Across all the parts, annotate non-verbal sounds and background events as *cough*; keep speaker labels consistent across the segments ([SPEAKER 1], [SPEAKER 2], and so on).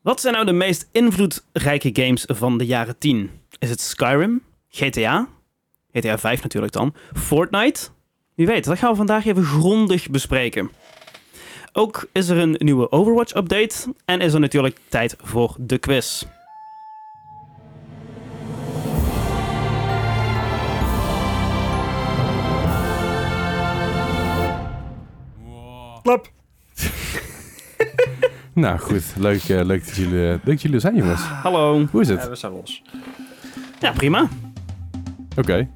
[SPEAKER 1] Wat zijn nou de meest invloedrijke games van de jaren 10? Is het Skyrim? GTA? GTA 5 natuurlijk dan. Fortnite? Wie weet, dat gaan we vandaag even grondig bespreken. Ook is er een nieuwe Overwatch-update en is er natuurlijk tijd voor de quiz.
[SPEAKER 2] Klap.
[SPEAKER 3] Nou goed, leuk, eh, leuk, dat jullie, leuk dat jullie er zijn jongens.
[SPEAKER 4] Ah,
[SPEAKER 1] Hallo.
[SPEAKER 3] Hoe is het?
[SPEAKER 2] Ja, we zijn los.
[SPEAKER 1] Ja, prima.
[SPEAKER 3] Oké.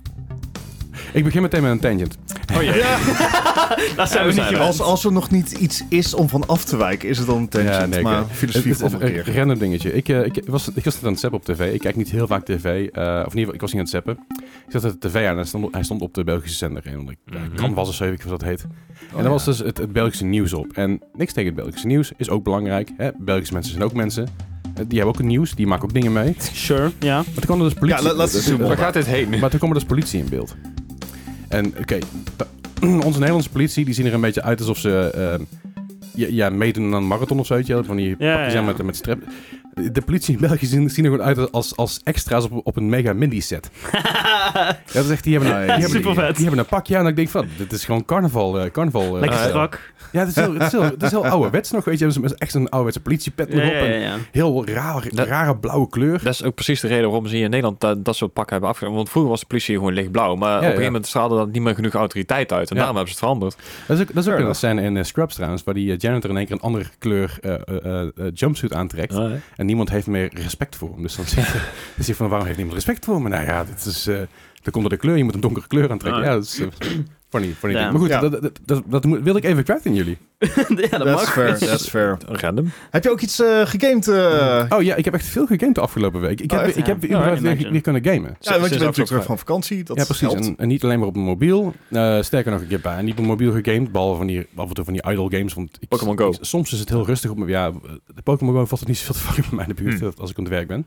[SPEAKER 3] Ik begin meteen met een tangent.
[SPEAKER 1] Oh ja. Daar zijn we niet gewend.
[SPEAKER 4] Als, als er nog niet iets is om van af te wijken, is het dan een tangent.
[SPEAKER 3] nee,
[SPEAKER 4] maar
[SPEAKER 3] oké.
[SPEAKER 4] filosofie
[SPEAKER 3] Het- het-
[SPEAKER 4] voor een
[SPEAKER 3] het-
[SPEAKER 4] keer.
[SPEAKER 3] Een random dingetje. Ik, eh, ik, was, ik was net aan het zappen op tv. Ik kijk niet heel vaak tv. eh, of in ieder geval, ik was niet aan het zappen. Ik zette de tv aan en hij stond, hij stond op de Belgische zender. En dan ik, eh,
[SPEAKER 2] Mhm.
[SPEAKER 3] Canvas of zo, weet ik wat dat heet. en
[SPEAKER 4] Oh,
[SPEAKER 3] daar was
[SPEAKER 4] ja.
[SPEAKER 3] dus het, het Belgische nieuws op. En niks tegen het Belgische nieuws. Is ook belangrijk. Hè? Belgische mensen zijn ook mensen. Eh, Die hebben ook een nieuws. Die maken ook dingen
[SPEAKER 4] *laughs*
[SPEAKER 3] mee.
[SPEAKER 1] Sure, ja.
[SPEAKER 3] Maar toen kwam er dus politie.
[SPEAKER 4] Ja, la-
[SPEAKER 3] *laughs*
[SPEAKER 4] laat ze zoomen.
[SPEAKER 3] Maar
[SPEAKER 2] Waar gaat dit heen?
[SPEAKER 3] Maar toen kwam er dus politie in beeld. En oké, da- *clears throat* onze Nederlandse politie die zien er een beetje uit alsof ze eh, ja, ja, meedoen aan een marathon of zo. weet je wel, Van die
[SPEAKER 1] Ja,
[SPEAKER 3] pakjes
[SPEAKER 1] ja,
[SPEAKER 3] aan
[SPEAKER 1] ja.
[SPEAKER 3] met, met strep. De politie in België zien, zien er gewoon uit als, als extra's op, op een mega mini set. Ja, dat is echt, die hebben,
[SPEAKER 1] *laughs*
[SPEAKER 3] een- die hebben,
[SPEAKER 1] Super vet.
[SPEAKER 3] die hebben een pakje aan en ik denk van, dit is gewoon carnaval. eh, carnaval eh,
[SPEAKER 1] Lekker
[SPEAKER 3] stijl.
[SPEAKER 1] strak.
[SPEAKER 3] Ja, het is heel, het is heel, het is heel
[SPEAKER 1] *laughs*
[SPEAKER 3] ouderwets nog, weet je. Hebben ze echt een ouderwetse politiepet nog
[SPEAKER 1] Ja,
[SPEAKER 3] op.
[SPEAKER 1] ja,
[SPEAKER 3] En
[SPEAKER 1] ja, ja. *laughs*
[SPEAKER 3] heel raar,
[SPEAKER 2] Dat-
[SPEAKER 3] rare blauwe kleur.
[SPEAKER 2] Dat is ook precies de reden waarom ze hier in Nederland dat, dat soort pakken hebben afgegeven. Want vroeger was de politie gewoon lichtblauw. Maar op een gegeven
[SPEAKER 3] ja.
[SPEAKER 2] moment straalde dat niet meer genoeg autoriteit uit. En
[SPEAKER 3] Ja.
[SPEAKER 2] daarom hebben ze het veranderd.
[SPEAKER 3] Dat is ook, dat is ook
[SPEAKER 2] Fair
[SPEAKER 3] een scène in eh, Scrubs trouwens, waar die eh, janitor in één keer een andere kleur eh, eh, eh, eh, jumpsuit aantrekt.
[SPEAKER 2] Eh,
[SPEAKER 3] En niemand heeft meer respect voor hem. Dus dan zegt hij dan zegt hij van, waarom heeft niemand respect voor me? Nou ja, dit is, eh dat komt door de kleur, je moet een donkere kleur aantrekken.
[SPEAKER 1] Ah.
[SPEAKER 3] Ja, dat is eh, funny, funny
[SPEAKER 1] Ja.
[SPEAKER 3] ding. Maar goed,
[SPEAKER 4] Ja.
[SPEAKER 3] dat, dat, dat, dat moet- wilde ik even kwijt in jullie.
[SPEAKER 1] ja, dat
[SPEAKER 4] That's
[SPEAKER 1] mag.
[SPEAKER 4] *laughs* fair, that's fair.
[SPEAKER 2] Random.
[SPEAKER 4] Heb je ook iets eh gegamed? eh?
[SPEAKER 3] Oh ja, ik heb echt veel gegamed de afgelopen week. Ik
[SPEAKER 4] Oh,
[SPEAKER 3] heb,
[SPEAKER 4] echt?
[SPEAKER 3] ik heb
[SPEAKER 1] Ja.
[SPEAKER 3] überhaupt
[SPEAKER 1] Ja,
[SPEAKER 3] weer,
[SPEAKER 1] imagine.
[SPEAKER 3] weer kunnen gamen.
[SPEAKER 4] ja, want je bent natuurlijk terug
[SPEAKER 2] van.
[SPEAKER 4] van vakantie. Dat
[SPEAKER 3] ja, precies.
[SPEAKER 4] helpt.
[SPEAKER 3] En, en niet alleen maar op mijn mobiel. Eh, sterker nog, ik heb bijna niet op mijn mobiel gegamed. Behalve van die, af en toe van die idle games. Want ik-
[SPEAKER 2] Pokémon Go.
[SPEAKER 3] ik- soms is het heel rustig op mijn... Ja, eh, de Pokémon Go valt er niet zoveel te vangen bij mij in de buurt
[SPEAKER 2] Hmm.
[SPEAKER 3] als ik aan het werk ben.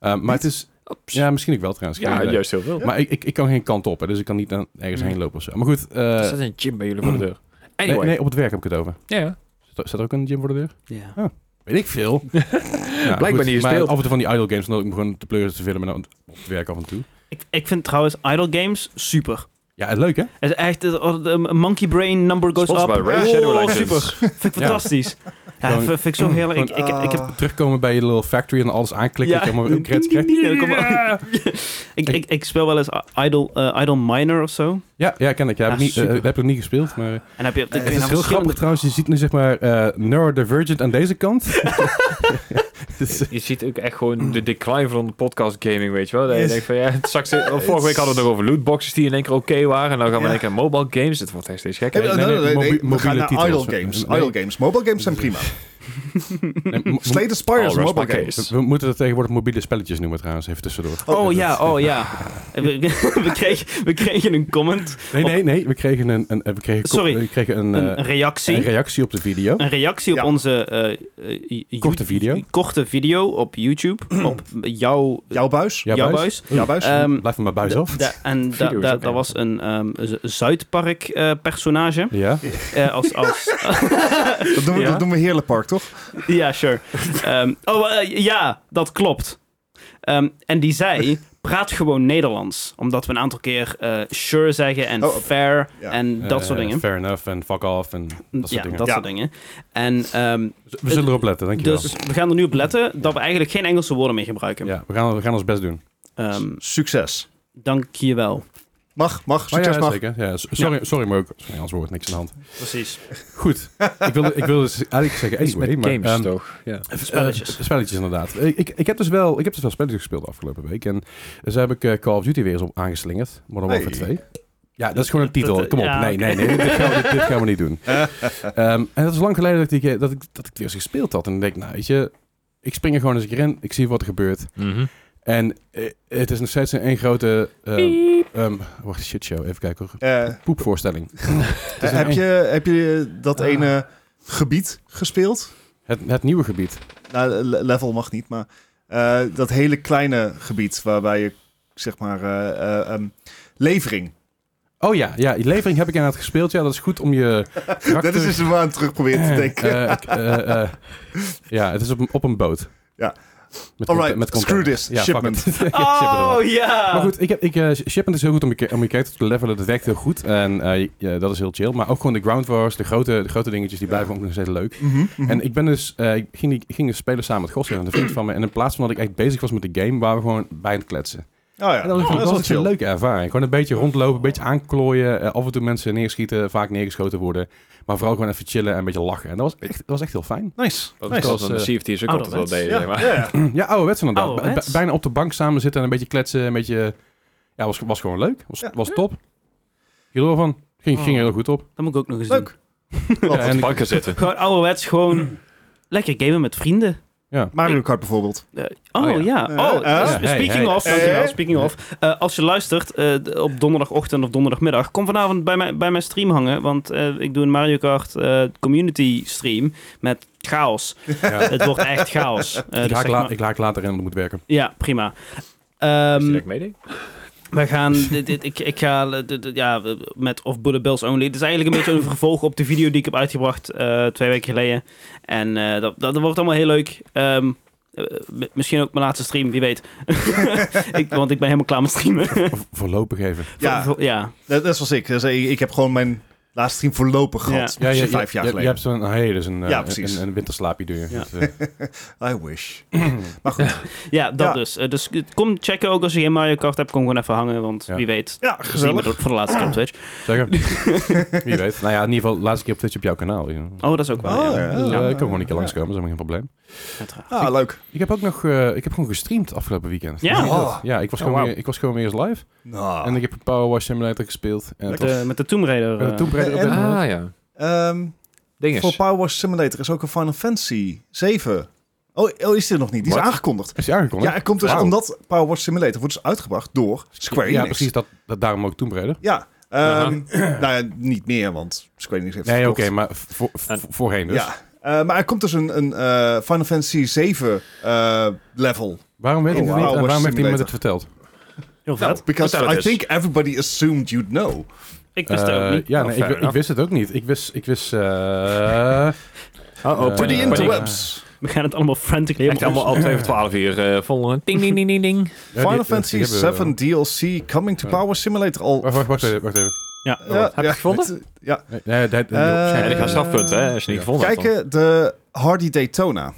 [SPEAKER 3] Eh, maar het is... Ja, misschien ik wel trouwens. Geen
[SPEAKER 2] Ja,
[SPEAKER 3] idee.
[SPEAKER 2] juist heel veel.
[SPEAKER 3] Maar ik, ik, ik kan geen kant op, hè, dus ik kan niet aan- ergens
[SPEAKER 2] Hmm.
[SPEAKER 3] heen lopen of zo. Maar goed, eh,
[SPEAKER 2] Er staat een gym bij jullie voor de deur.
[SPEAKER 3] nee,
[SPEAKER 2] Dus Anyway.
[SPEAKER 3] nee, op het werk heb ik het over.
[SPEAKER 2] Ja, ja.
[SPEAKER 3] Zit er, zit er ook een gym voor de deur?
[SPEAKER 1] Ja.
[SPEAKER 3] Weet ik veel.
[SPEAKER 2] *laughs*
[SPEAKER 3] Nou,
[SPEAKER 2] Blijkbaar niet
[SPEAKER 3] maar
[SPEAKER 2] gespeeld.
[SPEAKER 3] af en toe van die idle games, omdat ik me gewoon te pleuren te filmen en op het werk af en toe.
[SPEAKER 1] Ik, ik vind trouwens idle games super.
[SPEAKER 3] Ja, leuk hè?
[SPEAKER 1] Het is echt, eh, oh, de monkey brain number goes
[SPEAKER 2] Sponsored
[SPEAKER 1] up.
[SPEAKER 2] by Ray
[SPEAKER 1] Oh,
[SPEAKER 2] Shadow Legends.
[SPEAKER 1] super. Vind ik fantastisch. Ja,
[SPEAKER 3] Gewoon-
[SPEAKER 1] vind ik zo heerlijk. Ik, ik, ik, heb,
[SPEAKER 4] Ah.
[SPEAKER 3] Terugkomen bij je little factory en alles aanklikken.
[SPEAKER 1] Ja.
[SPEAKER 3] dat je
[SPEAKER 1] *laughs*
[SPEAKER 3] helemaal upgrades krijgt.
[SPEAKER 1] Ja, kom maar.
[SPEAKER 3] *laughs*
[SPEAKER 1] ik, ik, ik speel wel eens idle, eh, idle minor of zo.
[SPEAKER 3] Ja, ja, ken ik. Ja, heb,
[SPEAKER 1] Ja,
[SPEAKER 3] ik niet, eh,
[SPEAKER 1] super.
[SPEAKER 3] heb ik nog niet gespeeld, maar... eh,
[SPEAKER 1] En dan heb je, ik
[SPEAKER 3] het is heel grappig trouwens. Je ziet nu zeg maar eh, neurodivergent aan deze kant.
[SPEAKER 1] *laughs*
[SPEAKER 3] Dus, eh,
[SPEAKER 2] Je ziet ook echt gewoon de decline van de podcast gaming, weet je wel. Dat je
[SPEAKER 4] Yes.
[SPEAKER 2] denkt van, ja, het zakt steeds- vorige week hadden we het nog over lootboxes die in één keer oké waren. En dan gaan we
[SPEAKER 4] Ja.
[SPEAKER 2] in één keer mobile games. Het wordt echt steeds
[SPEAKER 4] Hey,
[SPEAKER 2] gekker.
[SPEAKER 4] nee,
[SPEAKER 3] nee,
[SPEAKER 4] nee, nee,
[SPEAKER 3] mobi-
[SPEAKER 4] nee, We gaan
[SPEAKER 3] mobiele
[SPEAKER 4] naar
[SPEAKER 3] titels.
[SPEAKER 4] idle games.
[SPEAKER 3] Nee. Oh,
[SPEAKER 4] Idle games. Mobile games zijn prima.
[SPEAKER 3] nee, mo-
[SPEAKER 4] Slay the Spire is
[SPEAKER 2] All
[SPEAKER 4] een
[SPEAKER 2] rest
[SPEAKER 4] mobile
[SPEAKER 2] my
[SPEAKER 4] game.
[SPEAKER 2] case.
[SPEAKER 3] we moeten het tegenwoordig mobiele spelletjes noemen trouwens, even tussendoor.
[SPEAKER 1] Oh ja, oh ja. We, *laughs* we, kregen, we kregen een comment,
[SPEAKER 3] Nee, nee, nee. We kregen een, een, eh, we kregen ko-
[SPEAKER 1] Sorry.
[SPEAKER 3] We kregen een,
[SPEAKER 1] een,
[SPEAKER 3] eh,
[SPEAKER 1] een reactie.
[SPEAKER 3] een reactie op de video.
[SPEAKER 1] Een reactie op
[SPEAKER 4] Ja.
[SPEAKER 1] onze eh, eh, YouTube-
[SPEAKER 3] Korte video.
[SPEAKER 1] korte video op YouTube.
[SPEAKER 3] *clears throat*
[SPEAKER 1] op jouw,
[SPEAKER 4] Jouw buis.
[SPEAKER 3] Ja, Eh,
[SPEAKER 1] jouw
[SPEAKER 3] buis.
[SPEAKER 1] buis.
[SPEAKER 4] Jouw buis.
[SPEAKER 1] Ehm,
[SPEAKER 3] Blijf van mijn buis
[SPEAKER 1] Da-
[SPEAKER 3] af.
[SPEAKER 1] da- en da-
[SPEAKER 2] Video is
[SPEAKER 1] da-
[SPEAKER 2] ook
[SPEAKER 1] dat
[SPEAKER 2] erg.
[SPEAKER 1] was een ehm, Z- Zuidpark-personage.
[SPEAKER 3] Ja.
[SPEAKER 1] Eh, als, als,
[SPEAKER 4] dat, doen we,
[SPEAKER 1] ja.
[SPEAKER 4] dat doen we Heerlijk Park, toch?
[SPEAKER 1] ja, sure. Ehm, oh, eh, ja, dat klopt. Ehm, en die zei, praat gewoon Nederlands. Omdat we een aantal keer eh, sure zeggen en
[SPEAKER 4] Oh,
[SPEAKER 1] fair
[SPEAKER 4] ja.
[SPEAKER 1] en dat
[SPEAKER 3] Eh,
[SPEAKER 1] soort dingen.
[SPEAKER 3] Fair enough en fuck off en dat soort
[SPEAKER 1] ja,
[SPEAKER 3] dingen.
[SPEAKER 1] dat
[SPEAKER 4] Ja.
[SPEAKER 1] soort dingen. En ehm,
[SPEAKER 3] We zullen erop letten, dankjewel.
[SPEAKER 1] dus we gaan er nu op letten dat we eigenlijk geen Engelse woorden meer gebruiken.
[SPEAKER 3] ja, we gaan, we gaan ons best doen.
[SPEAKER 1] Ehm,
[SPEAKER 4] Succes.
[SPEAKER 1] dank je wel.
[SPEAKER 4] Mag, mag.
[SPEAKER 3] Maar
[SPEAKER 4] Succes
[SPEAKER 3] Oh ja,
[SPEAKER 4] mag.
[SPEAKER 3] zeker. Ja, s- sorry, sorry, maar ook sorry, anders wordt niks aan de hand.
[SPEAKER 1] *laughs* Precies.
[SPEAKER 3] Goed, ik wilde, ik wilde dus eigenlijk zeggen
[SPEAKER 2] Iets
[SPEAKER 3] anyway,
[SPEAKER 2] met
[SPEAKER 3] maar...
[SPEAKER 2] games,
[SPEAKER 3] ehm,
[SPEAKER 2] toch? Ja.
[SPEAKER 1] Spelletjes.
[SPEAKER 3] Eh, spelletjes, inderdaad. Ik, ik, ik heb dus wel, ik heb dus wel spelletjes gespeeld de afgelopen week. En dus heb ik eh, Call of Duty weer eens op aangeslingerd. Modern
[SPEAKER 4] Hey.
[SPEAKER 3] Warfare 2. Ja, dat is gewoon een titel.
[SPEAKER 1] Dat-
[SPEAKER 3] Kom op.
[SPEAKER 1] ja,
[SPEAKER 3] nee,
[SPEAKER 1] oké.
[SPEAKER 3] nee, nee. Dit gaan we, dit gaan we niet
[SPEAKER 2] *laughs*
[SPEAKER 3] doen. Ehm, en dat is lang geleden dat ik, die- dat ik, dat ik het weer eens gespeeld had. En dan denk ik, nou weet je, ik spring er gewoon eens een keer in. Ik zie wat er gebeurt.
[SPEAKER 2] Mhm.
[SPEAKER 3] En eh, het is nog steeds een, één grote... ehm ehm wacht, shitshow. Even kijken hoor.
[SPEAKER 4] Eh,
[SPEAKER 2] *laughs*
[SPEAKER 3] Poepvoorstelling. Het is een
[SPEAKER 4] heb,
[SPEAKER 3] één-
[SPEAKER 4] je, heb je dat
[SPEAKER 3] Ah.
[SPEAKER 4] ene gebied gespeeld?
[SPEAKER 3] het, het nieuwe gebied.
[SPEAKER 4] Nou, le- level mag niet, maar eh, dat hele kleine gebied waarbij je zeg maar eh, eh, ehm, levering.
[SPEAKER 3] Oh ja, ja, die levering heb ik inderdaad gespeeld. Ja, dat is goed om je karakter...
[SPEAKER 4] *laughs* Dat is eens een maand terug proberen te
[SPEAKER 3] Eh,
[SPEAKER 4] denken. Oh
[SPEAKER 3] eh, ik- eh, eh, ja, het is op, een- op een boot.
[SPEAKER 4] Ja.
[SPEAKER 3] Met,
[SPEAKER 4] Alright,
[SPEAKER 3] cont-
[SPEAKER 4] screw
[SPEAKER 3] container.
[SPEAKER 4] this,
[SPEAKER 3] Ja, fuck
[SPEAKER 4] shipment.
[SPEAKER 3] it. *laughs* Ja, ship it
[SPEAKER 1] Oh,
[SPEAKER 3] all.
[SPEAKER 1] ja!
[SPEAKER 3] Maar goed, ik heb, ik, eh, shipment is heel goed om je, ca- om je character te levelen. Dat werkt heel goed. En eh, ja, dat is heel chill. Maar ook gewoon de ground wars, de grote, de grote dingetjes, die
[SPEAKER 4] Ja.
[SPEAKER 3] blijven ook nog steeds leuk.
[SPEAKER 4] Mhm, mhm.
[SPEAKER 3] En ik ben dus, eh, ik ging, die, ik ging dus spelen samen met Gosser, een vriend van me. En in plaats van dat ik echt bezig was met de game, waren we gewoon bij aan het kletsen.
[SPEAKER 4] Oh ja,
[SPEAKER 3] En dat was,
[SPEAKER 4] Oh,
[SPEAKER 3] dat was
[SPEAKER 4] wel
[SPEAKER 3] echt een leuke ervaring. Gewoon een beetje rondlopen, een beetje aanklooien. eh, af en toe mensen neerschieten, vaak neergeschoten worden. Maar vooral gewoon even chillen en een beetje lachen. En dat was echt, dat was echt heel fijn.
[SPEAKER 4] Nice.
[SPEAKER 2] Dat
[SPEAKER 4] nice.
[SPEAKER 2] was een CFT is ook altijd wel
[SPEAKER 1] Ouderwets.
[SPEAKER 2] deden,
[SPEAKER 4] Ja,
[SPEAKER 2] zeg maar.
[SPEAKER 4] ja, ja.
[SPEAKER 3] Ja, ouderwets inderdaad. Bij-
[SPEAKER 1] Ouderwets.
[SPEAKER 3] bij- bijna op de bank samen zitten en een beetje kletsen. Een beetje, ja, was, was gewoon leuk. Was,
[SPEAKER 4] Ja. Oh.
[SPEAKER 3] was top. Hierdoor van, ging, ging er heel goed
[SPEAKER 4] *laughs*
[SPEAKER 3] op.
[SPEAKER 1] Dat moet ik ook nog eens
[SPEAKER 4] Leuk.
[SPEAKER 1] doen.
[SPEAKER 3] *laughs* Ja,
[SPEAKER 2] Op
[SPEAKER 3] en
[SPEAKER 2] de
[SPEAKER 3] ik-
[SPEAKER 2] banken zitten.
[SPEAKER 1] Gewoon ouderwets, gewoon lekker gamen met vrienden.
[SPEAKER 4] Mario Kart bijvoorbeeld.
[SPEAKER 1] Eh, oh,
[SPEAKER 2] Oh,
[SPEAKER 1] ja.
[SPEAKER 4] Eh,
[SPEAKER 1] Oh,
[SPEAKER 4] eh.
[SPEAKER 1] s-
[SPEAKER 3] Ja, hey,
[SPEAKER 1] speaking
[SPEAKER 3] hey.
[SPEAKER 1] of, dankjewel,
[SPEAKER 4] Eh.
[SPEAKER 1] speaking of. Eh, als je luistert eh, d- op donderdagochtend of donderdagmiddag, kom vanavond bij, mij, bij mijn stream hangen. Want eh, ik doe een Mario Kart eh, community stream met chaos.
[SPEAKER 3] Ja.
[SPEAKER 1] Het wordt echt chaos. Eh,
[SPEAKER 3] ik,
[SPEAKER 1] dus
[SPEAKER 3] haak
[SPEAKER 1] zeg
[SPEAKER 3] la-
[SPEAKER 1] maar-
[SPEAKER 3] ik haak later in, want het moet
[SPEAKER 4] *laughs*
[SPEAKER 3] werken.
[SPEAKER 1] Ja, prima. Ehm,
[SPEAKER 2] Als je direct meedeed.
[SPEAKER 1] we gaan, *laughs* dit, dit- ik, ik ga eh, dit- dit- ja, met Of Bullet Bills Only. Het is eigenlijk een beetje een vervolg op de video die ik heb uitgebracht eh, twee weken geleden. En eh, dat, dat wordt allemaal heel leuk. Ehm, eh, m- misschien ook mijn laatste stream, wie weet. *laughs* ik, want ik ben helemaal klaar met *laughs* streamen.
[SPEAKER 3] Vo- voorlopig even.
[SPEAKER 4] Ja.
[SPEAKER 1] Voor- voor- ja.
[SPEAKER 4] Net, net zoals ik. Dus ik. Ik heb gewoon mijn laatste stream voorlopig
[SPEAKER 1] Ja.
[SPEAKER 4] gehad.
[SPEAKER 3] Ja,
[SPEAKER 4] Ja,
[SPEAKER 3] ja,
[SPEAKER 4] vijf
[SPEAKER 3] ja,
[SPEAKER 4] jaar
[SPEAKER 3] ja, Je
[SPEAKER 4] geleden.
[SPEAKER 3] hebt zo'n hey, dus een, eh,
[SPEAKER 4] Ja, precies.
[SPEAKER 3] een, een winterslaapje doe je.
[SPEAKER 1] Ja.
[SPEAKER 3] Dus, eh,
[SPEAKER 4] I wish. *clears throat* maar goed.
[SPEAKER 1] ja, dat
[SPEAKER 4] Ja.
[SPEAKER 1] dus. Eh, dus kom checken ook als je geen Mario Kart hebt. Kom gewoon even hangen, want
[SPEAKER 3] Ja.
[SPEAKER 1] wie weet.
[SPEAKER 4] Ja,
[SPEAKER 1] Zien we
[SPEAKER 4] gezellig.
[SPEAKER 1] dat voor de laatste keer op Twitch.
[SPEAKER 4] *laughs*
[SPEAKER 3] zeggen. Wie weet. Nou ja, in ieder geval, de laatste keer op Twitch op jouw kanaal. you know.
[SPEAKER 1] Oh, dat is ook wel.
[SPEAKER 4] Oh,
[SPEAKER 1] ja.
[SPEAKER 4] ja.
[SPEAKER 3] Dus, eh,
[SPEAKER 1] Ja,
[SPEAKER 3] ik kan gewoon een keer langskomen, dat is helemaal geen probleem.
[SPEAKER 1] uiteraard.
[SPEAKER 4] Ah, leuk.
[SPEAKER 3] Ik heb ook nog, eh, ik heb gewoon gestreamd afgelopen weekend.
[SPEAKER 1] Ja?
[SPEAKER 3] Weet je dat?
[SPEAKER 4] Oh.
[SPEAKER 3] ja ik, was
[SPEAKER 4] Oh,
[SPEAKER 3] gewoon
[SPEAKER 4] wauw.
[SPEAKER 3] weer, ik was gewoon weer eens live.
[SPEAKER 4] Nou.
[SPEAKER 3] En ik heb Power Wash Simulator gespeeld. En
[SPEAKER 1] Met,
[SPEAKER 3] het
[SPEAKER 1] de- met de Tomb Raider.
[SPEAKER 3] was-
[SPEAKER 1] eh,
[SPEAKER 3] en toen breed ik op
[SPEAKER 4] en-
[SPEAKER 3] dit moment.
[SPEAKER 2] Ah ja.
[SPEAKER 4] Ehm, voor
[SPEAKER 2] Dinges.
[SPEAKER 4] Power Wash Simulator is ook een Final Fantasy 7. Oh, oh is dit nog niet? Die is
[SPEAKER 3] Wat?
[SPEAKER 4] aangekondigd.
[SPEAKER 3] Is die aangekondigd?
[SPEAKER 4] Ja, het komt dus
[SPEAKER 3] Wauw.
[SPEAKER 4] omdat Power Wash Simulator wordt dus uitgebracht door Square Enix.
[SPEAKER 3] Ja, precies. Dat, dat, daarom ook toen breder.
[SPEAKER 4] Ja, ehm, *clears throat* nou ja, niet meer, want Square Enix heeft het
[SPEAKER 3] Nee, oké,
[SPEAKER 4] verkocht.
[SPEAKER 3] maar voor,
[SPEAKER 2] En-
[SPEAKER 3] voor- voorheen dus.
[SPEAKER 4] Ja, eh, maar er komt dus een, een eh, Final Fantasy 7 eh, level.
[SPEAKER 3] Waarom weet ik
[SPEAKER 4] Oh,
[SPEAKER 3] het niet
[SPEAKER 4] wauw.
[SPEAKER 3] en
[SPEAKER 4] Wash
[SPEAKER 3] waarom heeft iemand
[SPEAKER 4] Simulator.
[SPEAKER 3] het verteld?
[SPEAKER 1] Heel
[SPEAKER 3] Nou,
[SPEAKER 1] vet.
[SPEAKER 4] Nou, Because
[SPEAKER 2] Vertel het
[SPEAKER 4] I
[SPEAKER 2] eens.
[SPEAKER 4] think everybody assumed you'd know.
[SPEAKER 1] ik wist het ook
[SPEAKER 3] Eh,
[SPEAKER 1] niet.
[SPEAKER 3] Ja,
[SPEAKER 2] Oh,
[SPEAKER 3] nee,
[SPEAKER 2] fair
[SPEAKER 3] ik, ik
[SPEAKER 2] enough.
[SPEAKER 3] wist het ook niet. Ik wist... Ik wist eh,
[SPEAKER 2] Oh,
[SPEAKER 3] Eh,
[SPEAKER 2] oh,
[SPEAKER 4] To the
[SPEAKER 3] ja.
[SPEAKER 4] interwebs.
[SPEAKER 1] We gaan het allemaal frantically
[SPEAKER 2] Echt *laughs* allemaal al 2 of 12 uur eh, vol. eh, Ding, ding, ding, ding, *laughs* ding.
[SPEAKER 3] ja, die-
[SPEAKER 4] Final
[SPEAKER 3] die
[SPEAKER 4] Fantasy
[SPEAKER 3] hebben we wel.
[SPEAKER 4] 7 DLC coming to
[SPEAKER 3] Ja.
[SPEAKER 4] Power Simulator al.
[SPEAKER 3] eh, Wacht, wacht, wacht even. Wacht even.
[SPEAKER 1] Ja.
[SPEAKER 4] Ja,
[SPEAKER 2] Heb je
[SPEAKER 4] ja. eh,
[SPEAKER 2] het gevonden?
[SPEAKER 4] Ja.
[SPEAKER 3] Nee, nee, dat- dat-
[SPEAKER 4] Eh,
[SPEAKER 2] En ik ga
[SPEAKER 3] waarschijnlijk-
[SPEAKER 2] strafpunten, hè, als je niet
[SPEAKER 3] Ja.
[SPEAKER 2] gevonden hebt. dan.
[SPEAKER 4] Kijken, de Hardy Daytona.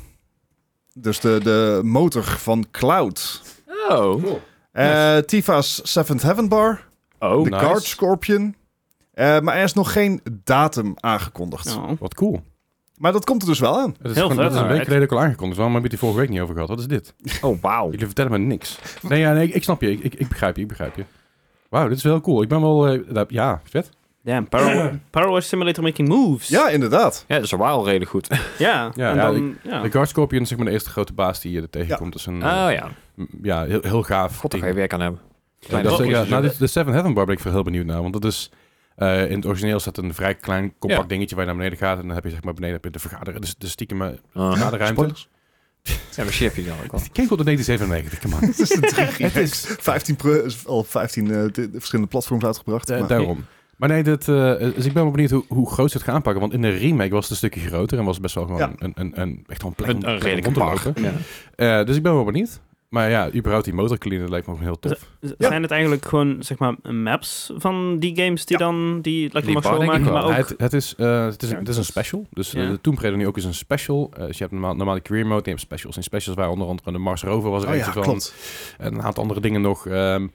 [SPEAKER 4] Dus de, de motor van Cloud.
[SPEAKER 2] Oh.
[SPEAKER 4] Eh, Tifa's Seventh Heaven Bar.
[SPEAKER 2] Oh.
[SPEAKER 4] de
[SPEAKER 3] nice.
[SPEAKER 4] Guard Scorpion. Eh, maar er is nog geen datum aangekondigd.
[SPEAKER 1] Oh.
[SPEAKER 3] Wat cool.
[SPEAKER 4] Maar dat komt er dus wel aan.
[SPEAKER 3] Nou, Het is,
[SPEAKER 1] Heel
[SPEAKER 3] gewoon,
[SPEAKER 1] vet.
[SPEAKER 3] dat is een week
[SPEAKER 2] Ja,
[SPEAKER 3] geleden ook al aangekondigd. Waarom heb je het die vorige week niet over gehad? Wat is dit?
[SPEAKER 2] Oh, wauw.
[SPEAKER 3] Jullie vertellen me niks. Nee, ja, nee ik, ik snap je. Ik, ik, ik begrijp je. Ik begrijp je. Wauw, dit is wel cool. Ik ben wel... eh, dat- ja, vet.
[SPEAKER 1] Damn, Power, Power Wash Simulator Making Moves.
[SPEAKER 4] Ja, inderdaad.
[SPEAKER 2] Ja, dat is wel redelijk goed. Oh
[SPEAKER 1] Ja.
[SPEAKER 3] Ja,
[SPEAKER 1] en
[SPEAKER 3] ja,
[SPEAKER 1] dan, ja.
[SPEAKER 3] De Guard Scorpion is zeg maar de eerste grote baas die je er tegenkomt. Dat is een... eh,
[SPEAKER 2] Oh, ja.
[SPEAKER 3] m- ja, heel, heel gaaf.
[SPEAKER 2] God, daar
[SPEAKER 3] ding.
[SPEAKER 2] ga je werk aan hebben.
[SPEAKER 3] Ja,
[SPEAKER 2] Kleine
[SPEAKER 3] dat is,
[SPEAKER 2] stapjes.
[SPEAKER 3] ja, nou, dit- de Seven Heaven Bar ben ik veel heel benieuwd naar. Want dat is... eh, in het origineel staat een vrij klein, compact
[SPEAKER 2] Ja.
[SPEAKER 3] dingetje waar je naar beneden gaat. En dan heb je zeg maar beneden heb je de vergaderen. Dus de stiekem eh,
[SPEAKER 2] Ah.
[SPEAKER 3] vergaderruimte.
[SPEAKER 2] Ja, maar shit heb je dan ook al.
[SPEAKER 3] Ik keek tot de 1997, come on.
[SPEAKER 4] Het is een drie
[SPEAKER 3] Het is-
[SPEAKER 4] 15 pro- is al 15 eh, de- de verschillende platforms uitgebracht.
[SPEAKER 3] Da-
[SPEAKER 4] maar-
[SPEAKER 3] daarom. Maar nee, dat, eh, dus ik ben wel benieuwd hoe, hoe groot ze het gaan pakken. Want in de remake was het een stukje groter en was het best wel gewoon
[SPEAKER 4] Ja.
[SPEAKER 3] een, een, een, echt gewoon plek om-
[SPEAKER 2] Een, een
[SPEAKER 3] plek om
[SPEAKER 2] redelijke
[SPEAKER 3] rond te
[SPEAKER 2] bar.
[SPEAKER 3] lopen.
[SPEAKER 2] Ja.
[SPEAKER 3] Eh, dus ik ben wel benieuwd. Maar ja, überhaupt die motorcleaner lijkt me ook heel tof.
[SPEAKER 1] Z- Zijn het eigenlijk gewoon, zeg maar, maps van die games die
[SPEAKER 4] Ja.
[SPEAKER 1] dan, die lekker
[SPEAKER 2] Die
[SPEAKER 1] mag
[SPEAKER 2] bar, denk
[SPEAKER 1] schoonmaken,
[SPEAKER 2] ik wel.
[SPEAKER 1] maar ook...
[SPEAKER 3] het, het, is, eh, het, is een, het is een
[SPEAKER 1] Ja.
[SPEAKER 3] special. Dus
[SPEAKER 1] Ja.
[SPEAKER 3] eh, de Tomb Raider nu ook is een special. Eh, dus je hebt normaal, normaal de career mode en je hebt specials. En specials waren onder andere de Mars Rover was er
[SPEAKER 4] Oh ja,
[SPEAKER 3] eentje van.
[SPEAKER 4] klopt.
[SPEAKER 3] En een aantal andere dingen nog. ehm,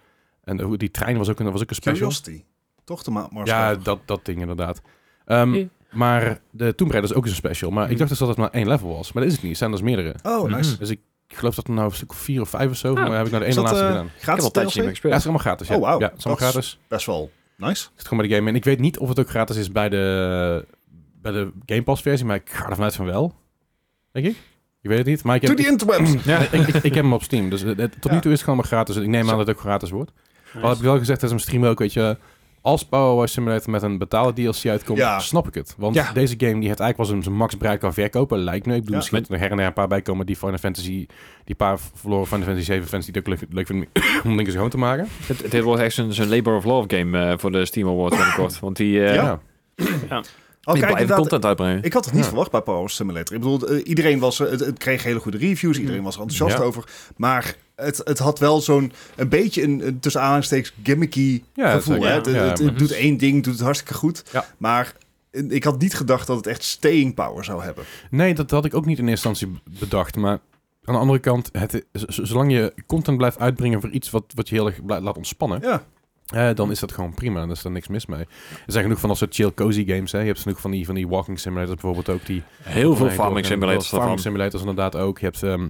[SPEAKER 3] en de- hoe die trein was ook, een- was ook een special.
[SPEAKER 4] Curiosity. Toch de Ma- Mars
[SPEAKER 3] Ja,
[SPEAKER 4] Rover.
[SPEAKER 3] dat, dat ding inderdaad. Ehm,
[SPEAKER 2] Ja.
[SPEAKER 3] Maar de Tomb Raider is ook eens een special.
[SPEAKER 4] Mm.
[SPEAKER 3] Maar ik dacht dus dat het maar één level was. Maar dat is het niet. Het zijn dus meerdere.
[SPEAKER 4] Oh, nice.
[SPEAKER 2] Mhm.
[SPEAKER 3] Dus ik geloof dat er nou een stuk of vier of vijf of zo.
[SPEAKER 2] Ah.
[SPEAKER 3] Maar heb ik nou de
[SPEAKER 4] Is
[SPEAKER 3] ene
[SPEAKER 4] dat
[SPEAKER 3] laatste
[SPEAKER 4] eh,
[SPEAKER 3] gedaan.
[SPEAKER 2] Ik heb al
[SPEAKER 4] gratis
[SPEAKER 2] een tijdje niet
[SPEAKER 4] DLC?
[SPEAKER 2] meer
[SPEAKER 3] Ja, het
[SPEAKER 2] gespeeld.
[SPEAKER 3] is allemaal gratis. Ja,
[SPEAKER 4] Oh, wauw.
[SPEAKER 3] ja het is allemaal
[SPEAKER 4] Dat is-
[SPEAKER 3] gratis.
[SPEAKER 4] Best wel nice.
[SPEAKER 3] Het zit gewoon bij de game. En ik weet niet of het ook gratis is bij de, bij de Game Pass versie. Maar ik ga er vanuit van wel. Denk ik. Ik weet het niet. Maar ik
[SPEAKER 4] To
[SPEAKER 3] heb,
[SPEAKER 4] the
[SPEAKER 3] ik, *clears throat*
[SPEAKER 4] interwebs.
[SPEAKER 3] ik, *laughs* ik, ik heb hem op Steam. Dus eh, tot
[SPEAKER 4] Ja.
[SPEAKER 3] nu toe is het gewoon maar gratis. Dus ik neem aan dat het ook gratis wordt. Al heb ik wel gezegd dat ze hem streamen ook, weet je. Als Power Wash Simulator met een betaalde DLC uitkomt,
[SPEAKER 4] Ja.
[SPEAKER 3] snap ik het. Want
[SPEAKER 4] Ja.
[SPEAKER 3] deze game die het eigenlijk wel zijn- zijn max bereik kan verkopen, lijkt me. Ik bedoel,
[SPEAKER 4] Ja.
[SPEAKER 3] misschien dat er her en her een paar bij komen die Final Fantasy, die paar verloren Final Fantasy 7 fans die het ook leuk, leuk vinden om *coughs* dingen schoon te maken.
[SPEAKER 2] Dit, dit wordt echt zo'n zo'n Labor of Love game eh, voor de Steam Awards binnenkort. Want die, eh
[SPEAKER 4] Ja.
[SPEAKER 2] ja.
[SPEAKER 4] Al Oh, kijk,
[SPEAKER 2] blijven
[SPEAKER 4] inderdaad,
[SPEAKER 2] content uitbrengen.
[SPEAKER 4] ik had het niet
[SPEAKER 2] Ja.
[SPEAKER 4] verwacht bij Power Simulator. Ik bedoel, eh, iedereen was, eh, het, het kreeg hele goede reviews. Iedereen was er enthousiast
[SPEAKER 3] Ja.
[SPEAKER 4] over. Maar het, het had wel zo'n, een beetje een, een tussen aanhalingstekens gimmicky
[SPEAKER 3] Ja,
[SPEAKER 4] gevoel.
[SPEAKER 3] zeker.
[SPEAKER 4] hè?
[SPEAKER 1] Ja.
[SPEAKER 4] Het, het-
[SPEAKER 3] Ja,
[SPEAKER 4] het
[SPEAKER 3] maar- dus-
[SPEAKER 4] doet één ding, doet het hartstikke goed.
[SPEAKER 3] Ja.
[SPEAKER 4] Maar eh, ik had niet gedacht dat het echt staying power zou hebben.
[SPEAKER 3] Nee, dat had ik ook niet in eerste instantie b- bedacht. Maar aan de andere kant, het, z- z- zolang je content blijft uitbrengen voor iets wat, wat je heel erg bla- laat ontspannen,
[SPEAKER 4] Ja,
[SPEAKER 3] eh, dan is dat gewoon prima. Dan is er niks mis mee. Er zijn genoeg van dat soort chill cozy games. Hè. Je hebt genoeg van die, van die walking simulators bijvoorbeeld ook. Die,
[SPEAKER 2] Heel veel
[SPEAKER 3] Nee,
[SPEAKER 2] farming
[SPEAKER 3] door-
[SPEAKER 2] simulators
[SPEAKER 3] door- Farming
[SPEAKER 2] daarvan.
[SPEAKER 3] simulators inderdaad ook. Je hebt ehm,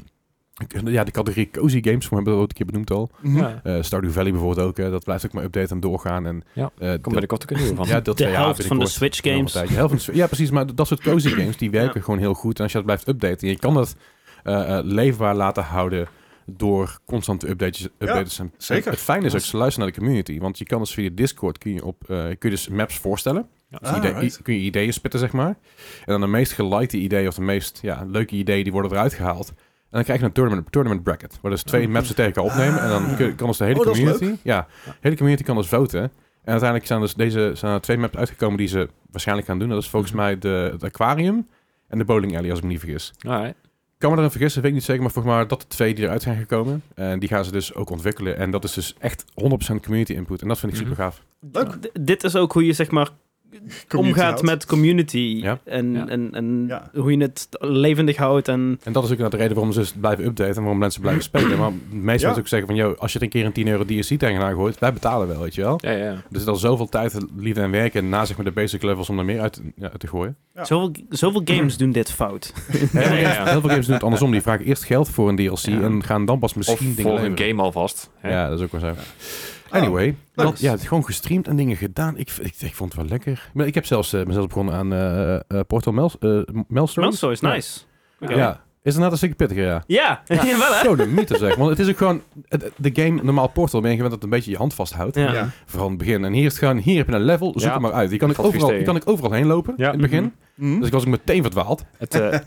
[SPEAKER 3] ik- ja, de categorie cozy games, we hebben we ook een keer benoemd al.
[SPEAKER 2] Ja.
[SPEAKER 3] Eh, Stardew Valley bijvoorbeeld ook. eh, dat blijft ook maar updaten en doorgaan. En,
[SPEAKER 2] Ja,
[SPEAKER 3] eh,
[SPEAKER 2] Komt binnenkort ook een nieuwe van.
[SPEAKER 3] ja, dat
[SPEAKER 1] de
[SPEAKER 3] twee jaar
[SPEAKER 1] helft van de
[SPEAKER 3] binnenkort.
[SPEAKER 1] Switch
[SPEAKER 3] Nog
[SPEAKER 1] games.
[SPEAKER 3] een tijdje. Heel veel sp- ja, precies. Maar d- dat soort
[SPEAKER 1] *clears throat*
[SPEAKER 3] cozy games, die werken gewoon heel goed. En als je dat blijft updaten, je kan dat eh, eh, leefbaar laten houden door constante updates. updates en,
[SPEAKER 4] zeker.
[SPEAKER 3] Het fijne is ook, ze luisteren naar de community. Want je kan dus via Discord, kun je, op, eh, kun je dus maps voorstellen.
[SPEAKER 2] Ja.
[SPEAKER 3] Dus
[SPEAKER 4] Ah,
[SPEAKER 3] idee-
[SPEAKER 4] right.
[SPEAKER 3] i- kun je ideeën spitten, zeg maar. En dan de meest gelikte ideeën of de meest ja, leuke ideeën, die worden eruit gehaald. En dan krijg je een tournament, tournament bracket. Waar dus twee maps er tegen elkaar opnemen. En dan kun- kan dus de hele
[SPEAKER 4] Oh, dat is
[SPEAKER 3] community... Ja, de hele community kan dus voten. En uiteindelijk zijn dus deze zijn er twee maps uitgekomen die ze waarschijnlijk gaan doen. Dat is volgens
[SPEAKER 4] Mhm.
[SPEAKER 3] mij de, het aquarium en de bowling alley, als ik me niet vergis.
[SPEAKER 2] Alright.
[SPEAKER 3] Kan me daarin vergissen, weet ik niet zeker. Maar volgens mij dat de twee die eruit zijn gekomen. En die gaan ze dus ook ontwikkelen. En dat is dus echt 100% community input. En dat vind ik
[SPEAKER 2] Mhm.
[SPEAKER 3] super gaaf.
[SPEAKER 4] leuk.
[SPEAKER 1] D- dit is ook hoe je zeg maar omgaat met community. En,
[SPEAKER 2] Ja.
[SPEAKER 1] en, en
[SPEAKER 4] Ja.
[SPEAKER 1] hoe je het levendig houdt. En
[SPEAKER 3] En dat is ook inderdaad de reden waarom ze dus blijven updaten en waarom mensen blijven spelen. Maar meestal mensen
[SPEAKER 4] Ja.
[SPEAKER 3] ook zeggen van, joh, als je er een keer een 10 euro DLC tegenaan gooit, wij betalen wel, weet je wel.
[SPEAKER 2] Ja, ja.
[SPEAKER 3] Er zit al zoveel tijd, liefde en werk in na zeg maar de basic levels om er meer uit, ja, uit te gooien.
[SPEAKER 4] Ja.
[SPEAKER 1] zoveel, zoveel games doen dit fout.
[SPEAKER 3] Heel veel
[SPEAKER 2] ja,
[SPEAKER 3] games-
[SPEAKER 2] ja.
[SPEAKER 3] Heel veel games doen het andersom. Die vragen eerst geld voor een DLC
[SPEAKER 2] Ja.
[SPEAKER 3] en gaan dan pas
[SPEAKER 2] Of
[SPEAKER 3] misschien dingen
[SPEAKER 2] voor een
[SPEAKER 3] leveren.
[SPEAKER 2] game alvast. hè. Oh,
[SPEAKER 3] Ja, dat is ook wel zo. Anyway,
[SPEAKER 4] leuk.
[SPEAKER 3] dat- ja, het is gewoon gestreamd en dingen gedaan. Ik, ik, ik vond het wel lekker. Maar ik heb zelfs eh, mezelf begonnen aan eh eh, Portal Mel, eh, Maelstrom.
[SPEAKER 1] Melso is nice. Oké.
[SPEAKER 3] Ja, is inderdaad een stukje pittiger, ja.
[SPEAKER 1] Ja, *laughs* ja. wel hè?
[SPEAKER 3] Zo de mythe zeg. Want het is ook gewoon... het- De game, normaal Portal, ben je gewend dat het een beetje je hand vasthoudt.
[SPEAKER 1] Ja.
[SPEAKER 4] Ja.
[SPEAKER 3] Vooral in het begin. En hier is het gewoon... Hier heb je een level, zoek
[SPEAKER 2] Ja.
[SPEAKER 3] hem maar uit. Die kan, ik
[SPEAKER 2] Valt vies
[SPEAKER 3] overal, die
[SPEAKER 2] tegen.
[SPEAKER 3] kan ik overal heen lopen
[SPEAKER 2] Ja.
[SPEAKER 3] in het begin.
[SPEAKER 1] Mhm.
[SPEAKER 4] Mhm.
[SPEAKER 3] Dus ik was ook meteen verdwaald. *clears throat*
[SPEAKER 2] Het, eh,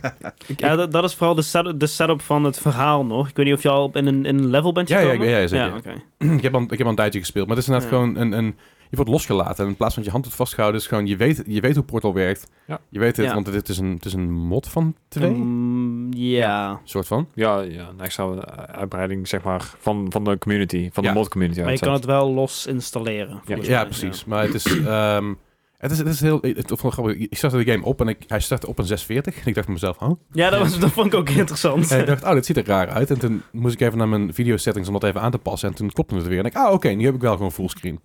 [SPEAKER 2] *laughs*
[SPEAKER 1] Ja, dat, dat is vooral de, set- de setup van het verhaal nog. Ik weet niet of je al in een, in een level bent
[SPEAKER 3] Ja, ja,
[SPEAKER 1] gekomen.
[SPEAKER 3] ja, ja, zeker.
[SPEAKER 1] oké.
[SPEAKER 3] ik, heb al, ik heb al een tijdje gespeeld. Maar het is inderdaad
[SPEAKER 1] Ja.
[SPEAKER 3] gewoon een... een je wordt losgelaten en in plaats van dat je hand wordt vastgehouden, is gewoon je weet, je weet hoe Portal werkt.
[SPEAKER 2] Ja.
[SPEAKER 3] Je weet het,
[SPEAKER 1] Ja.
[SPEAKER 3] want het is, een, het is een mod van twee,
[SPEAKER 1] Mm, ja.
[SPEAKER 3] soort van.
[SPEAKER 2] ja, ja, een extra eh, uitbreiding zeg maar van, van de community, van de
[SPEAKER 3] Ja.
[SPEAKER 2] mod community.
[SPEAKER 1] Maar je kan het wel los installeren. volgens
[SPEAKER 3] Ja,
[SPEAKER 1] mij.
[SPEAKER 3] precies. Maar het is, ehm, het is, het is heel, het, het, grappig. ik startte de game op en ik, hij startte op een 640. En ik dacht bij mezelf, huh?
[SPEAKER 1] Ja, dat, was, dat vond ik ook interessant.
[SPEAKER 3] En ik dacht, oh, dit ziet er raar uit. En toen moest ik even naar mijn video settings om dat even aan te passen. En toen klopte het weer. En ik, ah, oké, nu heb ik wel gewoon fullscreen.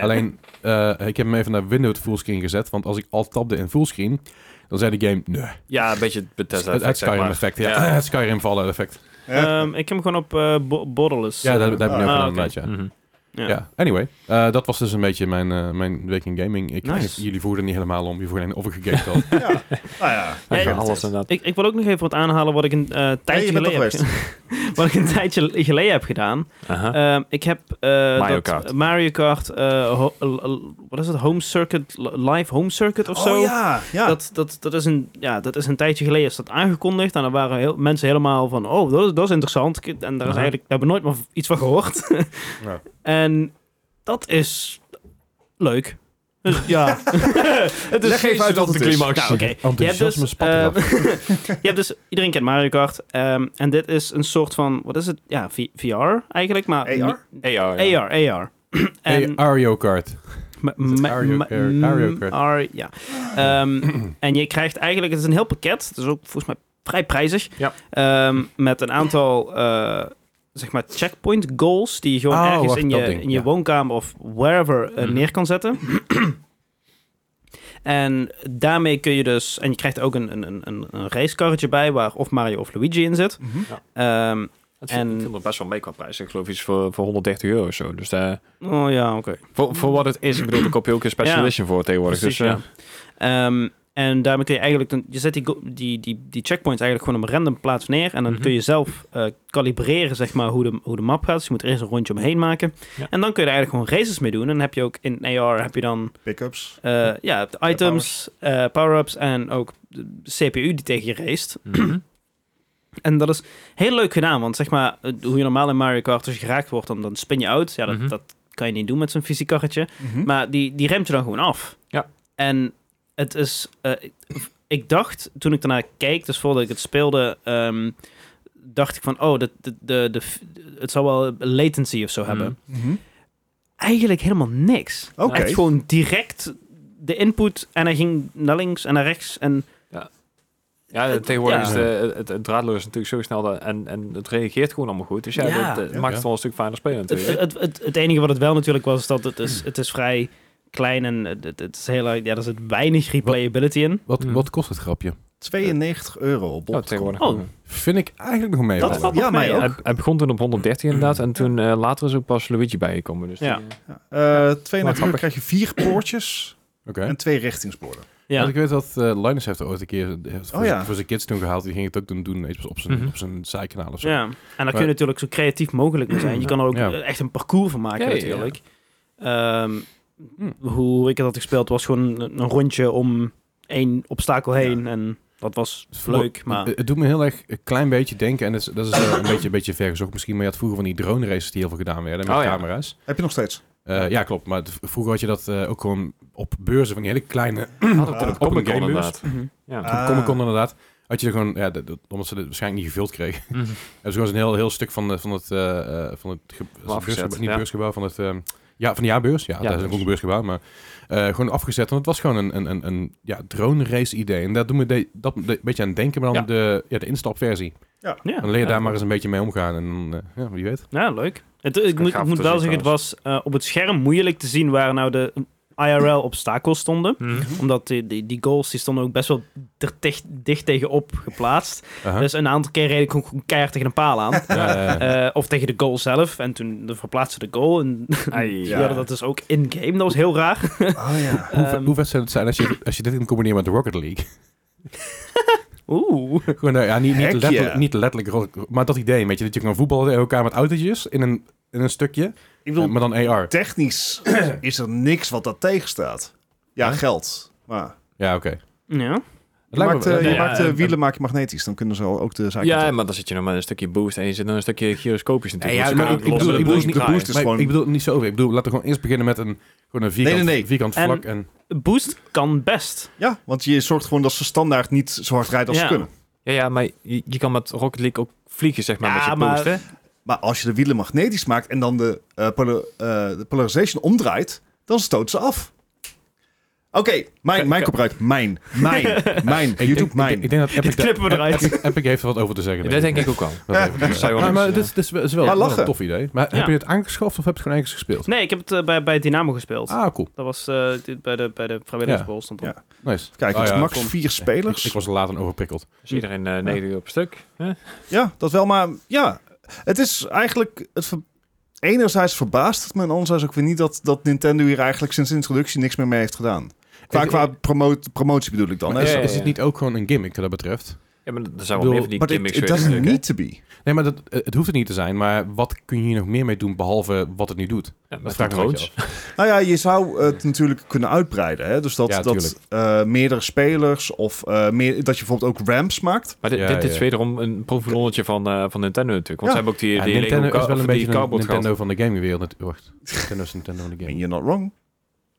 [SPEAKER 3] Alleen, eh, ik heb hem even naar Windows fullscreen gezet. Want als ik al tapde in fullscreen, dan zei de game, nee.
[SPEAKER 2] Ja, een beetje het Bethesda
[SPEAKER 3] Het, het
[SPEAKER 2] effect, zeg
[SPEAKER 3] Skyrim
[SPEAKER 2] maar.
[SPEAKER 3] effect, ja.
[SPEAKER 2] Ja.
[SPEAKER 3] *laughs* Het Skyrim vallen effect.
[SPEAKER 4] eh, Ja.
[SPEAKER 1] Ehm, ik heb hem gewoon op eh Bo- Borderless.
[SPEAKER 3] Ja, dat, dat heb ik nu ook
[SPEAKER 1] Ah,
[SPEAKER 3] gedaan,
[SPEAKER 1] oké.
[SPEAKER 3] inderdaad, ja.
[SPEAKER 2] Mhm.
[SPEAKER 1] Ja.
[SPEAKER 3] Ja, anyway. eh, dat was dus een beetje mijn, eh, mijn week in gaming. Ik,
[SPEAKER 1] Nice.
[SPEAKER 3] *laughs* Jullie voerden niet helemaal om. Je voerden of ik gegamed had.
[SPEAKER 4] Ja. Nou ja.
[SPEAKER 1] Ja,
[SPEAKER 2] Ja,
[SPEAKER 1] ja.
[SPEAKER 2] alles inderdaad.
[SPEAKER 1] Ik, ik wil ook nog even wat aanhalen wat ik een eh, tijdje
[SPEAKER 4] je bent
[SPEAKER 1] geleden
[SPEAKER 4] er
[SPEAKER 1] heb ge- *laughs* Wat ik een tijdje geleden heb gedaan.
[SPEAKER 2] Aha.
[SPEAKER 1] Ehm, ik heb eh,
[SPEAKER 2] Mario
[SPEAKER 1] dat
[SPEAKER 2] Kart.
[SPEAKER 1] Mario Kart, eh, ho- l- l- wat is het, Home Circuit, li- Live Home Circuit of zo.
[SPEAKER 4] Oh ja, ja.
[SPEAKER 1] Dat, dat, dat, is een, ja, dat is een tijdje geleden is dat aangekondigd. En dan waren heel, mensen helemaal van, oh, dat is, dat is interessant. Ik- En daar, is
[SPEAKER 2] Aha.
[SPEAKER 1] eigenlijk, daar hebben we nooit meer iets van gehoord.
[SPEAKER 3] Ja.
[SPEAKER 1] En dat is leuk. Dus
[SPEAKER 4] *laughs*
[SPEAKER 1] ja. het
[SPEAKER 4] Leg even uit wat het is.
[SPEAKER 1] Nou, oké. Je hebt dus,
[SPEAKER 3] Enthousiasme spat eraf.
[SPEAKER 1] eh, *laughs* je hebt dus, iedereen kent Mario Kart. ehm, en dit is een soort van, wat is het? Ja, V- VR eigenlijk, maar...
[SPEAKER 4] AR?
[SPEAKER 2] AR. ja.
[SPEAKER 1] AR, *clears throat* AR.
[SPEAKER 3] Hey, Mario Kart.
[SPEAKER 1] Ma-
[SPEAKER 3] het
[SPEAKER 1] ma-
[SPEAKER 3] Ario
[SPEAKER 1] ma-
[SPEAKER 3] Kart?
[SPEAKER 1] mm,
[SPEAKER 3] Ario Kart.
[SPEAKER 1] Ar- ja. Ehm,
[SPEAKER 3] *clears throat*
[SPEAKER 1] en je krijgt eigenlijk, het is een heel pakket. Het is ook volgens mij vrij prijzig.
[SPEAKER 2] Ja.
[SPEAKER 1] Ehm, met een aantal, eh, zeg maar, checkpoint goals die je gewoon
[SPEAKER 3] Oh,
[SPEAKER 1] ergens
[SPEAKER 3] wacht,
[SPEAKER 1] in je,
[SPEAKER 3] dat ding,
[SPEAKER 1] in je
[SPEAKER 3] ja.
[SPEAKER 1] woonkamer of wherever eh,
[SPEAKER 2] Mhm.
[SPEAKER 1] neer kan
[SPEAKER 3] *clears throat*
[SPEAKER 1] zetten. En daarmee kun je dus... En je krijgt ook een, een, een, een racekarretje bij... waar of Mario of Luigi in zit.
[SPEAKER 4] Mhm.
[SPEAKER 1] Ehm,
[SPEAKER 2] Het viel,
[SPEAKER 1] En-
[SPEAKER 2] viel er best wel mee qua prijs. Ik geloof iets voor, voor 130 euro of zo. Dus daar,
[SPEAKER 1] oh ja, oké.
[SPEAKER 2] voor, voor wat het is, ik bedoel, ik koop je ook een special
[SPEAKER 1] Ja.
[SPEAKER 2] edition voor tegenwoordig.
[SPEAKER 1] Precies,
[SPEAKER 2] dus, eh,
[SPEAKER 1] ja. Ehm, En daarmee kun je eigenlijk, dan- je zet die, go- die, die, die checkpoints eigenlijk gewoon op een random plaats neer. En dan
[SPEAKER 2] Mhm.
[SPEAKER 1] kun je zelf eh, kalibreren, zeg maar, hoe de, hoe de map gaat. Dus je moet er eerst een rondje omheen maken.
[SPEAKER 2] Ja.
[SPEAKER 1] En dan kun je er eigenlijk gewoon races mee doen. En dan heb je ook in AR, heb je dan
[SPEAKER 4] Pickups.
[SPEAKER 1] eh, ja, de items, eh, power-ups en ook de CPU die tegen je raced.
[SPEAKER 2] Mhm.
[SPEAKER 1] En dat is heel leuk gedaan, want zeg maar, eh, hoe je normaal in Mario Kart als je geraakt wordt, dan, dan spin je uit. Ja, dat,
[SPEAKER 2] Mhm.
[SPEAKER 1] dat kan je niet doen met zo'n fysiek karretje.
[SPEAKER 4] Mhm. Hm?
[SPEAKER 1] Maar die, die remt je dan gewoon af.
[SPEAKER 2] Ja.
[SPEAKER 1] En het is... eh, ik- ik dacht, toen ik daarna keek, dus voordat ik het speelde... ehm, dacht ik van, oh, de, de, de, de, het zal wel latency of zo hebben.
[SPEAKER 4] Mhm.
[SPEAKER 1] Eigenlijk helemaal niks.
[SPEAKER 4] Oké.
[SPEAKER 1] Echt gewoon direct de input en hij ging naar links en naar rechts. En
[SPEAKER 2] Ja, tegenwoordig
[SPEAKER 1] Ja.
[SPEAKER 2] is de, het, het draadloos natuurlijk zo snel dat- en, en het reageert gewoon allemaal goed. Dus ja,
[SPEAKER 1] Ja.
[SPEAKER 2] dat eh,
[SPEAKER 4] Ja.
[SPEAKER 2] maakt het wel een stuk fijner spelen
[SPEAKER 1] het,
[SPEAKER 2] natuurlijk.
[SPEAKER 1] het, het, het enige wat het wel natuurlijk was, is dat het is, het is vrij klein en het, het- het is heel erg, ja, er zit weinig replayability in.
[SPEAKER 3] Wat,
[SPEAKER 2] Hmm.
[SPEAKER 3] wat kost het grapje?
[SPEAKER 4] 92 euro op
[SPEAKER 2] Ja,
[SPEAKER 4] bol.com.
[SPEAKER 2] tegenwoordig.
[SPEAKER 1] Oh,
[SPEAKER 3] Vind ik eigenlijk nog mee.
[SPEAKER 1] dat valt nog
[SPEAKER 4] Ja,
[SPEAKER 1] mee.
[SPEAKER 4] mij ook.
[SPEAKER 1] hè?
[SPEAKER 2] Hij, hij begon toen op 113 inderdaad. En toen eh, later is ook pas Luigi bijgekomen. Dus
[SPEAKER 1] Ja.
[SPEAKER 2] die, eh,
[SPEAKER 4] Ja. Eh, 92 euro
[SPEAKER 3] grappig.
[SPEAKER 4] krijg je vier poortjes
[SPEAKER 3] Oké.
[SPEAKER 4] en twee richtingsborden.
[SPEAKER 1] Ja.
[SPEAKER 3] Want ik weet dat eh, Linus heeft er ooit een keer eh, voor,
[SPEAKER 4] Oh, ja.
[SPEAKER 3] zijn- voor zijn kids toen gehaald. Die ging het ook toen doen weet je, op zijn,
[SPEAKER 2] Mhm.
[SPEAKER 3] op zijn zijkanaal of zo.
[SPEAKER 1] Ja, en daar kun je natuurlijk zo creatief mogelijk mee zijn. Je kan er ook
[SPEAKER 3] Ja.
[SPEAKER 1] eh, echt een parcours van maken
[SPEAKER 2] Ja, ja, ja.
[SPEAKER 1] natuurlijk. Ehm,
[SPEAKER 3] Hm.
[SPEAKER 1] Hoe ik het had gespeeld was gewoon een een rondje om één obstakel heen. En dat was
[SPEAKER 3] Het voelt-
[SPEAKER 1] leuk, maar...
[SPEAKER 3] Het, het doet me heel erg een klein beetje denken. En dat is, dat is eh, een, beetje, een beetje vergezocht misschien. Maar je had vroeger van die drone races die heel veel gedaan werden met
[SPEAKER 2] Oh, ja.
[SPEAKER 3] camera's.
[SPEAKER 4] Heb je nog steeds?
[SPEAKER 3] Eh, ja, klopt. Maar v- vroeger had je dat eh, ook gewoon op beurzen van die hele kleine
[SPEAKER 2] hadden we
[SPEAKER 4] Ah.
[SPEAKER 2] toen ook op een
[SPEAKER 3] Comic-Con
[SPEAKER 2] game
[SPEAKER 3] inderdaad.
[SPEAKER 1] Mhm.
[SPEAKER 2] Ja.
[SPEAKER 4] Ah.
[SPEAKER 3] Comic-Con inderdaad. Had je er gewoon, ja, dat- dat- omdat ze het waarschijnlijk niet gevuld kregen. *laughs* dus
[SPEAKER 2] Mhm.
[SPEAKER 3] Er is gewoon zo'n heel, heel stuk van, de- van het, eh, eh, van het, ge-
[SPEAKER 2] afgezet,
[SPEAKER 3] beursgebouw- niet
[SPEAKER 2] ja.
[SPEAKER 3] beursgebouw, van het, ehm, ja, van de jaarbeurs. Ja,
[SPEAKER 2] Ja,
[SPEAKER 3] dat is
[SPEAKER 2] beurs.
[SPEAKER 3] ook een beursgebouw, maar eh, gewoon afgezet. Want het was gewoon een, een, een, een ja, drone race idee. En daar doen we de- dat een beetje aan denken, maar dan
[SPEAKER 2] Ja.
[SPEAKER 3] de, ja, de instapversie.
[SPEAKER 1] Ja,
[SPEAKER 3] Dan leer je
[SPEAKER 1] ja.
[SPEAKER 3] daar maar eens een beetje mee omgaan. En dan, eh, ja, wie weet.
[SPEAKER 1] Ja, leuk. Het, ik moet,
[SPEAKER 2] gaaf
[SPEAKER 1] ik moet
[SPEAKER 2] te
[SPEAKER 1] wel
[SPEAKER 2] zien
[SPEAKER 1] zeggen, het was eh, op het scherm moeilijk te zien waar nou de IRL-obstakels stonden.
[SPEAKER 2] Mhm.
[SPEAKER 1] Omdat die, die, die goals die stonden ook best wel er teg- dicht tegenop geplaatst.
[SPEAKER 3] Aha.
[SPEAKER 1] Dus een aantal keer reed ik gewoon keihard tegen een paal aan.
[SPEAKER 3] Ja, eh,
[SPEAKER 1] Eh, of tegen de goal zelf. En toen de- verplaatste de goal. En *laughs*
[SPEAKER 2] Ai,
[SPEAKER 1] die
[SPEAKER 4] Ja.
[SPEAKER 1] hadden dat dus ook in-game. Dat was heel raar.
[SPEAKER 4] Oh ja.
[SPEAKER 3] hoe,
[SPEAKER 1] ehm.
[SPEAKER 3] hoe vet zou het zijn als je, als je dit kunt combineren met de Rocket League? *laughs*
[SPEAKER 1] Oeh.
[SPEAKER 3] Gewoon, nou ja, niet, niet,
[SPEAKER 4] Heck
[SPEAKER 3] letterlijk,
[SPEAKER 4] yeah.
[SPEAKER 3] niet letterlijk, rock- maar dat idee, weet je, dat je gewoon voetballen tegen elkaar met autootjes in een, in een stukje,
[SPEAKER 4] Ik bedoel,
[SPEAKER 3] eh, maar dan AR.
[SPEAKER 4] technisch is er niks wat dat tegenstaat. Ja,
[SPEAKER 3] Huh?
[SPEAKER 4] geld. Maar
[SPEAKER 3] Ja, oké.
[SPEAKER 1] Ja.
[SPEAKER 4] je maakt, eh, je
[SPEAKER 2] ja,
[SPEAKER 4] maakt, eh,
[SPEAKER 2] en-
[SPEAKER 4] wielen maak je magnetisch, dan kunnen ze al ook de zaak.
[SPEAKER 2] Ja, maar dan zit je nog met een stukje boost en je zit nog een stukje gyroscopisch natuurlijk.
[SPEAKER 4] Ja,
[SPEAKER 2] want
[SPEAKER 4] ja,
[SPEAKER 2] ze
[SPEAKER 4] maar ik-
[SPEAKER 2] kunnen ook
[SPEAKER 4] ik
[SPEAKER 2] losse
[SPEAKER 4] bedoel, de
[SPEAKER 2] boost
[SPEAKER 4] boost-
[SPEAKER 2] draaien.
[SPEAKER 4] is
[SPEAKER 3] maar
[SPEAKER 4] dus gewoon-
[SPEAKER 3] Ik bedoel niet zo over. Ik bedoel, laten we gewoon eerst beginnen met een, gewoon een vierkant,
[SPEAKER 4] Nee, nee, nee.
[SPEAKER 3] vierkant
[SPEAKER 1] En-
[SPEAKER 3] vlak. En,
[SPEAKER 1] Boost kan best.
[SPEAKER 4] ja, want je zorgt gewoon dat ze standaard niet zo hard rijden als
[SPEAKER 1] Ja.
[SPEAKER 4] ze kunnen.
[SPEAKER 2] Ja, ja, maar je, je kan met Rocket League ook vliegen, zeg maar,
[SPEAKER 1] Ja,
[SPEAKER 2] met je
[SPEAKER 1] maar-
[SPEAKER 2] boost, hè?
[SPEAKER 4] Maar als je de wielen magnetisch maakt en dan de, eh, polar- eh, de polarization omdraait, dan stoot ze af. Oké, mijn, mijn kopruit. Mijn, mijn, mijn.
[SPEAKER 3] *laughs* ik,
[SPEAKER 4] YouTube,
[SPEAKER 3] denk,
[SPEAKER 4] mijn.
[SPEAKER 3] ik, ik denk dat
[SPEAKER 2] *laughs*
[SPEAKER 3] Epic,
[SPEAKER 1] Dit knippen we eruit.
[SPEAKER 3] Epic, Epic heeft er wat over te zeggen.
[SPEAKER 2] Dat denk ik ook
[SPEAKER 3] *laughs*
[SPEAKER 2] al.
[SPEAKER 3] Dat heeft-
[SPEAKER 2] Dat zou wel
[SPEAKER 3] Maar,
[SPEAKER 2] niks,
[SPEAKER 3] maar
[SPEAKER 2] ja.
[SPEAKER 3] dit is, dit is- is wel,
[SPEAKER 4] Ja,
[SPEAKER 3] wel
[SPEAKER 4] lachen.
[SPEAKER 3] een tof idee. Maar
[SPEAKER 1] Ja.
[SPEAKER 3] heb je het aangeschaft of heb je het gewoon ergens gespeeld?
[SPEAKER 1] Nee, ik heb het eh, bij, bij Dynamo gespeeld.
[SPEAKER 3] Ah, cool.
[SPEAKER 1] Dat was eh, dit- bij de, bij de vrijwilligersbol stond Eh, op.
[SPEAKER 4] Ja.
[SPEAKER 3] Nice.
[SPEAKER 4] Kijk,
[SPEAKER 3] Oh
[SPEAKER 4] het is
[SPEAKER 3] ja,
[SPEAKER 4] max
[SPEAKER 3] ik-
[SPEAKER 4] vier spelers.
[SPEAKER 3] Ik, ik was er laat aan overprikkeld.
[SPEAKER 2] Dus iedereen eh 9 uur op stuk. hè?
[SPEAKER 4] Ja, dat wel, maar ja, het is eigenlijk... Het ver- Enerzijds verbaast het me en anderzijds ook weer niet dat, dat Nintendo hier eigenlijk sinds de introductie niks meer mee heeft gedaan. Qua,
[SPEAKER 3] Ik-
[SPEAKER 4] qua promo- promotie bedoel ik dan.
[SPEAKER 3] Maar
[SPEAKER 4] hè?
[SPEAKER 3] is,
[SPEAKER 2] Ja, ja,
[SPEAKER 3] is het
[SPEAKER 2] ja.
[SPEAKER 3] niet ook gewoon een gimmick wat dat betreft?
[SPEAKER 2] Ja, maar er zijn
[SPEAKER 3] Ik
[SPEAKER 2] wel meer
[SPEAKER 3] bedoel,
[SPEAKER 2] van die
[SPEAKER 4] But it,
[SPEAKER 2] gimmicks
[SPEAKER 4] it
[SPEAKER 2] weer
[SPEAKER 4] doesn't
[SPEAKER 2] natuurlijk, hè?
[SPEAKER 4] need to be.
[SPEAKER 3] Nee, maar dat, eh, het hoeft het niet te zijn. Maar wat kun je hier nog meer mee doen behalve wat het nu doet?
[SPEAKER 2] Ja, met
[SPEAKER 3] Dat vraag ik me een
[SPEAKER 2] drones.
[SPEAKER 3] beetje af.
[SPEAKER 4] Nou ja, je zou het natuurlijk kunnen uitbreiden. Hè? Dus dat,
[SPEAKER 3] Ja,
[SPEAKER 4] dat
[SPEAKER 3] tuurlijk.
[SPEAKER 4] eh, meerdere spelers of eh, meer, dat je bijvoorbeeld ook ramps maakt.
[SPEAKER 2] Maar dit,
[SPEAKER 3] Ja,
[SPEAKER 2] dit, dit
[SPEAKER 3] ja.
[SPEAKER 2] is wederom een proefballonnetje van, eh, van Nintendo natuurlijk. Want
[SPEAKER 4] Ja.
[SPEAKER 2] ze hebben ook die,
[SPEAKER 3] Ja,
[SPEAKER 2] die
[SPEAKER 3] Nintendo
[SPEAKER 2] Lego
[SPEAKER 3] is
[SPEAKER 2] ka-
[SPEAKER 3] wel
[SPEAKER 2] of
[SPEAKER 3] een
[SPEAKER 2] die
[SPEAKER 3] beetje een
[SPEAKER 2] cardboard gehad.
[SPEAKER 3] Nintendo van de gamewereld. nat- Wacht, Nintendo is Nintendo
[SPEAKER 2] *laughs*
[SPEAKER 3] van de
[SPEAKER 4] Ben
[SPEAKER 3] game.
[SPEAKER 4] je not wrong?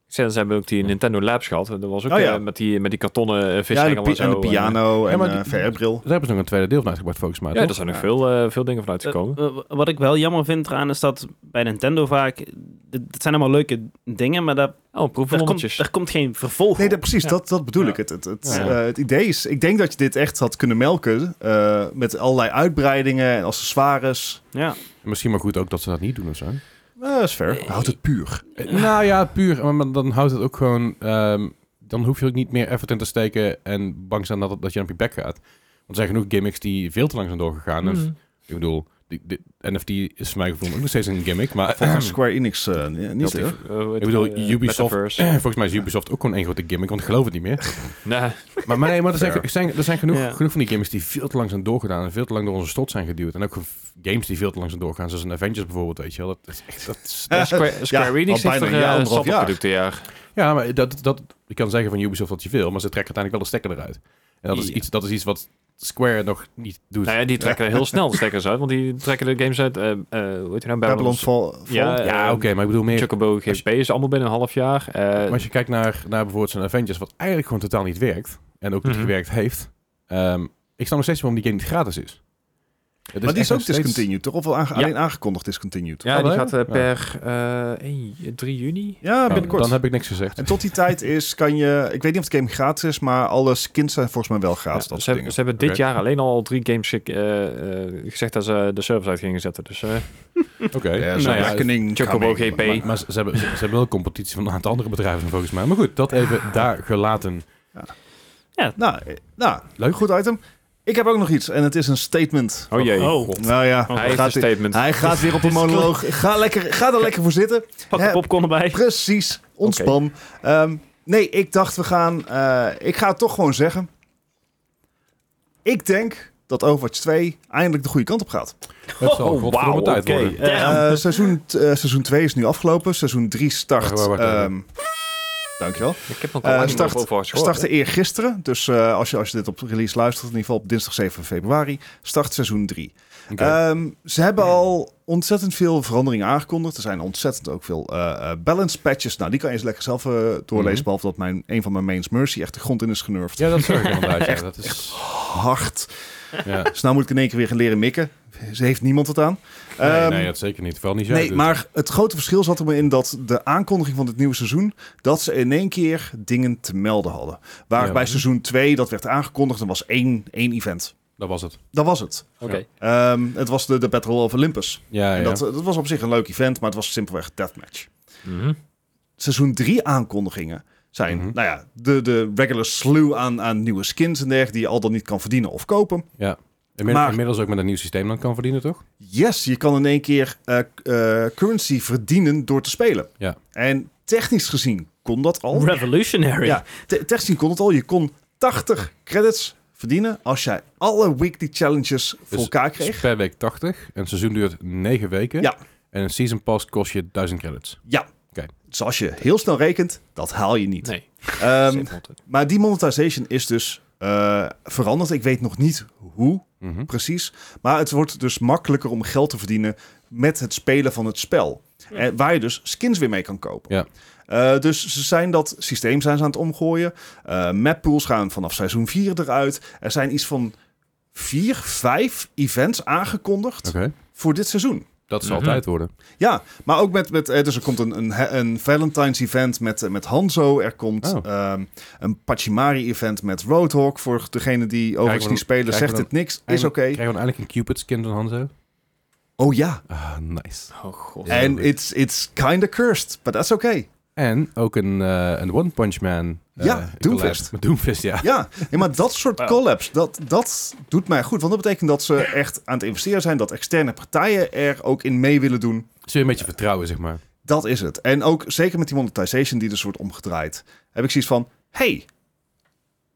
[SPEAKER 2] Ze ze hebben ook die Nintendo Labs gehad. Dat was ook
[SPEAKER 4] Oh, ja.
[SPEAKER 2] eh, met, die, met die kartonnen eh,
[SPEAKER 4] Ja, de
[SPEAKER 2] vishengel
[SPEAKER 4] pi-
[SPEAKER 2] en zo.
[SPEAKER 4] en de piano en
[SPEAKER 3] Ja, maar
[SPEAKER 4] eh,
[SPEAKER 3] die-
[SPEAKER 4] VR-bril.
[SPEAKER 3] Daar hebben ze nog een tweede deel van uitgebracht, volgens mij.
[SPEAKER 2] ja,
[SPEAKER 3] toch?
[SPEAKER 2] er zijn nog
[SPEAKER 4] Ja.
[SPEAKER 2] veel, eh, veel dingen van uitgekomen.
[SPEAKER 1] Eh, eh, wat ik wel jammer vind eraan is dat bij Nintendo vaak... Dit, dit zijn allemaal leuke dingen, maar daar,
[SPEAKER 2] oh,
[SPEAKER 1] daar, komt,
[SPEAKER 2] proefballonnetjes.
[SPEAKER 1] daar komt geen vervolg
[SPEAKER 4] Nee,
[SPEAKER 1] op.
[SPEAKER 4] dat, precies,
[SPEAKER 2] Ja.
[SPEAKER 4] dat, dat bedoel
[SPEAKER 2] Ja.
[SPEAKER 4] ik. Het, het, het,
[SPEAKER 2] Ja.
[SPEAKER 4] eh, het idee is, ik denk dat je dit echt had kunnen melken eh, met allerlei uitbreidingen en accessoires.
[SPEAKER 1] Ja.
[SPEAKER 3] Misschien maar goed ook dat ze dat niet doen of zo.
[SPEAKER 4] Eh, dat is fair. Houd het puur.
[SPEAKER 3] Eh, Nou ja, puur. Maar maar dan houdt het ook gewoon... ehm, dan hoef je ook niet meer effort in te steken en bang zijn dat, dat je op je bek gaat. Want er zijn genoeg gimmicks die veel te lang zijn doorgegaan. En,
[SPEAKER 2] Mhm.
[SPEAKER 3] ik bedoel, die- die NFT is voor mij gevoel ook nog steeds een gimmick. Maar *clears throat*
[SPEAKER 4] Volgens Square Enix eh, niet, hè?
[SPEAKER 3] Ik bedoel,
[SPEAKER 2] eh,
[SPEAKER 3] Ubisoft-
[SPEAKER 4] *clears throat*
[SPEAKER 3] *clears throat* volgens mij is Ubisoft ook gewoon één grote gimmick, want ik geloof het niet meer.
[SPEAKER 2] Nee,
[SPEAKER 3] *laughs* Maar, maar nee, maar er zijn,
[SPEAKER 4] Fair.
[SPEAKER 3] er zijn, er zijn genoeg,
[SPEAKER 1] Ja.
[SPEAKER 3] genoeg van die games die veel te lang zijn doorgedaan en veel te lang door onze strot zijn geduwd. En ook games die veel te lang zijn doorgaan, zoals een Avengers bijvoorbeeld, weet je wel. Dat is echt, dat is,
[SPEAKER 4] Eh,
[SPEAKER 2] Square, Square
[SPEAKER 4] al
[SPEAKER 2] Enix heeft
[SPEAKER 4] bijna
[SPEAKER 2] er
[SPEAKER 4] een jaar,
[SPEAKER 2] eh,
[SPEAKER 4] anderhalf
[SPEAKER 2] zat
[SPEAKER 4] jaar.
[SPEAKER 2] producten, ja.
[SPEAKER 3] ja, maar dat, dat, je kan zeggen van Ubisoft wat je wil, maar ze trekken uiteindelijk wel de stekker eruit. En dat is,
[SPEAKER 1] Ja.
[SPEAKER 3] iets, dat is iets wat Square nog niet doet.
[SPEAKER 2] Nou ja, die trekken heel snel de stekkers uit, want die trekken de games uit, eh eh, hoe heet je
[SPEAKER 4] Babylon
[SPEAKER 2] nou, Babylon's
[SPEAKER 4] Fall.
[SPEAKER 2] Ja,
[SPEAKER 4] Fall?
[SPEAKER 3] ja, dus oké, maar ik bedoel meer...
[SPEAKER 2] Chocobo
[SPEAKER 3] je-
[SPEAKER 2] GP is allemaal binnen een half jaar. eh,
[SPEAKER 3] Maar als je kijkt naar, naar bijvoorbeeld zo'n Avengers, wat eigenlijk gewoon totaal niet werkt, en ook niet
[SPEAKER 2] Mhm.
[SPEAKER 3] gewerkt heeft, ehm, ik snap nog steeds waarom die game niet gratis is. Het
[SPEAKER 4] maar die
[SPEAKER 3] echt
[SPEAKER 4] is ook
[SPEAKER 3] nog steeds-
[SPEAKER 4] discontinued, toch? Of wel aange-
[SPEAKER 2] Ja.
[SPEAKER 4] alleen aangekondigd discontinued.
[SPEAKER 2] ja,
[SPEAKER 3] Ah,
[SPEAKER 2] die
[SPEAKER 3] wel,
[SPEAKER 2] gaat eh,
[SPEAKER 3] ja.
[SPEAKER 2] per eh, 1, 3 juni.
[SPEAKER 4] Ja,
[SPEAKER 3] Nou,
[SPEAKER 4] binnenkort.
[SPEAKER 3] Dan heb ik niks gezegd.
[SPEAKER 4] En tot die tijd is, kan je... Ik weet niet of de game gratis is, maar alle skins zijn volgens mij wel
[SPEAKER 2] Ja,
[SPEAKER 4] gratis.
[SPEAKER 2] ze,
[SPEAKER 4] dat soort dingen.
[SPEAKER 2] hebben, ze hebben dit
[SPEAKER 3] Oké.
[SPEAKER 2] jaar alleen al drie games ge- eh, eh, gezegd dat ze de service uit gingen zetten. Dus eh,
[SPEAKER 3] Oké.
[SPEAKER 4] Ja,
[SPEAKER 3] Nou
[SPEAKER 4] zo'n
[SPEAKER 3] ja,
[SPEAKER 4] rekening.
[SPEAKER 2] Chocobo
[SPEAKER 4] coming.
[SPEAKER 2] GP.
[SPEAKER 4] Maar-
[SPEAKER 3] Maar ze, ze hebben, ze, ze hebben wel competitie van een aantal andere bedrijven volgens mij. Maar goed, dat
[SPEAKER 4] Ah.
[SPEAKER 3] even daar gelaten.
[SPEAKER 4] Nou, eh, nou,
[SPEAKER 3] Leuk.
[SPEAKER 4] goed item. Ik heb ook nog iets en het is een statement.
[SPEAKER 2] oh jee.
[SPEAKER 1] Oh.
[SPEAKER 2] God.
[SPEAKER 4] Nou ja,
[SPEAKER 2] Hij heeft een
[SPEAKER 4] gaat, hij,
[SPEAKER 2] statement.
[SPEAKER 4] hij gaat weer op
[SPEAKER 2] *laughs*
[SPEAKER 4] een monoloog. Ga, lekker, ga er lekker voor zitten.
[SPEAKER 1] Pak de
[SPEAKER 4] Hè?
[SPEAKER 1] popcorn
[SPEAKER 4] *laughs*
[SPEAKER 1] erbij.
[SPEAKER 4] Precies, ontspan. Ehm, nee, ik dacht we gaan... eh, ik ga het toch gewoon zeggen. Ik denk dat Overwatch 2 eindelijk de goede kant op gaat.
[SPEAKER 3] Het zal
[SPEAKER 1] Oh,
[SPEAKER 3] godverdomme
[SPEAKER 1] wauw,
[SPEAKER 3] tijd
[SPEAKER 1] oké.
[SPEAKER 3] worden.
[SPEAKER 1] Damn.
[SPEAKER 4] Eh, seizoen, t- eh, seizoen 2 is nu afgelopen. Seizoen 3 start...
[SPEAKER 3] Wacht, wacht, wacht, wacht.
[SPEAKER 4] ehm, dankjewel.
[SPEAKER 2] Ik heb nog
[SPEAKER 4] Eh,
[SPEAKER 2] al
[SPEAKER 4] start-
[SPEAKER 2] start, over
[SPEAKER 4] Startte eergisteren, dus eh, als, je, als je dit op release luistert, in ieder geval op dinsdag 7 februari, start seizoen 3.
[SPEAKER 3] Oké.
[SPEAKER 4] Ehm, ze hebben al ontzettend veel veranderingen aangekondigd. Er zijn ontzettend ook veel eh, eh, balance patches. Nou, die kan je eens lekker zelf eh, doorlezen,
[SPEAKER 3] Mhm.
[SPEAKER 4] behalve dat mijn, een van mijn mains Mercy echt de grond in is genurfd.
[SPEAKER 3] ja, dat zorg ik inderdaad.
[SPEAKER 4] *laughs*
[SPEAKER 3] Ja, dat is,
[SPEAKER 4] Hard.
[SPEAKER 3] ja.
[SPEAKER 4] Dus nou moet ik in één keer weer gaan leren mikken. Ze heeft niemand het aan.
[SPEAKER 3] Nee,
[SPEAKER 4] Ehm,
[SPEAKER 3] nee, dat zeker niet. Vooral niet zo. dus
[SPEAKER 4] Nee, maar het grote verschil zat er maar in dat de aankondiging van dit nieuwe seizoen, dat ze in één keer dingen te melden hadden. Waar
[SPEAKER 3] Ja.
[SPEAKER 4] bij seizoen 2, dat werd aangekondigd, er was één, één event.
[SPEAKER 3] Dat was het.
[SPEAKER 4] Dat was het.
[SPEAKER 2] Oké.
[SPEAKER 4] Ehm, het was de, de Battle of Olympus.
[SPEAKER 3] Ja, ja.
[SPEAKER 4] En dat, dat was op zich een leuk event, maar het was simpelweg deathmatch. Ehm,
[SPEAKER 2] Mhm.
[SPEAKER 4] Seizoen 3 aankondigingen zijn,
[SPEAKER 3] Mhm.
[SPEAKER 4] nou ja, de, de regular slew aan, aan nieuwe skins en dergelijke, die je al dan niet kan verdienen of kopen.
[SPEAKER 3] Inmiddels,
[SPEAKER 4] maar-
[SPEAKER 3] inmiddels ook met een nieuw systeem dan kan verdienen, toch?
[SPEAKER 4] Yes, je kan in één keer eh, eh, currency verdienen door te spelen.
[SPEAKER 3] Ja.
[SPEAKER 4] En technisch gezien kon dat al.
[SPEAKER 1] Revolutionary.
[SPEAKER 4] Ja, te- technisch gezien kon het al. Je kon 80 credits verdienen als jij alle weekly challenges voor
[SPEAKER 3] Dus
[SPEAKER 4] elkaar
[SPEAKER 3] Het is
[SPEAKER 4] kreeg.
[SPEAKER 3] per week 80. En het seizoen duurt 9 weken.
[SPEAKER 4] Ja.
[SPEAKER 3] En een season pass kost je 1000 credits.
[SPEAKER 4] Ja.
[SPEAKER 3] Oké.
[SPEAKER 4] Dus als je heel snel rekent, dat haal je niet.
[SPEAKER 2] Nee.
[SPEAKER 4] Ehm,
[SPEAKER 2] zeker niet.
[SPEAKER 4] maar die monetization is dus eh, veranderd. Ik weet nog niet hoe
[SPEAKER 3] Mhm.
[SPEAKER 4] precies. Maar het wordt dus makkelijker om geld te verdienen met het spelen van het spel. Eh, waar je dus skins weer mee kan kopen.
[SPEAKER 3] Ja.
[SPEAKER 4] Eh, dus ze zijn dat systeem zijn ze aan het omgooien. Eh mappools gaan vanaf seizoen 4 eruit. Er zijn iets van vier, vijf events aangekondigd
[SPEAKER 3] Oké.
[SPEAKER 4] voor dit seizoen.
[SPEAKER 3] Dat zal
[SPEAKER 2] Mhm.
[SPEAKER 3] altijd worden.
[SPEAKER 4] Ja, maar ook met, met eh, dus er komt een, een, een Valentine's event met, eh, met Hanzo. Er komt
[SPEAKER 3] Oh.
[SPEAKER 4] ehm, een Pachimari event met Roadhog. Voor degene die overigens
[SPEAKER 3] we
[SPEAKER 4] niet
[SPEAKER 3] dan-
[SPEAKER 4] spelen,
[SPEAKER 3] krijgen we
[SPEAKER 4] zegt
[SPEAKER 3] dan-
[SPEAKER 4] het niks. Is oké.
[SPEAKER 3] Krijgen we eigenlijk een Cupid skin van Hanzo?
[SPEAKER 4] Oh ja.
[SPEAKER 3] Ah, nice.
[SPEAKER 2] Oh god.
[SPEAKER 3] Ja,
[SPEAKER 4] En
[SPEAKER 3] goed.
[SPEAKER 4] it's, it's kinda cursed, but that's okay.
[SPEAKER 3] En ook een, eh, een One Punch Man. eh,
[SPEAKER 4] Ja,
[SPEAKER 3] collab.
[SPEAKER 4] Doomfist.
[SPEAKER 3] Met Doomfist, ja.
[SPEAKER 4] Ja, nee, maar
[SPEAKER 3] *laughs*
[SPEAKER 4] dat soort
[SPEAKER 2] Wow.
[SPEAKER 4] collabs, dat, dat doet mij goed. Want dat betekent dat ze echt aan het investeren zijn, dat externe partijen er ook in mee willen doen.
[SPEAKER 3] Zul je een beetje vertrouwen, zeg maar.
[SPEAKER 4] Dat is het. En ook zeker met die monetization die dus wordt omgedraaid, heb ik zoiets van, hey,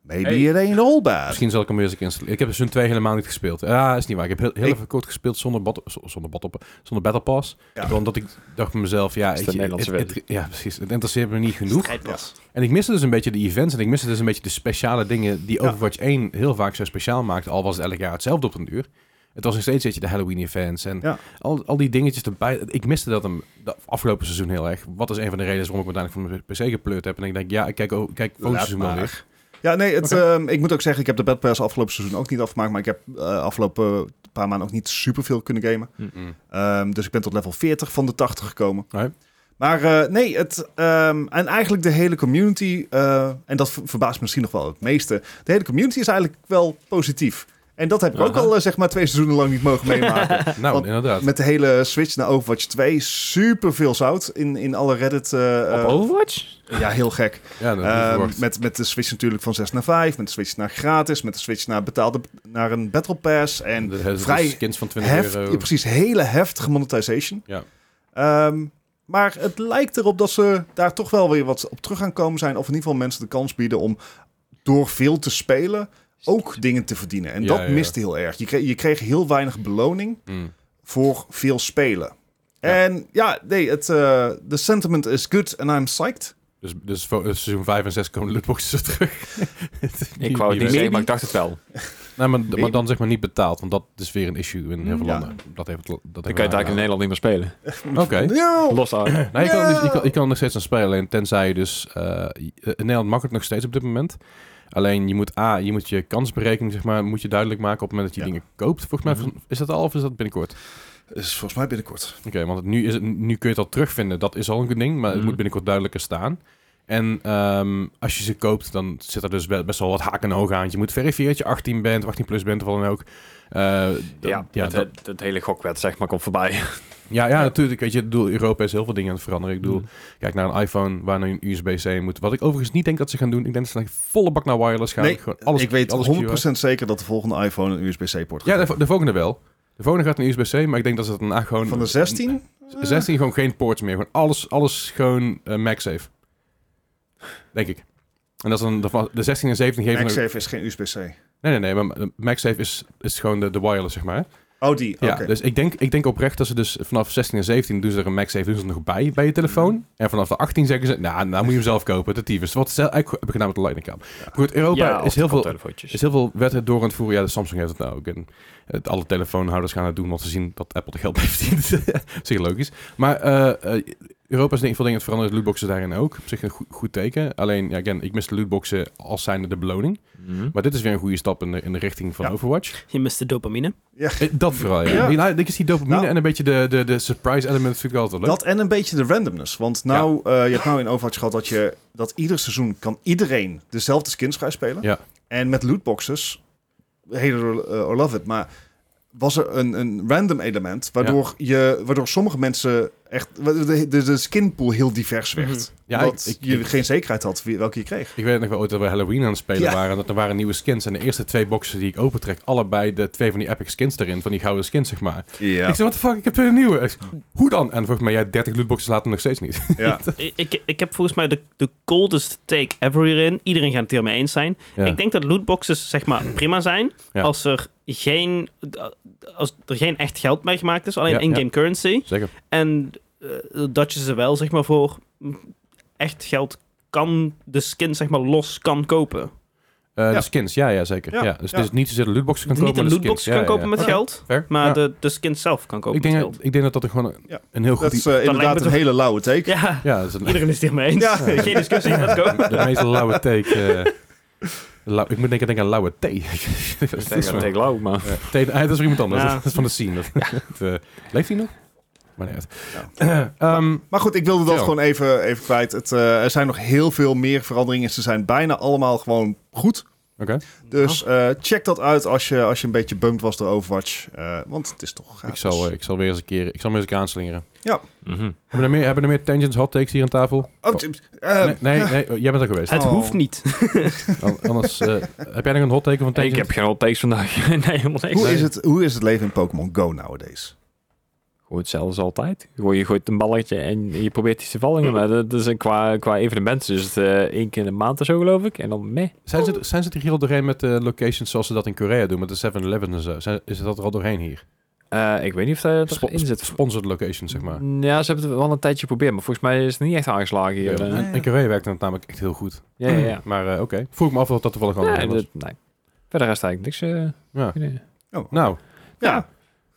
[SPEAKER 4] maybe
[SPEAKER 2] Hey.
[SPEAKER 4] it ain't all bad.
[SPEAKER 3] Misschien zal ik hem weer eens een keer installeren. Ik heb seizoen 2 helemaal niet gespeeld. Ah, is niet waar. Ik heb heel, heel
[SPEAKER 4] Ik-
[SPEAKER 3] even kort gespeeld zonder, bat, z- zonder, bat op, zonder Battle Pass.
[SPEAKER 4] Ja.
[SPEAKER 3] Gewoon Omdat ik dacht bij mezelf, ja,
[SPEAKER 2] Is de
[SPEAKER 3] weet je,
[SPEAKER 2] Nederlandse
[SPEAKER 3] het- het- ja, precies. Het interesseert me niet genoeg.
[SPEAKER 1] Strijdpas.
[SPEAKER 3] En ik miste dus een beetje de events en ik miste dus een beetje de speciale dingen die
[SPEAKER 4] Ja.
[SPEAKER 3] Overwatch 1 heel vaak zo speciaal maakte, al was het elk jaar hetzelfde op een uur. Het was nog steeds weet je, de Halloween events en
[SPEAKER 4] Ja.
[SPEAKER 3] al, al die dingetjes erbij. Ik miste dat hem de afgelopen seizoen heel erg. Wat is een van de redenen waarom ik me uiteindelijk van mijn PC gepleurd heb. En ik denk, ja, ik kijk, oh, kijk volgend
[SPEAKER 4] Laat
[SPEAKER 3] seizoen wel
[SPEAKER 4] maar.
[SPEAKER 3] weer.
[SPEAKER 4] Ja, nee, het,
[SPEAKER 3] *laughs* Oké.
[SPEAKER 4] ehm, ik moet ook zeggen, ik heb de Bad Pass afgelopen seizoen ook niet afgemaakt, maar ik heb eh, afgelopen paar maanden ook niet superveel kunnen gamen.
[SPEAKER 3] Mm.
[SPEAKER 4] Ehm, dus ik ben tot level 40 van de 80 gekomen.
[SPEAKER 3] Right.
[SPEAKER 4] Maar eh, nee, het, ehm, en eigenlijk de hele community, eh, en dat ver- verbaast me misschien nog wel het meeste, de hele community is eigenlijk wel positief. En dat heb ik ook
[SPEAKER 2] Aha.
[SPEAKER 4] al eh, zeg maar twee seizoenen lang niet
[SPEAKER 3] *laughs*
[SPEAKER 4] mogen meemaken.
[SPEAKER 3] Nou,
[SPEAKER 4] Want
[SPEAKER 3] inderdaad.
[SPEAKER 4] Met de hele switch naar Overwatch 2, super veel zout in, in alle Reddit. eh, eh,
[SPEAKER 2] Op Overwatch?
[SPEAKER 4] ja, heel gek.
[SPEAKER 3] ja, dat
[SPEAKER 4] Ehm,
[SPEAKER 3] had ik verwacht.
[SPEAKER 4] met, met de switch natuurlijk van 6 naar 5, met de switch naar gratis, met de switch naar betaalde naar een battle pass en
[SPEAKER 3] de, de
[SPEAKER 4] vrij
[SPEAKER 3] skins van 20
[SPEAKER 4] heft,
[SPEAKER 3] euro.
[SPEAKER 4] ja, precies hele heftige monetization.
[SPEAKER 3] Ja.
[SPEAKER 4] Ehm, maar het lijkt erop dat ze daar toch wel weer wat op terug gaan komen zijn. Of in ieder geval mensen de kans bieden om door veel te spelen ook dingen te verdienen. En
[SPEAKER 3] Ja,
[SPEAKER 4] dat
[SPEAKER 3] ja, ja.
[SPEAKER 4] miste heel erg. Je kreeg, je kreeg heel weinig beloning
[SPEAKER 3] Mm.
[SPEAKER 4] voor veel spelen.
[SPEAKER 3] Ja.
[SPEAKER 4] En ja, nee, het, eh, the sentiment is good and I'm psyched.
[SPEAKER 3] Dus, dus voor eh, seizoen 5 en 6 komen lootboxes terug. *laughs*
[SPEAKER 2] Ik wou het niet
[SPEAKER 3] meer.
[SPEAKER 2] zeggen, maar ik dacht het wel.
[SPEAKER 3] Nee, Nou, maar, maar dan zeg maar niet betaald, want dat is weer een issue in heel veel
[SPEAKER 4] Ja.
[SPEAKER 3] landen. Dat heeft, dat heeft
[SPEAKER 2] Dan kan je het eigenlijk in Nederland niet meer
[SPEAKER 3] *clears throat*
[SPEAKER 2] spelen.
[SPEAKER 3] Oké.
[SPEAKER 4] No!
[SPEAKER 2] Los daar.
[SPEAKER 3] Nou, je, kan,
[SPEAKER 4] Ja.
[SPEAKER 3] dus- je, kan, je kan er nog steeds aan spelen, alleen tenzij je dus... eh, in Nederland mag het nog steeds op dit moment. Alleen je moet A, je moet je kansberekening zeg maar, moet je duidelijk maken op het moment dat je
[SPEAKER 4] Ja.
[SPEAKER 3] dingen koopt. Volgens mij
[SPEAKER 2] Mhm.
[SPEAKER 3] is dat al of is dat binnenkort? Dus
[SPEAKER 4] Is volgens mij binnenkort.
[SPEAKER 3] Oké, want het- nu, is het, nu kun je het al terugvinden. Dat is al een goed ding, maar het
[SPEAKER 2] Mhm.
[SPEAKER 3] moet binnenkort duidelijker staan. En ehm, als je ze koopt, dan zit er dus be- best wel wat haken en ogen aan. Je moet verifiëren dat je 18 bent, of 18 plus bent, of wat dan ook. Eh, dat-
[SPEAKER 2] Ja,
[SPEAKER 3] ja,
[SPEAKER 2] het,
[SPEAKER 3] dat-
[SPEAKER 2] het, het hele gokwet zeg maar komt voorbij.
[SPEAKER 3] ja, ja, natuurlijk. Weet je, ik bedoel, Europa is heel veel dingen aan het veranderen. Ik bedoel,
[SPEAKER 4] Mhm.
[SPEAKER 3] kijk naar een iPhone waar nu een USB-C in moet. Wat ik overigens niet denk dat ze gaan doen. Ik denk dat ze echt volle bak naar wireless gaan.
[SPEAKER 4] Nee,
[SPEAKER 3] Gewoon alles,
[SPEAKER 4] ik weet
[SPEAKER 3] alles
[SPEAKER 4] 100% zeker dat de volgende iPhone een USB-C-poort
[SPEAKER 3] Ja,
[SPEAKER 4] gaat
[SPEAKER 3] de,
[SPEAKER 4] hebben.
[SPEAKER 3] vo- de volgende wel. De volgende gaat een USB-C, maar ik denk dat ze daarna gewoon...
[SPEAKER 4] Van de 16?
[SPEAKER 3] 16 gewoon geen ports meer. Gewoon alles, alles gewoon eh, MagSafe. Denk ik. En dat is dan de, va- de 16 en 17 geven... nog-
[SPEAKER 4] MagSafe is geen USB-C.
[SPEAKER 3] Nee, nee, nee. Maar eh, MagSafe is, is gewoon de, de wireless, zeg maar. hè?
[SPEAKER 4] Oh, die. Oké.
[SPEAKER 3] Ja, dus ik denk, ik denk oprecht dat ze dus vanaf 16 en 17 doen ze er een MagSafe doen ze er nog bij bij je
[SPEAKER 4] Mm.
[SPEAKER 3] telefoon. En vanaf de 18 zeggen ze, nou, nou moet je hem zelf kopen, de tyfus. Wat ze- eigenlijk heb ik gedaan met de Lightning Cam. Maar Goed, Europa
[SPEAKER 2] *laughs* Ja,
[SPEAKER 3] is, heel veel,
[SPEAKER 2] telefoontjes.
[SPEAKER 3] is heel veel wetten door aan het voeren. Ja, de Samsung heeft het nou ook. En het, alle telefoonhouders gaan het doen, want ze zien dat Apple er geld bij verdient. *laughs* op zich logisch. Maar eh, eh, Europa is denk ik veel dingen aan het veranderen, lootboxen daarin ook. Op zich een goed, goed teken. Alleen, ja, again, ik mis de lootboxen als zijnde de beloning.
[SPEAKER 2] Mhm.
[SPEAKER 3] Maar dit is weer een goede stap in de, in de richting van
[SPEAKER 4] Ja.
[SPEAKER 3] Overwatch.
[SPEAKER 1] Je mist de dopamine.
[SPEAKER 3] Eh, Dat vooral, ja.
[SPEAKER 4] Ja.
[SPEAKER 3] Die- nou, ik is die dopamine
[SPEAKER 4] Nou.
[SPEAKER 3] en een beetje de, de, de surprise element vind ik altijd wel leuk.
[SPEAKER 4] Dat en een beetje de randomness. Want nou, eh, je hebt nou in Overwatch gehad dat je dat ieder seizoen kan iedereen dezelfde skins vrij spelen.
[SPEAKER 3] Ja.
[SPEAKER 4] En met lootboxes, hele eh, I love it, maar was er een, een random element waardoor, je, waardoor sommige mensen echt de, de, de skinpool heel divers werd.
[SPEAKER 3] Ja,
[SPEAKER 4] omdat
[SPEAKER 3] ik- ik-
[SPEAKER 4] je
[SPEAKER 3] ik-
[SPEAKER 4] geen zekerheid had wie, welke je kreeg.
[SPEAKER 3] Ik weet nog wel ooit dat we Halloween aan het spelen
[SPEAKER 4] Ja.
[SPEAKER 3] waren. en Dat er waren nieuwe skins. En de eerste twee boxen die ik opentrek, allebei de twee van die epic skins erin. Van die gouden skins, zeg maar.
[SPEAKER 4] Ja.
[SPEAKER 3] Ik zei, wat de fuck, ik heb twee nieuwe. Ik zeg, Hoe dan? En volgens mij, ja, 30 lootboxen later nog steeds niet.
[SPEAKER 4] *laughs*
[SPEAKER 3] *laughs*
[SPEAKER 4] ja.
[SPEAKER 1] Ik, ik, ik heb volgens mij de, de coldest take ever hierin. Iedereen gaat het hiermee eens zijn.
[SPEAKER 3] Ja.
[SPEAKER 1] Ik denk dat lootboxes zeg maar prima zijn
[SPEAKER 3] Ja.
[SPEAKER 1] als, er geen, als er geen echt geld mee gemaakt is, alleen
[SPEAKER 3] Ja,
[SPEAKER 1] in-game
[SPEAKER 3] ja.
[SPEAKER 1] currency.
[SPEAKER 3] Zeker.
[SPEAKER 1] En eh, dat je ze wel zeg maar voor echt geld kan, de skin zeg maar los kan kopen.
[SPEAKER 3] Eh,
[SPEAKER 4] Ja.
[SPEAKER 3] De skins, ja, ja, zeker. Ja.
[SPEAKER 4] Ja,
[SPEAKER 3] Dus
[SPEAKER 4] ja.
[SPEAKER 3] het is niet zozeer de lootboxen kan
[SPEAKER 1] Niet
[SPEAKER 3] kopen,
[SPEAKER 1] een
[SPEAKER 3] maar de
[SPEAKER 1] lootbox
[SPEAKER 3] skins.
[SPEAKER 1] kan
[SPEAKER 3] Ja, ja,
[SPEAKER 1] kopen
[SPEAKER 3] ja.
[SPEAKER 1] met
[SPEAKER 4] Ja.
[SPEAKER 1] geld,
[SPEAKER 3] Fair.
[SPEAKER 1] maar
[SPEAKER 3] Ja.
[SPEAKER 1] de, de skin zelf kan kopen
[SPEAKER 3] ik, denk
[SPEAKER 1] met
[SPEAKER 3] dat,
[SPEAKER 1] geld.
[SPEAKER 3] ik denk dat dat gewoon een,
[SPEAKER 4] Ja.
[SPEAKER 3] een heel
[SPEAKER 4] Dat
[SPEAKER 3] goed...
[SPEAKER 4] is
[SPEAKER 3] i-
[SPEAKER 4] eh,
[SPEAKER 1] lijkt
[SPEAKER 4] inderdaad
[SPEAKER 1] me
[SPEAKER 4] een
[SPEAKER 1] toch-
[SPEAKER 4] hele lauwe take.
[SPEAKER 1] Ja,
[SPEAKER 3] ja, dat is een,
[SPEAKER 1] iedereen is het hiermee eens.
[SPEAKER 4] Ja.
[SPEAKER 1] Geen discussie, let's
[SPEAKER 3] *laughs*
[SPEAKER 1] go.
[SPEAKER 3] de meest lauwe take. eh, lau- ik moet denken, denken aan lauwe thee. *laughs* Dat
[SPEAKER 2] Ik
[SPEAKER 3] is
[SPEAKER 2] denk dat
[SPEAKER 3] wel-
[SPEAKER 2] het lauw, maar...
[SPEAKER 3] Ja. Tegen- ah, dat is weer iemand anders.
[SPEAKER 1] Ja.
[SPEAKER 3] *laughs* Dat is van de scene. Dat, dat, eh, leeft hij nog? Maar nee. Ehm,
[SPEAKER 4] Maar goed, ik wilde dat
[SPEAKER 3] Ja.
[SPEAKER 4] gewoon even, even kwijt. Het, eh, er zijn nog heel veel meer veranderingen. Ze zijn bijna allemaal gewoon goed.
[SPEAKER 3] Oké.
[SPEAKER 4] Dus eh, check dat uit als je, als je een beetje bummed was door Overwatch. Eh, want het is toch
[SPEAKER 3] ik,
[SPEAKER 4] gratis.
[SPEAKER 3] zal, eh, ik zal weer eens een keer, ik zal me eens een keer aanslingeren.
[SPEAKER 2] Mhm.
[SPEAKER 3] Hebben er meer, hebben er meer tangents, hot takes hier aan tafel?
[SPEAKER 4] Oh, t- eh,
[SPEAKER 3] nee, nee, nee, oh, jij bent er
[SPEAKER 1] *laughs*
[SPEAKER 3] geweest.
[SPEAKER 1] Het
[SPEAKER 4] Oh.
[SPEAKER 1] hoeft niet.
[SPEAKER 3] An- Anders, eh, heb jij nog een hot take of een
[SPEAKER 2] Ik
[SPEAKER 3] tangent?
[SPEAKER 2] heb geen hot takes vandaag. *laughs* nee, helemaal niks.
[SPEAKER 4] hoe, is het, hoe is het leven in Pokémon Go nowadays?
[SPEAKER 2] Gewoon hetzelfde als altijd. Gewoon, je gooit een balletje en je probeert iets te vallen. Maar dat is een, qua, qua evenementen is het eh, één keer in de maand of zo, geloof ik. En dan meh.
[SPEAKER 3] Zijn ze, zijn ze er hier al doorheen met de locations zoals ze dat in Korea doen, met de 7-Eleven en zo? Zijn, is dat er al doorheen hier?
[SPEAKER 2] Eh, ik weet niet of dat
[SPEAKER 3] Spo-
[SPEAKER 2] erin zit.
[SPEAKER 3] sponsored locations, zeg maar.
[SPEAKER 2] Ja, ze hebben het wel een tijdje geprobeerd, maar volgens mij is het niet echt aangeslagen
[SPEAKER 3] Ja,
[SPEAKER 2] hier. eh.
[SPEAKER 3] in- In Korea werkt dat namelijk echt heel goed.
[SPEAKER 2] Ja, ja, ja.
[SPEAKER 3] Maar eh, oké, vroeg ik me af of dat toevallig al
[SPEAKER 2] Nee,
[SPEAKER 3] was.
[SPEAKER 2] dat- nee. Verder is het eigenlijk niks. eh,
[SPEAKER 3] Ja.
[SPEAKER 2] geen idee.
[SPEAKER 3] Nou,
[SPEAKER 4] Ja,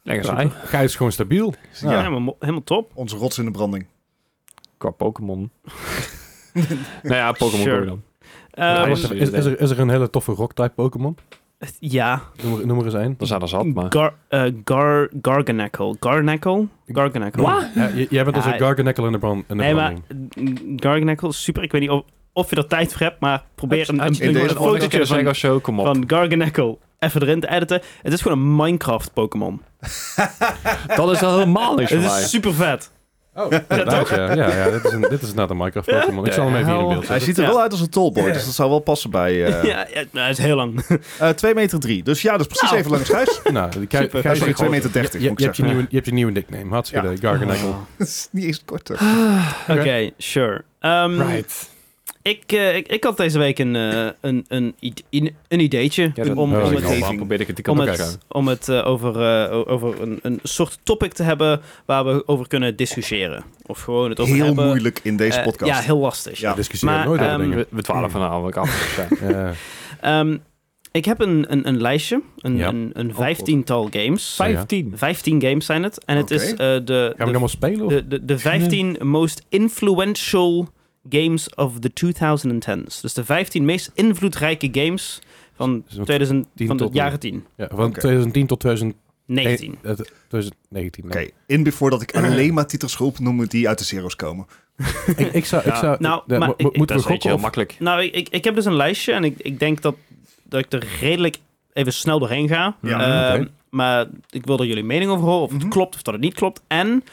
[SPEAKER 2] Lekker
[SPEAKER 3] Super.
[SPEAKER 2] saai.
[SPEAKER 3] Gijs is gewoon stabiel.
[SPEAKER 1] Ja.
[SPEAKER 3] Ja.
[SPEAKER 1] helemaal, mo- helemaal top.
[SPEAKER 4] onze rots in de branding.
[SPEAKER 2] Qua *laughs* Pokémon. nou ja, Pokémon
[SPEAKER 1] Sure.
[SPEAKER 2] Go dan.
[SPEAKER 1] Ehm,
[SPEAKER 3] Wacht even, is, is, er, is er een hele toffe rock-type Pokémon?
[SPEAKER 1] ja,
[SPEAKER 3] Noem er, noem er eens één.
[SPEAKER 2] Dan zijn er zat, maar...
[SPEAKER 1] Gar, eh, gar, Garganacle. Garganacle? Garganacle.
[SPEAKER 3] Ja, j- jij bent als
[SPEAKER 1] Ja,
[SPEAKER 3] een Garganacle in de brand. In de
[SPEAKER 1] Nee, maar
[SPEAKER 3] branding.
[SPEAKER 1] mm, Garganacle is super. Ik weet niet of, of je er tijd voor hebt, maar probeer een, een,
[SPEAKER 4] in
[SPEAKER 1] een,
[SPEAKER 4] deze
[SPEAKER 1] een
[SPEAKER 4] podcast
[SPEAKER 1] fotootje
[SPEAKER 2] van,
[SPEAKER 1] van,
[SPEAKER 2] of zo, kom op.
[SPEAKER 1] van Garganacle even erin te editen. Het is gewoon een Minecraft-Pokémon.
[SPEAKER 2] *laughs* Dat is al helemaal
[SPEAKER 1] *laughs*
[SPEAKER 2] niks
[SPEAKER 1] Het
[SPEAKER 2] voor mij.
[SPEAKER 1] is super
[SPEAKER 2] *laughs*
[SPEAKER 1] vet.
[SPEAKER 3] Oh, inderdaad, ja. ja, ja dit, is een, dit is inderdaad een Minecraft Pokémon. Ik zal hem even hier in beeld
[SPEAKER 4] Hij
[SPEAKER 3] zetten.
[SPEAKER 4] ziet er
[SPEAKER 1] Ja.
[SPEAKER 4] wel uit als een tallboy, dus dat zou wel passen bij... eh
[SPEAKER 1] *laughs* Ja, ja, nou, het is heel
[SPEAKER 2] *laughs*
[SPEAKER 1] lang.
[SPEAKER 4] eh, 2 meter 3. Dus ja, dat is precies
[SPEAKER 1] Nou.
[SPEAKER 4] even langs huis.
[SPEAKER 3] Nou, die kijk,
[SPEAKER 4] Super.
[SPEAKER 3] kijk,
[SPEAKER 4] Sorry,
[SPEAKER 3] je,
[SPEAKER 4] 2 meter 30
[SPEAKER 3] je,
[SPEAKER 4] moet
[SPEAKER 3] je
[SPEAKER 4] ik
[SPEAKER 3] hebt
[SPEAKER 1] *laughs*
[SPEAKER 3] je,
[SPEAKER 4] zeggen.
[SPEAKER 3] nieuwe, je hebt je nieuwe nickname. Hartstikke
[SPEAKER 4] Ja.
[SPEAKER 3] Garganagle.
[SPEAKER 4] Dat is niet eens korter.
[SPEAKER 1] Oké, sure. Ehm,
[SPEAKER 2] Right.
[SPEAKER 1] ik, eh, ik, ik had deze week een, eh, een, een, ide- in- een ideetje
[SPEAKER 2] Ja,
[SPEAKER 1] om,
[SPEAKER 2] dat-
[SPEAKER 1] om,
[SPEAKER 3] oh, ik
[SPEAKER 1] het,
[SPEAKER 3] al.
[SPEAKER 2] Waarom
[SPEAKER 4] omgeving.
[SPEAKER 2] probeer ik het te
[SPEAKER 1] om
[SPEAKER 2] kan ook
[SPEAKER 1] het, om het eh, over, eh, o- over een, een soort topic te hebben waar we over kunnen discussiëren. Of gewoon het over
[SPEAKER 4] Heel
[SPEAKER 1] hebben.
[SPEAKER 4] moeilijk in deze
[SPEAKER 1] Eh,
[SPEAKER 4] podcast.
[SPEAKER 1] ja, heel lastig.
[SPEAKER 4] Ja.
[SPEAKER 3] Discussieer
[SPEAKER 1] Maar,
[SPEAKER 3] nooit over
[SPEAKER 1] ehm,
[SPEAKER 3] dingen. Eh,
[SPEAKER 2] We, we dwalen vanavond af. dus, Ja.
[SPEAKER 3] Ja.
[SPEAKER 1] Ehm, ik heb een, een, een lijstje, een,
[SPEAKER 3] Ja.
[SPEAKER 1] een,
[SPEAKER 4] Oh,
[SPEAKER 1] een vijftiental games.
[SPEAKER 3] Vijf-
[SPEAKER 2] 15.
[SPEAKER 1] 15 games zijn het. En het is eh,
[SPEAKER 4] Oké.
[SPEAKER 1] de, de,
[SPEAKER 3] Gaan we allemaal spelen? Of?
[SPEAKER 1] de, de, de 15 most influential games of the 2010s. Dus de 15 meest invloedrijke games van,
[SPEAKER 3] Dus van
[SPEAKER 1] 2000,
[SPEAKER 3] 10
[SPEAKER 1] van de
[SPEAKER 3] tot
[SPEAKER 1] jaren 10.
[SPEAKER 3] ja, van
[SPEAKER 4] Oké.
[SPEAKER 3] 2010 tot 2019.
[SPEAKER 1] 19.
[SPEAKER 3] Eh, 2019.
[SPEAKER 4] Oké,
[SPEAKER 3] nee.
[SPEAKER 4] in before dat
[SPEAKER 1] *clears throat*
[SPEAKER 4] ik alleen maar titels ga opnoemen die uit de zeros komen.
[SPEAKER 3] Ik, ik zou... Ik
[SPEAKER 2] Ja.
[SPEAKER 3] zou
[SPEAKER 1] Nou,
[SPEAKER 3] eh,
[SPEAKER 1] maar
[SPEAKER 3] mo-
[SPEAKER 1] ik- ik-
[SPEAKER 3] moeten
[SPEAKER 2] Dat
[SPEAKER 3] we
[SPEAKER 2] is eentje
[SPEAKER 3] gokken?
[SPEAKER 2] heel
[SPEAKER 3] Of,
[SPEAKER 2] makkelijk.
[SPEAKER 1] Nou, ik, ik, ik heb dus een lijstje en ik, ik denk dat, dat ik er redelijk even snel doorheen ga.
[SPEAKER 4] Ja,
[SPEAKER 1] Ehm,
[SPEAKER 3] oké.
[SPEAKER 1] Maar ik wil er jullie mening over horen, of het
[SPEAKER 4] Mhm.
[SPEAKER 1] klopt of dat het niet klopt. En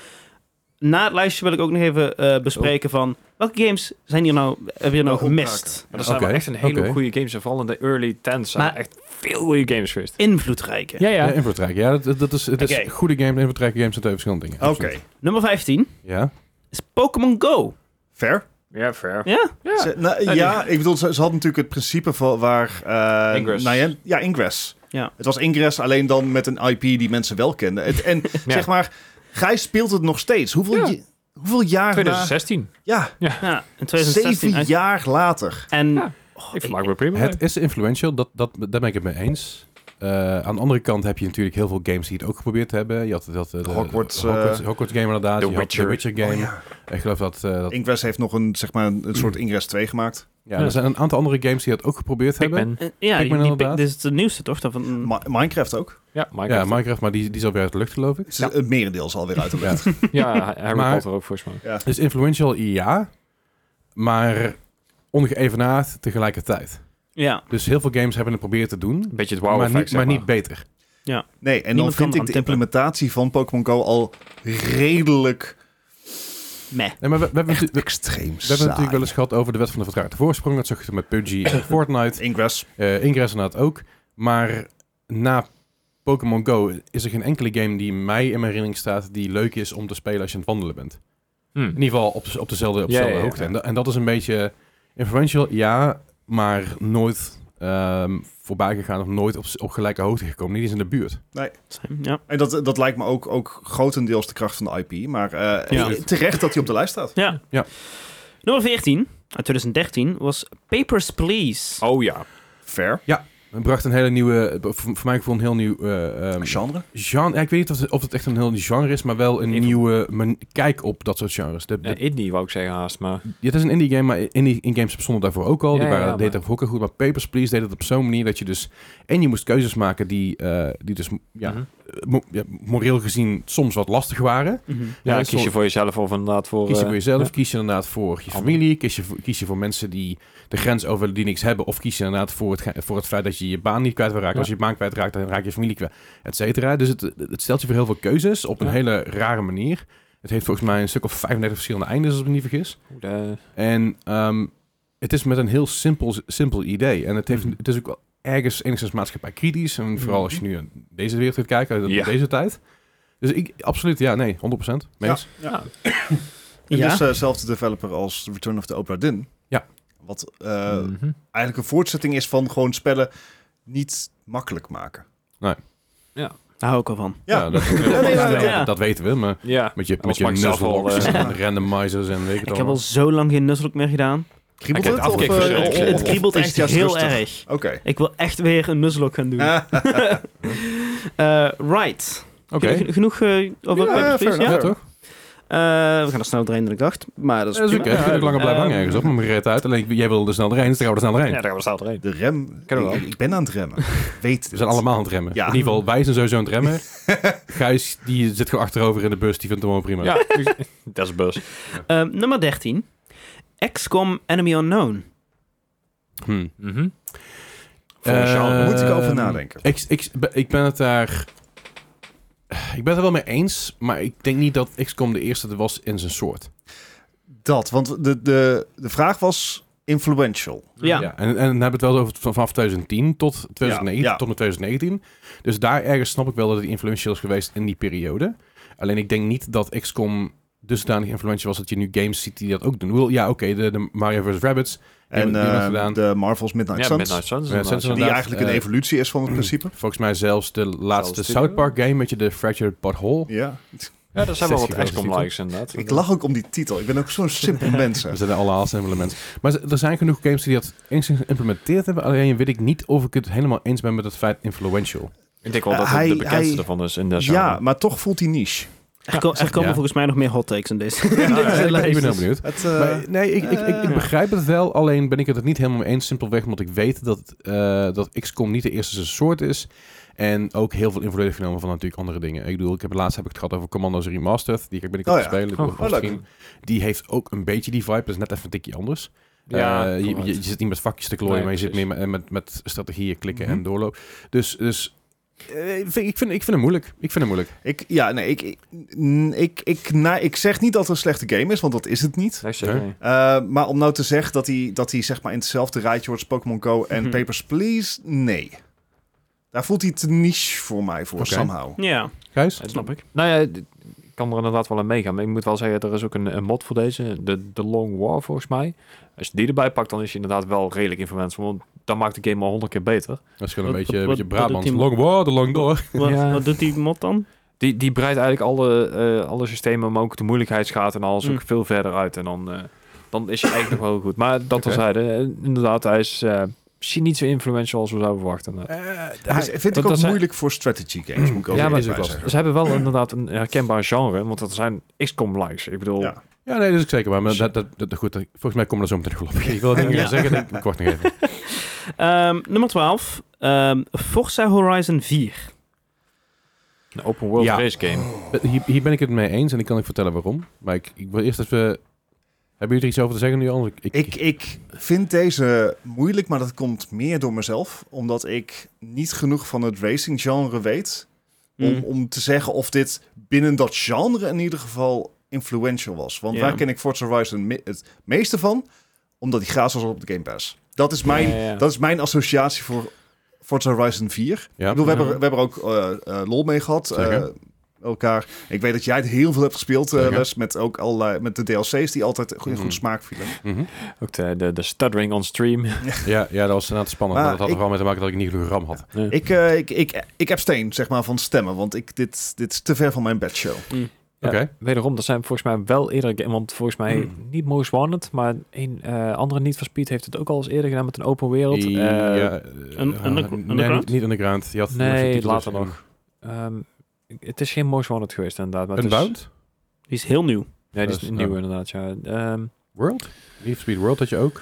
[SPEAKER 1] na het lijstje wil ik ook nog even eh, bespreken van welke games zijn hier nou, hebben hier nou
[SPEAKER 4] Nou, Oh. opmaken.
[SPEAKER 1] gemist?
[SPEAKER 2] Maar er zijn
[SPEAKER 3] Oké,
[SPEAKER 2] wel echt een hele
[SPEAKER 3] oké.
[SPEAKER 2] goede games. En vooral in de early 10s zijn
[SPEAKER 1] Maar-
[SPEAKER 2] echt veel goede games geweest.
[SPEAKER 1] Invloedrijke.
[SPEAKER 2] Ja,
[SPEAKER 3] ja,
[SPEAKER 2] ja.
[SPEAKER 3] Infotrak. Ja, dat, dat is, het is
[SPEAKER 1] Oké.
[SPEAKER 3] goede games. Infotrak games zijn twee verschillende dingen.
[SPEAKER 4] Oké,
[SPEAKER 3] Absoluut.
[SPEAKER 1] Nummer 15
[SPEAKER 3] Ja.
[SPEAKER 1] is Pokémon Go.
[SPEAKER 4] fair.
[SPEAKER 2] Ja, fair.
[SPEAKER 1] Ja?
[SPEAKER 2] Ja.
[SPEAKER 4] Ze- nou, ja, ik bedoel, ze, ze had natuurlijk het principe van waar... eh,
[SPEAKER 2] Ingress.
[SPEAKER 4] nou ja, ja, Ingress.
[SPEAKER 1] Ja.
[SPEAKER 4] Het was Ingress, alleen dan met een IP die mensen wel kenden.
[SPEAKER 3] *laughs*
[SPEAKER 4] Het, en zeg maar, Gijs speelt het nog steeds. Hoeveel,
[SPEAKER 2] Ja.
[SPEAKER 4] je- hoeveel jaar... na-
[SPEAKER 2] 2016.
[SPEAKER 4] ja,
[SPEAKER 1] Ja, in 2016.
[SPEAKER 4] zeven
[SPEAKER 1] uit-
[SPEAKER 4] jaar later.
[SPEAKER 1] En
[SPEAKER 2] Ja,
[SPEAKER 1] oh,
[SPEAKER 2] Ik
[SPEAKER 1] ik-
[SPEAKER 2] vermaak me prima.
[SPEAKER 3] Het is influential, dat, dat, daar ben ik het mee eens. Eh, aan de andere kant heb je natuurlijk heel veel games die het ook geprobeerd hebben. Je had, je had, eh, de
[SPEAKER 4] Hogwarts,
[SPEAKER 3] Hogwarts,
[SPEAKER 4] eh,
[SPEAKER 3] Hogwarts game inderdaad.
[SPEAKER 2] The
[SPEAKER 3] je had
[SPEAKER 2] Witcher.
[SPEAKER 3] de Witcher game. Ik geloof dat... eh, dat
[SPEAKER 4] Oh, Ingress heeft nog een, zeg maar, een een soort Ingress 2 gemaakt.
[SPEAKER 3] ja,
[SPEAKER 2] Ja.
[SPEAKER 3] Er zijn een aantal andere games die dat ook geprobeerd hebben.
[SPEAKER 2] Pikmin.
[SPEAKER 1] eh, ja, die,
[SPEAKER 3] Pikmin
[SPEAKER 1] die-
[SPEAKER 3] inderdaad.
[SPEAKER 1] dit is de nieuwste toch? Dat van,
[SPEAKER 4] Ma- Minecraft ook.
[SPEAKER 2] Ja,
[SPEAKER 3] Ja,
[SPEAKER 2] Minecraft. Ja,
[SPEAKER 3] Minecraft, maar die, die is alweer uit de lucht geloof ik.
[SPEAKER 4] Ze- Het merendeel is alweer
[SPEAKER 1] *laughs*
[SPEAKER 4] uit de lucht.
[SPEAKER 3] *laughs*
[SPEAKER 2] Harry
[SPEAKER 3] Maar-
[SPEAKER 2] Potter ook volgens mij.
[SPEAKER 3] Dus influential, ja. Maar ongeëvenaard tegelijkertijd.
[SPEAKER 1] ja,
[SPEAKER 3] Dus heel veel games hebben het proberen te doen.
[SPEAKER 2] Een beetje het wow
[SPEAKER 3] maar,
[SPEAKER 2] effect,
[SPEAKER 3] niet,
[SPEAKER 2] zeg
[SPEAKER 3] maar niet beter.
[SPEAKER 4] Nee,
[SPEAKER 1] Niemand
[SPEAKER 4] en dan
[SPEAKER 1] kan hem
[SPEAKER 4] vind ik de
[SPEAKER 1] aan tippen.
[SPEAKER 4] implementatie van Pokémon Go al redelijk
[SPEAKER 1] meh.
[SPEAKER 3] Nee, maar we, we hebben,
[SPEAKER 4] echt
[SPEAKER 3] natu- we-
[SPEAKER 4] extreem
[SPEAKER 3] we hebben
[SPEAKER 4] saai.
[SPEAKER 3] natuurlijk wel eens gehad over de wet van de vertraagde voorsprong. Dat zag je met PUBG en *coughs* Fortnite.
[SPEAKER 4] Ingress.
[SPEAKER 3] Eh, Ingress inderdaad ook. Maar na Pokémon Go is er geen enkele game die mij in mijn herinnering staat... die leuk is om te spelen als je aan het wandelen bent.
[SPEAKER 2] Hm.
[SPEAKER 3] In ieder geval op, op dezelfde, op
[SPEAKER 2] Ja,
[SPEAKER 3] dezelfde
[SPEAKER 2] ja, ja.
[SPEAKER 3] hoogte. En, da- en dat is een beetje influential, ja, maar nooit ehm, voorbij gegaan of nooit op, op gelijke hoogte gekomen. Niet eens in de buurt.
[SPEAKER 1] Ja.
[SPEAKER 4] En dat, dat lijkt me ook, ook grotendeels de kracht van de IP. Maar eh,
[SPEAKER 1] Ja.
[SPEAKER 4] terecht dat hij op de lijst staat.
[SPEAKER 1] Ja.
[SPEAKER 3] Ja.
[SPEAKER 1] Nummer 14 uit 2013 was Papers, Please.
[SPEAKER 2] Oh ja.
[SPEAKER 4] Fair.
[SPEAKER 3] Het bracht een hele nieuwe, eh, voor, voor mij gevoel een heel nieuw eh, ehm,
[SPEAKER 4] Genre.
[SPEAKER 3] genre. Ja, ik weet niet of het, of het echt een heel nieuw genre is, maar wel een
[SPEAKER 2] Even-
[SPEAKER 3] nieuwe man- kijk op dat soort genres. De, de-
[SPEAKER 2] ja. Indie wou ik zeggen haast, maar...
[SPEAKER 3] Ja, het is een indie game, maar indie in games bestonden daarvoor ook al.
[SPEAKER 2] Ja,
[SPEAKER 3] die
[SPEAKER 2] ja,
[SPEAKER 3] waren,
[SPEAKER 2] maar-
[SPEAKER 3] deden daarvoor ook al goed. Maar Papers, Please deed het op zo'n manier dat je dus... En je moest keuzes maken die, eh, die dus ja,
[SPEAKER 2] Mhm.
[SPEAKER 3] mo- ja, moreel gezien soms wat lastig waren.
[SPEAKER 1] Mhm.
[SPEAKER 2] Ja,
[SPEAKER 3] dat is
[SPEAKER 2] kies je
[SPEAKER 3] wel-
[SPEAKER 2] voor jezelf of inderdaad voor...
[SPEAKER 3] kies je
[SPEAKER 2] eh,
[SPEAKER 3] voor jezelf,
[SPEAKER 2] ja.
[SPEAKER 3] kies je inderdaad voor je
[SPEAKER 2] Anderen.
[SPEAKER 3] familie, kies je, voor- kies je voor mensen die de grens over willen, die niks hebben. Of kies je inderdaad voor het, ge- voor het feit dat je je baan niet kwijt wil raken.
[SPEAKER 2] Ja.
[SPEAKER 3] Als je je baan kwijtraakt, dan raak je familie kwijt, et cetera. Dus het, het stelt je voor heel veel keuzes op een
[SPEAKER 2] Ja.
[SPEAKER 3] hele rare manier. Het heeft volgens mij een stuk of 35 verschillende eindes, als ik me niet vergis.
[SPEAKER 2] Goed, eh,
[SPEAKER 3] En ehm, het is met een heel simpel, simpel idee. En het, heeft,
[SPEAKER 2] Mhm.
[SPEAKER 3] het is ook wel ergens enigszins maatschappij kritisch. En vooral als je nu aan deze wereld gaat kijken, uit
[SPEAKER 2] Ja.
[SPEAKER 3] deze tijd. Dus ik, absoluut, ja, nee, 100%. Mens.
[SPEAKER 2] ja.
[SPEAKER 4] En
[SPEAKER 1] Ja.
[SPEAKER 4] dus
[SPEAKER 3] eh,
[SPEAKER 4] dezelfde developer als Return of the Obra Dinn.
[SPEAKER 3] Ja. Hmm.
[SPEAKER 4] Wat eh,
[SPEAKER 2] Mhm.
[SPEAKER 4] eigenlijk een voortzetting is van gewoon spellen niet makkelijk maken.
[SPEAKER 1] Daar hou ik al van.
[SPEAKER 3] Ja,
[SPEAKER 1] *laughs*
[SPEAKER 4] Ja.
[SPEAKER 3] dat,
[SPEAKER 4] Ja, nee, ja,
[SPEAKER 3] dat-
[SPEAKER 1] ja.
[SPEAKER 3] dat weten we, maar
[SPEAKER 2] Ja.
[SPEAKER 3] met je, met
[SPEAKER 2] Anders
[SPEAKER 3] je
[SPEAKER 2] maak ik zelf wel,
[SPEAKER 3] nuzzelboxes
[SPEAKER 2] eh,
[SPEAKER 3] en randomizers en weet ik
[SPEAKER 1] Ik
[SPEAKER 3] het
[SPEAKER 1] heb al
[SPEAKER 3] allemaal.
[SPEAKER 1] zo lang geen nuzzelijk meer gedaan.
[SPEAKER 3] Oh,
[SPEAKER 4] Kriebelt
[SPEAKER 2] Oké,
[SPEAKER 4] het? Of,
[SPEAKER 2] afkijk,
[SPEAKER 4] eh,
[SPEAKER 2] verzorgd.
[SPEAKER 4] of-
[SPEAKER 1] Het, het
[SPEAKER 4] of-
[SPEAKER 1] kriebelt
[SPEAKER 4] of
[SPEAKER 1] echt
[SPEAKER 4] juist
[SPEAKER 1] heel
[SPEAKER 4] rustig?
[SPEAKER 1] erg.
[SPEAKER 4] Oké.
[SPEAKER 1] Ik wil echt weer een nuzzelok gaan doen. *laughs* Eh, right.
[SPEAKER 3] Oké,
[SPEAKER 1] Geno- Genoeg eh, over
[SPEAKER 4] Ja,
[SPEAKER 1] Papers, Please?
[SPEAKER 4] fair
[SPEAKER 1] Ja?
[SPEAKER 3] ja toch?
[SPEAKER 1] Eh, we gaan er sneller doorheen dan ik dacht. Maar dat is,
[SPEAKER 3] Dat is oké.
[SPEAKER 1] prima.
[SPEAKER 3] Je kunt ook langer blijven
[SPEAKER 1] Ehm,
[SPEAKER 3] hangen ergens op, maar me redt uit. Alleen jij wil er snel erheen, dus dan gaan we er snel
[SPEAKER 2] ja,
[SPEAKER 3] erheen.
[SPEAKER 2] daar gaan we snel doorheen.
[SPEAKER 4] De rem.
[SPEAKER 2] Kennen we
[SPEAKER 4] Ik,
[SPEAKER 2] wel.
[SPEAKER 4] ik ben aan het
[SPEAKER 3] *laughs*
[SPEAKER 4] remmen. Weet
[SPEAKER 3] We zijn allemaal aan het remmen.
[SPEAKER 4] Ja.
[SPEAKER 3] In ieder geval, wij zijn sowieso aan het remmen.
[SPEAKER 4] *laughs*
[SPEAKER 3] Gijs, die zit gewoon achterover in de bus, die vindt hem gewoon prima. *laughs*
[SPEAKER 2] Ja, dus- *laughs* dat is bus.
[SPEAKER 1] ehm, nummer 13. XCOM Enemy Unknown.
[SPEAKER 3] Hmm.
[SPEAKER 2] Mhm.
[SPEAKER 4] Voor een genre moet ik over
[SPEAKER 3] Ehm,
[SPEAKER 4] nadenken.
[SPEAKER 3] Ik, ik, ik ben het daar... Ik ben het er wel mee eens, maar ik denk niet dat XCOM de eerste was in zijn soort.
[SPEAKER 4] Dat, want de, de, de vraag was influential.
[SPEAKER 1] Ja.
[SPEAKER 3] en, en dan hebben we het wel over van- vanaf 2010 tot 2019,
[SPEAKER 4] Ja, ja.
[SPEAKER 3] tot en met 2019. Dus daar ergens snap ik wel dat het influentieel is geweest in die periode. Alleen ik denk niet dat XCOM dusdanig influentieel was dat je nu games ziet die dat ook doen. Ik bedoel, Ja, oké, de, de Mario vs. Rabbids.
[SPEAKER 4] En
[SPEAKER 3] hebben het prima
[SPEAKER 4] eh,
[SPEAKER 3] gedaan.
[SPEAKER 4] de Marvel's Midnight
[SPEAKER 2] Ja,
[SPEAKER 4] Suns.
[SPEAKER 2] Midnight Suns.
[SPEAKER 3] Midnight
[SPEAKER 2] inderdaad,
[SPEAKER 3] Suns
[SPEAKER 2] ja.
[SPEAKER 4] Die
[SPEAKER 3] Inderdaad,
[SPEAKER 4] eigenlijk een
[SPEAKER 3] eh,
[SPEAKER 4] evolutie
[SPEAKER 3] *clears throat*
[SPEAKER 4] is van het principe.
[SPEAKER 3] Volgens mij zelfs de laatste
[SPEAKER 2] studio.
[SPEAKER 3] South Park game met je de Fractured Butthole.
[SPEAKER 4] Ja.
[SPEAKER 2] Ja, dat zijn wel wat
[SPEAKER 3] 60
[SPEAKER 2] XCOM likes inderdaad.
[SPEAKER 4] Ik lach ook om die titel. Ik ben ook zo'n
[SPEAKER 2] *laughs*
[SPEAKER 4] simpel mens. hè.
[SPEAKER 3] Er zijn alle haast elementen. Maar ze- er zijn genoeg games die dat enigszins geïmplementeerd hebben. Alleen weet ik niet of ik het helemaal eens ben met het feit influential.
[SPEAKER 2] Ik denk wel dat
[SPEAKER 4] Eh,
[SPEAKER 2] het
[SPEAKER 4] hij-
[SPEAKER 2] de bekendste
[SPEAKER 4] hij-
[SPEAKER 2] ervan is in de genre.
[SPEAKER 4] Ja, maar toch voelt die niche.
[SPEAKER 1] Er, ko- er komen
[SPEAKER 3] Ja.
[SPEAKER 1] volgens mij nog meer hot takes in *laughs* deze.
[SPEAKER 3] ik ben ik ben heel benieuwd.
[SPEAKER 4] Het, eh,
[SPEAKER 3] Maar, nee, ik, ik, ik, ik
[SPEAKER 2] eh.
[SPEAKER 3] begrijp het wel. Alleen ben ik het er niet helemaal mee eens. Simpelweg omdat ik weet dat, eh, dat XCOM niet de eerste zijn soort is. En ook heel veel invloed heeft genomen van natuurlijk andere dingen. Ik bedoel, ik heb, laatst heb ik het gehad over Commando's Remastered. Die ik ben ik aan
[SPEAKER 4] Oh
[SPEAKER 3] het
[SPEAKER 4] ja.
[SPEAKER 3] spelen. Ik
[SPEAKER 2] Oh,
[SPEAKER 3] bedoel,
[SPEAKER 4] oh, leuk.
[SPEAKER 3] misschien- Die heeft ook een beetje die vibe. Dat is net even een tikje anders.
[SPEAKER 2] Ja,
[SPEAKER 3] Eh, je,
[SPEAKER 2] correct.
[SPEAKER 3] je- je zit niet met vakjes te klooien,
[SPEAKER 2] Nee,
[SPEAKER 3] maar je zit meer
[SPEAKER 2] precies.
[SPEAKER 3] met, met, met strategieën klikken
[SPEAKER 4] Mhm.
[SPEAKER 3] en doorloop. Dus, dus eh, ik, vind, ik, vind, ik vind het moeilijk. Ik vind het moeilijk.
[SPEAKER 4] ik, ja, nee, ik, ik, n- ik, ik, na- ik zeg niet dat het een slechte game is, want dat is het niet.
[SPEAKER 2] Nee, zeker
[SPEAKER 3] Nee.
[SPEAKER 2] niet.
[SPEAKER 4] Eh, maar om nou te zeggen dat hij, dat hij zeg maar in hetzelfde rijtje wordt als Pokémon Go en
[SPEAKER 1] Mhm.
[SPEAKER 4] Papers, Please, nee. Daar voelt hij te niche voor mij voor,
[SPEAKER 3] Oké.
[SPEAKER 4] somehow.
[SPEAKER 1] ja,
[SPEAKER 3] Gijs?
[SPEAKER 1] snap ik.
[SPEAKER 2] Nou ja, d- ik kan er inderdaad wel aan meegaan. Maar ik moet wel zeggen, er is ook een, een mod voor deze. De, de Long War, volgens mij. Als je die erbij pakt, dan is je inderdaad wel redelijk influent. Want dan maakt de game al honderd keer beter.
[SPEAKER 3] Dat is gewoon
[SPEAKER 1] Wat-
[SPEAKER 3] een beetje,
[SPEAKER 1] wat-
[SPEAKER 3] beetje
[SPEAKER 1] wat doet
[SPEAKER 3] Brabant.
[SPEAKER 1] die-
[SPEAKER 3] Long war, de long door.
[SPEAKER 1] Wat,
[SPEAKER 2] Ja.
[SPEAKER 1] wat doet die mod dan?
[SPEAKER 2] Die, die breidt eigenlijk alle, eh, alle systemen, maar ook de moeilijkheidsgraad en alles
[SPEAKER 1] Mm.
[SPEAKER 2] ook veel verder uit. En dan, eh, dan is je eigenlijk nog wel goed. Maar dat
[SPEAKER 3] Oké.
[SPEAKER 2] al zeiden, eh, inderdaad, hij is eh, misschien niet zo influential als we zouden verwachten. Eh,
[SPEAKER 4] Dat is- vind ik
[SPEAKER 2] dat
[SPEAKER 4] ook
[SPEAKER 2] zijn- Mhm.
[SPEAKER 4] moeilijk voor strategy games, moet ik ook
[SPEAKER 2] Ja,
[SPEAKER 4] eerlijk
[SPEAKER 2] maar-
[SPEAKER 3] is ook
[SPEAKER 4] bij
[SPEAKER 3] lastig.
[SPEAKER 2] dus Ze hebben wel inderdaad een herkenbaar genre, want dat zijn XCOM-likes. Ik bedoel,
[SPEAKER 4] Ja.
[SPEAKER 3] Ja, nee, dat is ik zeker. waar, Maar dat, dat, dat, goed, dat- volgens mij komen we er zo meteen nog wel op. Ik wil *laughs* dingen
[SPEAKER 1] Ja.
[SPEAKER 3] zeggen, denk ik kort nog *laughs* even.
[SPEAKER 1] Ehm, nummer 12. ehm, Forza Horizon 4.
[SPEAKER 2] een open world
[SPEAKER 3] Ja.
[SPEAKER 2] race game.
[SPEAKER 3] Hier, hier ben ik het mee eens en ik kan ik vertellen waarom. Maar ik, ik wil eerst even... Hebben jullie er iets over te zeggen nu? Anders,
[SPEAKER 4] Ik, ik vind deze moeilijk, maar dat komt meer door mezelf. Omdat ik niet genoeg van het racing genre weet. Om,
[SPEAKER 1] Mm.
[SPEAKER 4] om te zeggen of dit binnen dat genre in ieder geval influential was. Want
[SPEAKER 1] Ja.
[SPEAKER 4] waar ken ik Forza Horizon me- het meeste van? Omdat die gratis was op de Game Pass. Dat is mijn,
[SPEAKER 2] Ja, ja, ja.
[SPEAKER 4] Dat is mijn associatie voor Forza Horizon 4.
[SPEAKER 3] Ja.
[SPEAKER 4] Ik bedoel, we,
[SPEAKER 1] Ja.
[SPEAKER 4] hebben, we hebben er ook eh, eh, lol mee gehad. eh,
[SPEAKER 3] Zeker.
[SPEAKER 4] elkaar. Ik weet dat jij het heel veel hebt gespeeld, eh,
[SPEAKER 3] Zeker.
[SPEAKER 4] Les. Met ook allerlei, met de DLC's die altijd goed, in
[SPEAKER 3] Mhm.
[SPEAKER 4] goede smaak vielen.
[SPEAKER 3] Mhm.
[SPEAKER 2] Ook de, de, de stuttering on stream.
[SPEAKER 3] ja, ja, dat was inderdaad spannend.
[SPEAKER 4] Maar
[SPEAKER 3] Maar, dat had er
[SPEAKER 4] ik-
[SPEAKER 3] wel mee te maken dat ik niet genoeg RAM had.
[SPEAKER 4] Ik, eh ik, ik, ik abstain, zeg maar, van stemmen. Want ik, dit, dit is te ver van mijn bedshow.
[SPEAKER 2] Ja,
[SPEAKER 3] Oké.
[SPEAKER 2] Wederom, dat zijn volgens mij wel eerder... ga- Want volgens mij
[SPEAKER 3] Hmm.
[SPEAKER 2] niet Most Wanted, maar een eh, andere niet van Speed heeft het ook al eens eerder gedaan met een open wereld.
[SPEAKER 3] I-
[SPEAKER 2] Eh,
[SPEAKER 3] ja, eh,
[SPEAKER 1] un-
[SPEAKER 3] eh,
[SPEAKER 1] undergr-
[SPEAKER 3] nee,
[SPEAKER 1] underground?
[SPEAKER 3] niet, niet underground. Je had
[SPEAKER 2] Nee,
[SPEAKER 3] titels
[SPEAKER 2] later
[SPEAKER 3] in-
[SPEAKER 2] nog. ehm, het is geen Most Wanted geweest inderdaad. Maar het is-
[SPEAKER 3] Unbound?
[SPEAKER 1] Die is heel nieuw.
[SPEAKER 2] Nee, die is
[SPEAKER 3] Dus,
[SPEAKER 2] nieuw
[SPEAKER 3] oh.
[SPEAKER 2] inderdaad, ja. Ehm,
[SPEAKER 3] World? Need for Speed World had je ook.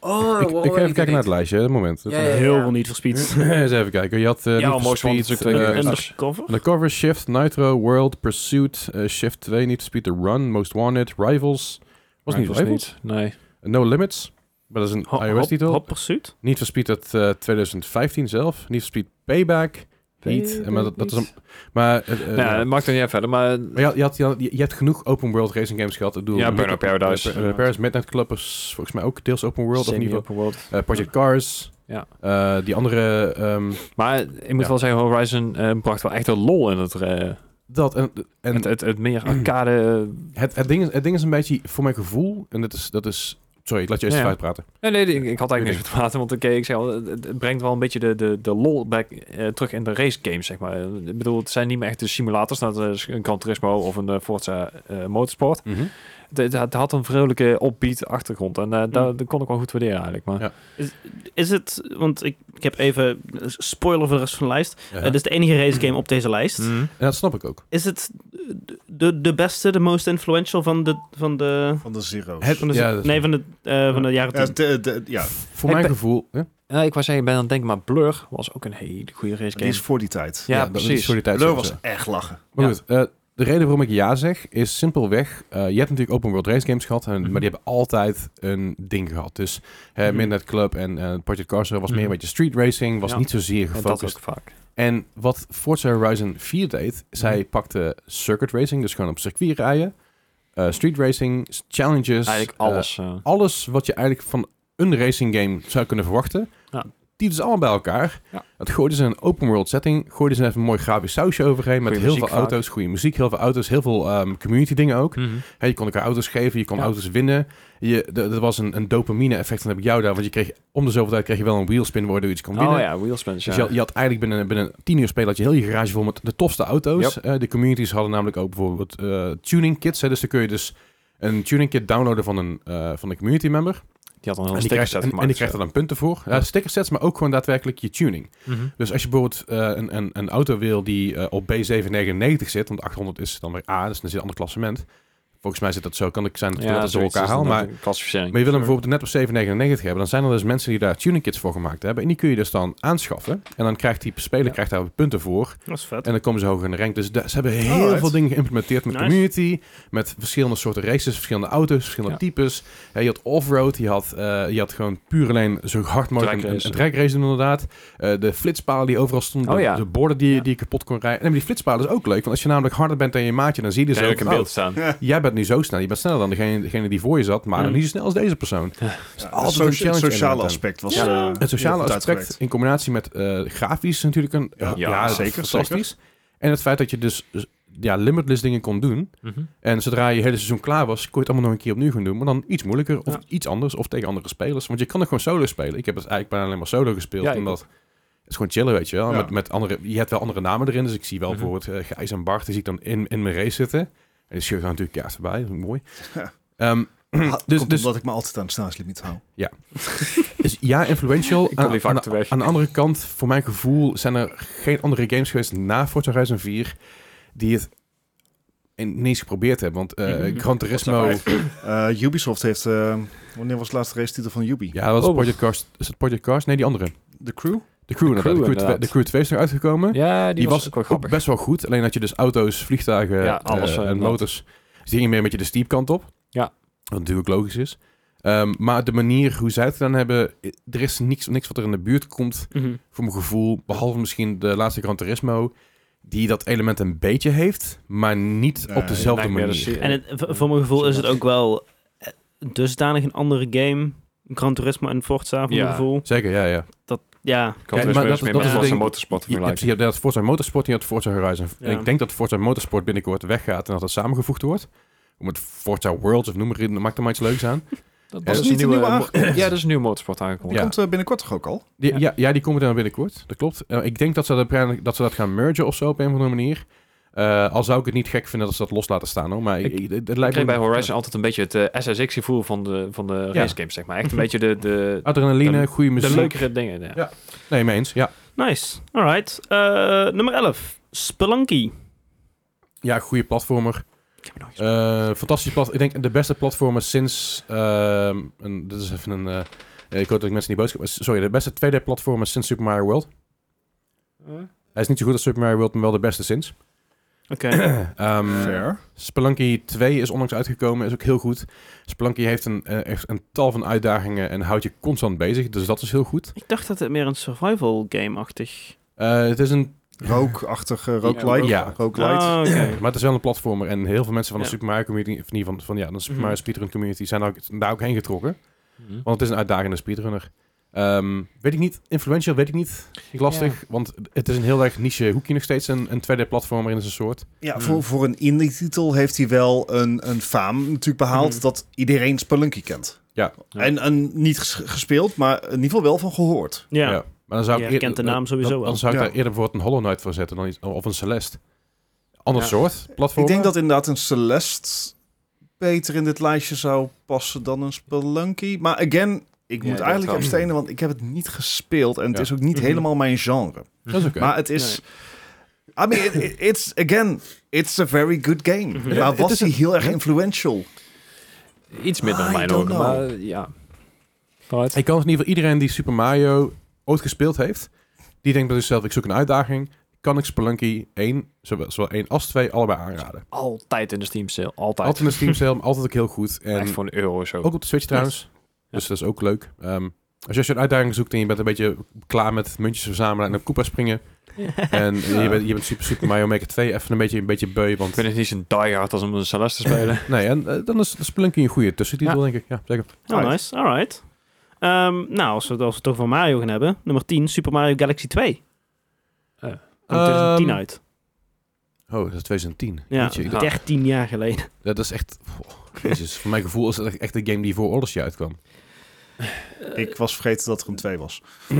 [SPEAKER 2] oh,
[SPEAKER 3] ik, ik ga even kijken naar het lijstje, hè, een moment.
[SPEAKER 2] Ja, ja.
[SPEAKER 1] heel veel niet verspeed.
[SPEAKER 3] *laughs* Eens even kijken. Je had eh
[SPEAKER 2] Ja,
[SPEAKER 3] Need for
[SPEAKER 2] Most Wanted
[SPEAKER 3] Speed,
[SPEAKER 2] is ook
[SPEAKER 3] eh,
[SPEAKER 2] twee keer.
[SPEAKER 1] Undercover?
[SPEAKER 3] Undercover, Shift, Nitro, World, Pursuit, eh, Shift 2, Need for Speed The Run, Most Wanted, Rivals. Was niet Rivals? Eh,
[SPEAKER 2] Nee.
[SPEAKER 3] No Limits. Maar dat is een
[SPEAKER 1] Ho- hop,
[SPEAKER 3] iOS-titel.
[SPEAKER 1] hop Pursuit?
[SPEAKER 3] Need for Speed uit eh, 2015 zelf. Need for Speed Payback. Heat. En maar dat, dat is een... Maar, eh, eh,
[SPEAKER 2] Nou, ja, het maakt er niet uit verder, maar...
[SPEAKER 3] Maar je, je, had, je, had- je hebt genoeg open world racing games gehad. Ik bedoel,
[SPEAKER 2] Ja,
[SPEAKER 3] Midnight-
[SPEAKER 2] Burnout Paradise.
[SPEAKER 3] eh, Burnout Paradise, Midnight Club is volgens mij ook deels open world. Of in ieder geval
[SPEAKER 2] Open world.
[SPEAKER 3] eh, Project Cars.
[SPEAKER 2] Ja.
[SPEAKER 3] Eh, die andere... ehm,
[SPEAKER 2] Maar ik moet
[SPEAKER 3] Ja.
[SPEAKER 2] wel zeggen, Horizon eh, bracht wel echt een lol in het, eh,
[SPEAKER 3] dat en, en
[SPEAKER 2] het, het, het
[SPEAKER 3] *clears throat*
[SPEAKER 2] meer arcade...
[SPEAKER 3] het, het, ding is, het ding is een beetje, voor mijn gevoel... En dat is... Dat is sorry, ik laat je eerst
[SPEAKER 2] Ja.
[SPEAKER 3] even uitpraten.
[SPEAKER 2] Nee, nee, ik, ik had
[SPEAKER 3] Ik
[SPEAKER 2] eigenlijk niks met praten, want oké, ik zei al, het, het brengt wel een beetje de, de, de lol back, eh, terug in de race games, zeg maar. Ik bedoel, het zijn niet meer echt de simulators, dat is een Gran Turismo of een eh, Forza eh, Motorsport. Het, het- het had een vrolijke opbeat achtergrond en eh, dat, dat kon ik wel goed waarderen eigenlijk, maar...
[SPEAKER 3] Mm. Ja.
[SPEAKER 1] Is het, want ik, ik heb even eh, spoiler voor de rest van de lijst.
[SPEAKER 3] Ja.
[SPEAKER 1] Eh,
[SPEAKER 2] dus-
[SPEAKER 1] dit is de enige race game op deze lijst.
[SPEAKER 2] Mhm.
[SPEAKER 3] En dat snap ik ook.
[SPEAKER 1] Is het de, de beste, de most influential van de... Van de,
[SPEAKER 4] Van de zero's.
[SPEAKER 3] Het-
[SPEAKER 1] van de
[SPEAKER 3] Ja, dat is-
[SPEAKER 1] nee, van de, eh, van de jaren
[SPEAKER 4] ja,
[SPEAKER 1] 10.
[SPEAKER 4] de, de, ja,
[SPEAKER 3] Voor
[SPEAKER 2] Ik
[SPEAKER 3] mijn
[SPEAKER 2] ben-
[SPEAKER 3] gevoel... Hè?
[SPEAKER 2] Ja, eh, ik was zeggen, ik ben aan het denken, maar Blur was ook een hele goede race
[SPEAKER 4] die
[SPEAKER 2] game.
[SPEAKER 4] is voor die tijd.
[SPEAKER 2] Ja,
[SPEAKER 3] dat is
[SPEAKER 2] precies.
[SPEAKER 3] Voor die tijd,
[SPEAKER 4] Blur
[SPEAKER 3] zo te
[SPEAKER 4] was
[SPEAKER 3] zeggen.
[SPEAKER 4] echt lachen.
[SPEAKER 3] Maar
[SPEAKER 2] Ja.
[SPEAKER 3] goed, eh, de reden waarom ik ja zeg is simpelweg, eh, je hebt natuurlijk open world race games gehad, en,
[SPEAKER 2] Mhm.
[SPEAKER 3] maar die hebben altijd een ding gehad. Dus eh,
[SPEAKER 1] Mhm.
[SPEAKER 3] Midnight Club en eh, Project Cars was meer
[SPEAKER 2] Mhm.
[SPEAKER 3] een beetje street racing, was
[SPEAKER 2] Ja.
[SPEAKER 3] niet zozeer
[SPEAKER 2] En dat ook
[SPEAKER 3] gefocust.
[SPEAKER 2] vaak.
[SPEAKER 3] En, wat Forza Horizon 4 deed, zij
[SPEAKER 2] Mhm.
[SPEAKER 3] pakte circuit racing, dus gewoon op circuit rijden, eh, street racing, s- challenges,
[SPEAKER 2] Eigenlijk
[SPEAKER 3] eh,
[SPEAKER 2] alles. eh,
[SPEAKER 3] alles wat je eigenlijk van een racing game zou kunnen verwachten.
[SPEAKER 2] Ja.
[SPEAKER 3] Die dus allemaal bij elkaar.
[SPEAKER 2] Ja.
[SPEAKER 3] Het gooiden ze in een open world setting. Gooiden ze even een mooi grafisch sausje overheen. Met
[SPEAKER 2] Goeie
[SPEAKER 3] heel veel
[SPEAKER 2] muziek vaak.
[SPEAKER 3] auto's, goede muziek, heel veel auto's, heel veel ehm, community dingen ook.
[SPEAKER 2] Mhm.
[SPEAKER 3] Hè, je kon elkaar auto's geven, je kon
[SPEAKER 2] Ja.
[SPEAKER 3] auto's winnen. Je, d- er was een, een dopamine effect, dan heb ik jou daar. Want je kreeg om de zoveel tijd kreeg je wel een wheelspin waardoor je iets kon winnen.
[SPEAKER 2] Oh ja, wheelspins.
[SPEAKER 3] Dus
[SPEAKER 2] Ja.
[SPEAKER 3] je, had- je had eigenlijk binnen, binnen tien uur spelen had je heel je garage vol met de tofste auto's. Eh, de communities hadden namelijk ook bijvoorbeeld eh, tuning kits. Hè, dus dan kun je dus een tuning kit downloaden van een, eh, van een community member.
[SPEAKER 2] Die had dan
[SPEAKER 3] En
[SPEAKER 2] een
[SPEAKER 3] die,
[SPEAKER 2] sticker
[SPEAKER 3] krijgt,
[SPEAKER 2] set
[SPEAKER 3] en, en
[SPEAKER 2] gemaakt.
[SPEAKER 3] die krijgt er dan punten voor. Ja, stickersets, maar ook gewoon daadwerkelijk je tuning.
[SPEAKER 2] Mhm.
[SPEAKER 3] Dus als je bijvoorbeeld eh, een, een, een auto wil die eh, op B799 zit, want 800 is dan weer A, dus dan zit een ander klassement. Volgens mij zit dat zo, kan ik zijn dat ik
[SPEAKER 2] Ja,
[SPEAKER 3] dat door
[SPEAKER 2] zoiets
[SPEAKER 3] elkaar
[SPEAKER 2] is
[SPEAKER 3] haal.
[SPEAKER 2] dan
[SPEAKER 3] Maar,
[SPEAKER 2] ook een Klassificering.
[SPEAKER 3] maar je wil hem bijvoorbeeld net op 799 hebben, dan zijn er dus mensen die daar tuning kits voor gemaakt hebben. En die kun je dus dan aanschaffen. En dan krijgt die speler
[SPEAKER 2] Ja.
[SPEAKER 3] krijgt daar punten voor.
[SPEAKER 1] Dat is vet.
[SPEAKER 3] En dan komen ze hoger in de rank. Dus da- ze hebben heel
[SPEAKER 4] Alright.
[SPEAKER 3] veel dingen geïmplementeerd met
[SPEAKER 1] Nice.
[SPEAKER 3] community. Met verschillende soorten races, verschillende auto's, verschillende
[SPEAKER 2] Ja.
[SPEAKER 3] types. Hè, je had off-road, je, had, eh, je had gewoon puur alleen zo hard mogelijk een, een
[SPEAKER 2] Trackrace.
[SPEAKER 3] trackrace doen inderdaad. Eh, de flitspalen die overal stonden,
[SPEAKER 2] Oh
[SPEAKER 3] de-
[SPEAKER 2] ja.
[SPEAKER 3] de borden die, je-
[SPEAKER 2] Ja.
[SPEAKER 3] die je kapot kon rijden. En maar die flitspalen is ook leuk, want als je namelijk harder bent dan je maatje, dan zie je dus
[SPEAKER 2] Krijg
[SPEAKER 3] ook,
[SPEAKER 2] ik in
[SPEAKER 3] oh,
[SPEAKER 2] beeld staan.
[SPEAKER 3] jij bent nu zo snel. Je bent sneller dan degene, degene die voor je zat, maar
[SPEAKER 1] Ja.
[SPEAKER 2] Mm.
[SPEAKER 3] nog niet zo snel als deze persoon.
[SPEAKER 4] Ja,
[SPEAKER 3] altijd een
[SPEAKER 4] het socia-
[SPEAKER 3] challenge element
[SPEAKER 4] sociale
[SPEAKER 3] aan.
[SPEAKER 4] aspect was...
[SPEAKER 2] Ja.
[SPEAKER 4] eh,
[SPEAKER 3] Het sociale
[SPEAKER 4] heel goed
[SPEAKER 3] aspect
[SPEAKER 4] uitgewerkt.
[SPEAKER 3] in combinatie met eh, grafisch natuurlijk een... eh,
[SPEAKER 4] Ja, zeker,
[SPEAKER 3] Fantastisch. En het feit dat je dus ja, limitless dingen kon doen,
[SPEAKER 2] Mhm.
[SPEAKER 3] en zodra je hele seizoen klaar was, kon je het allemaal nog een keer opnieuw gaan doen. Maar dan iets moeilijker of
[SPEAKER 2] Ja.
[SPEAKER 3] iets anders of tegen andere spelers. Want je kan er gewoon solo spelen. Ik heb het eigenlijk bijna alleen maar solo gespeeld.
[SPEAKER 2] Ja, ik
[SPEAKER 3] omdat het is gewoon chillen, weet je wel.
[SPEAKER 4] Ja.
[SPEAKER 3] Met, met andere, je hebt wel andere namen erin. Dus ik zie wel
[SPEAKER 2] Mhm.
[SPEAKER 3] bijvoorbeeld eh, Gijs en Bart. Die zie ik dan in, in mijn race zitten. En die shirt gaat natuurlijk kaart voorbij. Dat is mooi.
[SPEAKER 4] Ja.
[SPEAKER 3] Ehm, *clears throat*
[SPEAKER 4] Ha,
[SPEAKER 3] Dus-
[SPEAKER 4] Ah, komt
[SPEAKER 3] dus-
[SPEAKER 4] omdat ik me altijd aan de snelheidslimiet hou.
[SPEAKER 3] dus ja, influential.
[SPEAKER 2] Ik kom
[SPEAKER 3] Aan-
[SPEAKER 2] die vaak
[SPEAKER 3] aan-
[SPEAKER 2] te weg.
[SPEAKER 3] Aan de andere kant, voor mijn gevoel, zijn er geen andere games geweest na Forza Horizon 4 die het ineens geprobeerd hebben. Want eh
[SPEAKER 1] Mhm.
[SPEAKER 3] Gran Turismo...
[SPEAKER 4] Eh, Ubisoft heeft... eh, wanneer was de laatste race titel van Ubi?
[SPEAKER 3] Ja, dat was
[SPEAKER 2] Oh.
[SPEAKER 3] Project Cars. Is dat Project Cars? Nee, die andere.
[SPEAKER 4] De Crew?
[SPEAKER 3] De Crew, inderdaad. de, crew
[SPEAKER 2] Crew,
[SPEAKER 3] twee-
[SPEAKER 2] inderdaad.
[SPEAKER 3] de Crew 2 is eruit gekomen. die,
[SPEAKER 2] Ja, die,
[SPEAKER 3] was,
[SPEAKER 2] was ook wel
[SPEAKER 3] ook
[SPEAKER 2] grappig.
[SPEAKER 3] best wel goed. Alleen dat je dus auto's, vliegtuigen
[SPEAKER 2] Ja, alles,
[SPEAKER 3] eh,
[SPEAKER 2] eh,
[SPEAKER 3] en
[SPEAKER 2] inderdaad.
[SPEAKER 3] motors... Dus die gingen meer een beetje de steep kant op.
[SPEAKER 2] Ja.
[SPEAKER 3] Wat natuurlijk logisch is. Ehm, maar de manier hoe zij het gedaan hebben... i- Er is niks, niks wat er in de buurt komt,
[SPEAKER 1] Mhm.
[SPEAKER 3] voor mijn gevoel. Behalve misschien de laatste Gran Turismo... Die dat element een beetje heeft, maar niet
[SPEAKER 4] Nee,
[SPEAKER 3] op dezelfde
[SPEAKER 2] Nightmare
[SPEAKER 3] manier.
[SPEAKER 2] City.
[SPEAKER 1] En het, v- voor mijn gevoel is het ook wel eh, dusdanig een andere game. Gran Turismo en Forza, voor mijn
[SPEAKER 2] Ja.
[SPEAKER 1] gevoel.
[SPEAKER 3] Zeker, ja, ja.
[SPEAKER 1] Ja,
[SPEAKER 2] Kan
[SPEAKER 3] Ja,
[SPEAKER 2] dus
[SPEAKER 3] maar
[SPEAKER 2] meer-
[SPEAKER 3] dat-
[SPEAKER 2] meer
[SPEAKER 3] dat
[SPEAKER 2] met
[SPEAKER 1] is het
[SPEAKER 2] als een
[SPEAKER 3] ding.
[SPEAKER 2] motorsport
[SPEAKER 3] Je, je hebt, je
[SPEAKER 2] vergelijken.
[SPEAKER 3] hebt inderdaad Forza Motorsport en je hebt Forza Horizon.
[SPEAKER 1] Ja.
[SPEAKER 3] En ik denk dat Forza Motorsport binnenkort weggaat en dat het samengevoegd wordt. Om het Forza Worlds of noem maar in, maakt er maar iets leuks
[SPEAKER 2] *laughs*
[SPEAKER 3] aan.
[SPEAKER 2] Dat
[SPEAKER 3] is
[SPEAKER 2] was
[SPEAKER 4] niet
[SPEAKER 2] een
[SPEAKER 4] een
[SPEAKER 2] nieuwe,
[SPEAKER 4] nieuwe
[SPEAKER 2] mo- ja, dat is een nieuwe motorsport aangekomen.
[SPEAKER 3] Ja.
[SPEAKER 4] Komt eh, binnenkort toch ook al?
[SPEAKER 3] Die, ja.
[SPEAKER 2] Ja.
[SPEAKER 3] Ja, die komen dan binnenkort, dat klopt. Eh, ik denk dat ze, dat, waarschijnlijk- dat ze dat gaan mergen of zo op een of andere manier. Eh, al zou ik het niet gek vinden dat ze dat los laten staan hoor. Maar ik,
[SPEAKER 2] Ik-
[SPEAKER 3] ik- het- het
[SPEAKER 2] Ik
[SPEAKER 3] lijkt
[SPEAKER 2] kreeg bij
[SPEAKER 3] me
[SPEAKER 2] Horizon altijd een beetje het eh, SSX gevoel van de, van de
[SPEAKER 3] Ja. Oh,
[SPEAKER 2] race games, zeg maar. Echt een beetje de, de,
[SPEAKER 3] adrenaline,
[SPEAKER 2] de-
[SPEAKER 3] goede muziek.
[SPEAKER 2] de leukere dingen. Ja.
[SPEAKER 3] Ja. Nee, mee eens. Ja,
[SPEAKER 1] nice. Alright. Eh, nummer 11. Spelunky.
[SPEAKER 3] ja goede platformer. Eh, fantastisch plat. Ik denk de beste platformer sinds. ehm, een, dit is even een. eh, ik hoop dat ik mensen niet boos maar Sorry, de beste 2D-platformer sinds Super Mario World. Hij is niet zo goed als Super Mario World, maar wel de beste sinds.
[SPEAKER 1] Oké.
[SPEAKER 3] Ehm,
[SPEAKER 4] Fair.
[SPEAKER 3] Spelunky 2 is onlangs uitgekomen, is ook heel goed. Spelunky heeft een, eh, echt een tal van uitdagingen en houdt je constant bezig, dus dat is heel goed.
[SPEAKER 1] *clears throat* Ik dacht dat het meer een survival game-achtig...
[SPEAKER 3] Eh, het is een,
[SPEAKER 4] Rookachtige, eh, rooklight.
[SPEAKER 3] Ja.
[SPEAKER 4] Rooklight.
[SPEAKER 1] Ah, oké.
[SPEAKER 3] maar het is wel een platformer en heel veel mensen van de
[SPEAKER 1] Ja.
[SPEAKER 3] Super Mario community, of niet van, van ja, de Super
[SPEAKER 1] Mhm.
[SPEAKER 3] Mario speedrun community zijn daar ook, daar ook heen getrokken,
[SPEAKER 2] Hm.
[SPEAKER 3] want het is een uitdagende speedrunner. Ehm, weet ik niet, influential weet ik niet, lastig, want het is een heel erg niche hoekje nog steeds, een, een 2D-platformer in zijn soort.
[SPEAKER 4] Ja,
[SPEAKER 2] Hmm.
[SPEAKER 4] voor, voor een indie-titel heeft hij wel een, een faam natuurlijk behaald
[SPEAKER 1] Mhm.
[SPEAKER 4] dat iedereen Spelunky kent.
[SPEAKER 3] Ja.
[SPEAKER 2] Ja.
[SPEAKER 4] En, en niet ges- gespeeld, maar in ieder geval wel van gehoord.
[SPEAKER 1] *clears throat* Ja.
[SPEAKER 3] Maar dan zou
[SPEAKER 1] Je
[SPEAKER 3] ik
[SPEAKER 1] herkent de naam sowieso
[SPEAKER 3] dan,
[SPEAKER 1] wel.
[SPEAKER 3] Dan zou ik
[SPEAKER 4] Ja.
[SPEAKER 3] daar eerder bijvoorbeeld een Hollow Knight voor zetten dan iets, of een Celeste. Ander
[SPEAKER 2] Ja.
[SPEAKER 3] soort platform.
[SPEAKER 4] Ik denk dat inderdaad een Celeste beter in dit lijstje zou passen dan een Spelunky. Maar again, ik
[SPEAKER 2] Ja,
[SPEAKER 4] moet
[SPEAKER 2] dat
[SPEAKER 4] eigenlijk
[SPEAKER 2] wel.
[SPEAKER 4] abstenen, want ik heb het niet gespeeld. En het
[SPEAKER 3] Ja.
[SPEAKER 4] is ook niet
[SPEAKER 1] Mhm.
[SPEAKER 4] helemaal mijn genre.
[SPEAKER 3] Dat is oké.
[SPEAKER 4] Maar het is... I mean, it- it- it's, again, it's a very good game.
[SPEAKER 1] Mhm.
[SPEAKER 3] Ja,
[SPEAKER 4] Maar
[SPEAKER 3] het
[SPEAKER 4] was
[SPEAKER 3] is
[SPEAKER 4] hij
[SPEAKER 3] een-
[SPEAKER 4] heel erg influential?
[SPEAKER 2] Iets minder
[SPEAKER 4] I
[SPEAKER 2] in mijn
[SPEAKER 4] don't
[SPEAKER 2] ogen,
[SPEAKER 4] know.
[SPEAKER 2] maar eh, ja. Right.
[SPEAKER 3] Ik kan in ieder geval iedereen die Super Mario ooit gespeeld heeft, die denkt bij zichzelf, ik zoek een uitdaging. kan ik Spelunky 1, zowel, zowel 1 als 2, allebei aanraden.
[SPEAKER 2] Altijd in de Steam sale. Altijd.
[SPEAKER 3] Altijd in de Steam Sale, maar altijd ook heel goed. En
[SPEAKER 2] Echt voor een euro of zo.
[SPEAKER 3] ook op de Switch trouwens. Dus dat is ook leuk. Ehm, als je als je een uitdaging zoekt en je bent een beetje klaar met muntjes verzamelen en op Koopa springen. En je bent, je bent super, super Mario Maker 2 even een beetje, een beetje beu. Want
[SPEAKER 2] Ik vind het niet zo'n diehard als om een Celeste te spelen.
[SPEAKER 3] *clears throat* Nee, en eh, dan is Spelunky een goede tussentitel, denk ik. Ja, zeker.
[SPEAKER 1] Oh,
[SPEAKER 2] Alright.
[SPEAKER 1] nice. Alright. Ehm, nou, als we, als we het toch van Mario gaan hebben. Nummer 10, Super Mario Galaxy 2. Komt in 2010
[SPEAKER 3] Ehm,
[SPEAKER 1] uit.
[SPEAKER 3] Oh, dat is 2010.
[SPEAKER 1] Ja,
[SPEAKER 3] Jeetje, ik dacht-
[SPEAKER 1] 13 jaar
[SPEAKER 3] *clears throat*
[SPEAKER 1] geleden.
[SPEAKER 3] dat is echt... goh, jezus, voor mijn gevoel is dat echt een game die voor Odyssey uitkwam.
[SPEAKER 4] Ik was vergeten dat er een 2 was.
[SPEAKER 3] Eh,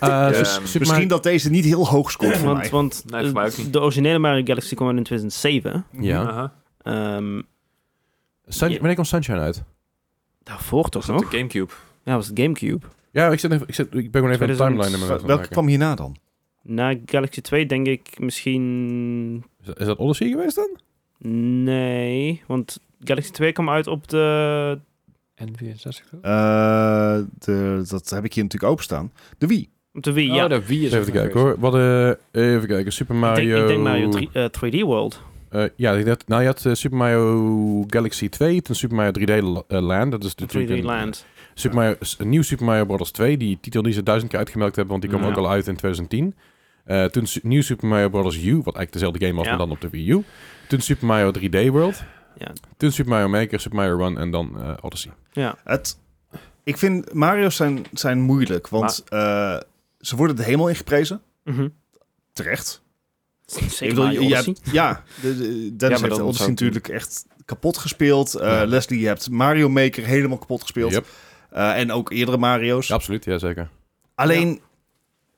[SPEAKER 2] Ehm,
[SPEAKER 3] dus Super
[SPEAKER 4] Misschien
[SPEAKER 3] Mario-
[SPEAKER 4] dat deze niet heel hoog scoort voor
[SPEAKER 1] want
[SPEAKER 4] mij.
[SPEAKER 1] want
[SPEAKER 2] Nee, voor mij ook
[SPEAKER 1] eh,
[SPEAKER 2] niet.
[SPEAKER 1] de originele Mario Galaxy kwam uit in 2007.
[SPEAKER 3] *laughs* Ja.
[SPEAKER 2] Aha.
[SPEAKER 1] Ehm,
[SPEAKER 3] Sun-
[SPEAKER 1] Ja.
[SPEAKER 3] Wanneer kwam Sunshine uit?
[SPEAKER 1] daarvoor toch
[SPEAKER 2] Was dat
[SPEAKER 1] nog?
[SPEAKER 2] de Gamecube?
[SPEAKER 1] Ja, was het Gamecube.
[SPEAKER 3] Ja, ik, zit even, ik, zit, ik ben gewoon even een
[SPEAKER 1] 2000
[SPEAKER 3] timeline in mijn hoofd aan het
[SPEAKER 4] Welke
[SPEAKER 3] maken.
[SPEAKER 4] kwam hierna dan?
[SPEAKER 1] Na Galaxy 2 denk ik misschien...
[SPEAKER 3] Is dat- Is dat Odyssey geweest dan?
[SPEAKER 1] Nee, want Galaxy 2 kwam uit op de...
[SPEAKER 2] N64?
[SPEAKER 4] Eh, de, dat heb ik hier natuurlijk openstaan. De Wii.
[SPEAKER 1] Op Oh, de Wii,
[SPEAKER 2] Ja,
[SPEAKER 1] ja.
[SPEAKER 2] Oh, de Wii is
[SPEAKER 3] Even
[SPEAKER 2] ook nog
[SPEAKER 3] kijken
[SPEAKER 2] geweest.
[SPEAKER 3] hoor. Wat, eh, even kijken. Super
[SPEAKER 1] Ik
[SPEAKER 3] Mario...
[SPEAKER 1] denk, ik denk Mario 3, eh, 3D World.
[SPEAKER 3] Eh, ja, ik dacht- nou je had eh, Super Mario Galaxy 2, toen Super Mario 3D La- eh, Land. Dat is natuurlijk
[SPEAKER 1] 3D
[SPEAKER 3] een-
[SPEAKER 1] Land.
[SPEAKER 3] Super Mario, een nieuw Super Mario Bros. 2, die titel die ze duizend keer uitgemelkt hebben, want die kwam
[SPEAKER 1] Ja.
[SPEAKER 3] ook al uit in 2010. Eh, toen su- nieuw Super Mario Bros. U, wat eigenlijk dezelfde game was,
[SPEAKER 1] Ja.
[SPEAKER 3] maar dan op de Wii U. Toen Super Mario 3D World.
[SPEAKER 1] Ja.
[SPEAKER 3] Toen Super Mario Maker, Super Mario Run en dan eh, Odyssey.
[SPEAKER 1] Ja.
[SPEAKER 4] Het, ik vind Mario's zijn, zijn moeilijk, want eh, ze worden de hemel ingeprezen.
[SPEAKER 1] Mhm.
[SPEAKER 4] Terecht.
[SPEAKER 1] Zeker
[SPEAKER 4] Ik bedoel,
[SPEAKER 1] Mario
[SPEAKER 4] je- je
[SPEAKER 1] Odyssey.
[SPEAKER 4] hebt- ja, de, de,
[SPEAKER 2] maar
[SPEAKER 4] Dennis
[SPEAKER 2] dat
[SPEAKER 4] heeft de
[SPEAKER 2] was
[SPEAKER 4] Odyssey
[SPEAKER 2] ook-
[SPEAKER 4] natuurlijk echt kapot gespeeld. Eh,
[SPEAKER 3] Ja.
[SPEAKER 4] Leslie, je hebt Mario Maker helemaal kapot gespeeld.
[SPEAKER 3] Yep.
[SPEAKER 4] Eh, en ook eerdere Mario's.
[SPEAKER 3] Ja, absoluut, ja zeker.
[SPEAKER 4] Alleen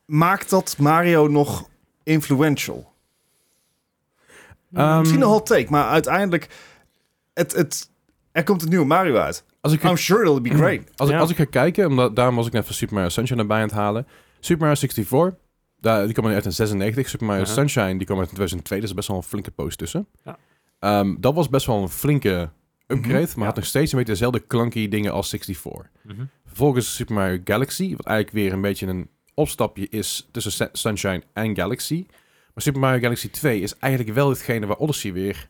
[SPEAKER 4] maakt dat Mario nog influential.
[SPEAKER 1] Mm.
[SPEAKER 3] Ehm,
[SPEAKER 4] Misschien een hot take, maar uiteindelijk... Het, het, er komt een nieuwe Mario uit.
[SPEAKER 3] als ik,
[SPEAKER 4] I'm
[SPEAKER 3] als,
[SPEAKER 4] sure it'll be great.
[SPEAKER 3] ik,
[SPEAKER 1] Ja.
[SPEAKER 3] als ik ga kijken, omdat daarom was ik net van Super Mario Sunshine erbij aan het halen. Super Mario 64, daar, die kwam uit in 96. Super Mario
[SPEAKER 2] Aha.
[SPEAKER 3] Sunshine, die kwam uit in 2002. Dus er is best wel een flinke poos tussen.
[SPEAKER 2] Uh-huh. Ja. Mm-hmm.
[SPEAKER 3] Ehm, dat was best wel een flinke upgrade, maar
[SPEAKER 2] Ja.
[SPEAKER 3] had nog steeds een beetje dezelfde clunky dingen als 64.
[SPEAKER 2] Mhm.
[SPEAKER 3] Vervolgens Super Mario Galaxy, wat eigenlijk weer een beetje een opstapje is tussen Sa- Sunshine en Galaxy. Maar Super Mario Galaxy 2 is eigenlijk wel hetgene waar Odyssey weer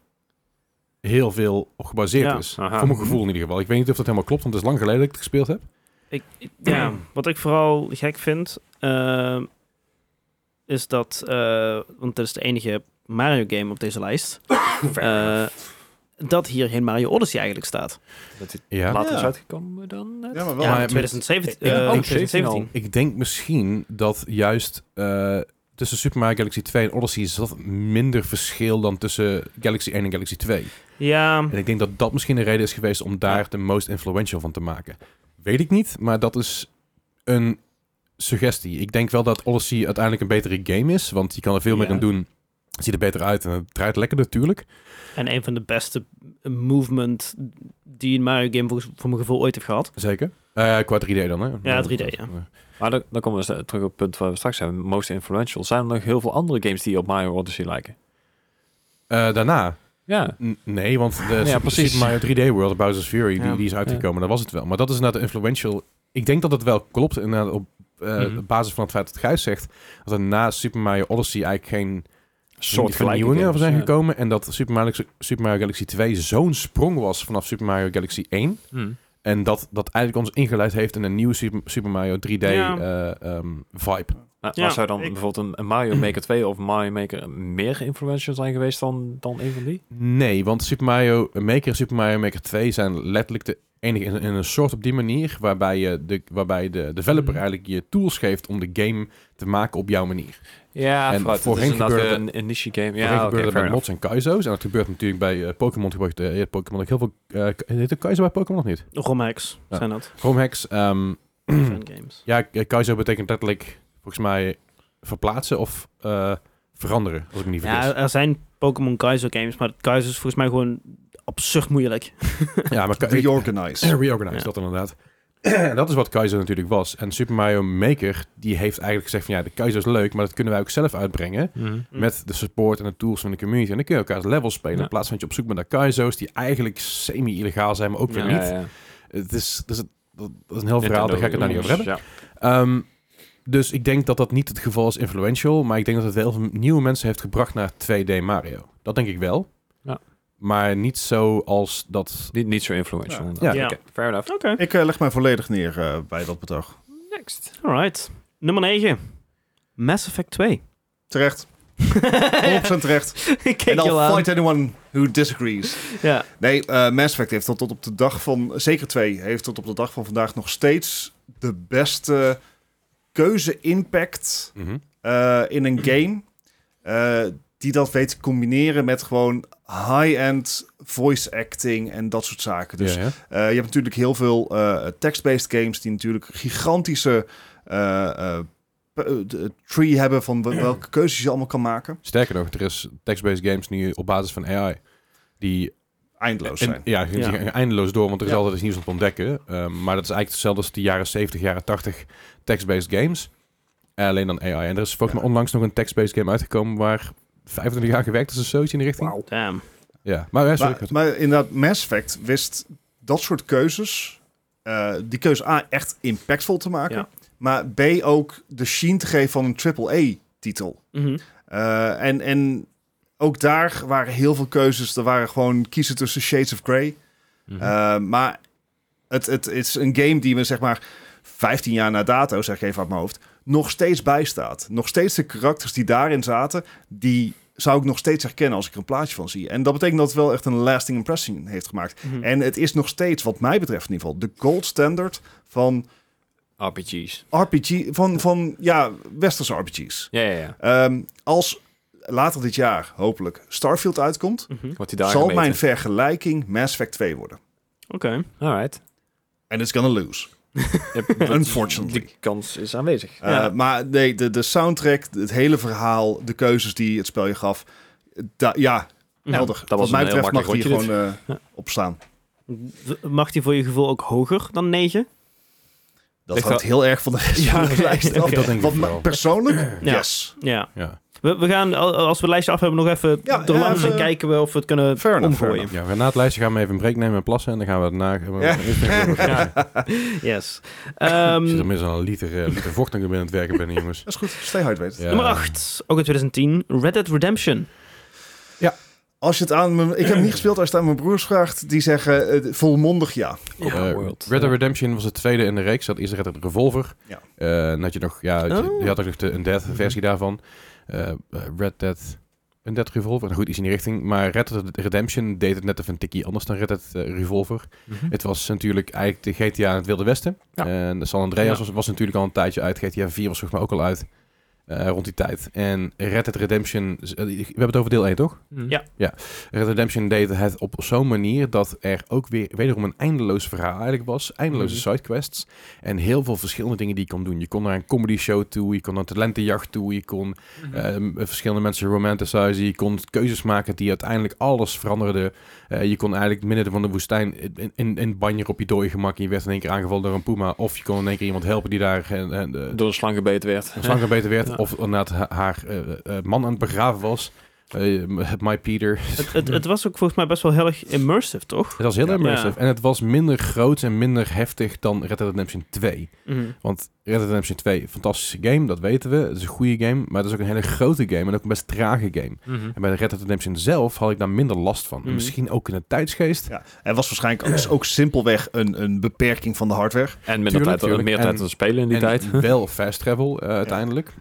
[SPEAKER 3] heel veel op gebaseerd
[SPEAKER 1] Ja,
[SPEAKER 3] is.
[SPEAKER 2] aha.
[SPEAKER 3] Voor mijn gevoel in ieder geval. Ik weet niet of dat helemaal klopt, want het is lang geleden dat ik het gespeeld heb.
[SPEAKER 1] Ik, ik- ja, wat ik vooral gek vind, ehm, is dat, eh, want dat is de enige Mario game op deze lijst, eh, dat hier geen Mario Odyssey eigenlijk staat.
[SPEAKER 2] Dat is
[SPEAKER 3] Ja.
[SPEAKER 2] later is
[SPEAKER 4] Ja.
[SPEAKER 2] uitgekomen dan net?
[SPEAKER 4] Ja, maar wel.
[SPEAKER 1] Ja,
[SPEAKER 3] maar
[SPEAKER 1] in
[SPEAKER 3] met-
[SPEAKER 1] 2017.
[SPEAKER 2] ik-
[SPEAKER 1] eh,
[SPEAKER 2] oh,
[SPEAKER 1] 2017.
[SPEAKER 3] Ik denk misschien dat juist eh, tussen Super Mario Galaxy 2 en Odyssey zat minder verschil dan tussen Galaxy 1 en Galaxy 2.
[SPEAKER 1] Ja,
[SPEAKER 3] En ik denk dat dat misschien de reden is geweest om daar de most influential van te maken. Weet ik niet, maar dat is een suggestie. Ik denk wel dat Odyssey uiteindelijk een betere game is, want je kan er veel meer
[SPEAKER 1] Ja.
[SPEAKER 3] in doen. Het ziet er beter uit en het draait lekker natuurlijk.
[SPEAKER 1] en een van de beste movement die een Mario game volgens, voor mijn gevoel ooit heeft gehad.
[SPEAKER 3] Zeker. Eh, qua 3D dan, hè?
[SPEAKER 1] Ja, 3D, ja.
[SPEAKER 2] Maar dan, dan komen we st- terug op het punt waar we straks zijn. Most influential. Zijn er nog heel veel andere games die op Mario Odyssey lijken?
[SPEAKER 3] Eh, daarna?
[SPEAKER 2] Ja.
[SPEAKER 3] N- nee, want de Super,
[SPEAKER 2] precies.
[SPEAKER 3] Super Mario 3D World, Bowser's Fury,
[SPEAKER 1] Ja.
[SPEAKER 3] die, die is uitgekomen. Dat was het wel. Maar dat is inderdaad de influential... Ik denk dat het wel klopt inderdaad op eh,
[SPEAKER 2] Mhm.
[SPEAKER 3] op basis van het feit dat Gijs zegt... dat er na Super Mario Odyssey eigenlijk geen soort
[SPEAKER 2] gelijke
[SPEAKER 3] vernieuwingen over
[SPEAKER 2] games,
[SPEAKER 3] zijn
[SPEAKER 2] ja.
[SPEAKER 3] gekomen. En dat Super Mario, Super Mario Galaxy 2 zo'n sprong was vanaf Super Mario Galaxy 1.
[SPEAKER 2] Hmm.
[SPEAKER 3] En dat dat eigenlijk ons ingeleid heeft in een nieuwe Super, Super Mario 3D
[SPEAKER 1] Ja.
[SPEAKER 3] eh, ehm, vibe.
[SPEAKER 2] Nou,
[SPEAKER 1] Ja,
[SPEAKER 2] maar zou dan
[SPEAKER 1] ik-
[SPEAKER 2] bijvoorbeeld een, een Mario Maker 2 of Mario Maker meer influential zijn geweest dan, dan een van die?
[SPEAKER 3] Nee, want Super Mario Maker en Super Mario Maker 2 zijn letterlijk de enige in, in een soort op die manier... waarbij, je de, waarbij de developer
[SPEAKER 2] Mhm.
[SPEAKER 3] eigenlijk je tools geeft om de game te maken op jouw manier.
[SPEAKER 2] Ja,
[SPEAKER 3] En
[SPEAKER 2] vooruit. Het
[SPEAKER 3] voorheen
[SPEAKER 2] is inderdaad
[SPEAKER 3] gebeurde-
[SPEAKER 2] een, een niche
[SPEAKER 3] Ja,
[SPEAKER 2] game. Ja, oké,
[SPEAKER 3] gebeurde dat
[SPEAKER 2] fair
[SPEAKER 3] bij mods en kaizo's. En dat gebeurt natuurlijk bij eh, Pokémon. Gebeurt, eh, Pokémon ook heel veel... eh heet het kaizo bij Pokémon of niet?
[SPEAKER 1] Romhacks
[SPEAKER 3] Ja.
[SPEAKER 1] zijn
[SPEAKER 4] *clears throat*
[SPEAKER 1] dat,
[SPEAKER 3] Chromehacks, ehm *clears throat*
[SPEAKER 1] fan games.
[SPEAKER 3] Ja, k- kaizo betekent letterlijk volgens mij verplaatsen of eh, veranderen, als ik me niet vergis.
[SPEAKER 1] Ja,
[SPEAKER 2] eh,
[SPEAKER 3] Ja,
[SPEAKER 1] er zijn Pokémon Kaizo games, maar Kaizo is volgens mij gewoon absurd moeilijk.
[SPEAKER 2] *laughs*
[SPEAKER 3] maar ka-
[SPEAKER 4] Reorganize.
[SPEAKER 3] reorganize,
[SPEAKER 1] Ja.
[SPEAKER 3] dat inderdaad. *clears throat* dat is wat kaizo natuurlijk was. En Super Mario Maker, die heeft eigenlijk gezegd van ja, de kaizo is leuk, maar dat kunnen wij ook zelf uitbrengen.
[SPEAKER 2] Mhm.
[SPEAKER 1] Mm.
[SPEAKER 3] Met de support en de tools van de community. En dan kun je elkaar levels spelen.
[SPEAKER 2] Ja.
[SPEAKER 3] In plaats van dat je op zoek bent naar kaizo's die eigenlijk semi-illegaal zijn, maar ook weer
[SPEAKER 1] Ja,
[SPEAKER 3] niet.
[SPEAKER 2] ja.
[SPEAKER 3] Het is, dus het, dat dat is een heel verhaal, daar ga ik het nou niet over hebben.
[SPEAKER 2] Ja.
[SPEAKER 3] Ehm, Dus ik denk dat dat niet het geval is influential, maar ik denk dat het wel heel veel nieuwe mensen heeft gebracht naar 2D Mario. Dat denk ik wel.
[SPEAKER 2] Ja.
[SPEAKER 3] Maar niet zo als dat...
[SPEAKER 2] Niet, niet zo influential.
[SPEAKER 4] Ja.
[SPEAKER 2] inderdaad.
[SPEAKER 1] Ja.
[SPEAKER 2] Oké, fair enough.
[SPEAKER 1] Oké,
[SPEAKER 4] Ik eh, leg mij volledig neer eh, bij dat bedrag.
[SPEAKER 2] Next.
[SPEAKER 1] alright. Nummer 9. Mass Effect 2.
[SPEAKER 4] Terecht. 100% terecht.
[SPEAKER 1] *laughs* Ik keek
[SPEAKER 4] En
[SPEAKER 1] je al
[SPEAKER 4] I'll
[SPEAKER 1] aan.
[SPEAKER 4] fight anyone who disagrees.
[SPEAKER 1] Ja.
[SPEAKER 4] Nee, eh Mass Effect heeft tot, tot op de dag van... Zeker twee heeft tot op de dag van vandaag nog steeds... de beste keuze-impact... eh, in een game. eh, die dat weet te combineren met gewoon high-end voice acting en dat soort zaken. Dus
[SPEAKER 3] Ja, ja.
[SPEAKER 4] eh, je hebt natuurlijk heel veel eh, text-based games die natuurlijk gigantische eh, eh, p- eh, de- tree hebben van wel- welke keuzes je allemaal kan maken.
[SPEAKER 3] Sterker nog, er is text-based games nu op basis van AI. Die
[SPEAKER 4] Eindeloos
[SPEAKER 3] en-
[SPEAKER 4] zijn.
[SPEAKER 3] ja, die
[SPEAKER 1] Ja.
[SPEAKER 3] gaan eindeloos door, want er is
[SPEAKER 4] Ja.
[SPEAKER 3] altijd iets nieuws om te ontdekken. Ehm, maar dat is eigenlijk hetzelfde als de jaren 70, jaren 80 text-based games. Eh, alleen dan AI. En er is volgens
[SPEAKER 4] Ja.
[SPEAKER 3] mij onlangs nog een text-based game uitgekomen waar 25 jaar gewerkt is of zoiets in die richting.
[SPEAKER 1] Damn.
[SPEAKER 3] Ja, maar, ja, sorry,
[SPEAKER 4] maar, maar inderdaad, Mass Effect wist dat soort keuzes, eh, die keuze A, echt impactvol te maken.
[SPEAKER 1] Ja.
[SPEAKER 4] Maar B, ook de sheen te geven van een AAA-titel.
[SPEAKER 1] Mhm.
[SPEAKER 4] Eh, en, en ook daar waren heel veel keuzes. Er waren gewoon kiezen tussen Shades of Grey. Eh, maar het, het, is een game die me zeg maar 15 jaar na dato, zeg ik even uit mijn hoofd, nog steeds bijstaat. Nog steeds de karakters die daarin zaten, die zou ik nog steeds herkennen als ik er een plaatje van zie. En dat betekent dat het wel echt een lasting impression heeft gemaakt.
[SPEAKER 1] Mhm.
[SPEAKER 4] En het is nog steeds, wat mij betreft in ieder geval, de gold standard van
[SPEAKER 2] RPG's.
[SPEAKER 4] RPG, van, van ja, westerse RPG's.
[SPEAKER 2] Ja, ja, ja.
[SPEAKER 4] Ehm, als later dit jaar, hopelijk, Starfield uitkomt,
[SPEAKER 1] Mhm.
[SPEAKER 2] Wordt hij daar
[SPEAKER 4] zal
[SPEAKER 2] gemeten.
[SPEAKER 4] mijn vergelijking Mass Effect 2 worden.
[SPEAKER 1] Oké.
[SPEAKER 2] Alright.
[SPEAKER 4] En it's gonna lose. Unfortunately.
[SPEAKER 2] Die kans is aanwezig.
[SPEAKER 4] Eh,
[SPEAKER 1] Ja.
[SPEAKER 4] Maar nee, de, de soundtrack, het hele verhaal, de keuzes die het spel je gaf. da- ja, helder.
[SPEAKER 2] dat was
[SPEAKER 4] Wat mij
[SPEAKER 2] een heel
[SPEAKER 4] betreft mag die
[SPEAKER 2] makkelijk
[SPEAKER 4] gewoon
[SPEAKER 2] rondje
[SPEAKER 4] eh, op staan.
[SPEAKER 1] V- Mag die voor je gevoel ook hoger dan 9?
[SPEAKER 4] Dat
[SPEAKER 2] Ligt
[SPEAKER 4] hangt heel erg van de rest van de lijst af.
[SPEAKER 3] dat denk ik
[SPEAKER 4] Want
[SPEAKER 3] wel.
[SPEAKER 4] mij- persoonlijk,
[SPEAKER 1] Ja.
[SPEAKER 4] yes.
[SPEAKER 1] Ja.
[SPEAKER 3] ja.
[SPEAKER 1] We, we gaan, al- als we het lijstje af hebben, nog even
[SPEAKER 4] Ja,
[SPEAKER 1] er
[SPEAKER 4] ja,
[SPEAKER 1] langs en
[SPEAKER 4] even-
[SPEAKER 1] kijken we of we het kunnen
[SPEAKER 4] Fair enough, fair
[SPEAKER 1] omgooien.
[SPEAKER 3] ja, we gaan na het lijstje gaan we even een break nemen en plassen. En dan gaan we daarna...
[SPEAKER 4] Ja.
[SPEAKER 3] *laughs* Ja.
[SPEAKER 1] Yes.
[SPEAKER 4] *laughs*
[SPEAKER 3] Ik zit
[SPEAKER 1] Ehm
[SPEAKER 3] inmiddels al een liter, eh, liter vocht aan ik ben aan het werken ben, jongens.
[SPEAKER 4] Dat is goed. Stay hydrated.
[SPEAKER 3] Ja.
[SPEAKER 1] Nummer 8, ook in 2010, Red Dead Redemption.
[SPEAKER 4] Als je het aan mijn... Ik heb hem niet gespeeld. Als je het aan mijn broers vraagt, die zeggen eh, volmondig ja.
[SPEAKER 3] Eh, Red Dead Redemption was het tweede in de reeks. Dat is Red Dead Revolver.
[SPEAKER 4] Ja.
[SPEAKER 3] Eh, en had je nog, ja,
[SPEAKER 1] Oh.
[SPEAKER 3] je had ook nog de Undead versie daarvan. Eh, eh, Red Dead, Undead Revolver. Nou goed, iets in die richting. Maar Red Dead Redemption deed het net even een tikkie anders dan Red Dead eh, Revolver.
[SPEAKER 2] Mhm.
[SPEAKER 3] Het was natuurlijk eigenlijk de GTA in het Wilde Westen.
[SPEAKER 2] Ja.
[SPEAKER 3] En San Andreas
[SPEAKER 2] Ja.
[SPEAKER 3] was, was natuurlijk al een tijdje uit. GTA 4 was volgens mij ook al uit. eh, rond die tijd. En Red Dead Redemption... eh, We hebben het over deel 1, toch?
[SPEAKER 1] Ja.
[SPEAKER 3] Red Dead Redemption deed het op zo'n manier dat er ook weer wederom een eindeloos verhaal eigenlijk was. Eindeloze
[SPEAKER 2] Mhm.
[SPEAKER 3] sidequests. En heel veel verschillende dingen die je kon doen. Je kon naar een comedy show toe, je kon naar een talentenjacht toe, je kon
[SPEAKER 2] Mhm.
[SPEAKER 3] ehm, verschillende mensen romanticizen, je kon keuzes maken die uiteindelijk alles veranderden. Eh, je kon eigenlijk midden van de woestijn in, in, in banjer op je dode gemak en je werd in één keer aangevallen door een puma. Of je kon in één keer iemand helpen die daar en, en, eh,
[SPEAKER 2] Door een slang gebeten werd. *laughs*
[SPEAKER 3] zwanger beter werd.
[SPEAKER 2] Ja.
[SPEAKER 3] Of inderdaad ha- haar eh, eh, man aan het begraven was. Eh, *laughs* my Peter.
[SPEAKER 1] Het, het, het was ook volgens mij best wel heel erg immersive, toch?
[SPEAKER 3] Het was heel
[SPEAKER 1] Ja.
[SPEAKER 3] immersive.
[SPEAKER 1] Ja.
[SPEAKER 3] En het was minder groot en minder heftig dan Red Dead Redemption 2.
[SPEAKER 1] Mhm.
[SPEAKER 3] Want Red Dead Redemption 2, fantastische game, dat weten we. Het is een goede game, maar het is ook een hele grote game en ook een best trage game.
[SPEAKER 2] Mhm.
[SPEAKER 3] En bij Red Dead Redemption zelf had ik daar minder last van. En
[SPEAKER 1] Mhm.
[SPEAKER 3] Misschien ook in de tijdsgeest.
[SPEAKER 4] Ja, er was waarschijnlijk ook, ook simpelweg een, een beperking van de hardware.
[SPEAKER 2] En minder tijd,
[SPEAKER 3] tuurlijk.
[SPEAKER 2] meer
[SPEAKER 3] En-
[SPEAKER 2] tijd te spelen in die
[SPEAKER 3] en
[SPEAKER 2] tijd. *laughs*
[SPEAKER 3] wel fast travel eh, uiteindelijk.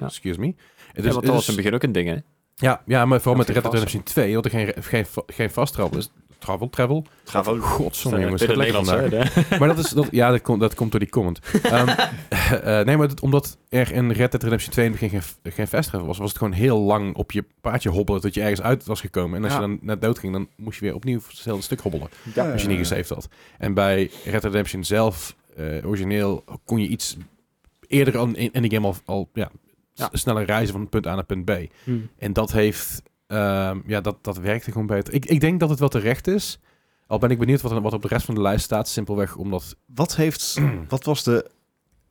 [SPEAKER 3] Excuse me. Het
[SPEAKER 2] ja,
[SPEAKER 3] is- het
[SPEAKER 2] want dat
[SPEAKER 3] is-
[SPEAKER 2] was in het begin ook een ding, hè?
[SPEAKER 3] ja, ja, maar vooral
[SPEAKER 2] Of
[SPEAKER 3] met
[SPEAKER 2] geen
[SPEAKER 3] Red Dead
[SPEAKER 2] fast-
[SPEAKER 3] Redemption 2, want er geen, geen, geen fast travel is. Travel, travel.
[SPEAKER 2] Travel.
[SPEAKER 3] Godsamme
[SPEAKER 2] Eh,
[SPEAKER 3] jongens,
[SPEAKER 2] tweede
[SPEAKER 3] het lijkt
[SPEAKER 2] Nederlands,
[SPEAKER 3] vandaag.
[SPEAKER 2] hè, de-
[SPEAKER 3] Maar dat is, dat, ja, dat, komt dat komt door die comment. Ehm, *laughs* eh, nee, maar het- omdat er in Red Dead Redemption 2 in het begin geen, geen fast travel was, was het gewoon heel lang op je paardje hobbelen tot je ergens uit was gekomen. En als
[SPEAKER 2] Ja.
[SPEAKER 3] je dan net dood ging, dan moest je weer opnieuw voor hetzelfde stuk hobbelen,
[SPEAKER 2] Ja.
[SPEAKER 3] als je niet gesaved had. En bij Red Dead Redemption zelf, eh, origineel, kon je iets eerder al in, in de game al, al ja, s-
[SPEAKER 2] Ja.
[SPEAKER 3] sneller reizen van punt A naar punt B.
[SPEAKER 1] Mhm.
[SPEAKER 3] En dat heeft, ehm, ja, dat, dat werkte gewoon beter. Ik, ik denk dat het wel terecht is. Al ben ik benieuwd wat, er- wat op de rest van de lijst staat. Simpelweg omdat
[SPEAKER 4] Wat heeft, wat was de,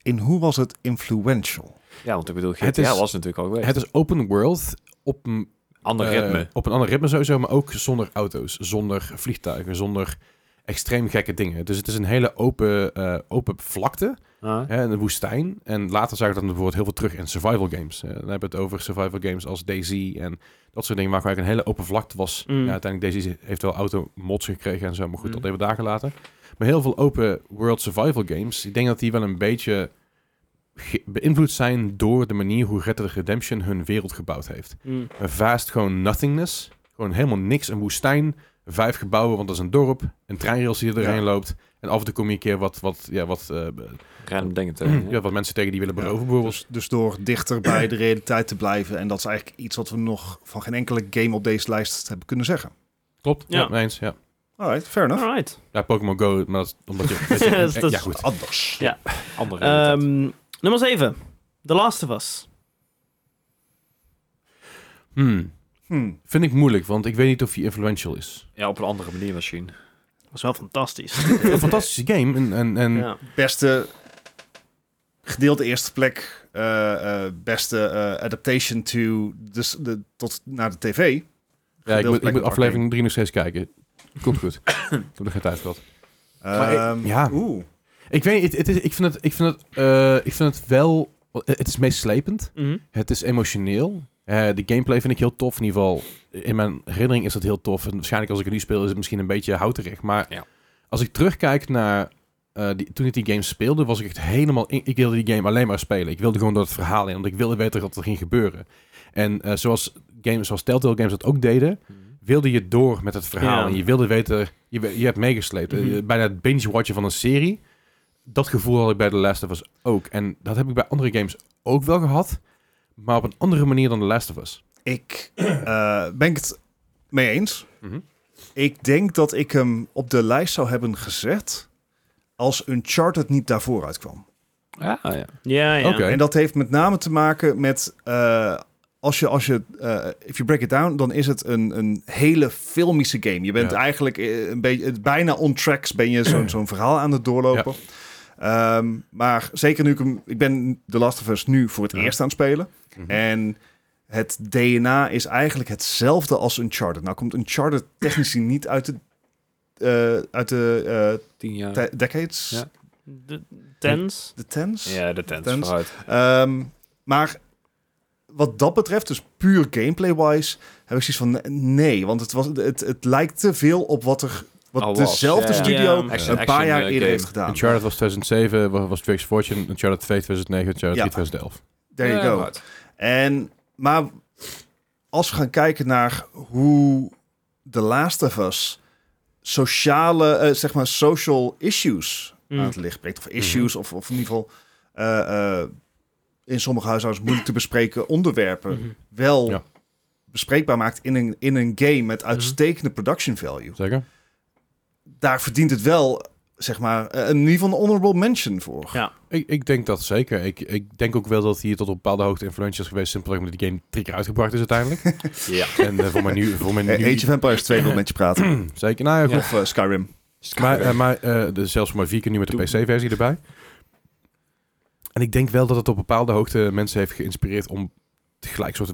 [SPEAKER 4] in hoe was het influential?
[SPEAKER 2] *laughs* Ja, want ik bedoel, GTA
[SPEAKER 3] Het is-
[SPEAKER 2] was natuurlijk al geweest.
[SPEAKER 3] het is open world op een,
[SPEAKER 2] Ander
[SPEAKER 3] eh,
[SPEAKER 2] ritme.
[SPEAKER 3] op een ander ritme sowieso, maar ook zonder auto's, zonder vliegtuigen, zonder extreem gekke dingen. Dus het is een hele open, eh, open vlakte,
[SPEAKER 2] Ah.
[SPEAKER 3] hè, een woestijn. En later zag ik dat bijvoorbeeld heel veel terug in survival games. Eh, dan hebben we het over survival games als DayZ en dat soort dingen, waar eigenlijk een hele open vlakte was.
[SPEAKER 1] Mm.
[SPEAKER 3] Ja, uiteindelijk DayZ heeft wel automods gekregen en zo, maar goed,
[SPEAKER 2] Mm.
[SPEAKER 3] dat even dagen later. Maar heel veel open world survival games, ik denk dat die wel een beetje ge- beïnvloed zijn door de manier hoe Red Dead Redemption hun wereld gebouwd heeft
[SPEAKER 1] Mm.
[SPEAKER 3] een vast gewoon nothingness. Gewoon helemaal niks. Een woestijn, vijf gebouwen, want dat is een dorp. Een treinrails die er
[SPEAKER 4] Ja.
[SPEAKER 3] doorheen loopt. En af en toe kom je een keer wat, wat, ja, wat, eh,
[SPEAKER 2] Random dingen
[SPEAKER 3] *clears throat*
[SPEAKER 2] tegen.
[SPEAKER 3] ja. wat mensen tegen die willen beroven bijvoorbeeld.
[SPEAKER 4] Dus, dus door dichter bij de realiteit te blijven. En dat is eigenlijk iets wat we nog van geen enkele game op deze lijst hebben kunnen zeggen.
[SPEAKER 3] Klopt, ja.
[SPEAKER 1] Ja.
[SPEAKER 3] mee eens, ja.
[SPEAKER 4] Alright, fair enough.
[SPEAKER 1] Alright.
[SPEAKER 3] Ja, Pokémon Go, maar dat is
[SPEAKER 1] *laughs*
[SPEAKER 3] omdat je... weet je,
[SPEAKER 1] Dat is-
[SPEAKER 3] eh,
[SPEAKER 1] dus dat
[SPEAKER 3] ja,
[SPEAKER 1] is-
[SPEAKER 3] goed.
[SPEAKER 4] Anders.
[SPEAKER 1] Ja.
[SPEAKER 2] Andere realiteit.
[SPEAKER 1] Ehm, nummer 7. The Last of Us.
[SPEAKER 3] Hmm,
[SPEAKER 4] Hmm.
[SPEAKER 3] Vind ik moeilijk, want ik weet niet of hij influential
[SPEAKER 1] *laughs*
[SPEAKER 3] is.
[SPEAKER 2] ja, op een andere manier misschien.
[SPEAKER 1] Was wel fantastisch.
[SPEAKER 3] Een fantastische game. En, en, en
[SPEAKER 1] ja.
[SPEAKER 4] Beste gedeelde eerste plek. eh, eh, beste eh, adaptation to dus de, tot naar de tv.
[SPEAKER 3] ja, ik, moet, ik
[SPEAKER 4] plek
[SPEAKER 3] moet
[SPEAKER 4] op
[SPEAKER 3] aflevering 3 nog steeds kijken. Komt
[SPEAKER 1] *coughs*
[SPEAKER 3] goed. ik heb er geen tijd voor gehad. Maar ik-
[SPEAKER 4] Ehm,
[SPEAKER 3] ja.
[SPEAKER 4] Oeh.
[SPEAKER 3] Ik weet niet, het, het is, ik vind het, ik vind het, eh, ik vind het wel... Het is meeslepend.
[SPEAKER 1] Mhm.
[SPEAKER 3] Het is emotioneel. Eh, de gameplay vind ik heel tof. In ieder geval, in mijn herinnering is dat heel tof. En waarschijnlijk als ik het nu speel, is het misschien een beetje houterig. Maar
[SPEAKER 2] Ja.
[SPEAKER 3] als ik terugkijk naar... eh, die, toen ik die game speelde, was ik echt helemaal... In, ik wilde die game alleen maar spelen. Ik wilde gewoon door het verhaal in. Want ik wilde weten wat er ging gebeuren. En eh, zoals, games, zoals Telltale Games dat ook deden... wilde je door met het verhaal.
[SPEAKER 1] Ja.
[SPEAKER 3] En je wilde weten... Je, we- je hebt meegesleept. Eh,
[SPEAKER 1] Mhm.
[SPEAKER 3] Bijna het binge-watchen van een serie. Dat gevoel had ik bij The Last of Us ook. En dat heb ik bij andere games ook wel gehad maar op een andere manier dan The Last of Us.
[SPEAKER 4] Ik eh, ben ik het mee eens.
[SPEAKER 3] Mhm.
[SPEAKER 4] Ik denk dat ik hem op de lijst zou hebben gezet als Uncharted niet daarvoor uitkwam.
[SPEAKER 2] Ja, Ah, ja.
[SPEAKER 1] Ja, ja.
[SPEAKER 3] Oké.
[SPEAKER 4] En dat heeft met name te maken met eh, als je, als je, eh, if you break it down, dan is het een, een hele filmische game. Je bent
[SPEAKER 3] Ja.
[SPEAKER 4] eigenlijk eh, een beetje het- bijna on tracks ben je
[SPEAKER 3] *clears throat*
[SPEAKER 4] zo'n zo'n verhaal aan het doorlopen. Ehm, maar zeker nu ik hem, ik ben The Last of Us nu voor het
[SPEAKER 3] Ja.
[SPEAKER 4] eerst aan het spelen.
[SPEAKER 3] Mhm.
[SPEAKER 4] En het DNA is eigenlijk hetzelfde als Uncharted. Nou komt Uncharted technisch gezien niet uit de, eh, uit de eh,
[SPEAKER 2] Tien jaar.
[SPEAKER 4] de- decades,
[SPEAKER 2] Ja.
[SPEAKER 1] De tens.
[SPEAKER 4] de tens.
[SPEAKER 2] ja, de tent
[SPEAKER 4] Tens.
[SPEAKER 2] vooruit.
[SPEAKER 4] Ehm, maar wat dat betreft, dus puur gameplay-wise, heb ik zoiets van ne- nee. Want het, was, het, het lijkt te veel op wat er wat
[SPEAKER 2] Al was,
[SPEAKER 4] dezelfde
[SPEAKER 2] ja, ja.
[SPEAKER 4] studio
[SPEAKER 1] Ja.
[SPEAKER 2] Action-
[SPEAKER 4] een
[SPEAKER 2] action,
[SPEAKER 4] paar jaar
[SPEAKER 2] eh,
[SPEAKER 4] eerder
[SPEAKER 2] game.
[SPEAKER 4] heeft gedaan.
[SPEAKER 3] Uncharted was 2007, wa- was Drake's Fortune, Uncharted 2 2009, Uncharted
[SPEAKER 4] Ja.
[SPEAKER 3] 3 2011.
[SPEAKER 4] There you
[SPEAKER 2] Ja,
[SPEAKER 4] go.
[SPEAKER 2] vooruit.
[SPEAKER 4] En, maar als we gaan kijken naar hoe The Last of Us sociale, eh, zeg maar social issues
[SPEAKER 1] Mm.
[SPEAKER 4] aan het licht brengt. Of issues, of, of in ieder geval eh, eh, in sommige huishoudens moeilijk te bespreken onderwerpen
[SPEAKER 1] Mhm.
[SPEAKER 4] wel
[SPEAKER 3] Ja.
[SPEAKER 4] bespreekbaar maakt in een, in een game met uitstekende production value.
[SPEAKER 3] Zeker?
[SPEAKER 4] Daar verdient het wel, zeg maar, eh, in ieder geval een honorable mention voor.
[SPEAKER 1] Ja.
[SPEAKER 3] Ik, ik denk dat zeker. Ik, ik denk ook wel dat hij tot op bepaalde hoogte influential is geweest, simpelweg omdat die game drie keer uitgebracht is uiteindelijk.
[SPEAKER 2] Ja.
[SPEAKER 3] en eh, voor mijn nu... Voor mijn
[SPEAKER 4] Eh,
[SPEAKER 3] nu
[SPEAKER 4] Age of Empires 2 wil met je praten.
[SPEAKER 3] zeker, nou ja, goed.
[SPEAKER 4] Of eh, Skyrim.
[SPEAKER 3] Maar, eh, maar eh, dus zelfs voor mijn 4 keer nu met de
[SPEAKER 2] Doe-
[SPEAKER 3] PC-versie erbij. En ik denk wel dat het op bepaalde hoogte mensen heeft geïnspireerd om gelijk soort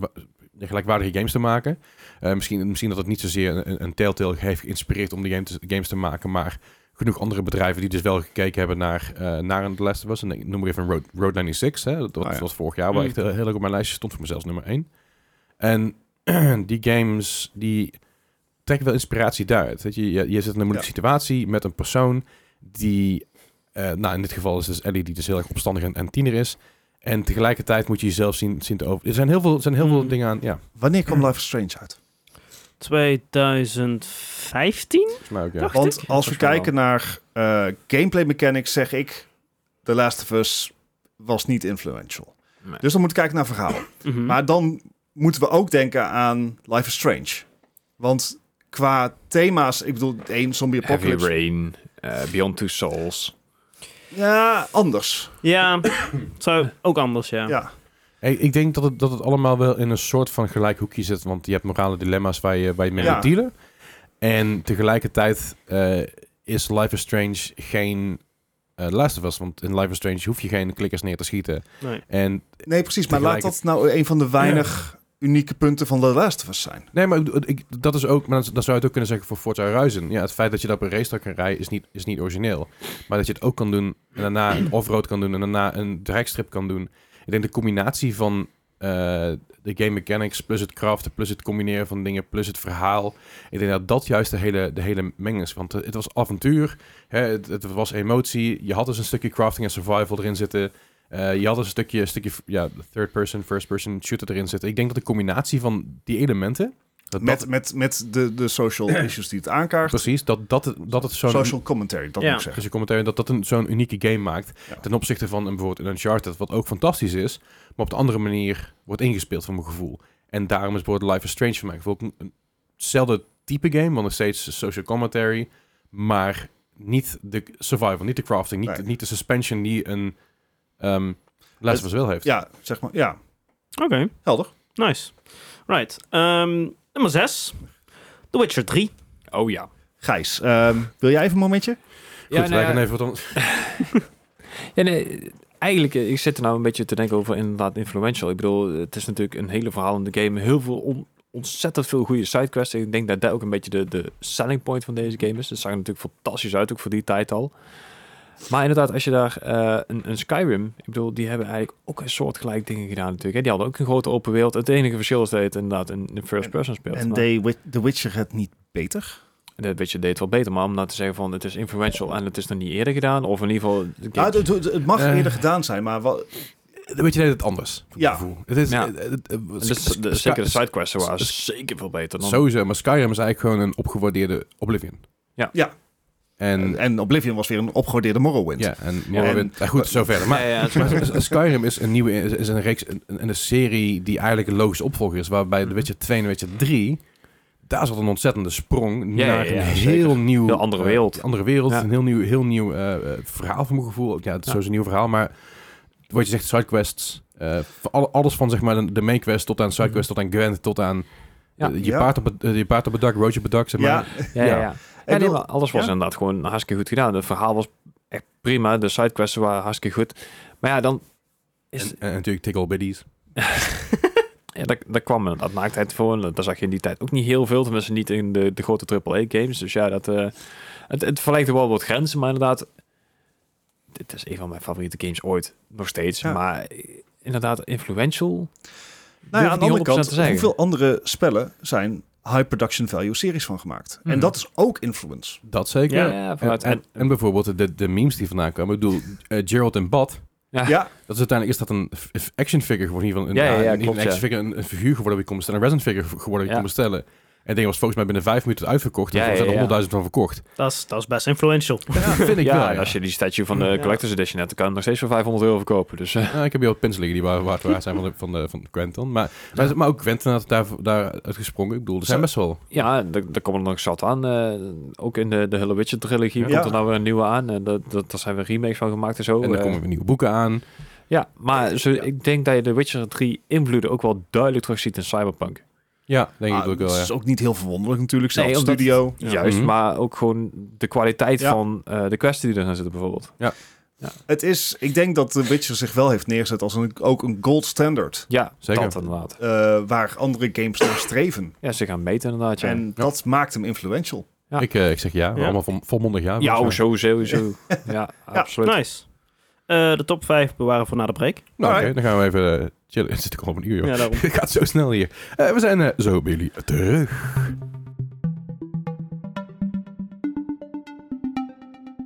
[SPEAKER 3] gelijkwaardige games te maken. Eh, misschien, misschien dat het niet zozeer een, een Telltale heeft geïnspireerd om die game te- games te maken, maar genoeg andere bedrijven die dus wel gekeken hebben naar, eh naar een The Last of Us. En ik noem maar even Road, Road 96, hè, dat was,
[SPEAKER 4] Ah, ja.
[SPEAKER 3] was vorig jaar wel
[SPEAKER 1] Mm.
[SPEAKER 3] echt heel, heel erg op mijn lijstje stond voor mezelf nummer 1. En *clears throat* die games die trekken wel inspiratie daaruit. Dat je, je, je zit in een moeilijke situatie met een persoon die, eh, nou in dit geval is dus Ellie die dus heel erg opstandig en, en tiener is. En tegelijkertijd moet je jezelf zien, zien te over. Er zijn heel veel, er zijn heel veel
[SPEAKER 1] Mm.
[SPEAKER 3] dingen aan. Ja,
[SPEAKER 4] Wanneer kwam Life is Strange uit?
[SPEAKER 1] 2015?
[SPEAKER 3] volgens mij ook. Ja.
[SPEAKER 1] Dacht
[SPEAKER 4] Want
[SPEAKER 1] ik.
[SPEAKER 4] als we
[SPEAKER 2] Volgens mij
[SPEAKER 4] kijken naar eh, gameplay mechanics, zeg ik... The Last of Us was niet influential.
[SPEAKER 2] Nee.
[SPEAKER 4] Dus dan moet ik kijken naar verhaal.
[SPEAKER 1] Mhm.
[SPEAKER 4] Maar dan moeten we ook denken aan Life is Strange. Want qua thema's, ik bedoel, één zombie
[SPEAKER 2] Heavy
[SPEAKER 4] apocalypse.
[SPEAKER 2] Rain, eh, Beyond Two Souls.
[SPEAKER 4] Ja, anders.
[SPEAKER 1] Ja, zou ook anders, ja.
[SPEAKER 4] Ja.
[SPEAKER 3] Hey, ik denk dat het, dat het allemaal wel in een soort van gelijk hoekje zit. Want je hebt morale dilemma's waar je, waar je mee
[SPEAKER 4] Ja.
[SPEAKER 3] moet dealen. En tegelijkertijd eh, is Life is Strange geen eh Last of Us. Want in Life is Strange hoef je geen klikkers neer te schieten.
[SPEAKER 1] Nee.
[SPEAKER 3] En
[SPEAKER 4] Nee, precies. Maar laat
[SPEAKER 3] Tegelijkertijd-
[SPEAKER 4] dat nou een van de weinig unieke punten van The Last of Us zijn.
[SPEAKER 3] Nee, maar ik bedoel, ik, dat is ook, maar dat, dat zou je het ook kunnen zeggen voor Forza Horizon. Ja, het feit dat je dat op een racetrack kan rijden is niet, is niet origineel. Maar dat je het ook kan doen en daarna een offroad kan doen en daarna een dragstrip kan doen. Ik denk de combinatie van eh, de game mechanics plus het craften, plus het combineren van dingen, plus het verhaal. Ik denk dat dat juist de hele, de hele meng is. Want eh, het was avontuur, hè, het, het was emotie. Je had dus een stukje crafting en survival erin zitten. Eh, je had dus een stukje, een stukje ja, third person, first person shooter erin zitten. Ik denk dat de combinatie van die elementen... Dat dat-
[SPEAKER 4] Met, met, met de, de social issues die het aankaart.
[SPEAKER 3] Precies, dat, dat, het- dat het zo'n...
[SPEAKER 4] Social commentary, dat
[SPEAKER 1] Ja.
[SPEAKER 4] moet ik zeggen.
[SPEAKER 3] Dus je commentaar dat dat een, zo'n unieke game maakt
[SPEAKER 4] Ja.
[SPEAKER 3] ten opzichte van een, bijvoorbeeld een Uncharted, wat ook fantastisch is, maar op de andere manier wordt ingespeeld van mijn gevoel. En daarom is bijvoorbeeld Life is Strange voor mij ook een, een- hetzelfde type game, want nog steeds social commentary, maar niet de survival, niet de crafting, niet,
[SPEAKER 4] Nee.
[SPEAKER 3] niet de suspension die een ehm Last of Us wel heeft.
[SPEAKER 4] Ja, zeg maar. Ja,
[SPEAKER 1] Oké,
[SPEAKER 4] helder.
[SPEAKER 1] nice. Right. Ehm, nummer 6. The Witcher 3.
[SPEAKER 2] Oh ja.
[SPEAKER 4] Gijs, ehm, wil jij even een momentje?
[SPEAKER 3] Goed,
[SPEAKER 2] Ja,
[SPEAKER 3] wij
[SPEAKER 2] nou ja,
[SPEAKER 3] gaan even wat anders.
[SPEAKER 2] Ja, nee, eigenlijk, eh, ik zit er nou een beetje te denken over inderdaad influential. Ik bedoel, het is natuurlijk een hele verhalende game. Heel veel, on- ontzettend veel goede sidequests. Ik denk dat dat ook een beetje de, de selling point van deze game is. Het zag er natuurlijk fantastisch uit, ook voor die tijd al. Maar inderdaad, als je daar eh, een, een Skyrim, ik bedoel, die hebben eigenlijk ook een soort gelijk dingen gedaan natuurlijk. Hè? Die hadden ook een grote open wereld. Het enige verschil is dat je het inderdaad in, in first person speelt.
[SPEAKER 4] En
[SPEAKER 2] Maar-
[SPEAKER 4] The Wi- The Witcher het niet beter?
[SPEAKER 2] dat weet je, deed wel beter. Maar om nou te zeggen van, het is influential en het is nog niet eerder gedaan. Of in ieder geval... de game-
[SPEAKER 4] Nou, het, het- het mag
[SPEAKER 3] Eh.
[SPEAKER 4] eerder gedaan zijn, maar wat,
[SPEAKER 3] Weet je, nee, het anders. voor
[SPEAKER 4] Ja.
[SPEAKER 3] mijn gevoel. Het is,
[SPEAKER 2] Ja.
[SPEAKER 3] het- het- het-
[SPEAKER 2] Dus de- de-
[SPEAKER 3] Sky-
[SPEAKER 2] zeker de sidequests waren
[SPEAKER 3] s-
[SPEAKER 2] zeker veel beter dan...
[SPEAKER 3] Sowieso, maar Skyrim is eigenlijk gewoon een opgewaardeerde Oblivion.
[SPEAKER 2] Ja.
[SPEAKER 4] Ja.
[SPEAKER 3] En
[SPEAKER 4] en, Oblivion was weer een opgewaardeerde Morrowind.
[SPEAKER 3] Ja, en Morrowind. Ja, goed, zover. Maar
[SPEAKER 2] Ja,
[SPEAKER 3] *laughs*
[SPEAKER 2] ja,
[SPEAKER 3] maar Skyrim is een nieuwe, is- is een reeks, een, een een serie die eigenlijk een logische opvolger is, waarbij
[SPEAKER 2] Mhm.
[SPEAKER 3] The Witcher 2 en The Witcher 3, daar zat een ontzettende sprong
[SPEAKER 2] Ja, ja,
[SPEAKER 3] naar
[SPEAKER 2] ja,
[SPEAKER 3] een
[SPEAKER 2] zeker.
[SPEAKER 3] heel nieuw...
[SPEAKER 2] Heel andere
[SPEAKER 3] eh,
[SPEAKER 2] wereld.
[SPEAKER 3] andere wereld,
[SPEAKER 2] Ja.
[SPEAKER 3] een heel nieuw, heel nieuw eh, eh, verhaal van mijn gevoel. Ja, het is
[SPEAKER 2] Ja.
[SPEAKER 3] sowieso een nieuw verhaal, maar wat je zegt, sidequests, eh, van alle- alles van zeg maar de, de main quest tot aan sidequest, tot aan Gwent, tot aan...
[SPEAKER 2] Mhm. Ja.
[SPEAKER 3] eh, je,
[SPEAKER 4] Ja.
[SPEAKER 3] paard op het, eh, je paard op het dak, roodje op het dak, zeg maar.
[SPEAKER 4] Ja,
[SPEAKER 2] ja, ja. ja. Ja, nee,
[SPEAKER 4] bedoel-
[SPEAKER 2] maar alles was
[SPEAKER 4] ja.
[SPEAKER 2] inderdaad gewoon hartstikke goed gedaan. Het verhaal was echt prima. De sidequests waren hartstikke goed. Maar ja, dan... Is,
[SPEAKER 3] En, en natuurlijk Tickle Biddies.
[SPEAKER 2] ja, dat, dat kwam inderdaad naaktheid voor. En dat zag je in die tijd ook niet heel veel. Tenminste, niet in de, de grote AAA-games. Dus ja, dat, eh, het, het verlegde wel wat grenzen. Maar inderdaad, dit is een van mijn favoriete games ooit. Nog steeds.
[SPEAKER 4] Ja.
[SPEAKER 2] Maar eh, inderdaad, influential...
[SPEAKER 4] Nou ja, aan de
[SPEAKER 2] durf ik
[SPEAKER 4] andere
[SPEAKER 2] niet 100%
[SPEAKER 4] kant,
[SPEAKER 2] te zeggen.
[SPEAKER 4] hoeveel andere spellen zijn high production value series van gemaakt?
[SPEAKER 2] Mhm.
[SPEAKER 4] En dat is ook influence.
[SPEAKER 3] Dat zeker.
[SPEAKER 2] Ja, ja,
[SPEAKER 3] En,
[SPEAKER 2] vanuit...
[SPEAKER 3] en, en bijvoorbeeld de, de memes die vandaan kwamen. Ik bedoel, eh, Gerald en Bad.
[SPEAKER 2] Ja.
[SPEAKER 4] Ja,
[SPEAKER 3] Dat is uiteindelijk is dat een f- f- action figure geworden. in ieder geval
[SPEAKER 2] Ja,
[SPEAKER 3] Een,
[SPEAKER 2] ja, ja,
[SPEAKER 3] niet
[SPEAKER 2] klopt,
[SPEAKER 3] een action
[SPEAKER 2] ja.
[SPEAKER 3] figure, een, een figuur geworden die ik kon bestellen. Een resin figure geworden die ik
[SPEAKER 2] Ja.
[SPEAKER 3] kon bestellen. En die was volgens mij binnen vijf minuten uitverkocht. En
[SPEAKER 2] Ja,
[SPEAKER 3] er zijn
[SPEAKER 2] ja,
[SPEAKER 3] er
[SPEAKER 2] ja.
[SPEAKER 3] honderdduizend van verkocht.
[SPEAKER 1] Dat is- dat is best influential.
[SPEAKER 3] vind ik
[SPEAKER 2] *laughs* *laughs* ja,
[SPEAKER 3] wel,
[SPEAKER 2] en
[SPEAKER 3] ja.
[SPEAKER 2] als je die statue van de
[SPEAKER 1] Ja.
[SPEAKER 2] Collector's Edition hebt, dan kan je hem nog steeds voor 500 euro verkopen. Dus, eh,
[SPEAKER 3] Nou, ik heb hier wat pins liggen die waar, waar, waard zijn van, de, van, de, van Gwent dan. Maar, maar, maar ook Gwent had daar, daar uitgesprongen. Ik bedoel, er zijn best wel...
[SPEAKER 2] ja, daar daar komen er nog zat aan. Eh, ook in de, de Hello Witcher trilogie
[SPEAKER 4] Ja.
[SPEAKER 2] komt er nou weer een nieuwe aan. En dat, dat, daar zijn weer remakes van gemaakt en zo.
[SPEAKER 3] en er
[SPEAKER 2] Eh,
[SPEAKER 3] komen weer nieuwe boeken aan.
[SPEAKER 2] ja, maar zo, ik denk dat je de Witcher 3 invloeden ook wel duidelijk terug ziet in Cyberpunk.
[SPEAKER 3] Ja, denk
[SPEAKER 4] Ah,
[SPEAKER 3] ik ook
[SPEAKER 4] dat
[SPEAKER 3] wel, ja.
[SPEAKER 4] is ook niet heel verwonderlijk natuurlijk. Zelfs
[SPEAKER 2] Nee, omdat-
[SPEAKER 4] studio.
[SPEAKER 2] Juist,
[SPEAKER 3] Mhm.
[SPEAKER 2] maar ook gewoon de kwaliteit
[SPEAKER 4] Ja.
[SPEAKER 2] van eh, de quests die erin zitten bijvoorbeeld.
[SPEAKER 4] Het is, ik denk dat The Witcher zich wel heeft neergezet als een, ook een gold standard.
[SPEAKER 2] Ja,
[SPEAKER 3] Zeker.
[SPEAKER 2] dat inderdaad.
[SPEAKER 4] eh, waar andere games naar streven.
[SPEAKER 2] Ja, ze gaan meten inderdaad, ja.
[SPEAKER 4] En dat maakt hem influential.
[SPEAKER 2] Ja.
[SPEAKER 3] Ik, eh, ik zeg ja,
[SPEAKER 1] Ja.
[SPEAKER 3] allemaal vol, volmondig ja.
[SPEAKER 2] ja, oh,
[SPEAKER 3] volgens mij.
[SPEAKER 2] sowieso, sowieso. ja, *laughs* absoluut.
[SPEAKER 1] Nice. Eh, de top 5 bewaren voor na de break.
[SPEAKER 3] Nou, oké,
[SPEAKER 4] Alright.
[SPEAKER 3] dan gaan we even eh, chillen. *laughs* Het zit ook al op een uur, joh.
[SPEAKER 1] Ja,
[SPEAKER 3] *laughs*
[SPEAKER 1] daarom.
[SPEAKER 3] Het gaat zo snel hier. Eh, we zijn eh, zo bij jullie terug.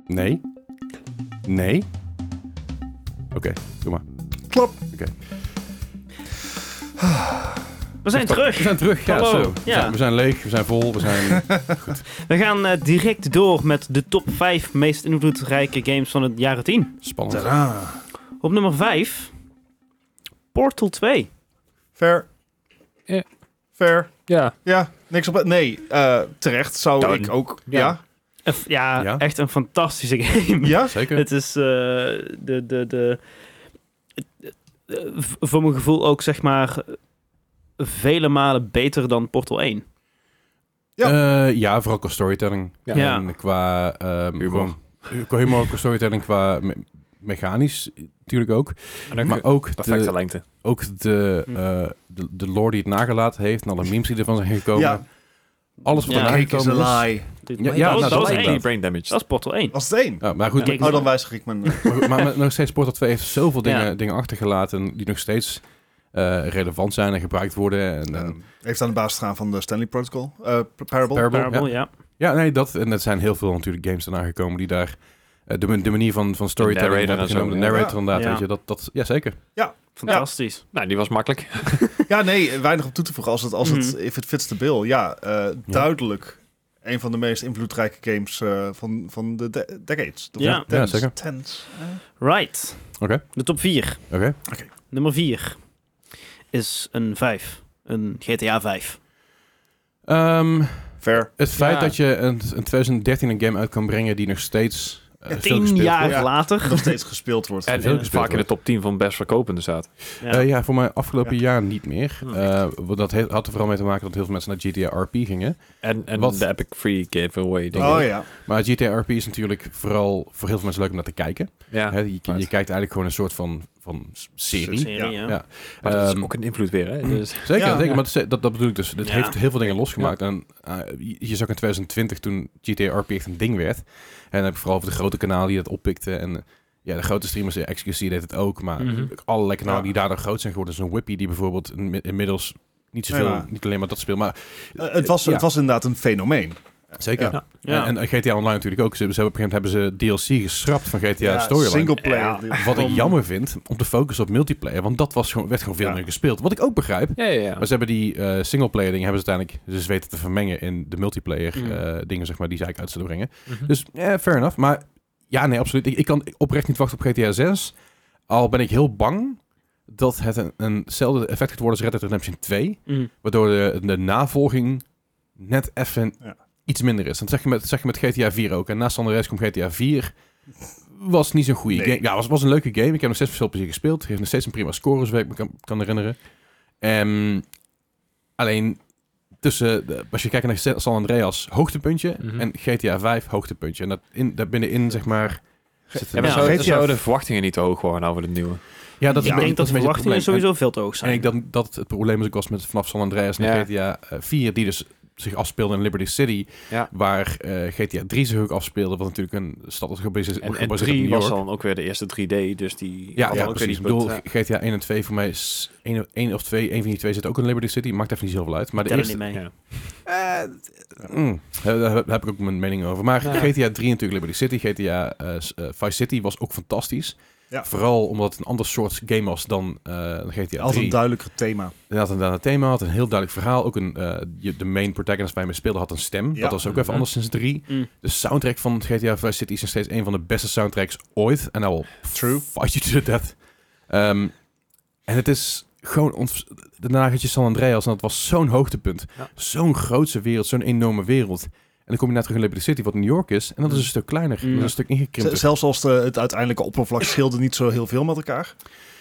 [SPEAKER 3] Nee. Nee. Oké, doe maar.
[SPEAKER 4] Klopt.
[SPEAKER 1] We zijn
[SPEAKER 3] We
[SPEAKER 1] terug.
[SPEAKER 3] zijn terug. Ja,
[SPEAKER 1] Hallo.
[SPEAKER 3] zo. We,
[SPEAKER 1] Ja.
[SPEAKER 3] zijn, we zijn leeg, we zijn vol, we zijn...
[SPEAKER 1] We gaan eh, direct door met de top 5 meest invloedrijke games van het jaren 10.
[SPEAKER 3] Spannend.
[SPEAKER 1] Op nummer 5, Portal 2.
[SPEAKER 4] Fair.
[SPEAKER 2] Ja.
[SPEAKER 4] Fair.
[SPEAKER 2] Ja,
[SPEAKER 4] Ja, niks op... Nee, eh, terecht zou
[SPEAKER 2] Dan.
[SPEAKER 4] ik ook...
[SPEAKER 2] Ja.
[SPEAKER 4] Ja?
[SPEAKER 1] Eh, f- ja,
[SPEAKER 3] Ja?
[SPEAKER 1] echt een fantastische *laughs* game.
[SPEAKER 4] Ja?
[SPEAKER 3] Zeker.
[SPEAKER 1] Het is eh, de, de, de, eh, v- voor mijn gevoel ook zeg maar vele malen beter dan Portal 1.
[SPEAKER 3] Ja. Eh, ja, vooral qua storytelling.
[SPEAKER 2] Ja.
[SPEAKER 1] Ja.
[SPEAKER 3] En qua... ehm
[SPEAKER 2] Humor.
[SPEAKER 3] gewoon- Qua humor, qua storytelling, qua me- mechanisch natuurlijk ook.
[SPEAKER 2] En ook
[SPEAKER 3] maar ook
[SPEAKER 2] perfecte
[SPEAKER 3] de,
[SPEAKER 2] lengte.
[SPEAKER 3] ook de,
[SPEAKER 1] Hm.
[SPEAKER 3] eh, de, de lore die het nagelaten heeft en alle memes die ervan zijn gekomen.
[SPEAKER 4] Ja.
[SPEAKER 3] Alles wat
[SPEAKER 1] Ja.
[SPEAKER 3] er
[SPEAKER 1] Cake
[SPEAKER 4] Kijk is
[SPEAKER 3] aangekomen
[SPEAKER 4] een
[SPEAKER 3] is.
[SPEAKER 4] lie.
[SPEAKER 1] Dit-
[SPEAKER 3] Ja,
[SPEAKER 1] maar
[SPEAKER 3] ja,
[SPEAKER 1] dat, was,
[SPEAKER 3] nou,
[SPEAKER 1] dat was
[SPEAKER 3] is
[SPEAKER 1] één.
[SPEAKER 3] inderdaad.
[SPEAKER 2] brain damage.
[SPEAKER 1] Dat is Portal 1.
[SPEAKER 4] Als het één.
[SPEAKER 3] Ja, maar goed,
[SPEAKER 1] Ja.
[SPEAKER 4] Oh, dan wijzig ik mijn... eh,
[SPEAKER 3] Maar, maar nog steeds Portal 2 heeft zoveel
[SPEAKER 1] Ja.
[SPEAKER 3] dingen, dingen achtergelaten die nog steeds eh, relevant zijn en gebruikt worden. En, en-
[SPEAKER 4] eh, heeft aan de basis gaan van de Stanley Protocol. eh, Parable.
[SPEAKER 3] Parable,
[SPEAKER 1] Parable, ja.
[SPEAKER 3] ja, nee, dat. En er zijn heel veel natuurlijk games daarna gekomen die daar eh, de, de manier van, van storytelling,
[SPEAKER 2] narrator
[SPEAKER 3] wat
[SPEAKER 2] en
[SPEAKER 3] genomen,
[SPEAKER 2] zo,
[SPEAKER 3] de
[SPEAKER 4] ja.
[SPEAKER 3] narrator
[SPEAKER 4] Ja.
[SPEAKER 3] inderdaad,
[SPEAKER 1] Ja.
[SPEAKER 3] weet je, dat, dat, ja zeker.
[SPEAKER 1] Fantastisch.
[SPEAKER 2] Nou, die was makkelijk.
[SPEAKER 4] Ja, nee, weinig op toe te voegen. Als het, als het,
[SPEAKER 1] Mhm.
[SPEAKER 4] if it fits the bill. Ja, eh, duidelijk een van de meest invloedrijke games eh, van, van de, de- decades. De
[SPEAKER 1] Ja.
[SPEAKER 3] Ja, zeker.
[SPEAKER 4] Tens. eh.
[SPEAKER 1] Right.
[SPEAKER 3] Oké.
[SPEAKER 1] De top 4.
[SPEAKER 3] Oké.
[SPEAKER 1] Nummer 4 is een 5. Een GTA 5.
[SPEAKER 3] Ehm,
[SPEAKER 4] Fair.
[SPEAKER 3] het feit
[SPEAKER 2] Ja.
[SPEAKER 3] dat je een, een 2013 een game uit kan brengen die nog steeds eh, veel
[SPEAKER 1] 10
[SPEAKER 3] gespeeld
[SPEAKER 1] jaar
[SPEAKER 3] wordt.
[SPEAKER 4] Ja.
[SPEAKER 1] later.
[SPEAKER 4] Nog steeds gespeeld wordt.
[SPEAKER 2] En,
[SPEAKER 3] veel
[SPEAKER 2] en
[SPEAKER 3] gespeeld
[SPEAKER 2] vaak in de top 10 van best verkopende staat.
[SPEAKER 1] Ja.
[SPEAKER 3] Eh, ja, voor mij afgelopen
[SPEAKER 4] Ja.
[SPEAKER 3] jaar niet meer.
[SPEAKER 2] Hm.
[SPEAKER 3] Eh, want dat he- had er vooral mee te maken dat heel veel mensen naar GTA RP gingen.
[SPEAKER 2] En, en
[SPEAKER 3] Wat-
[SPEAKER 2] de Epic Free Giveaway. Ding.
[SPEAKER 4] Oh ja.
[SPEAKER 3] Maar GTA RP is natuurlijk vooral voor heel veel mensen leuk om naar te kijken.
[SPEAKER 2] ja.
[SPEAKER 3] Hè, je, je
[SPEAKER 2] Right.
[SPEAKER 3] kijkt eigenlijk gewoon een soort van, van s- serie.
[SPEAKER 4] Serie.
[SPEAKER 1] ja.
[SPEAKER 3] Ja.
[SPEAKER 2] Maar dat
[SPEAKER 3] Ehm,
[SPEAKER 2] is ook een invloed weer, hè? Dus,
[SPEAKER 3] Zeker,
[SPEAKER 4] Ja.
[SPEAKER 3] zeker.
[SPEAKER 1] Ja.
[SPEAKER 3] Maar dat, is- dat, dat bedoel ik dus. Dit
[SPEAKER 1] Ja.
[SPEAKER 3] heeft heel veel dingen losgemaakt. En eh, je, je zag in 2020 toen GTA RP echt een ding werd. En dan heb ik vooral over de grote kanalen die dat oppikten. En eh, ja, de grote streamers, eh, XQC deed het ook. Maar
[SPEAKER 2] Mhm.
[SPEAKER 3] ook allerlei kanalen
[SPEAKER 4] Ja.
[SPEAKER 3] die daardoor groot zijn geworden. Zo'n Whippy die bijvoorbeeld inmi- inmiddels niet zoveel,
[SPEAKER 4] Ja.
[SPEAKER 3] niet alleen maar dat speelt. Maar
[SPEAKER 4] Eh, het, was,
[SPEAKER 3] Ja.
[SPEAKER 4] het was inderdaad een fenomeen.
[SPEAKER 3] zeker.
[SPEAKER 2] Ja.
[SPEAKER 1] Ja.
[SPEAKER 3] En, en GTA Online natuurlijk ook. Ze, ze hebben op een gegeven moment hebben ze DLC geschrapt van GTA Storyline.
[SPEAKER 4] Singleplayer.
[SPEAKER 1] Ja.
[SPEAKER 4] Die-
[SPEAKER 3] Wat ik
[SPEAKER 1] Om-
[SPEAKER 3] jammer vind, om te focussen op multiplayer. Want dat was gewoon, werd gewoon veel
[SPEAKER 4] Ja.
[SPEAKER 3] meer gespeeld. Wat ik ook begrijp.
[SPEAKER 2] ja, ja, ja.
[SPEAKER 3] Maar ze hebben die eh singleplayer dingen hebben ze uiteindelijk dus weten te vermengen in de multiplayer
[SPEAKER 2] Mm.
[SPEAKER 3] eh, dingen, zeg maar, die ze eigenlijk uit zullen brengen.
[SPEAKER 2] Mhm.
[SPEAKER 3] Dus eh, fair enough. Maar ja, nee, absoluut. Ik, ik kan oprecht niet wachten op GTA 6. Al ben ik heel bang dat het een, eenzelfde effect gaat worden als Red Dead Redemption 2.
[SPEAKER 1] Mm.
[SPEAKER 3] Waardoor de, de navolging net even
[SPEAKER 4] Ja.
[SPEAKER 3] iets minder is. Dat zeg je met, dat zeg je met GTA 4 ook. En na San Andreas komt GTA 4. Was niet zo'n goede
[SPEAKER 4] Nee.
[SPEAKER 3] game. Ja, was, was een leuke game. Ik heb nog steeds veel plezier gespeeld. Heeft nog steeds een prima score, zover ik me kan, kan herinneren. Ehm, alleen tussen, de- als je kijkt naar San Andreas, hoogtepuntje.
[SPEAKER 2] Mhm.
[SPEAKER 3] En GTA 5, hoogtepuntje. En dat, in, daar binnenin, zeg maar... Zit
[SPEAKER 2] Ja,
[SPEAKER 3] een-
[SPEAKER 2] maar
[SPEAKER 1] Ja.
[SPEAKER 2] zouden
[SPEAKER 4] GTA
[SPEAKER 2] zou de verwachtingen niet te hoog worden over de nieuwe?
[SPEAKER 3] Ja, dat is
[SPEAKER 1] ik
[SPEAKER 3] een beetje-
[SPEAKER 1] denk dat
[SPEAKER 3] is
[SPEAKER 1] de
[SPEAKER 3] een beetje het probleem.
[SPEAKER 1] verwachtingen
[SPEAKER 3] En-
[SPEAKER 1] sowieso veel te hoog zijn.
[SPEAKER 3] En ik denk dat het probleem is ook was met vanaf San Andreas naar
[SPEAKER 2] Ja.
[SPEAKER 3] GTA 4, die dus zich afspeelde in Liberty City,
[SPEAKER 2] Ja.
[SPEAKER 3] waar eh, GTA 3 zich ook afspeelde, wat natuurlijk een stad is gebaseerd,
[SPEAKER 2] En, en
[SPEAKER 3] gebaseerd
[SPEAKER 2] 3
[SPEAKER 3] op New
[SPEAKER 2] was
[SPEAKER 3] York.
[SPEAKER 2] dan ook weer de eerste 3D, dus die...
[SPEAKER 3] ja,
[SPEAKER 2] had
[SPEAKER 3] ja,
[SPEAKER 2] ook weer
[SPEAKER 3] precies.
[SPEAKER 2] die
[SPEAKER 3] Ik bedoel,
[SPEAKER 2] punt. Ja.
[SPEAKER 3] GTA 1 en 2 voor mij is 1, of 2, één van die twee zit ook in Liberty City, maakt even niet zoveel uit. Maar de
[SPEAKER 1] Tel er niet
[SPEAKER 3] eerste,
[SPEAKER 1] mee.
[SPEAKER 2] Ja.
[SPEAKER 3] Mm, daar, daar heb ik ook mijn mening over. Maar
[SPEAKER 2] Nou Ja.
[SPEAKER 3] GTA 3 natuurlijk Liberty City, GTA eh, s- eh, Vice City was ook fantastisch.
[SPEAKER 4] Ja.
[SPEAKER 3] Vooral omdat het een ander soort game was dan eh, GTA 3.
[SPEAKER 4] Als een duidelijker thema.
[SPEAKER 3] En had inderdaad een eh, thema, had een heel duidelijk verhaal. Ook een, eh, je- de main protagonist waar je mee speelde had een stem.
[SPEAKER 4] Ja.
[SPEAKER 3] Dat was ook
[SPEAKER 2] Mhm.
[SPEAKER 3] even anders sinds 3.
[SPEAKER 1] Mm.
[SPEAKER 3] De soundtrack van GTA Vice City is nog steeds een van de beste soundtracks ooit. En nou
[SPEAKER 4] True.
[SPEAKER 3] fight you to the death. Ehm, en het is gewoon... ont- Daarna had je San Andreas en dat was zo'n hoogtepunt.
[SPEAKER 2] Ja.
[SPEAKER 3] Zo'n grootse wereld, zo'n enorme wereld. En dan kom je naar terug in Liberty City, wat New York is. En dat is een stuk kleiner,
[SPEAKER 1] Mm.
[SPEAKER 3] dat is een stuk ingekrimpt.
[SPEAKER 4] Z- zelfs als de, het uiteindelijke oppervlak scheelde niet zo heel veel met elkaar.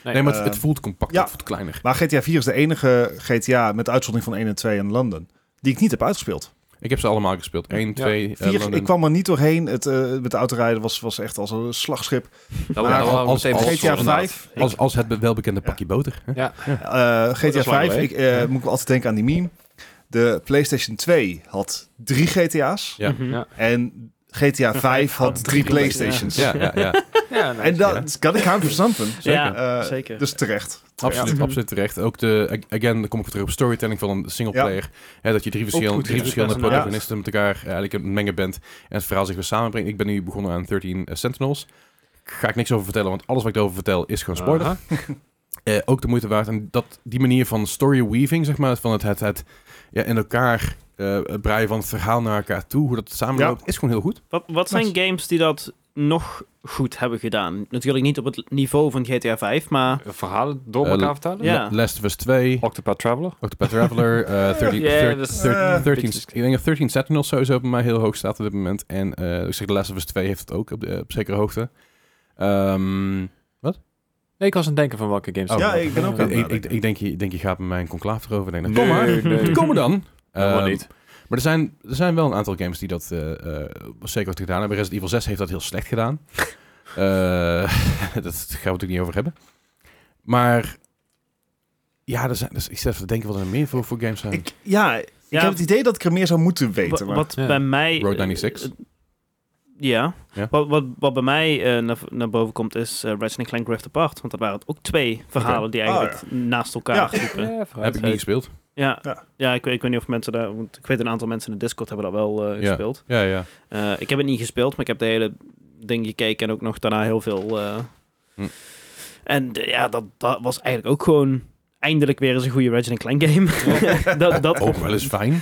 [SPEAKER 2] Nee,
[SPEAKER 3] nee, maar het,
[SPEAKER 4] eh,
[SPEAKER 3] het voelt compacter,
[SPEAKER 4] ja.
[SPEAKER 3] het voelt kleiner.
[SPEAKER 4] Maar GTA 4 is de enige GTA, met uitzondering van 1 en 2 in London, die ik niet heb uitgespeeld.
[SPEAKER 3] Ik heb ze allemaal gespeeld. 1,
[SPEAKER 2] Ja.
[SPEAKER 3] 2, eh,
[SPEAKER 4] Vier,
[SPEAKER 3] London.
[SPEAKER 4] ik kwam er niet doorheen. Het, eh, met de autorijden was, was echt als een slagschip. maar
[SPEAKER 2] dat waren
[SPEAKER 3] als-
[SPEAKER 2] meteen
[SPEAKER 3] als-
[SPEAKER 2] bossen,
[SPEAKER 4] GTA
[SPEAKER 2] inderdaad.
[SPEAKER 4] 5.
[SPEAKER 3] als, als het welbekende
[SPEAKER 4] Ja.
[SPEAKER 3] pakje boter. hè?
[SPEAKER 4] Eh,
[SPEAKER 2] dat
[SPEAKER 4] GTA
[SPEAKER 2] is lang
[SPEAKER 4] 5,
[SPEAKER 2] geleden.
[SPEAKER 4] ik, eh, moet ik altijd denken aan die meme. De PlayStation 2 had drie GTA's.
[SPEAKER 3] Ja.
[SPEAKER 1] Mhm.
[SPEAKER 2] Ja.
[SPEAKER 4] En
[SPEAKER 1] *laughs*
[SPEAKER 4] GTA 5 had drie PlayStations.
[SPEAKER 3] Ja, ja, ja.
[SPEAKER 2] Ja, nee.
[SPEAKER 4] En dat kan ik count for something.
[SPEAKER 1] Ja,
[SPEAKER 4] Eh,
[SPEAKER 1] zeker.
[SPEAKER 4] Dus terecht.
[SPEAKER 3] *laughs* Absoluut,
[SPEAKER 1] Ja.
[SPEAKER 3] absoluut terecht. Ook de, ag- again, dan kom ik weer terug op storytelling van een singleplayer. Hè, dat je drie verschillende,
[SPEAKER 2] goed,
[SPEAKER 3] drie
[SPEAKER 2] ja.
[SPEAKER 3] verschillende
[SPEAKER 1] Ja.
[SPEAKER 3] protagonisten met elkaar eh, eigenlijk een mengen bent. En het verhaal zich weer samenbrengt. Ik ben nu begonnen aan 13 Sentinels. Ga ik niks over vertellen, want alles wat ik erover vertel is gewoon spoiler.
[SPEAKER 2] Aha.
[SPEAKER 3] Eh, ook de moeite waard. En dat, die manier van story weaving, zeg maar, van het, het, het ja, in elkaar eh, breien van het verhaal naar elkaar toe, hoe dat samenloopt, is gewoon heel goed.
[SPEAKER 1] Wat, wat zijn
[SPEAKER 4] Nice.
[SPEAKER 1] games die dat nog goed hebben gedaan? Natuurlijk niet op het niveau van GTA 5, maar
[SPEAKER 2] Verhalen door
[SPEAKER 3] Eh,
[SPEAKER 2] elkaar vertalen?
[SPEAKER 1] ja.
[SPEAKER 3] La- Last of Us 2,
[SPEAKER 2] Octopath Traveler?
[SPEAKER 3] Octopath Traveler, eh 13,
[SPEAKER 2] Ja,
[SPEAKER 3] 13
[SPEAKER 2] dat is-
[SPEAKER 3] Thir-
[SPEAKER 4] Eh,
[SPEAKER 3] 13,
[SPEAKER 2] beetje-
[SPEAKER 3] ik denk dat 13 Sentinels sowieso bij mij heel hoog staat op dit moment. En eh ik zeg, The Last of Us 2 heeft het ook op, de- op zekere hoogte. Ehm,
[SPEAKER 2] Nee, ik was aan het denken van welke games.
[SPEAKER 3] Oh,
[SPEAKER 4] ja, ik ben ook aan
[SPEAKER 3] ik,
[SPEAKER 4] het
[SPEAKER 3] ik, ik,
[SPEAKER 4] nadenken.
[SPEAKER 3] denk, je, ik denk, je gaat met mijn conclave erover. denken.
[SPEAKER 2] Nee,
[SPEAKER 3] kom maar,
[SPEAKER 2] nee.
[SPEAKER 3] kom maar
[SPEAKER 4] *laughs*
[SPEAKER 3] dan.
[SPEAKER 4] Nou,
[SPEAKER 2] Helemaal
[SPEAKER 3] Ehm,
[SPEAKER 2] niet.
[SPEAKER 3] Maar er zijn,
[SPEAKER 4] *laughs*
[SPEAKER 3] er zijn wel een aantal games die dat eh, eh, zeker wat gedaan hebben. Resident Evil 6 heeft dat heel slecht gedaan. Eh, *laughs* dat gaan we natuurlijk niet over hebben. Maar ja, er zijn, dus ik zit even te denken wat er meer voor, voor games zijn.
[SPEAKER 4] Ik, ja, ik
[SPEAKER 1] Ja.
[SPEAKER 4] heb het idee dat ik er meer zou moeten
[SPEAKER 1] Wa-
[SPEAKER 4] weten. Maar
[SPEAKER 1] wat
[SPEAKER 2] Ja.
[SPEAKER 1] bij mij...
[SPEAKER 3] Road
[SPEAKER 1] eh,
[SPEAKER 3] 96.
[SPEAKER 1] eh, ja.
[SPEAKER 3] Ja.
[SPEAKER 1] Wat, wat, wat bij mij eh, naar, naar boven komt is eh Ratchet Clank Rift Apart. Want dat waren ook twee verhalen die eigenlijk
[SPEAKER 4] Ah,
[SPEAKER 1] naast elkaar
[SPEAKER 4] Ja.
[SPEAKER 1] liepen. Ja,
[SPEAKER 3] heb ik niet gespeeld.
[SPEAKER 1] ja.
[SPEAKER 4] Ja.
[SPEAKER 1] ik, weet- ik weet niet of mensen daar... Want ik weet een aantal mensen in de Discord hebben dat wel eh,
[SPEAKER 3] Ja.
[SPEAKER 1] gespeeld.
[SPEAKER 3] Ja, ja.
[SPEAKER 1] Eh, ik heb het niet gespeeld, maar ik heb de hele ding gekeken en ook nog daarna heel veel. eh.
[SPEAKER 3] Hm.
[SPEAKER 1] En eh, ja, dat, dat was eigenlijk ook gewoon eindelijk weer eens een goede Ratchet Clank game. *laughs* dat, dat,
[SPEAKER 3] Ook wel eens fijn.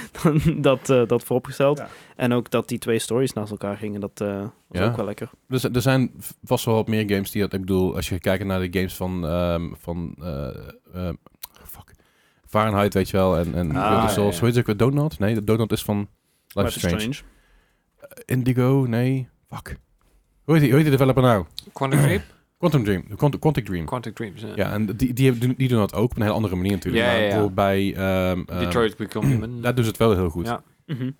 [SPEAKER 1] dat, eh, dat vooropgesteld.
[SPEAKER 4] Ja.
[SPEAKER 1] En ook dat die twee stories naast elkaar gingen, dat eh, was
[SPEAKER 3] Ja.
[SPEAKER 1] ook wel lekker.
[SPEAKER 3] Er, zijn- er zijn vast wel wat meer games die dat... Ik bedoel, als je kijkt naar de games van... ehm, van eh, ehm, fuck. Fahrenheit, weet je wel. En, en
[SPEAKER 2] Ah,
[SPEAKER 3] Guilty
[SPEAKER 2] ja,
[SPEAKER 3] Souls.
[SPEAKER 2] ja.
[SPEAKER 3] Weet je ook weer Donut? Nee, de Donut is van Life,
[SPEAKER 1] Maar
[SPEAKER 3] is Strange. Eh, Indigo, nee. Fuck. Hoe heet die, hoe heet die developer nou?
[SPEAKER 2] Quantic Dream?
[SPEAKER 3] Quantum Dream. Quant- Quantic Dream.
[SPEAKER 2] Quantic Dreams, ja.
[SPEAKER 3] Ja, en die, die, hebben- die doen dat ook op een hele andere manier natuurlijk.
[SPEAKER 2] Ja,
[SPEAKER 3] Maar
[SPEAKER 2] ja, ja.
[SPEAKER 3] bijvoorbeeld bij... ehm, ehm,
[SPEAKER 2] Detroit Become Human.
[SPEAKER 3] Daar doen ze het wel heel goed.
[SPEAKER 2] Ja.
[SPEAKER 1] Mhm.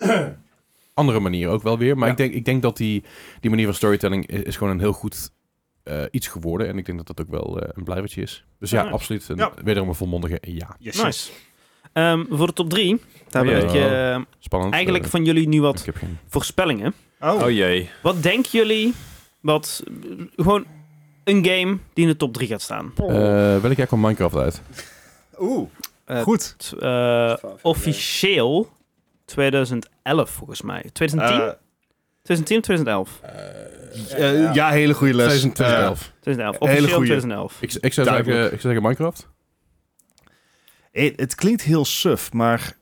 [SPEAKER 3] Andere manier ook wel weer. Maar
[SPEAKER 2] Ja.
[SPEAKER 3] ik, denk, ik denk dat die, die manier van storytelling is, is gewoon een heel goed eh, iets geworden. En ik denk dat dat ook wel eh, een blijvertje is. Dus ja,
[SPEAKER 1] Ja.
[SPEAKER 3] absoluut. Een,
[SPEAKER 4] Ja.
[SPEAKER 3] Wederom een volmondige ja.
[SPEAKER 4] Yes, yes.
[SPEAKER 1] Nice. Ehm, voor de top 3
[SPEAKER 2] Oh,
[SPEAKER 1] hebben
[SPEAKER 2] jee.
[SPEAKER 1] we eh,
[SPEAKER 3] Spannend.
[SPEAKER 1] eigenlijk
[SPEAKER 3] Eh,
[SPEAKER 1] van jullie nu wat
[SPEAKER 3] ik heb geen...
[SPEAKER 1] voorspellingen.
[SPEAKER 4] Oh,
[SPEAKER 2] Oh jee.
[SPEAKER 1] Wat denken jullie wat eh, gewoon een game die in de top 3 gaat staan?
[SPEAKER 3] Eh, welk jaar kwam Minecraft uit?
[SPEAKER 4] Oeh,
[SPEAKER 1] Eh,
[SPEAKER 4] goed.
[SPEAKER 1] t- eh, officieel 2011 volgens mij. 2010?
[SPEAKER 4] Eh,
[SPEAKER 1] 2010 of 2011?
[SPEAKER 4] eh, ja, hele goede les. Eh,
[SPEAKER 3] 2011.
[SPEAKER 1] 2011.
[SPEAKER 4] Hele
[SPEAKER 1] Officieel
[SPEAKER 4] goeie.
[SPEAKER 1] 2011.
[SPEAKER 3] ik, ik, zou zeggen,
[SPEAKER 4] duidelijk.
[SPEAKER 3] ik zou zeggen Minecraft.
[SPEAKER 4] Eh, het- het klinkt heel suf, maar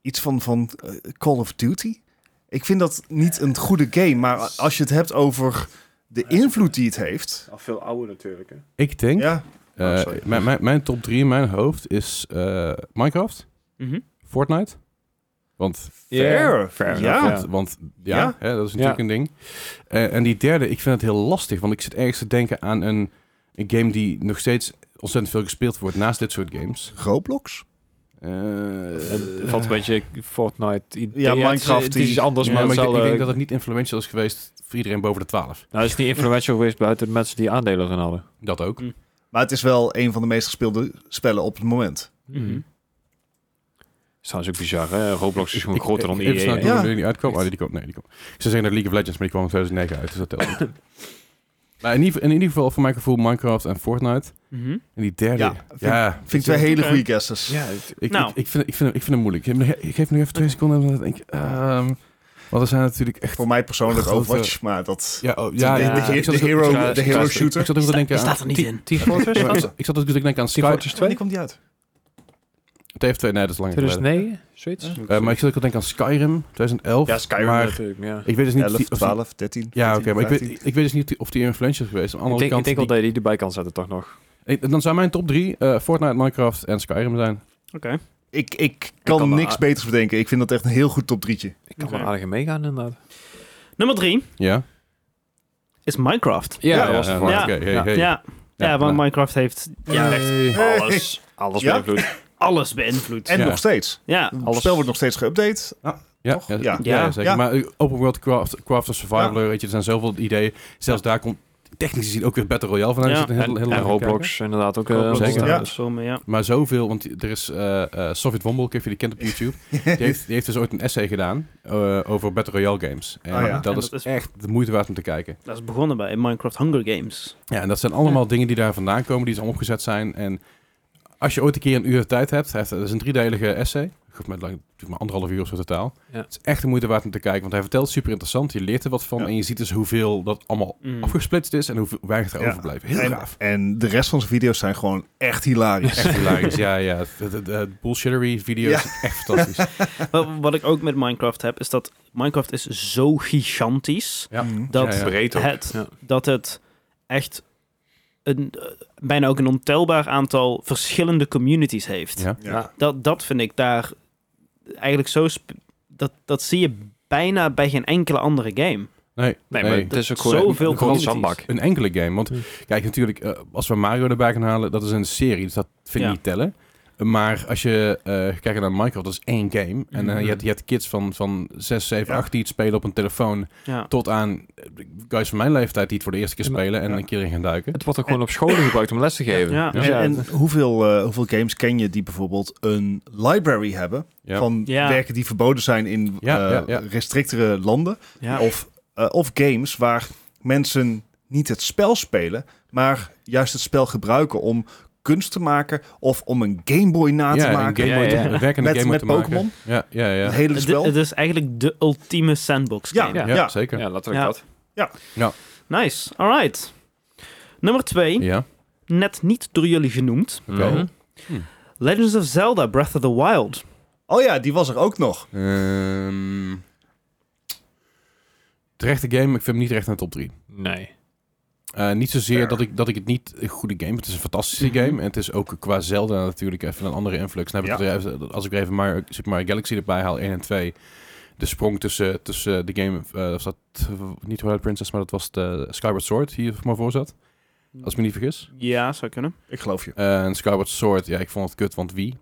[SPEAKER 4] iets van, van eh, Call of Duty? Ik vind dat niet een goede game, maar als je het hebt over de invloed die het heeft.
[SPEAKER 5] Al veel ouder natuurlijk, hè.
[SPEAKER 3] Ik denk...
[SPEAKER 4] Ja,
[SPEAKER 3] eh,
[SPEAKER 4] Oh, sorry.
[SPEAKER 3] mijn, mijn, mijn top 3 in mijn hoofd is eh, Minecraft,
[SPEAKER 1] Mhm.
[SPEAKER 3] Fortnite. Want
[SPEAKER 4] fair.
[SPEAKER 2] Fair
[SPEAKER 4] ja.
[SPEAKER 2] enough,
[SPEAKER 3] Want, want ja,
[SPEAKER 4] Ja.
[SPEAKER 3] Hè, dat is natuurlijk
[SPEAKER 2] Ja.
[SPEAKER 3] een ding. Eh, en die derde, ik vind het heel lastig. Want ik zit ergens te denken aan een, een game die nog steeds ontzettend veel gespeeld wordt naast dit soort games.
[SPEAKER 4] Roblox?
[SPEAKER 3] Eh,
[SPEAKER 2] Het valt een beetje Fortnite idee.
[SPEAKER 4] Ja,
[SPEAKER 2] het is-
[SPEAKER 4] Minecraft
[SPEAKER 2] Het is iets
[SPEAKER 4] die-
[SPEAKER 2] anders,
[SPEAKER 3] ja,
[SPEAKER 2] maar,
[SPEAKER 3] maar ik,
[SPEAKER 2] het
[SPEAKER 3] denk-
[SPEAKER 2] zal,
[SPEAKER 3] ik
[SPEAKER 2] eh,
[SPEAKER 3] denk dat het niet influential is geweest voor iedereen boven de 12.
[SPEAKER 2] Nou, het is niet influential geweest buiten de mensen die aandelen erin hadden.
[SPEAKER 3] Dat ook.
[SPEAKER 4] Maar het is wel een van de meest gespeelde spellen op het moment.
[SPEAKER 1] Mhm.
[SPEAKER 2] Dat is trouwens ook bizar, hè? Roblox is gewoon
[SPEAKER 3] Ik-
[SPEAKER 2] groter dan
[SPEAKER 3] ik, ik
[SPEAKER 2] EA.
[SPEAKER 3] snap
[SPEAKER 2] hè?
[SPEAKER 3] niet
[SPEAKER 4] Ja.
[SPEAKER 3] hoe die niet uitkwam. Oh, die kwam. Nee, die kwam. Ze zeggen dat League of Legends, maar die kwam in 2009 uit. Dus dat telt niet. *laughs* maar in ieder, in ieder geval, voor mijn gevoel, Minecraft en Fortnite.
[SPEAKER 1] Mhm.
[SPEAKER 3] En die derde.
[SPEAKER 4] Ja,
[SPEAKER 3] Ja,
[SPEAKER 4] vind- Vind ik twee hele goede guesses.
[SPEAKER 2] Ja, het-
[SPEAKER 3] Ik,
[SPEAKER 1] Nou.
[SPEAKER 3] ik, ik, vind, ik, vind, hem- ik vind hem moeilijk. Geef me, nog- geef me nog even twee seconden. om te denken. Ehm, want er zijn natuurlijk echt...
[SPEAKER 4] Voor mij persoonlijk
[SPEAKER 3] Grote-
[SPEAKER 4] Overwatch, maar dat...
[SPEAKER 3] Ja, oh, ja,
[SPEAKER 4] de,
[SPEAKER 3] ja.
[SPEAKER 4] de-
[SPEAKER 3] Ik zat
[SPEAKER 4] de
[SPEAKER 3] ook-
[SPEAKER 4] hero,
[SPEAKER 3] ik zat-
[SPEAKER 4] de
[SPEAKER 3] ik
[SPEAKER 4] hero
[SPEAKER 3] zat-
[SPEAKER 4] shooter.
[SPEAKER 3] Ik zat ook te denken
[SPEAKER 1] Die
[SPEAKER 3] aan...
[SPEAKER 1] staat er niet in.
[SPEAKER 2] Team Fortress?
[SPEAKER 3] Ik zat- ik zat ook te denken aan
[SPEAKER 2] Team
[SPEAKER 3] Sky...
[SPEAKER 2] Fortress 2?
[SPEAKER 4] komt niet uit.
[SPEAKER 3] TF2, nee, dat is lang geleden.
[SPEAKER 2] 2009? Zoiets?
[SPEAKER 3] Eh, maar ik zat ook te denken aan Skyrim, 2011.
[SPEAKER 4] Ja, Skyrim
[SPEAKER 3] Maar
[SPEAKER 2] Natuurlijk, ja.
[SPEAKER 3] ik weet dus niet... of
[SPEAKER 4] 11,
[SPEAKER 3] die- of die-
[SPEAKER 4] 12, 13,
[SPEAKER 3] Ja, oké,
[SPEAKER 4] 14,
[SPEAKER 3] maar ik
[SPEAKER 4] 15.
[SPEAKER 3] weet, ik weet dus niet of die influential is geweest. Aan de
[SPEAKER 2] Ik
[SPEAKER 3] andere
[SPEAKER 2] denk, ik
[SPEAKER 3] kant...
[SPEAKER 2] denk wel
[SPEAKER 3] die-
[SPEAKER 2] dat je die erbij kan zetten, toch nog?
[SPEAKER 3] eh, Dan zou mijn top 3 Fortnite, Minecraft en Skyrim zijn.
[SPEAKER 1] Oké.
[SPEAKER 4] Ik, ik kan
[SPEAKER 2] kan
[SPEAKER 4] niks
[SPEAKER 2] maar-
[SPEAKER 4] beters bedenken. Ik vind dat echt een heel goed top drietje.
[SPEAKER 2] Ik kan
[SPEAKER 1] Oké.
[SPEAKER 2] wel aardig in meegaan, inderdaad.
[SPEAKER 1] *laughs* Nummer 3
[SPEAKER 3] Ja?
[SPEAKER 1] is Minecraft.
[SPEAKER 2] Ja,
[SPEAKER 4] dat
[SPEAKER 2] dat was
[SPEAKER 3] ja,
[SPEAKER 2] de
[SPEAKER 1] ja.
[SPEAKER 3] Oké, hey,
[SPEAKER 2] Ja.
[SPEAKER 3] hey.
[SPEAKER 1] Ja. Ja,
[SPEAKER 3] Ja,
[SPEAKER 1] want
[SPEAKER 3] nou.
[SPEAKER 1] Minecraft heeft ja, echt
[SPEAKER 2] Alles, alles
[SPEAKER 4] Ja?
[SPEAKER 2] beïnvloed.
[SPEAKER 1] alles beïnvloed.
[SPEAKER 4] En
[SPEAKER 3] Ja.
[SPEAKER 4] nog steeds.
[SPEAKER 3] Eh,
[SPEAKER 1] ja.
[SPEAKER 4] Het
[SPEAKER 2] Alles-
[SPEAKER 4] spel wordt nog steeds geüpdate.
[SPEAKER 3] Ja,
[SPEAKER 4] Toch?
[SPEAKER 3] ja,
[SPEAKER 4] Ja.
[SPEAKER 3] ja. ja,
[SPEAKER 1] Ja.
[SPEAKER 3] zeker.
[SPEAKER 4] Ja.
[SPEAKER 3] Maar eh, open world craft, craft of survival, weet je, er zijn zoveel ideeën. Zelfs daar komt technisch gezien ook weer Battle Royale vandaan.
[SPEAKER 1] Ja.
[SPEAKER 3] Er zit een heel,
[SPEAKER 2] En,
[SPEAKER 3] heel
[SPEAKER 2] en
[SPEAKER 3] lang aan
[SPEAKER 2] Roblox, inderdaad ook. eh,
[SPEAKER 1] Roblox
[SPEAKER 3] zeker.
[SPEAKER 2] ontstaan,
[SPEAKER 1] staat
[SPEAKER 4] Ja.
[SPEAKER 1] dus voor me, ja.
[SPEAKER 3] kijken. Maar zoveel, want die- er is eh eh Soviet Wombol, ik weet niet of je die kent op
[SPEAKER 4] *laughs*
[SPEAKER 3] YouTube. die, heeft, die heeft dus ooit een essay gedaan eh, over Battle Royale games. En
[SPEAKER 4] Ah, ja.
[SPEAKER 3] dat,
[SPEAKER 1] En
[SPEAKER 3] is
[SPEAKER 1] dat is-
[SPEAKER 3] echt de moeite waard om te kijken.
[SPEAKER 1] Dat is begonnen bij Minecraft Hunger Games.
[SPEAKER 3] Ja, en dat zijn allemaal dingen die daar vandaan komen, die zijn opgezet zijn. En als je ooit een keer een uur tijd hebt, hij heeft- dat is een driedelige essay. Goed, met lang, natuurlijk maar anderhalf uur of zo totaal.
[SPEAKER 2] Ja.
[SPEAKER 3] Het is echt de moeite waard om te kijken, want hij vertelt super interessant. Je leert er wat van
[SPEAKER 4] Ja.
[SPEAKER 3] en je ziet dus hoeveel dat allemaal
[SPEAKER 2] Hmm.
[SPEAKER 1] Mm.
[SPEAKER 3] afgesplitst is en hoe weinig er
[SPEAKER 4] Ja.
[SPEAKER 3] overblijft. Heel
[SPEAKER 4] En,
[SPEAKER 3] gaaf.
[SPEAKER 4] en de rest van zijn video's zijn gewoon echt hilarisch.
[SPEAKER 3] Echt hilarisch. ja, ja. De, de, de bullshittery video's. Echt
[SPEAKER 4] *laughs*
[SPEAKER 3] fantastisch.
[SPEAKER 1] Wat, wat ik ook met Minecraft heb, is dat Minecraft is zo gigantisch.
[SPEAKER 3] Ja.
[SPEAKER 4] Mm.
[SPEAKER 1] Dat
[SPEAKER 3] Ja, ja.
[SPEAKER 2] Breed ook.
[SPEAKER 1] het,
[SPEAKER 2] Ja.
[SPEAKER 1] dat het echt een, eh, bijna ook een ontelbaar aantal verschillende communities heeft.
[SPEAKER 3] Ja.
[SPEAKER 4] Ja.
[SPEAKER 2] Ja.
[SPEAKER 1] Dat, dat vind ik daar eigenlijk zo... sp- Dat, dat zie je bijna bij geen enkele andere game.
[SPEAKER 3] Nee,
[SPEAKER 2] Nee,
[SPEAKER 3] nee,
[SPEAKER 2] maar het is ook gewoon
[SPEAKER 1] Zoveel
[SPEAKER 2] een- gewoon een
[SPEAKER 1] communities.
[SPEAKER 2] zandbak.
[SPEAKER 3] Een
[SPEAKER 4] Hm.
[SPEAKER 3] enkele game. Want
[SPEAKER 2] Ja.
[SPEAKER 3] kijk, natuurlijk, eh, als we Mario erbij gaan halen, dat is een serie. Dus dat vind ik
[SPEAKER 1] Ja.
[SPEAKER 3] niet tellen. Maar als je eh, kijkt naar Minecraft, dat is één game. En eh,
[SPEAKER 4] Hm.
[SPEAKER 2] Mhm.
[SPEAKER 3] je, hebt, je hebt kids van, van 6, 7,
[SPEAKER 4] Ja.
[SPEAKER 3] 8 die het spelen op een telefoon.
[SPEAKER 1] Ja.
[SPEAKER 3] Tot aan eh, guys van mijn leeftijd die het voor de eerste keer
[SPEAKER 2] Ja, maar-
[SPEAKER 3] spelen en
[SPEAKER 4] ja.
[SPEAKER 3] een keer in gaan duiken.
[SPEAKER 2] Het wordt ook gewoon op scholen gebruikt om les te geven.
[SPEAKER 1] Ja.
[SPEAKER 2] Dus
[SPEAKER 4] En,
[SPEAKER 2] ja,
[SPEAKER 4] en hoeveel, eh, hoeveel games ken je die bijvoorbeeld een library hebben
[SPEAKER 3] Ja.
[SPEAKER 4] van
[SPEAKER 1] Ja.
[SPEAKER 4] werken die verboden zijn in
[SPEAKER 3] Ja,
[SPEAKER 4] eh,
[SPEAKER 3] ja, ja.
[SPEAKER 4] restrictere landen?
[SPEAKER 1] Ja.
[SPEAKER 4] Of, eh, of games waar mensen niet het spel spelen, maar juist het spel gebruiken om kunst te maken of om een Game Boy na te
[SPEAKER 3] ja, een
[SPEAKER 4] maken.
[SPEAKER 3] Game Boy
[SPEAKER 2] Ja, ja,
[SPEAKER 3] te-
[SPEAKER 2] ja.
[SPEAKER 3] een werkende
[SPEAKER 4] Met-
[SPEAKER 3] Game Boy
[SPEAKER 4] met
[SPEAKER 3] te maken.
[SPEAKER 4] Pokémon?
[SPEAKER 3] Ja, ja, ja.
[SPEAKER 4] Het hele
[SPEAKER 1] Het,
[SPEAKER 4] spel.
[SPEAKER 1] het is eigenlijk de ultieme sandbox game.
[SPEAKER 4] ja,
[SPEAKER 2] Ja.
[SPEAKER 4] ja.
[SPEAKER 3] Ja, zeker. Ja.
[SPEAKER 2] ja, letterlijk
[SPEAKER 1] Ja.
[SPEAKER 2] dat.
[SPEAKER 1] Nice, alright. Nummer 2, net niet door jullie genoemd.
[SPEAKER 3] Oké.
[SPEAKER 2] Mhm.
[SPEAKER 1] Legends of Zelda Breath of the Wild.
[SPEAKER 4] Oh ja, die was er ook nog.
[SPEAKER 3] Ehm, terechte game, ik vind hem niet recht naar de top 3.
[SPEAKER 2] Nee.
[SPEAKER 3] Eh, niet zozeer
[SPEAKER 4] Fair.
[SPEAKER 3] dat ik, dat ik het niet een goede game Het is een fantastische
[SPEAKER 2] Mhm.
[SPEAKER 3] game. En het is ook qua Zelda natuurlijk even een andere influx. Dan heb ik
[SPEAKER 4] Ja.
[SPEAKER 3] het er even- als ik er even Mario, Super Mario Galaxy erbij haal, 1 en 2. De sprong tussen, tussen de game... eh, was dat eh, niet Twilight Princess, maar dat was de Skyward Sword die er maar voor zat. Als ik me niet vergis.
[SPEAKER 1] Ja, zou kunnen.
[SPEAKER 4] Ik geloof je.
[SPEAKER 3] Eh, en Skyward Sword, ja, ik vond het kut, want wie?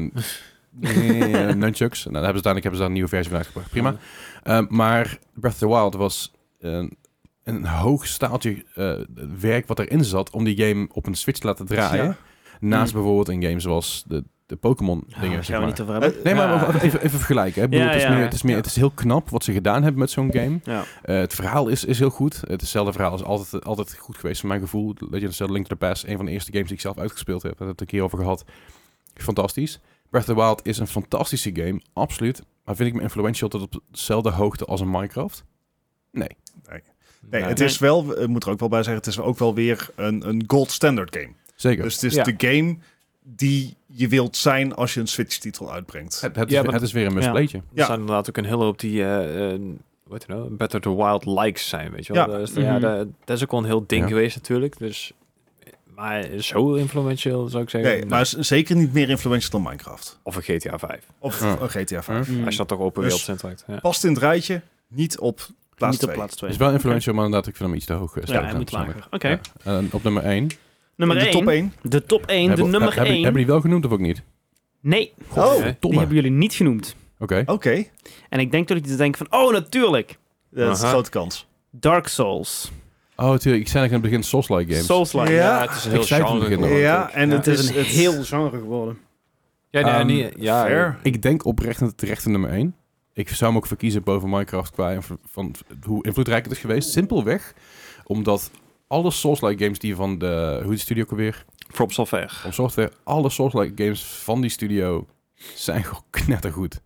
[SPEAKER 1] *laughs*
[SPEAKER 3] En eh, nunchucks. Nou, daar hebben ze uiteindelijk hebben ze daar een nieuwe versie van uitgebracht. Prima. Eh, maar Breath of the Wild was een, een hoog staaltje eh, werk wat erin zat om die game op een Switch te laten draaien.
[SPEAKER 4] Ja.
[SPEAKER 3] Naast
[SPEAKER 1] Hmm.
[SPEAKER 3] bijvoorbeeld een game zoals de, de Pokémon
[SPEAKER 1] Oh,
[SPEAKER 3] dingen.
[SPEAKER 1] daar
[SPEAKER 3] zeg
[SPEAKER 1] gaan we
[SPEAKER 3] maar.
[SPEAKER 1] niet over hebben.
[SPEAKER 3] Eh, Nee, maar
[SPEAKER 2] Ja.
[SPEAKER 3] even, even- even vergelijken. Hè. Ik bedoel,
[SPEAKER 1] Ja,
[SPEAKER 3] het, is
[SPEAKER 1] ja.
[SPEAKER 3] meer, het, is meer, het is heel knap wat ze gedaan hebben met zo'n game.
[SPEAKER 1] Ja.
[SPEAKER 3] Eh, het verhaal is, is heel goed. Het is hetzelfde verhaal is altijd, altijd goed geweest, van mijn gevoel. Legend of Zelda Link to the Past, een van de eerste games die ik zelf uitgespeeld heb. Daar heb ik het een keer over gehad. Fantastisch. Breath of the Wild is een fantastische game, absoluut. Maar vind ik me influential tot op dezelfde hoogte als een Minecraft?
[SPEAKER 4] Nee,
[SPEAKER 2] Nou, Nee.
[SPEAKER 4] het is wel, ik moet er ook wel bij zeggen, het is ook wel weer een, een gold standard game.
[SPEAKER 3] Zeker.
[SPEAKER 4] Dus het is
[SPEAKER 2] Ja.
[SPEAKER 4] de game die je wilt zijn als je een Switch-titel uitbrengt.
[SPEAKER 3] het, het,
[SPEAKER 2] Ja,
[SPEAKER 3] is,
[SPEAKER 2] maar-
[SPEAKER 3] het is weer een mispleetje.
[SPEAKER 2] Er
[SPEAKER 4] Ja.
[SPEAKER 2] zijn inderdaad ook een hele hoop die, eh eh, wat je nou, Better the Wild likes zijn, weet je wel.
[SPEAKER 4] Ja.
[SPEAKER 2] Dat, is, ja,
[SPEAKER 1] Mhm.
[SPEAKER 2] dat, dat is ook wel een heel ding
[SPEAKER 3] Ja.
[SPEAKER 2] geweest natuurlijk. Dus, maar zo influentieel zou ik zeggen.
[SPEAKER 4] Nee, maar is zeker niet meer influential dan Minecraft.
[SPEAKER 2] Of een GTA 5.
[SPEAKER 4] Of
[SPEAKER 3] Ja.
[SPEAKER 4] een GTA 5.
[SPEAKER 1] Hmm.
[SPEAKER 3] Hm?
[SPEAKER 2] Als je dat toch open
[SPEAKER 4] Dus-
[SPEAKER 2] wereld centract. Ja.
[SPEAKER 4] Past in het rijtje, niet op plaats
[SPEAKER 1] niet op
[SPEAKER 4] 2.
[SPEAKER 1] plaats 2.
[SPEAKER 3] is wel influential, maar inderdaad, ik vind hem iets te hoog.
[SPEAKER 1] Ja,
[SPEAKER 3] eh, staan
[SPEAKER 1] hij
[SPEAKER 3] staan
[SPEAKER 1] moet lager.
[SPEAKER 3] persoonlijk.
[SPEAKER 1] Oké.
[SPEAKER 3] Ja. En op nummer 1.
[SPEAKER 1] Nummer
[SPEAKER 4] In de
[SPEAKER 1] 1.
[SPEAKER 4] top 1.
[SPEAKER 1] De top 1, de nummer
[SPEAKER 3] Hebben
[SPEAKER 1] 1.
[SPEAKER 3] hebben die wel genoemd of ook niet?
[SPEAKER 1] Nee,
[SPEAKER 4] Oh, oké.
[SPEAKER 1] die
[SPEAKER 2] Hè?
[SPEAKER 3] Domme.
[SPEAKER 1] hebben
[SPEAKER 3] Oké.
[SPEAKER 1] jullie niet genoemd. En ik denk dat jullie denken van, oh natuurlijk.
[SPEAKER 4] eh, Dat is
[SPEAKER 2] Aha.
[SPEAKER 4] een grote kans.
[SPEAKER 1] Dark Souls.
[SPEAKER 3] Oh, tuurlijk. Ik zei eigenlijk in het begin Souls-like games.
[SPEAKER 1] Souls-like.
[SPEAKER 4] Ja.
[SPEAKER 2] het is een
[SPEAKER 3] Ik
[SPEAKER 2] heel
[SPEAKER 3] zei het
[SPEAKER 2] genre
[SPEAKER 3] in het begin
[SPEAKER 2] geworden
[SPEAKER 4] Ja,
[SPEAKER 2] ook.
[SPEAKER 4] en
[SPEAKER 1] Het is een
[SPEAKER 4] het-
[SPEAKER 1] heel genre geworden.
[SPEAKER 2] Ja, nee,
[SPEAKER 3] Ehm,
[SPEAKER 2] niet- ja,
[SPEAKER 4] fair.
[SPEAKER 3] Ik denk oprecht dat het terechte nummer 1. Ik zou hem ook verkiezen boven Minecraft qua invlo- van hoe invloedrijk het is geweest. Simpelweg omdat alle Souls-like games die van de... Hoe heet de studio ook alweer?
[SPEAKER 2] From Software.
[SPEAKER 3] Om software. Alle Souls-like games van die studio zijn gewoon *laughs* knettergoed.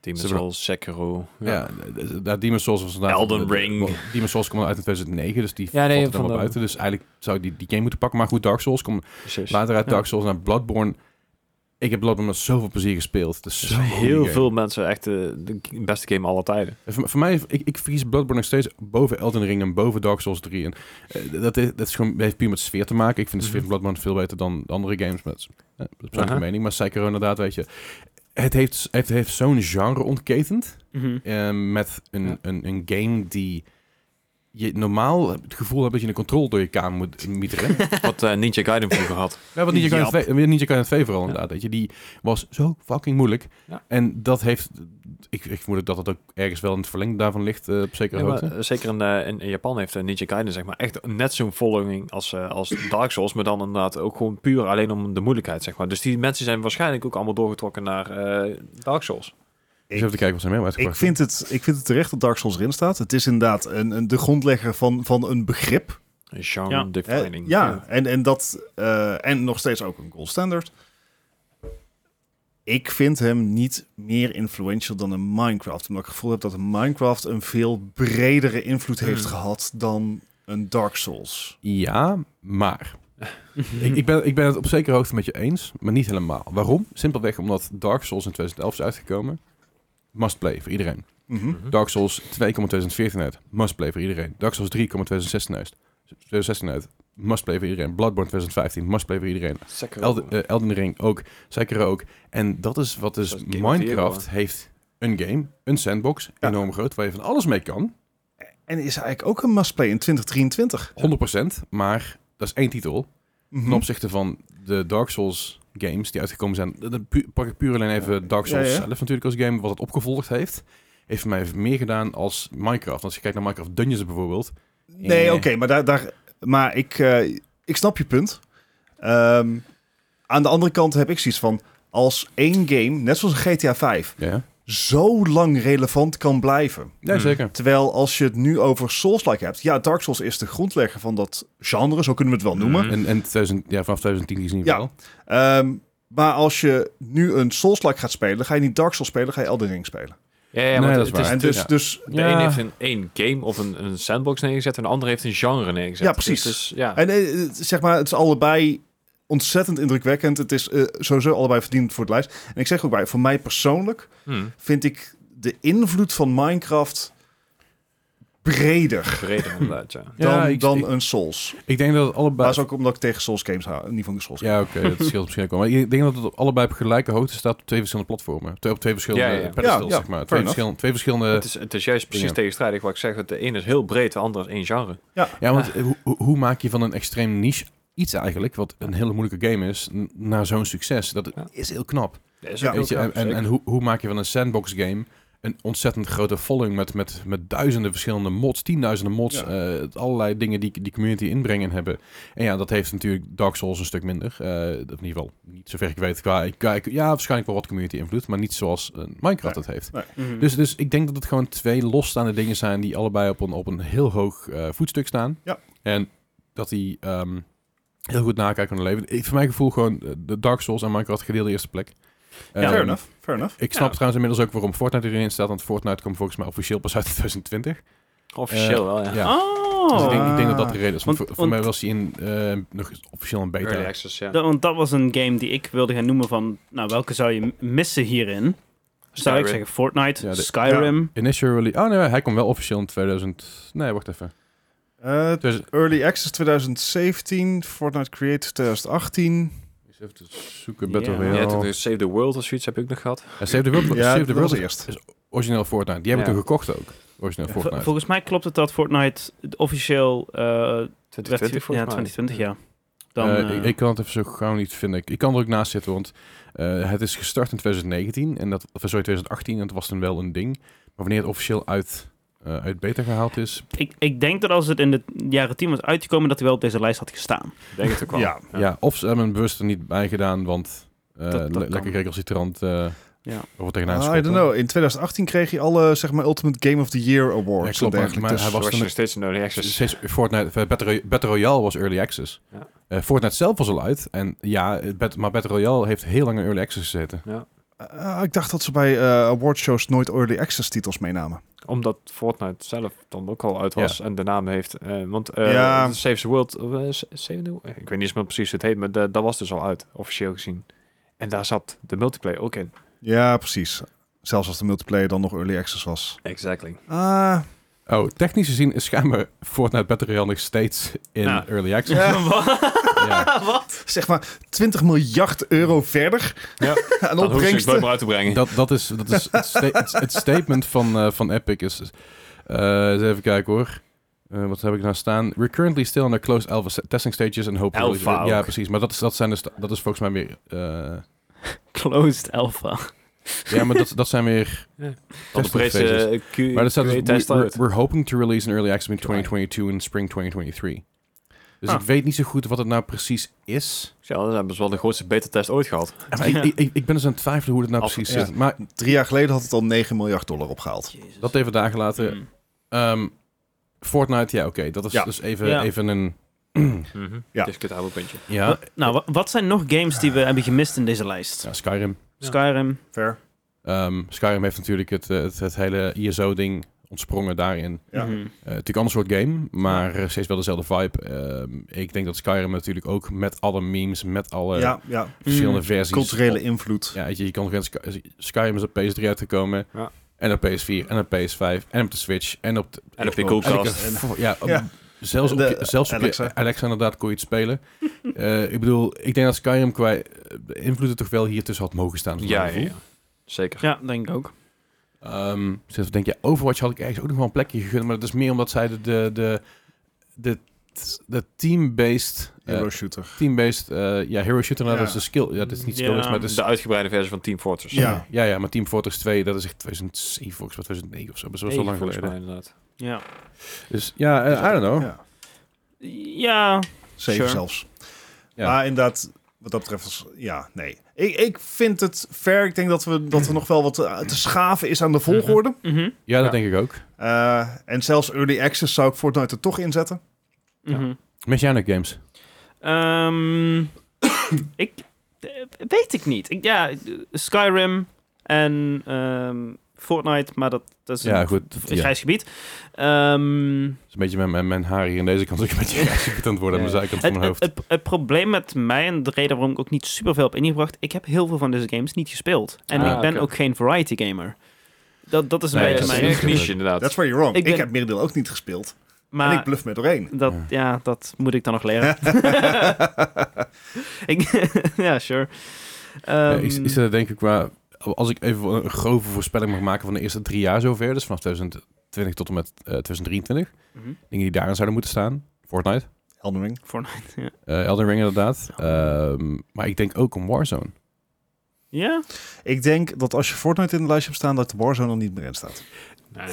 [SPEAKER 2] Demon's
[SPEAKER 3] Ze hebben-
[SPEAKER 2] Souls, Sekiro.
[SPEAKER 3] Ja, dus, eh, daar Demon's Souls was vandaag...
[SPEAKER 2] Elden Ring.
[SPEAKER 3] Demon's Souls kwam uit in 2009, dus die
[SPEAKER 2] Ja, nee,
[SPEAKER 3] valt er dan
[SPEAKER 2] van
[SPEAKER 3] wel
[SPEAKER 2] de-
[SPEAKER 3] buiten. Dus eigenlijk zou ik die, die game moeten pakken. Maar goed, Dark Souls komt
[SPEAKER 2] precies.
[SPEAKER 3] later uit
[SPEAKER 1] Ja.
[SPEAKER 3] Dark Souls naar Bloodborne. Ik heb Bloodborne met zoveel plezier gespeeld. Het is
[SPEAKER 2] Er
[SPEAKER 3] zo'n
[SPEAKER 2] zijn Dus heel
[SPEAKER 3] goede game.
[SPEAKER 2] veel mensen echt eh, de g- beste game aller tijden.
[SPEAKER 3] En Voor, voor mij, ik, ik verkies Bloodborne nog steeds boven Elden Ring en boven Dark Souls 3. En, eh, dat, is, dat is gewoon, heeft puur met sfeer te maken. Ik vind de sfeer van Bloodborne veel beter dan de andere games. Met, eh, dat is persoonlijke
[SPEAKER 2] Mhm. Aha.
[SPEAKER 3] mening, maar Sekiro inderdaad, weet je. Het heeft, het heeft zo'n genre ontketend
[SPEAKER 1] Mhm.
[SPEAKER 3] eh, met een,
[SPEAKER 2] Ja.
[SPEAKER 3] een, een game die je normaal het gevoel hebt dat je een controle door je kamer moet mieteren.
[SPEAKER 2] *laughs* Wat eh, Ninja Gaiden vroeger had.
[SPEAKER 3] Ja, want Ninja Gaiden
[SPEAKER 2] Jap.
[SPEAKER 3] 2, eh, Ninja Gaiden 2 vooral inderdaad. Weet je, die was zo fucking moeilijk.
[SPEAKER 2] Ja.
[SPEAKER 3] En dat heeft... Ik, ik vermoed ook dat dat ook ergens wel in het verlengde daarvan ligt, eh, op zekere
[SPEAKER 2] Ja, maar,
[SPEAKER 3] hoogte.
[SPEAKER 2] eh, zeker in, eh, in, in Japan heeft eh, Ninja Gaiden zeg maar echt net zo'n following als, eh, als Dark Souls, maar dan inderdaad ook gewoon puur alleen om de moeilijkheid zeg maar. Dus die mensen zijn waarschijnlijk ook allemaal doorgetrokken naar eh, Dark Souls.
[SPEAKER 3] Ik, Dus even te kijken wat zijn mee
[SPEAKER 4] Ik
[SPEAKER 3] uitgebracht.
[SPEAKER 4] vind, het, ik vind het terecht dat Dark Souls erin staat. Het is inderdaad een, een, de grondlegger van, van een begrip.
[SPEAKER 2] Een genre
[SPEAKER 1] Ja.
[SPEAKER 4] Hè?
[SPEAKER 2] defining.
[SPEAKER 4] Eh, Ja, en, en, dat, eh, en nog steeds ook een gold standard. Ik vind hem niet meer influential dan een Minecraft. Omdat ik het gevoel heb dat een Minecraft een veel bredere invloed heeft
[SPEAKER 2] Hmm.
[SPEAKER 4] gehad dan een Dark Souls.
[SPEAKER 3] Ja, maar...
[SPEAKER 2] *laughs*
[SPEAKER 3] ik, ik, ben, ik ben het op zekere hoogte met je eens, maar niet helemaal. Waarom? Simpelweg omdat Dark Souls in 2011 is uitgekomen. Must play voor iedereen.
[SPEAKER 4] Mhm.
[SPEAKER 2] Mhm.
[SPEAKER 3] Dark Souls 2 komt in 2014 uit. Must play voor iedereen. Dark Souls 3 komt in 2016 uit. 2016 uit. Must play voor iedereen. Bloodborne 2015. Must play voor iedereen.
[SPEAKER 2] Sekiro.
[SPEAKER 3] Elden, eh, Elden Ring ook, Sekiro ook. En dat is wat dus
[SPEAKER 2] Dat is Game of the
[SPEAKER 3] Minecraft heeft. Een game, een sandbox,
[SPEAKER 4] Ja.
[SPEAKER 3] enorm groot, waar je van alles mee kan.
[SPEAKER 4] En is eigenlijk ook een must-play in 2023. Mhm.
[SPEAKER 3] Mhm. 100%, maar dat is één titel. Ten opzichte van de Dark Souls games die uitgekomen zijn. Dat- dat pu- pak ik puur alleen even Dark Souls
[SPEAKER 4] Ja, ja.
[SPEAKER 3] zelf natuurlijk als game, wat het opgevolgd heeft. Heeft voor mij meer gedaan als Minecraft. Als je kijkt naar Minecraft Dungeons bijvoorbeeld.
[SPEAKER 4] Nee,
[SPEAKER 3] Eh.
[SPEAKER 4] oké, maar, daar, daar, maar ik, eh, ik snap je punt. Ehm, aan de andere kant heb ik zoiets van... als één game, net zoals een GTA 5...
[SPEAKER 3] Ja,
[SPEAKER 4] zo lang relevant kan blijven.
[SPEAKER 3] ja zeker.
[SPEAKER 4] Terwijl als je het nu over Souls-like hebt... ja, Dark Souls is de grondlegger van dat genre, zo kunnen we het wel noemen.
[SPEAKER 2] Mhm.
[SPEAKER 3] En, en 2000, ja, vanaf 2010 is het niet
[SPEAKER 4] Hmm. Ja.
[SPEAKER 3] wel.
[SPEAKER 4] Ehm, maar als je nu een Souls-like gaat spelen... ga je niet Dark Souls spelen, ga je Elden Ring spelen.
[SPEAKER 2] Ja, ja,
[SPEAKER 3] Nee,
[SPEAKER 2] maar
[SPEAKER 3] dat is
[SPEAKER 2] het- het
[SPEAKER 3] waar.
[SPEAKER 4] en
[SPEAKER 2] het
[SPEAKER 4] dus,
[SPEAKER 3] ja.
[SPEAKER 4] dus
[SPEAKER 2] De een heeft een één game of een, een sandbox neergezet en de ander heeft een genre neergezet.
[SPEAKER 4] Ja, precies.
[SPEAKER 2] Dus, dus, ja.
[SPEAKER 4] En eh, het- zeg maar, het is allebei ontzettend indrukwekkend. Het is eh, sowieso allebei verdiend voor het lijst. En ik zeg ook bij, voor mij persoonlijk
[SPEAKER 2] Hmm,
[SPEAKER 4] vind ik de invloed van Minecraft breder
[SPEAKER 2] breder inderdaad, ja.
[SPEAKER 3] Ja,
[SPEAKER 4] dan,
[SPEAKER 3] ik-
[SPEAKER 4] dan
[SPEAKER 3] ik-
[SPEAKER 4] een Souls.
[SPEAKER 3] Ik denk dat het
[SPEAKER 4] Maar
[SPEAKER 3] allebei...
[SPEAKER 4] dat is ook omdat ik tegen Souls games hou, niet van de Souls. games.
[SPEAKER 3] Ja, oké, dat scheelt misschien ook wel. Maar ik denk dat het op allebei op gelijke hoogte staat op twee verschillende platformen. Twee, op twee verschillende
[SPEAKER 2] Ja, ja, ja.
[SPEAKER 3] pedestals,
[SPEAKER 4] Ja, ja,
[SPEAKER 3] zeg maar.
[SPEAKER 4] fair
[SPEAKER 3] Twee
[SPEAKER 4] enough.
[SPEAKER 3] verschillende, twee verschillende...
[SPEAKER 2] het, is, het is juist precies
[SPEAKER 3] Ja.
[SPEAKER 2] tegenstrijdig wat ik zeg. dat De ene is heel breed, de andere is één genre.
[SPEAKER 3] Ja, want eh, hoe- hoe- hoe maak je van een extreem niche iets eigenlijk, wat een hele moeilijke game is, n- naar zo'n succes? Dat
[SPEAKER 2] Ja.
[SPEAKER 3] is heel knap.
[SPEAKER 2] Dat is
[SPEAKER 4] Ja,
[SPEAKER 2] ook heel
[SPEAKER 3] weet je,
[SPEAKER 2] knap,
[SPEAKER 3] en en,
[SPEAKER 2] zeker.
[SPEAKER 3] en hoe, hoe maak je van een sandbox game een ontzettend grote following met, met, met duizenden verschillende mods, tienduizenden mods, eh, allerlei dingen die die community inbrengen en hebben. En ja, dat heeft natuurlijk Dark Souls een stuk minder. eh, in ieder geval, niet zover ik weet, qua, qua- ja, waarschijnlijk wel wat community invloed, maar niet zoals eh, Minecraft
[SPEAKER 4] Nee.
[SPEAKER 3] dat heeft.
[SPEAKER 1] Mhm.
[SPEAKER 3] Dus, dus ik denk dat het gewoon twee losstaande dingen zijn die allebei op een, op een heel hoog eh, voetstuk staan.
[SPEAKER 4] Ja.
[SPEAKER 3] En dat die ehm, heel goed nakijken kunnen leven. Ik, voor mijn gevoel gewoon eh, de Dark Souls en Minecraft gedeelde eerste plek. Ehm,
[SPEAKER 4] fair enough. Fair enough.
[SPEAKER 3] Ik snap
[SPEAKER 2] Ja.
[SPEAKER 3] trouwens inmiddels ook waarom Fortnite erin staat, want Fortnite komt volgens mij officieel pas uit *laughs* 2020.
[SPEAKER 2] Officieel wel, ja.
[SPEAKER 3] ja. Dus ik,
[SPEAKER 1] Oh,
[SPEAKER 3] denk, ik denk dat dat de reden is. Want,
[SPEAKER 1] Want-
[SPEAKER 3] voor, voor
[SPEAKER 1] want-
[SPEAKER 3] mij was hij in, eh, nog eens officieel een beta.
[SPEAKER 2] Early access, ja.
[SPEAKER 1] dat- want dat was een game die ik wilde gaan noemen van... Nou, welke zou je m- missen hierin? Zou ik
[SPEAKER 2] Skyrim.
[SPEAKER 1] zeggen Fortnite,
[SPEAKER 3] Ja, de-
[SPEAKER 1] Skyrim...
[SPEAKER 3] Initial release. Oh nee, hij komt wel officieel in 2000. Nee, wacht even.
[SPEAKER 4] Eh,
[SPEAKER 3] 2000.
[SPEAKER 4] Early Access 2017, Fortnite Creator 2018.
[SPEAKER 3] Eens Even te zoeken, Battle
[SPEAKER 1] Ja.
[SPEAKER 2] Ja,
[SPEAKER 3] Royale.
[SPEAKER 2] toen de Save the World of zoiets heb ik nog gehad.
[SPEAKER 3] Ja, Save the World,
[SPEAKER 4] Ja,
[SPEAKER 3] Save the
[SPEAKER 4] dat
[SPEAKER 3] World
[SPEAKER 4] was
[SPEAKER 3] is
[SPEAKER 4] eerst.
[SPEAKER 3] is origineel Fortnite. Die heb ik
[SPEAKER 2] Ja.
[SPEAKER 3] toen gekocht ook. Origineel
[SPEAKER 1] Vol-
[SPEAKER 3] Fortnite.
[SPEAKER 1] volgens mij klopt het dat Fortnite officieel... eh, werd-
[SPEAKER 2] 2020
[SPEAKER 1] ja,
[SPEAKER 2] volgens mij.
[SPEAKER 1] 2020, ja. Dan,
[SPEAKER 3] Eh,
[SPEAKER 1] eh,
[SPEAKER 3] ik, ik kan het even zo gauw niet vinden. Ik, ik kan er ook naast zitten, want eh, het is gestart in 2019. En dat, of sorry, 2018. En dat was toen wel een ding. Maar wanneer het officieel uit, eh, uit beta gehaald is...
[SPEAKER 1] ik, ik denk dat als het in de jaren 10 was uitgekomen... dat hij wel op deze lijst had
[SPEAKER 3] *laughs*
[SPEAKER 1] gestaan. *laughs*
[SPEAKER 2] Denk het ook wel.
[SPEAKER 4] Ja.
[SPEAKER 3] Ja. of ze hebben hem bewust er niet bij gedaan, want... eh,
[SPEAKER 1] dat
[SPEAKER 3] le-
[SPEAKER 1] kan.
[SPEAKER 3] lekker regelcitrant eh
[SPEAKER 1] Ja.
[SPEAKER 3] over tegenaan
[SPEAKER 4] Ah, I
[SPEAKER 3] schoppen.
[SPEAKER 4] don't know. In 2018 kreeg hij alle zeg maar, Ultimate Game of the Year
[SPEAKER 3] Ja,
[SPEAKER 4] Awards.
[SPEAKER 3] klopt,
[SPEAKER 4] en
[SPEAKER 3] maar-
[SPEAKER 4] dergelijke.
[SPEAKER 3] maar
[SPEAKER 4] Dus-
[SPEAKER 3] hij
[SPEAKER 2] Was,
[SPEAKER 3] was
[SPEAKER 2] je
[SPEAKER 3] toen-
[SPEAKER 2] nog steeds een early access?
[SPEAKER 3] Steeds Fortnite, eh, Battle, Roy- Battle Royale was early access.
[SPEAKER 2] Ja.
[SPEAKER 3] Eh, Fortnite zelf was al uit. En ja, het Bat- maar Battle Royale heeft heel lang in early access gezeten.
[SPEAKER 4] Ah, ik dacht dat ze bij eh awardshows nooit Early Access titels meenamen.
[SPEAKER 2] Omdat Fortnite zelf dan ook al uit was en de naam heeft. eh, want eh
[SPEAKER 4] Ja.
[SPEAKER 2] Save the World, eh, S- Save the World? ik weet niet eens meer precies hoe het heet, maar de- dat was dus al uit, officieel gezien. En daar zat de multiplayer ook in.
[SPEAKER 4] Ja, precies. Zelfs als de multiplayer dan nog Early Access was.
[SPEAKER 2] Exactly.
[SPEAKER 4] Ah,
[SPEAKER 3] Oh, technisch gezien is schijnbaar Fortnite Battle Royale nog steeds in
[SPEAKER 2] Ja.
[SPEAKER 3] early access. Ja.
[SPEAKER 4] zeg maar 20 miljard euro verder *laughs*
[SPEAKER 2] Ja.
[SPEAKER 4] aan
[SPEAKER 2] Dan hoef je het
[SPEAKER 4] opbrengsten.
[SPEAKER 2] nooit meer uit te brengen.
[SPEAKER 3] Dat, dat is, dat is het, sta- het- het statement van, eh, van Epic is... is, eh, eens even kijken hoor. Eh, wat heb ik nou staan? We're currently still in our closed alpha se- testing stages and hope...
[SPEAKER 2] Alpha
[SPEAKER 3] ja,
[SPEAKER 2] ook.
[SPEAKER 3] precies. Maar dat is, dat zijn dus, dat is volgens mij weer... eh,
[SPEAKER 1] Closed Alpha.
[SPEAKER 3] ja, maar dat, dat zijn weer...
[SPEAKER 2] *laughs* Ja. Van de
[SPEAKER 3] testing
[SPEAKER 2] breedste
[SPEAKER 3] phases.
[SPEAKER 2] eh, Q,
[SPEAKER 3] Maar dat staat dus, we-
[SPEAKER 2] test
[SPEAKER 3] we're,
[SPEAKER 2] uit.
[SPEAKER 3] we're hoping to release an early access in
[SPEAKER 2] July.
[SPEAKER 3] 2022 en spring 2023. Dus
[SPEAKER 1] Ah.
[SPEAKER 3] ik weet niet zo goed wat het nou precies is.
[SPEAKER 2] Ja, dan hebben ze wel de grootste beta-test ooit gehad.
[SPEAKER 3] Maar ik, ik, ik ben dus aan het twijfelen hoe dat nou
[SPEAKER 2] Af-
[SPEAKER 3] precies
[SPEAKER 4] ja.
[SPEAKER 3] zit. Maar
[SPEAKER 4] Drie jaar geleden had het al 9 miljard dollar opgehaald.
[SPEAKER 3] dat eh, even dagen later.
[SPEAKER 1] Mm.
[SPEAKER 3] Ehm, Fortnite, ja, oké. dat is
[SPEAKER 4] Ja.
[SPEAKER 3] dus even,
[SPEAKER 1] Ja.
[SPEAKER 3] even een... *clears throat*
[SPEAKER 4] Ja.
[SPEAKER 2] Dus ik het oude puntje.
[SPEAKER 3] Ja,
[SPEAKER 1] Wa- nou, wa- wat zijn nog games die we hebben gemist in deze lijst?
[SPEAKER 3] ja Skyrim.
[SPEAKER 2] Ja.
[SPEAKER 1] Skyrim.
[SPEAKER 4] Fair.
[SPEAKER 3] Ehm, Skyrim heeft natuurlijk het, eh, het, het hele ISO-ding ontsprongen daarin.
[SPEAKER 4] Ja.
[SPEAKER 1] Mhm.
[SPEAKER 3] Eh, natuurlijk een ander soort game, maar eh, steeds wel dezelfde vibe. Ehm, ik denk dat Skyrim natuurlijk ook met alle memes, met alle
[SPEAKER 4] ja, ja.
[SPEAKER 3] verschillende
[SPEAKER 1] Mm.
[SPEAKER 3] versies...
[SPEAKER 4] Culturele invloed.
[SPEAKER 3] Ja, weet je, je kan geen Sky- Skyrim is op PS3 uitgekomen.
[SPEAKER 2] Ja.
[SPEAKER 3] En op PS4 en op PS5 en op de Switch en op de...
[SPEAKER 2] En op de
[SPEAKER 3] en ik-
[SPEAKER 2] koelkast.
[SPEAKER 3] ja, op-
[SPEAKER 4] Ja.
[SPEAKER 3] zelfs op,
[SPEAKER 4] De
[SPEAKER 3] je- zelfs op je- Alexa.
[SPEAKER 4] Alexa.
[SPEAKER 3] inderdaad kon je het spelen. *laughs* Eh, ik bedoel, ik denk dat Skyrim qua eh, de invloeden toch wel hier tussen had mogen staan. voor
[SPEAKER 2] Ja,
[SPEAKER 3] mijn
[SPEAKER 2] ja,
[SPEAKER 3] gevoel.
[SPEAKER 2] ja. Zeker.
[SPEAKER 1] Ja, denk ik ook.
[SPEAKER 3] Ehm, zelfs denk je, Overwatch had ik ergens ook nog wel een plekje gegund, maar dat is meer omdat zij de, de, de, de het, de team-based... eh,
[SPEAKER 4] Hero shooter.
[SPEAKER 3] team-based, eh, ja, hero shooter, nou,
[SPEAKER 4] Ja.
[SPEAKER 3] dat is de skill. Ja, dat is niet skill,
[SPEAKER 1] Ja.
[SPEAKER 3] maar dat is...
[SPEAKER 2] De uitgebreide versie van Team Fortress.
[SPEAKER 4] Ja.
[SPEAKER 3] Ja, ja, maar Team Fortress 2, dat is echt 2007 volgens mij, 2009 of zo. Dat is wel zo
[SPEAKER 2] Nee,
[SPEAKER 3] lang
[SPEAKER 2] volgens
[SPEAKER 3] geleden.
[SPEAKER 2] mij inderdaad.
[SPEAKER 1] Ja.
[SPEAKER 3] Dus ja, eh, I don't know.
[SPEAKER 4] Ja.
[SPEAKER 1] Ja,
[SPEAKER 4] Zeven
[SPEAKER 1] Sure.
[SPEAKER 4] zelfs.
[SPEAKER 3] Ja.
[SPEAKER 4] Maar inderdaad, wat dat betreft, was, ja, nee. Ik, ik vind het fair. Ik denk dat, we, dat er nog wel wat eh, te schaven is aan de volgorde.
[SPEAKER 1] mhm,
[SPEAKER 3] Ja, dat
[SPEAKER 2] Ja.
[SPEAKER 3] denk ik ook.
[SPEAKER 4] Eh, en zelfs Early Access zou ik Fortnite er toch inzetten.
[SPEAKER 1] mhm.
[SPEAKER 3] Messianic Games.
[SPEAKER 1] Ehm, *coughs* ik eh, weet ik niet. Ik, ja, eh, Skyrim en ehm, Fortnite, maar dat, dat is
[SPEAKER 3] Ja,
[SPEAKER 1] een
[SPEAKER 3] goed.
[SPEAKER 1] v-
[SPEAKER 3] Ja.
[SPEAKER 1] grijs gebied. Ehm,
[SPEAKER 3] Dat is een beetje mijn, mijn, mijn haar hier aan deze kant. *laughs* ook een beetje geïrriteerd aan het worden aan mijn zijkant van
[SPEAKER 1] het,
[SPEAKER 3] mijn
[SPEAKER 1] eh, het,
[SPEAKER 3] hoofd.
[SPEAKER 1] het, het probleem met mij en de reden waarom ik ook niet superveel heb ingebracht, ik heb heel veel van deze games niet gespeeld. En
[SPEAKER 2] Ah,
[SPEAKER 1] ik ben
[SPEAKER 2] oké.
[SPEAKER 1] ook geen variety gamer. Dat, dat is een
[SPEAKER 3] Nee,
[SPEAKER 1] beetje
[SPEAKER 3] dat is
[SPEAKER 1] mijn...
[SPEAKER 3] niet
[SPEAKER 2] een
[SPEAKER 3] mijn-
[SPEAKER 2] niche inderdaad.
[SPEAKER 4] That's where you're wrong.
[SPEAKER 1] Ik
[SPEAKER 4] Ik,
[SPEAKER 1] ben-
[SPEAKER 4] heb merendeel ook niet gespeeld.
[SPEAKER 1] Maar,
[SPEAKER 4] En ik bluff me doorheen. *laughs*
[SPEAKER 1] Dat,
[SPEAKER 3] Ja.
[SPEAKER 1] ja. dat moet ik dan nog
[SPEAKER 3] *laughs*
[SPEAKER 1] leren. *laughs* ik, *laughs* ja, sure.
[SPEAKER 3] Ja,
[SPEAKER 1] Ehm,
[SPEAKER 3] is, is dat denk ik qua... Als ik even een grove voorspelling mag maken van de eerste drie jaar zover. Dus vanaf 2020 tot en met eh, 2023.
[SPEAKER 1] mhm,
[SPEAKER 3] Dingen die daarin zouden moeten staan. Fortnite.
[SPEAKER 4] Elden Ring.
[SPEAKER 1] Fortnite, ja.
[SPEAKER 3] eh Elden Ring inderdaad. Ehm, maar ik denk ook een Warzone.
[SPEAKER 1] Ja?
[SPEAKER 4] Ik denk dat als je Fortnite in de lijst hebt staan, dat de Warzone er niet meer in staat.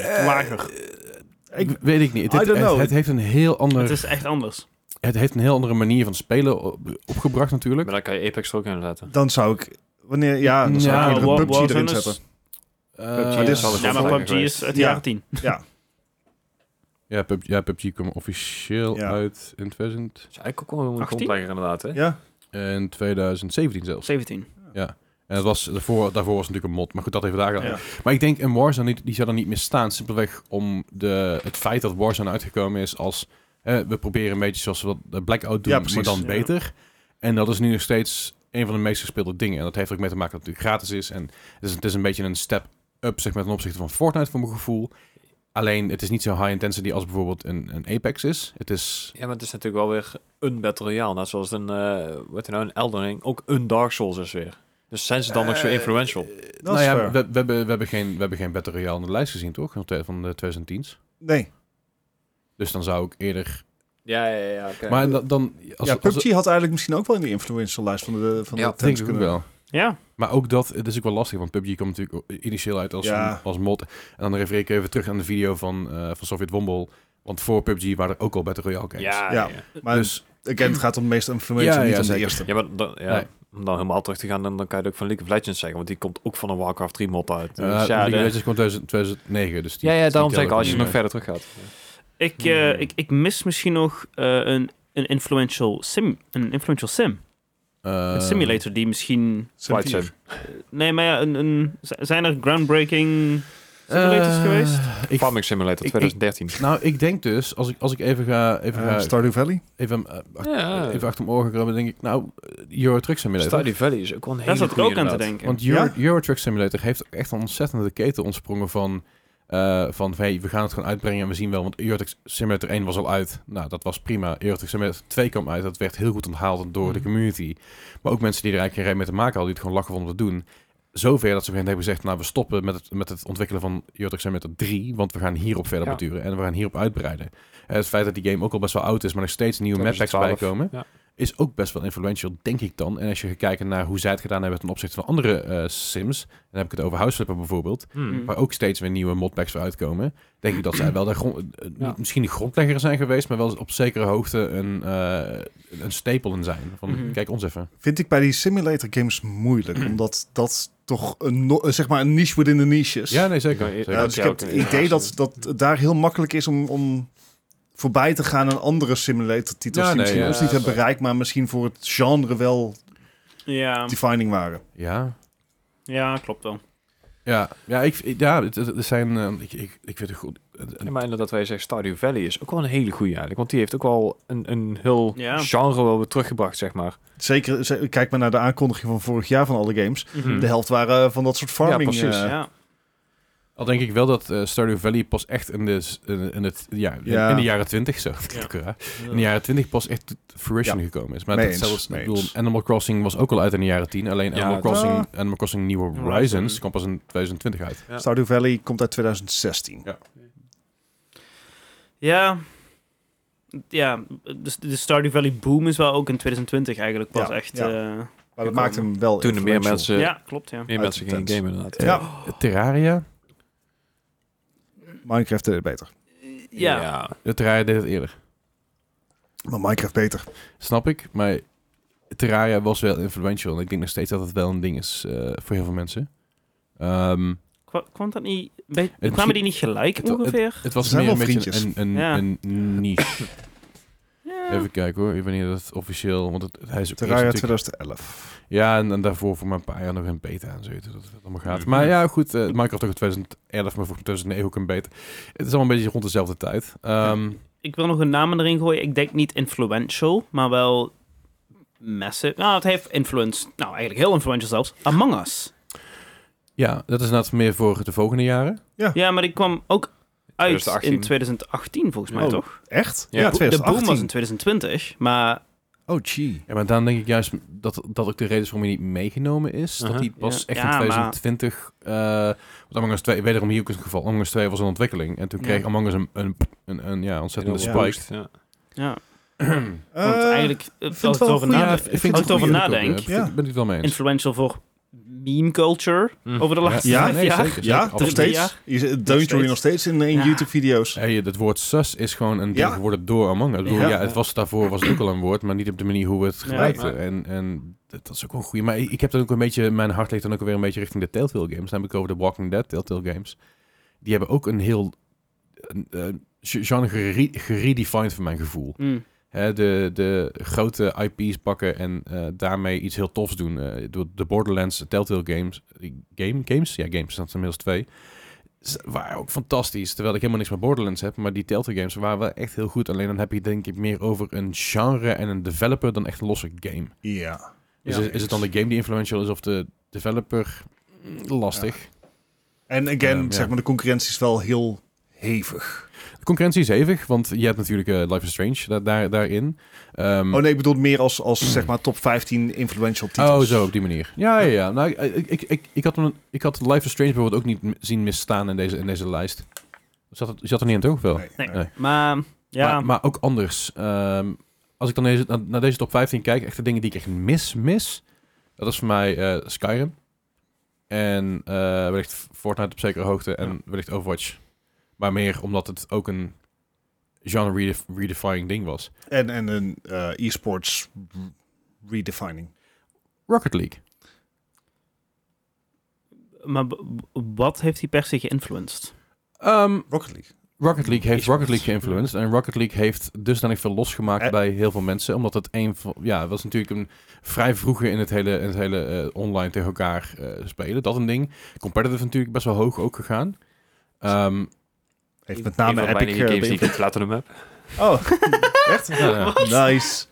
[SPEAKER 1] lager.
[SPEAKER 4] Ik-
[SPEAKER 3] Ik weet ik niet.
[SPEAKER 4] I
[SPEAKER 3] Het,
[SPEAKER 4] don't
[SPEAKER 3] het-
[SPEAKER 4] know.
[SPEAKER 3] het heeft een heel
[SPEAKER 1] Het
[SPEAKER 3] ander,
[SPEAKER 1] is echt anders.
[SPEAKER 3] het heeft een heel andere manier van spelen op- opgebracht natuurlijk.
[SPEAKER 2] Maar dan kan je Apex er ook in laten.
[SPEAKER 4] Dan zou ik... Wanneer, ja, dan zou
[SPEAKER 3] Ja,
[SPEAKER 4] ik
[SPEAKER 1] Eh, Wa-
[SPEAKER 4] eerder PUBG
[SPEAKER 1] Warzone
[SPEAKER 4] erin
[SPEAKER 1] is-
[SPEAKER 4] zetten.
[SPEAKER 3] Eh,
[SPEAKER 2] dit is
[SPEAKER 3] ja,
[SPEAKER 2] alles
[SPEAKER 1] Ja, maar
[SPEAKER 2] lager
[SPEAKER 1] PUBG
[SPEAKER 2] geweest.
[SPEAKER 1] is uit de
[SPEAKER 4] Ja.
[SPEAKER 1] jaren tien.
[SPEAKER 3] Ja, PUBG, ja, PUBG kwam officieel
[SPEAKER 4] Ja.
[SPEAKER 3] uit in, 2000,
[SPEAKER 2] Dus eigenlijk ook wel een
[SPEAKER 1] 18?
[SPEAKER 2] grondlegger inderdaad. Hè?
[SPEAKER 4] Ja,
[SPEAKER 3] in 2017 zelfs.
[SPEAKER 1] 17.
[SPEAKER 3] En dat was, daarvoor, daarvoor was het natuurlijk een mod, maar goed, dat even daar.
[SPEAKER 4] Ja.
[SPEAKER 3] Maar ik denk, een Warzone, die, die zou dan niet meer staan. Simpelweg om de, het feit dat Warzone uitgekomen is als... eh, we proberen een beetje zoals we dat de Blackout doen,
[SPEAKER 4] Ja, precies.
[SPEAKER 3] maar dan
[SPEAKER 1] Ja.
[SPEAKER 3] beter. En dat is nu nog steeds een van de meest gespeelde dingen. En dat heeft er ook mee te maken dat het natuurlijk gratis is. En het is, het is een beetje een step-up zeg maar, ten opzichte van Fortnite, voor mijn gevoel. Alleen, het is niet zo high intensity als bijvoorbeeld een, een Apex is. Het is...
[SPEAKER 2] Ja, maar het is natuurlijk wel weer een Battle Royale. Net zoals een, eh wat nou, een Elden Ring. Ook een Dark Souls is weer. Dus zijn ze dan nog zo
[SPEAKER 3] Eh,
[SPEAKER 2] influential?
[SPEAKER 4] Eh, dat
[SPEAKER 3] nou
[SPEAKER 4] is
[SPEAKER 3] ja,
[SPEAKER 4] fair.
[SPEAKER 3] we, we, hebben, we, hebben geen, we hebben geen Battle Royale in de lijst gezien, toch? Van de- Van de 2010s.
[SPEAKER 4] Nee.
[SPEAKER 3] Dus dan zou ik eerder...
[SPEAKER 2] Ja, ja, ja. oké.
[SPEAKER 3] Maar da- dan... Als,
[SPEAKER 4] ja,
[SPEAKER 3] als,
[SPEAKER 4] PUBG had eigenlijk misschien ook wel in de influential lijst van de, van
[SPEAKER 2] Ja,
[SPEAKER 4] de
[SPEAKER 3] denk
[SPEAKER 4] tens
[SPEAKER 3] ik ook
[SPEAKER 4] kunnen.
[SPEAKER 3] wel.
[SPEAKER 1] Ja.
[SPEAKER 3] Maar ook dat, het is ook wel lastig, want PUBG komt natuurlijk initieel uit als,
[SPEAKER 4] Ja.
[SPEAKER 3] als mod. En dan refereer ik even terug aan de video van, eh, van Sovjet Wombol. Want voor PUBG waren er ook al Battle Royale games.
[SPEAKER 2] ja,
[SPEAKER 4] Ja.
[SPEAKER 2] ja. ja.
[SPEAKER 4] Maar
[SPEAKER 3] Dus
[SPEAKER 4] again, het gaat om de meest influential,
[SPEAKER 3] Ja, ja,
[SPEAKER 4] niet om de
[SPEAKER 3] zeker.
[SPEAKER 4] eerste.
[SPEAKER 2] Ja, maar dan, ja,
[SPEAKER 3] Nee.
[SPEAKER 2] om dan helemaal terug te gaan, dan, dan kan je het ook van League of Legends zeggen. Want die komt ook van een Warcraft 3 mod uit.
[SPEAKER 3] eh,
[SPEAKER 2] Dus ja,
[SPEAKER 3] League of
[SPEAKER 2] de-
[SPEAKER 3] Legends kwam 2000 2009, dus die
[SPEAKER 2] ja, ja, daarom
[SPEAKER 3] die
[SPEAKER 2] zeg ik al, als je
[SPEAKER 3] tellen
[SPEAKER 2] nog
[SPEAKER 3] niet
[SPEAKER 2] verder terug gaat.
[SPEAKER 1] Ik, eh,
[SPEAKER 2] Hmm.
[SPEAKER 1] ik, ik mis misschien nog eh, een, een influential sim. Een influential sim.
[SPEAKER 3] mee. Eh,
[SPEAKER 1] een simulator die misschien...
[SPEAKER 4] Sim
[SPEAKER 2] White
[SPEAKER 4] 4.
[SPEAKER 2] Sim.
[SPEAKER 1] Nee, maar ja, een, een, z- zijn er groundbreaking simulators
[SPEAKER 3] eh,
[SPEAKER 1] geweest?
[SPEAKER 3] ik-
[SPEAKER 2] Farming Simulator
[SPEAKER 3] ik-
[SPEAKER 2] 2013.
[SPEAKER 3] nou, ik denk dus, als ik, als ik even ga, even,
[SPEAKER 4] Eh,
[SPEAKER 3] ga,
[SPEAKER 4] Stardew Valley.
[SPEAKER 3] even, eh, ach-
[SPEAKER 2] Ja.
[SPEAKER 3] even achter mijn oren krabben, denk ik, nou, Euro Truck Simulator.
[SPEAKER 2] Stardew Valley is ook wel een hele
[SPEAKER 1] Daar zat ik
[SPEAKER 2] goeie
[SPEAKER 1] ook aan te
[SPEAKER 2] inderdaad.
[SPEAKER 1] denken.
[SPEAKER 3] Want Euro, Euro Truck Simulator heeft ook echt een ontzettende keten ontsprongen van... eh, van hey, we gaan het gewoon uitbrengen en we zien wel. Want Euro Truck Simulator 1 was al uit. Nou, dat was prima. Euro Truck Simulator 2 kwam uit. Dat werd heel goed onthaald door de
[SPEAKER 2] Mhm.
[SPEAKER 3] community. Maar ook mensen die er eigenlijk geen reden mee te maken hadden... die het gewoon lachen vonden om te doen. Zover dat ze op een gegeven moment hebben gezegd... nou, we stoppen met het, met het ontwikkelen van Euro Truck Simulator 3... want we gaan hierop verder
[SPEAKER 2] Ja.
[SPEAKER 3] beduren en we gaan hierop uitbreiden. En het feit dat die game ook al best wel oud is... maar nog steeds nieuwe mapbacks
[SPEAKER 2] 2012.
[SPEAKER 3] bijkomen
[SPEAKER 2] Ja.
[SPEAKER 3] is ook best wel influential, denk ik dan. En als je gaat kijken naar hoe zij het gedaan hebben ten opzichte van andere eh, sims, dan heb ik het over House Flipper bijvoorbeeld,
[SPEAKER 2] Hmm.
[SPEAKER 3] waar ook steeds weer nieuwe modpacks voor uitkomen, denk ik dat zij wel de grond, eh,
[SPEAKER 2] Ja.
[SPEAKER 3] niet- misschien de grondlegger zijn geweest, maar wel op zekere hoogte een, eh, een stapel in zijn. Van,
[SPEAKER 1] Mhm.
[SPEAKER 3] Kijk ons even.
[SPEAKER 4] Vind ik bij die simulator games moeilijk,
[SPEAKER 3] Mm.
[SPEAKER 4] omdat dat toch een, no- eh, zeg maar een niche within de niche is.
[SPEAKER 3] Ja, nee, zeker.
[SPEAKER 2] Kan je-
[SPEAKER 3] Zeker.
[SPEAKER 4] Dus Ja, dus
[SPEAKER 2] Ja,
[SPEAKER 4] ik heb
[SPEAKER 2] ook
[SPEAKER 4] het
[SPEAKER 2] een
[SPEAKER 4] idee dat, dat het daar heel makkelijk is om, om voorbij te gaan aan andere simulator titels
[SPEAKER 3] Ja, nee,
[SPEAKER 4] die misschien
[SPEAKER 3] ja,
[SPEAKER 4] ons niet
[SPEAKER 2] dat is
[SPEAKER 4] hebben bereikt, maar misschien voor het genre wel
[SPEAKER 1] Ja,
[SPEAKER 4] defining waren.
[SPEAKER 3] Ja.
[SPEAKER 1] ja, klopt wel. ja
[SPEAKER 3] Ja, ja, ik, ik- ja het, het- het zijn, eh, ik, ik, ik vind het goed. Het-
[SPEAKER 2] Ja, maar inderdaad, wij zeggen Stardew Valley is ook wel een hele goede eigenlijk. Want die heeft ook wel een, een heel
[SPEAKER 1] Ja.
[SPEAKER 2] genre wel weer teruggebracht, zeg maar.
[SPEAKER 4] Zeker, ze- kijk maar naar de aankondiging van vorig jaar van alle games.
[SPEAKER 1] Mhm.
[SPEAKER 3] Mm.
[SPEAKER 4] De helft waren eh, van dat soort farming.
[SPEAKER 2] Ja, precies,
[SPEAKER 4] Hmm. eh,
[SPEAKER 1] Ja.
[SPEAKER 3] Al denk ik wel dat eh, Stardew Valley pas echt in de, s- in, in het, ja, in-
[SPEAKER 4] Ja.
[SPEAKER 3] In, de jaren twintig zo. Dat klinkt ook raar. in de jaren 20 pas echt tot fruition gekomen is. Maar
[SPEAKER 4] Mee
[SPEAKER 3] dat
[SPEAKER 4] eens,
[SPEAKER 3] zelfs, ik
[SPEAKER 4] mee
[SPEAKER 3] bedoel,
[SPEAKER 4] eens.
[SPEAKER 3] Animal Crossing was ook al uit in de jaren 10. Alleen
[SPEAKER 2] Ja,
[SPEAKER 3] Animal,
[SPEAKER 2] dat-
[SPEAKER 3] Crossing,
[SPEAKER 4] Ja.
[SPEAKER 3] Animal Crossing Nieuwe
[SPEAKER 1] Horizon.
[SPEAKER 3] Horizons kwam pas in 2020 uit.
[SPEAKER 2] Ja.
[SPEAKER 4] Stardew Valley komt uit 2016.
[SPEAKER 1] Ja. ja, de, de Stardew Valley boom is wel ook in 2020 eigenlijk pas
[SPEAKER 4] Ja,
[SPEAKER 1] echt...
[SPEAKER 4] ja.
[SPEAKER 1] eh,
[SPEAKER 4] Maar dat maakt hem wel
[SPEAKER 2] Toen er meer
[SPEAKER 4] influential.
[SPEAKER 2] mensen,
[SPEAKER 1] ja, klopt, ja.
[SPEAKER 2] meer
[SPEAKER 4] Uit
[SPEAKER 2] mensen
[SPEAKER 4] de
[SPEAKER 2] gingen
[SPEAKER 4] tent.
[SPEAKER 2] gamen inderdaad.
[SPEAKER 4] Ja.
[SPEAKER 3] Terraria?
[SPEAKER 4] Minecraft deed het beter.
[SPEAKER 1] Ja,
[SPEAKER 3] Ja, Terraria deed het eerder.
[SPEAKER 4] Maar Minecraft beter.
[SPEAKER 3] Snap ik, maar Terraria was wel influential. En ik denk nog steeds dat het wel een ding is eh, voor heel veel mensen. Ehm,
[SPEAKER 1] Kwa- kwam dat niet... bij-
[SPEAKER 3] misschien-
[SPEAKER 1] kwamen die niet gelijk
[SPEAKER 3] Het- het-
[SPEAKER 1] ongeveer?
[SPEAKER 3] het was
[SPEAKER 4] Er zijn
[SPEAKER 3] meer een
[SPEAKER 4] wel
[SPEAKER 3] beetje een,
[SPEAKER 4] vriendjes.
[SPEAKER 3] een,
[SPEAKER 1] Ja.
[SPEAKER 3] een niche.
[SPEAKER 1] *clears throat* Ja.
[SPEAKER 3] Even kijken hoor, wanneer dat officieel... Want het, hij is ook
[SPEAKER 4] Terraria
[SPEAKER 3] eerst natuurlijk-
[SPEAKER 4] 2011.
[SPEAKER 3] Ja, en, en daarvoor voor maar een paar jaar nog een beta en zo. Dat het allemaal gaat.
[SPEAKER 2] Mhm.
[SPEAKER 3] Maar ja, goed. eh, Minecraft ook in 2011, maar voor 2009 ook een beta. Het is allemaal een beetje rond dezelfde tijd. Ehm,
[SPEAKER 1] Ik wil nog een naam erin gooien. Ik denk niet influential, maar wel massive. Nou, het heeft influence. Nou, eigenlijk heel influential zelfs. Among Us.
[SPEAKER 3] ja, dat is inderdaad meer voor de volgende jaren.
[SPEAKER 1] Ja, maar die kwam ook uit
[SPEAKER 2] 2018.
[SPEAKER 1] in 2018 volgens mij,
[SPEAKER 4] Oh,
[SPEAKER 1] toch?
[SPEAKER 4] Echt?
[SPEAKER 2] Ja,
[SPEAKER 4] Ja,
[SPEAKER 2] de
[SPEAKER 1] De boom was
[SPEAKER 4] 2018.
[SPEAKER 1] in 2020, maar
[SPEAKER 4] Oh, gee.
[SPEAKER 3] Ja, maar dan denk ik juist dat dat ook de reden is waarom hij niet meegenomen is.
[SPEAKER 2] Aha.
[SPEAKER 3] Dat hij pas
[SPEAKER 1] Ja.
[SPEAKER 3] echt
[SPEAKER 1] Ja,
[SPEAKER 3] in
[SPEAKER 1] maar-
[SPEAKER 3] 2020... eh want Among Us 2, wederom hier ook het geval. Among Us 2 was een ontwikkeling. En toen
[SPEAKER 1] Ja.
[SPEAKER 3] kreeg Among Us een, een, een, een, ja, ontzettende
[SPEAKER 4] Ja.
[SPEAKER 3] spike.
[SPEAKER 1] Ah,
[SPEAKER 2] Ja.
[SPEAKER 1] ja.
[SPEAKER 4] Eh,
[SPEAKER 1] Want eigenlijk, eh,
[SPEAKER 4] vind
[SPEAKER 1] als
[SPEAKER 4] het
[SPEAKER 1] ik
[SPEAKER 4] wel
[SPEAKER 1] erover
[SPEAKER 4] een goeie.
[SPEAKER 1] nadenk,
[SPEAKER 4] Ja,
[SPEAKER 3] ik
[SPEAKER 4] het
[SPEAKER 3] vind
[SPEAKER 1] als ik erover
[SPEAKER 3] een goeie
[SPEAKER 1] nadenk,
[SPEAKER 3] ook, eh, vind- Ben ik het wel mee eens.
[SPEAKER 1] influential voor meme culture over de laatste
[SPEAKER 4] Mm. Ja,
[SPEAKER 1] vijf
[SPEAKER 3] nee,
[SPEAKER 1] jaar.
[SPEAKER 3] zeker.
[SPEAKER 4] ja,
[SPEAKER 3] Drie
[SPEAKER 4] nog steeds.
[SPEAKER 1] jaar.
[SPEAKER 4] Je zit- Deunt je
[SPEAKER 1] steeds.
[SPEAKER 4] nog steeds in, eh, in
[SPEAKER 1] Ja.
[SPEAKER 4] YouTube-video's.
[SPEAKER 3] Hey, dat woord sus is gewoon een ding
[SPEAKER 4] Ja.
[SPEAKER 3] geworden door Among Us. Ik bedoel,
[SPEAKER 1] Ja.
[SPEAKER 3] ja. het was daarvoor was het ook al een woord, maar niet op de manier hoe we het gebruikten.
[SPEAKER 2] Ja.
[SPEAKER 3] En, en dat dat is ook wel een goede. Maar ik ik heb dan ook een beetje, mijn hart ligt dan ook weer een beetje richting de Telltale games. Dan heb ik over de Walking Dead Telltale games. Die hebben ook een heel een, eh, genre gere- geredefined van mijn gevoel.
[SPEAKER 1] Mm.
[SPEAKER 3] Hè, de, de grote IP's pakken en eh, daarmee iets heel tofs doen. Eh, door de Borderlands, de Telltale Games, eh, game, games? Ja, games, dat zijn inmiddels twee. Ze waren ook fantastisch, terwijl ik helemaal niks met Borderlands heb. Maar die Telltale Games waren wel echt heel goed. Alleen dan heb je denk ik meer over een genre en een developer dan echt een losse game.
[SPEAKER 4] Ja.
[SPEAKER 3] Dus
[SPEAKER 2] Ja.
[SPEAKER 3] is, is het dan de game die influential is of de developer? Mm, Lastig.
[SPEAKER 4] En again,
[SPEAKER 3] Ehm, ja.
[SPEAKER 4] zeg maar, de concurrentie is wel heel hevig.
[SPEAKER 3] De concurrentie is hevig, want je hebt natuurlijk eh, Life is Strange da- daar, daarin. Ehm,
[SPEAKER 4] Oh nee, ik bedoel meer als, als zeg maar, top 15 influential titels.
[SPEAKER 3] Oh, zo op die manier. Ja, ja, ja. Nou, ik, ik, ik, ik, had, hem- ik had Life is Strange bijvoorbeeld ook niet m- zien misstaan in deze, in deze lijst. Dus Zat, het- zat er niet in, toch? Wel.
[SPEAKER 4] Nee,
[SPEAKER 1] Nee.
[SPEAKER 4] nee.
[SPEAKER 1] Maar ja,
[SPEAKER 3] Maar, maar ook anders. Ehm, als ik dan deze, na- naar deze top 15 kijk, echt de dingen die ik echt mis, mis. Dat is voor mij eh, Skyrim. En eh, wellicht Fortnite op zekere hoogte. En wellicht Overwatch. Maar meer omdat het ook een genre redef- redefining ding was.
[SPEAKER 4] En, en een eh, e-sports redefining.
[SPEAKER 3] Rocket League.
[SPEAKER 1] maar b- b- wat heeft hij per se geïnfluenced?
[SPEAKER 3] Ehm,
[SPEAKER 4] Rocket League.
[SPEAKER 3] Rocket League heeft
[SPEAKER 1] Is
[SPEAKER 3] Rocket
[SPEAKER 1] goed.
[SPEAKER 3] League geïnfluenced. En Rocket League heeft dusdanig veel losgemaakt
[SPEAKER 4] Eh.
[SPEAKER 3] bij heel veel mensen. Omdat het een van. Ja, het was natuurlijk een vrij vroege in het hele, in het hele eh, online tegen elkaar eh, spelen. Dat een ding. Competitive natuurlijk best wel hoog ook gegaan. Ehm,
[SPEAKER 4] Heeft met
[SPEAKER 2] Een
[SPEAKER 4] name
[SPEAKER 2] van de
[SPEAKER 4] Epic...
[SPEAKER 2] weinige
[SPEAKER 4] eh,
[SPEAKER 2] games die
[SPEAKER 4] beïnvloed.
[SPEAKER 2] ik op Platinum heb.
[SPEAKER 4] Oh, *laughs* echt?
[SPEAKER 1] *laughs*
[SPEAKER 3] ja, ja.
[SPEAKER 4] Oh, *laughs* Nice.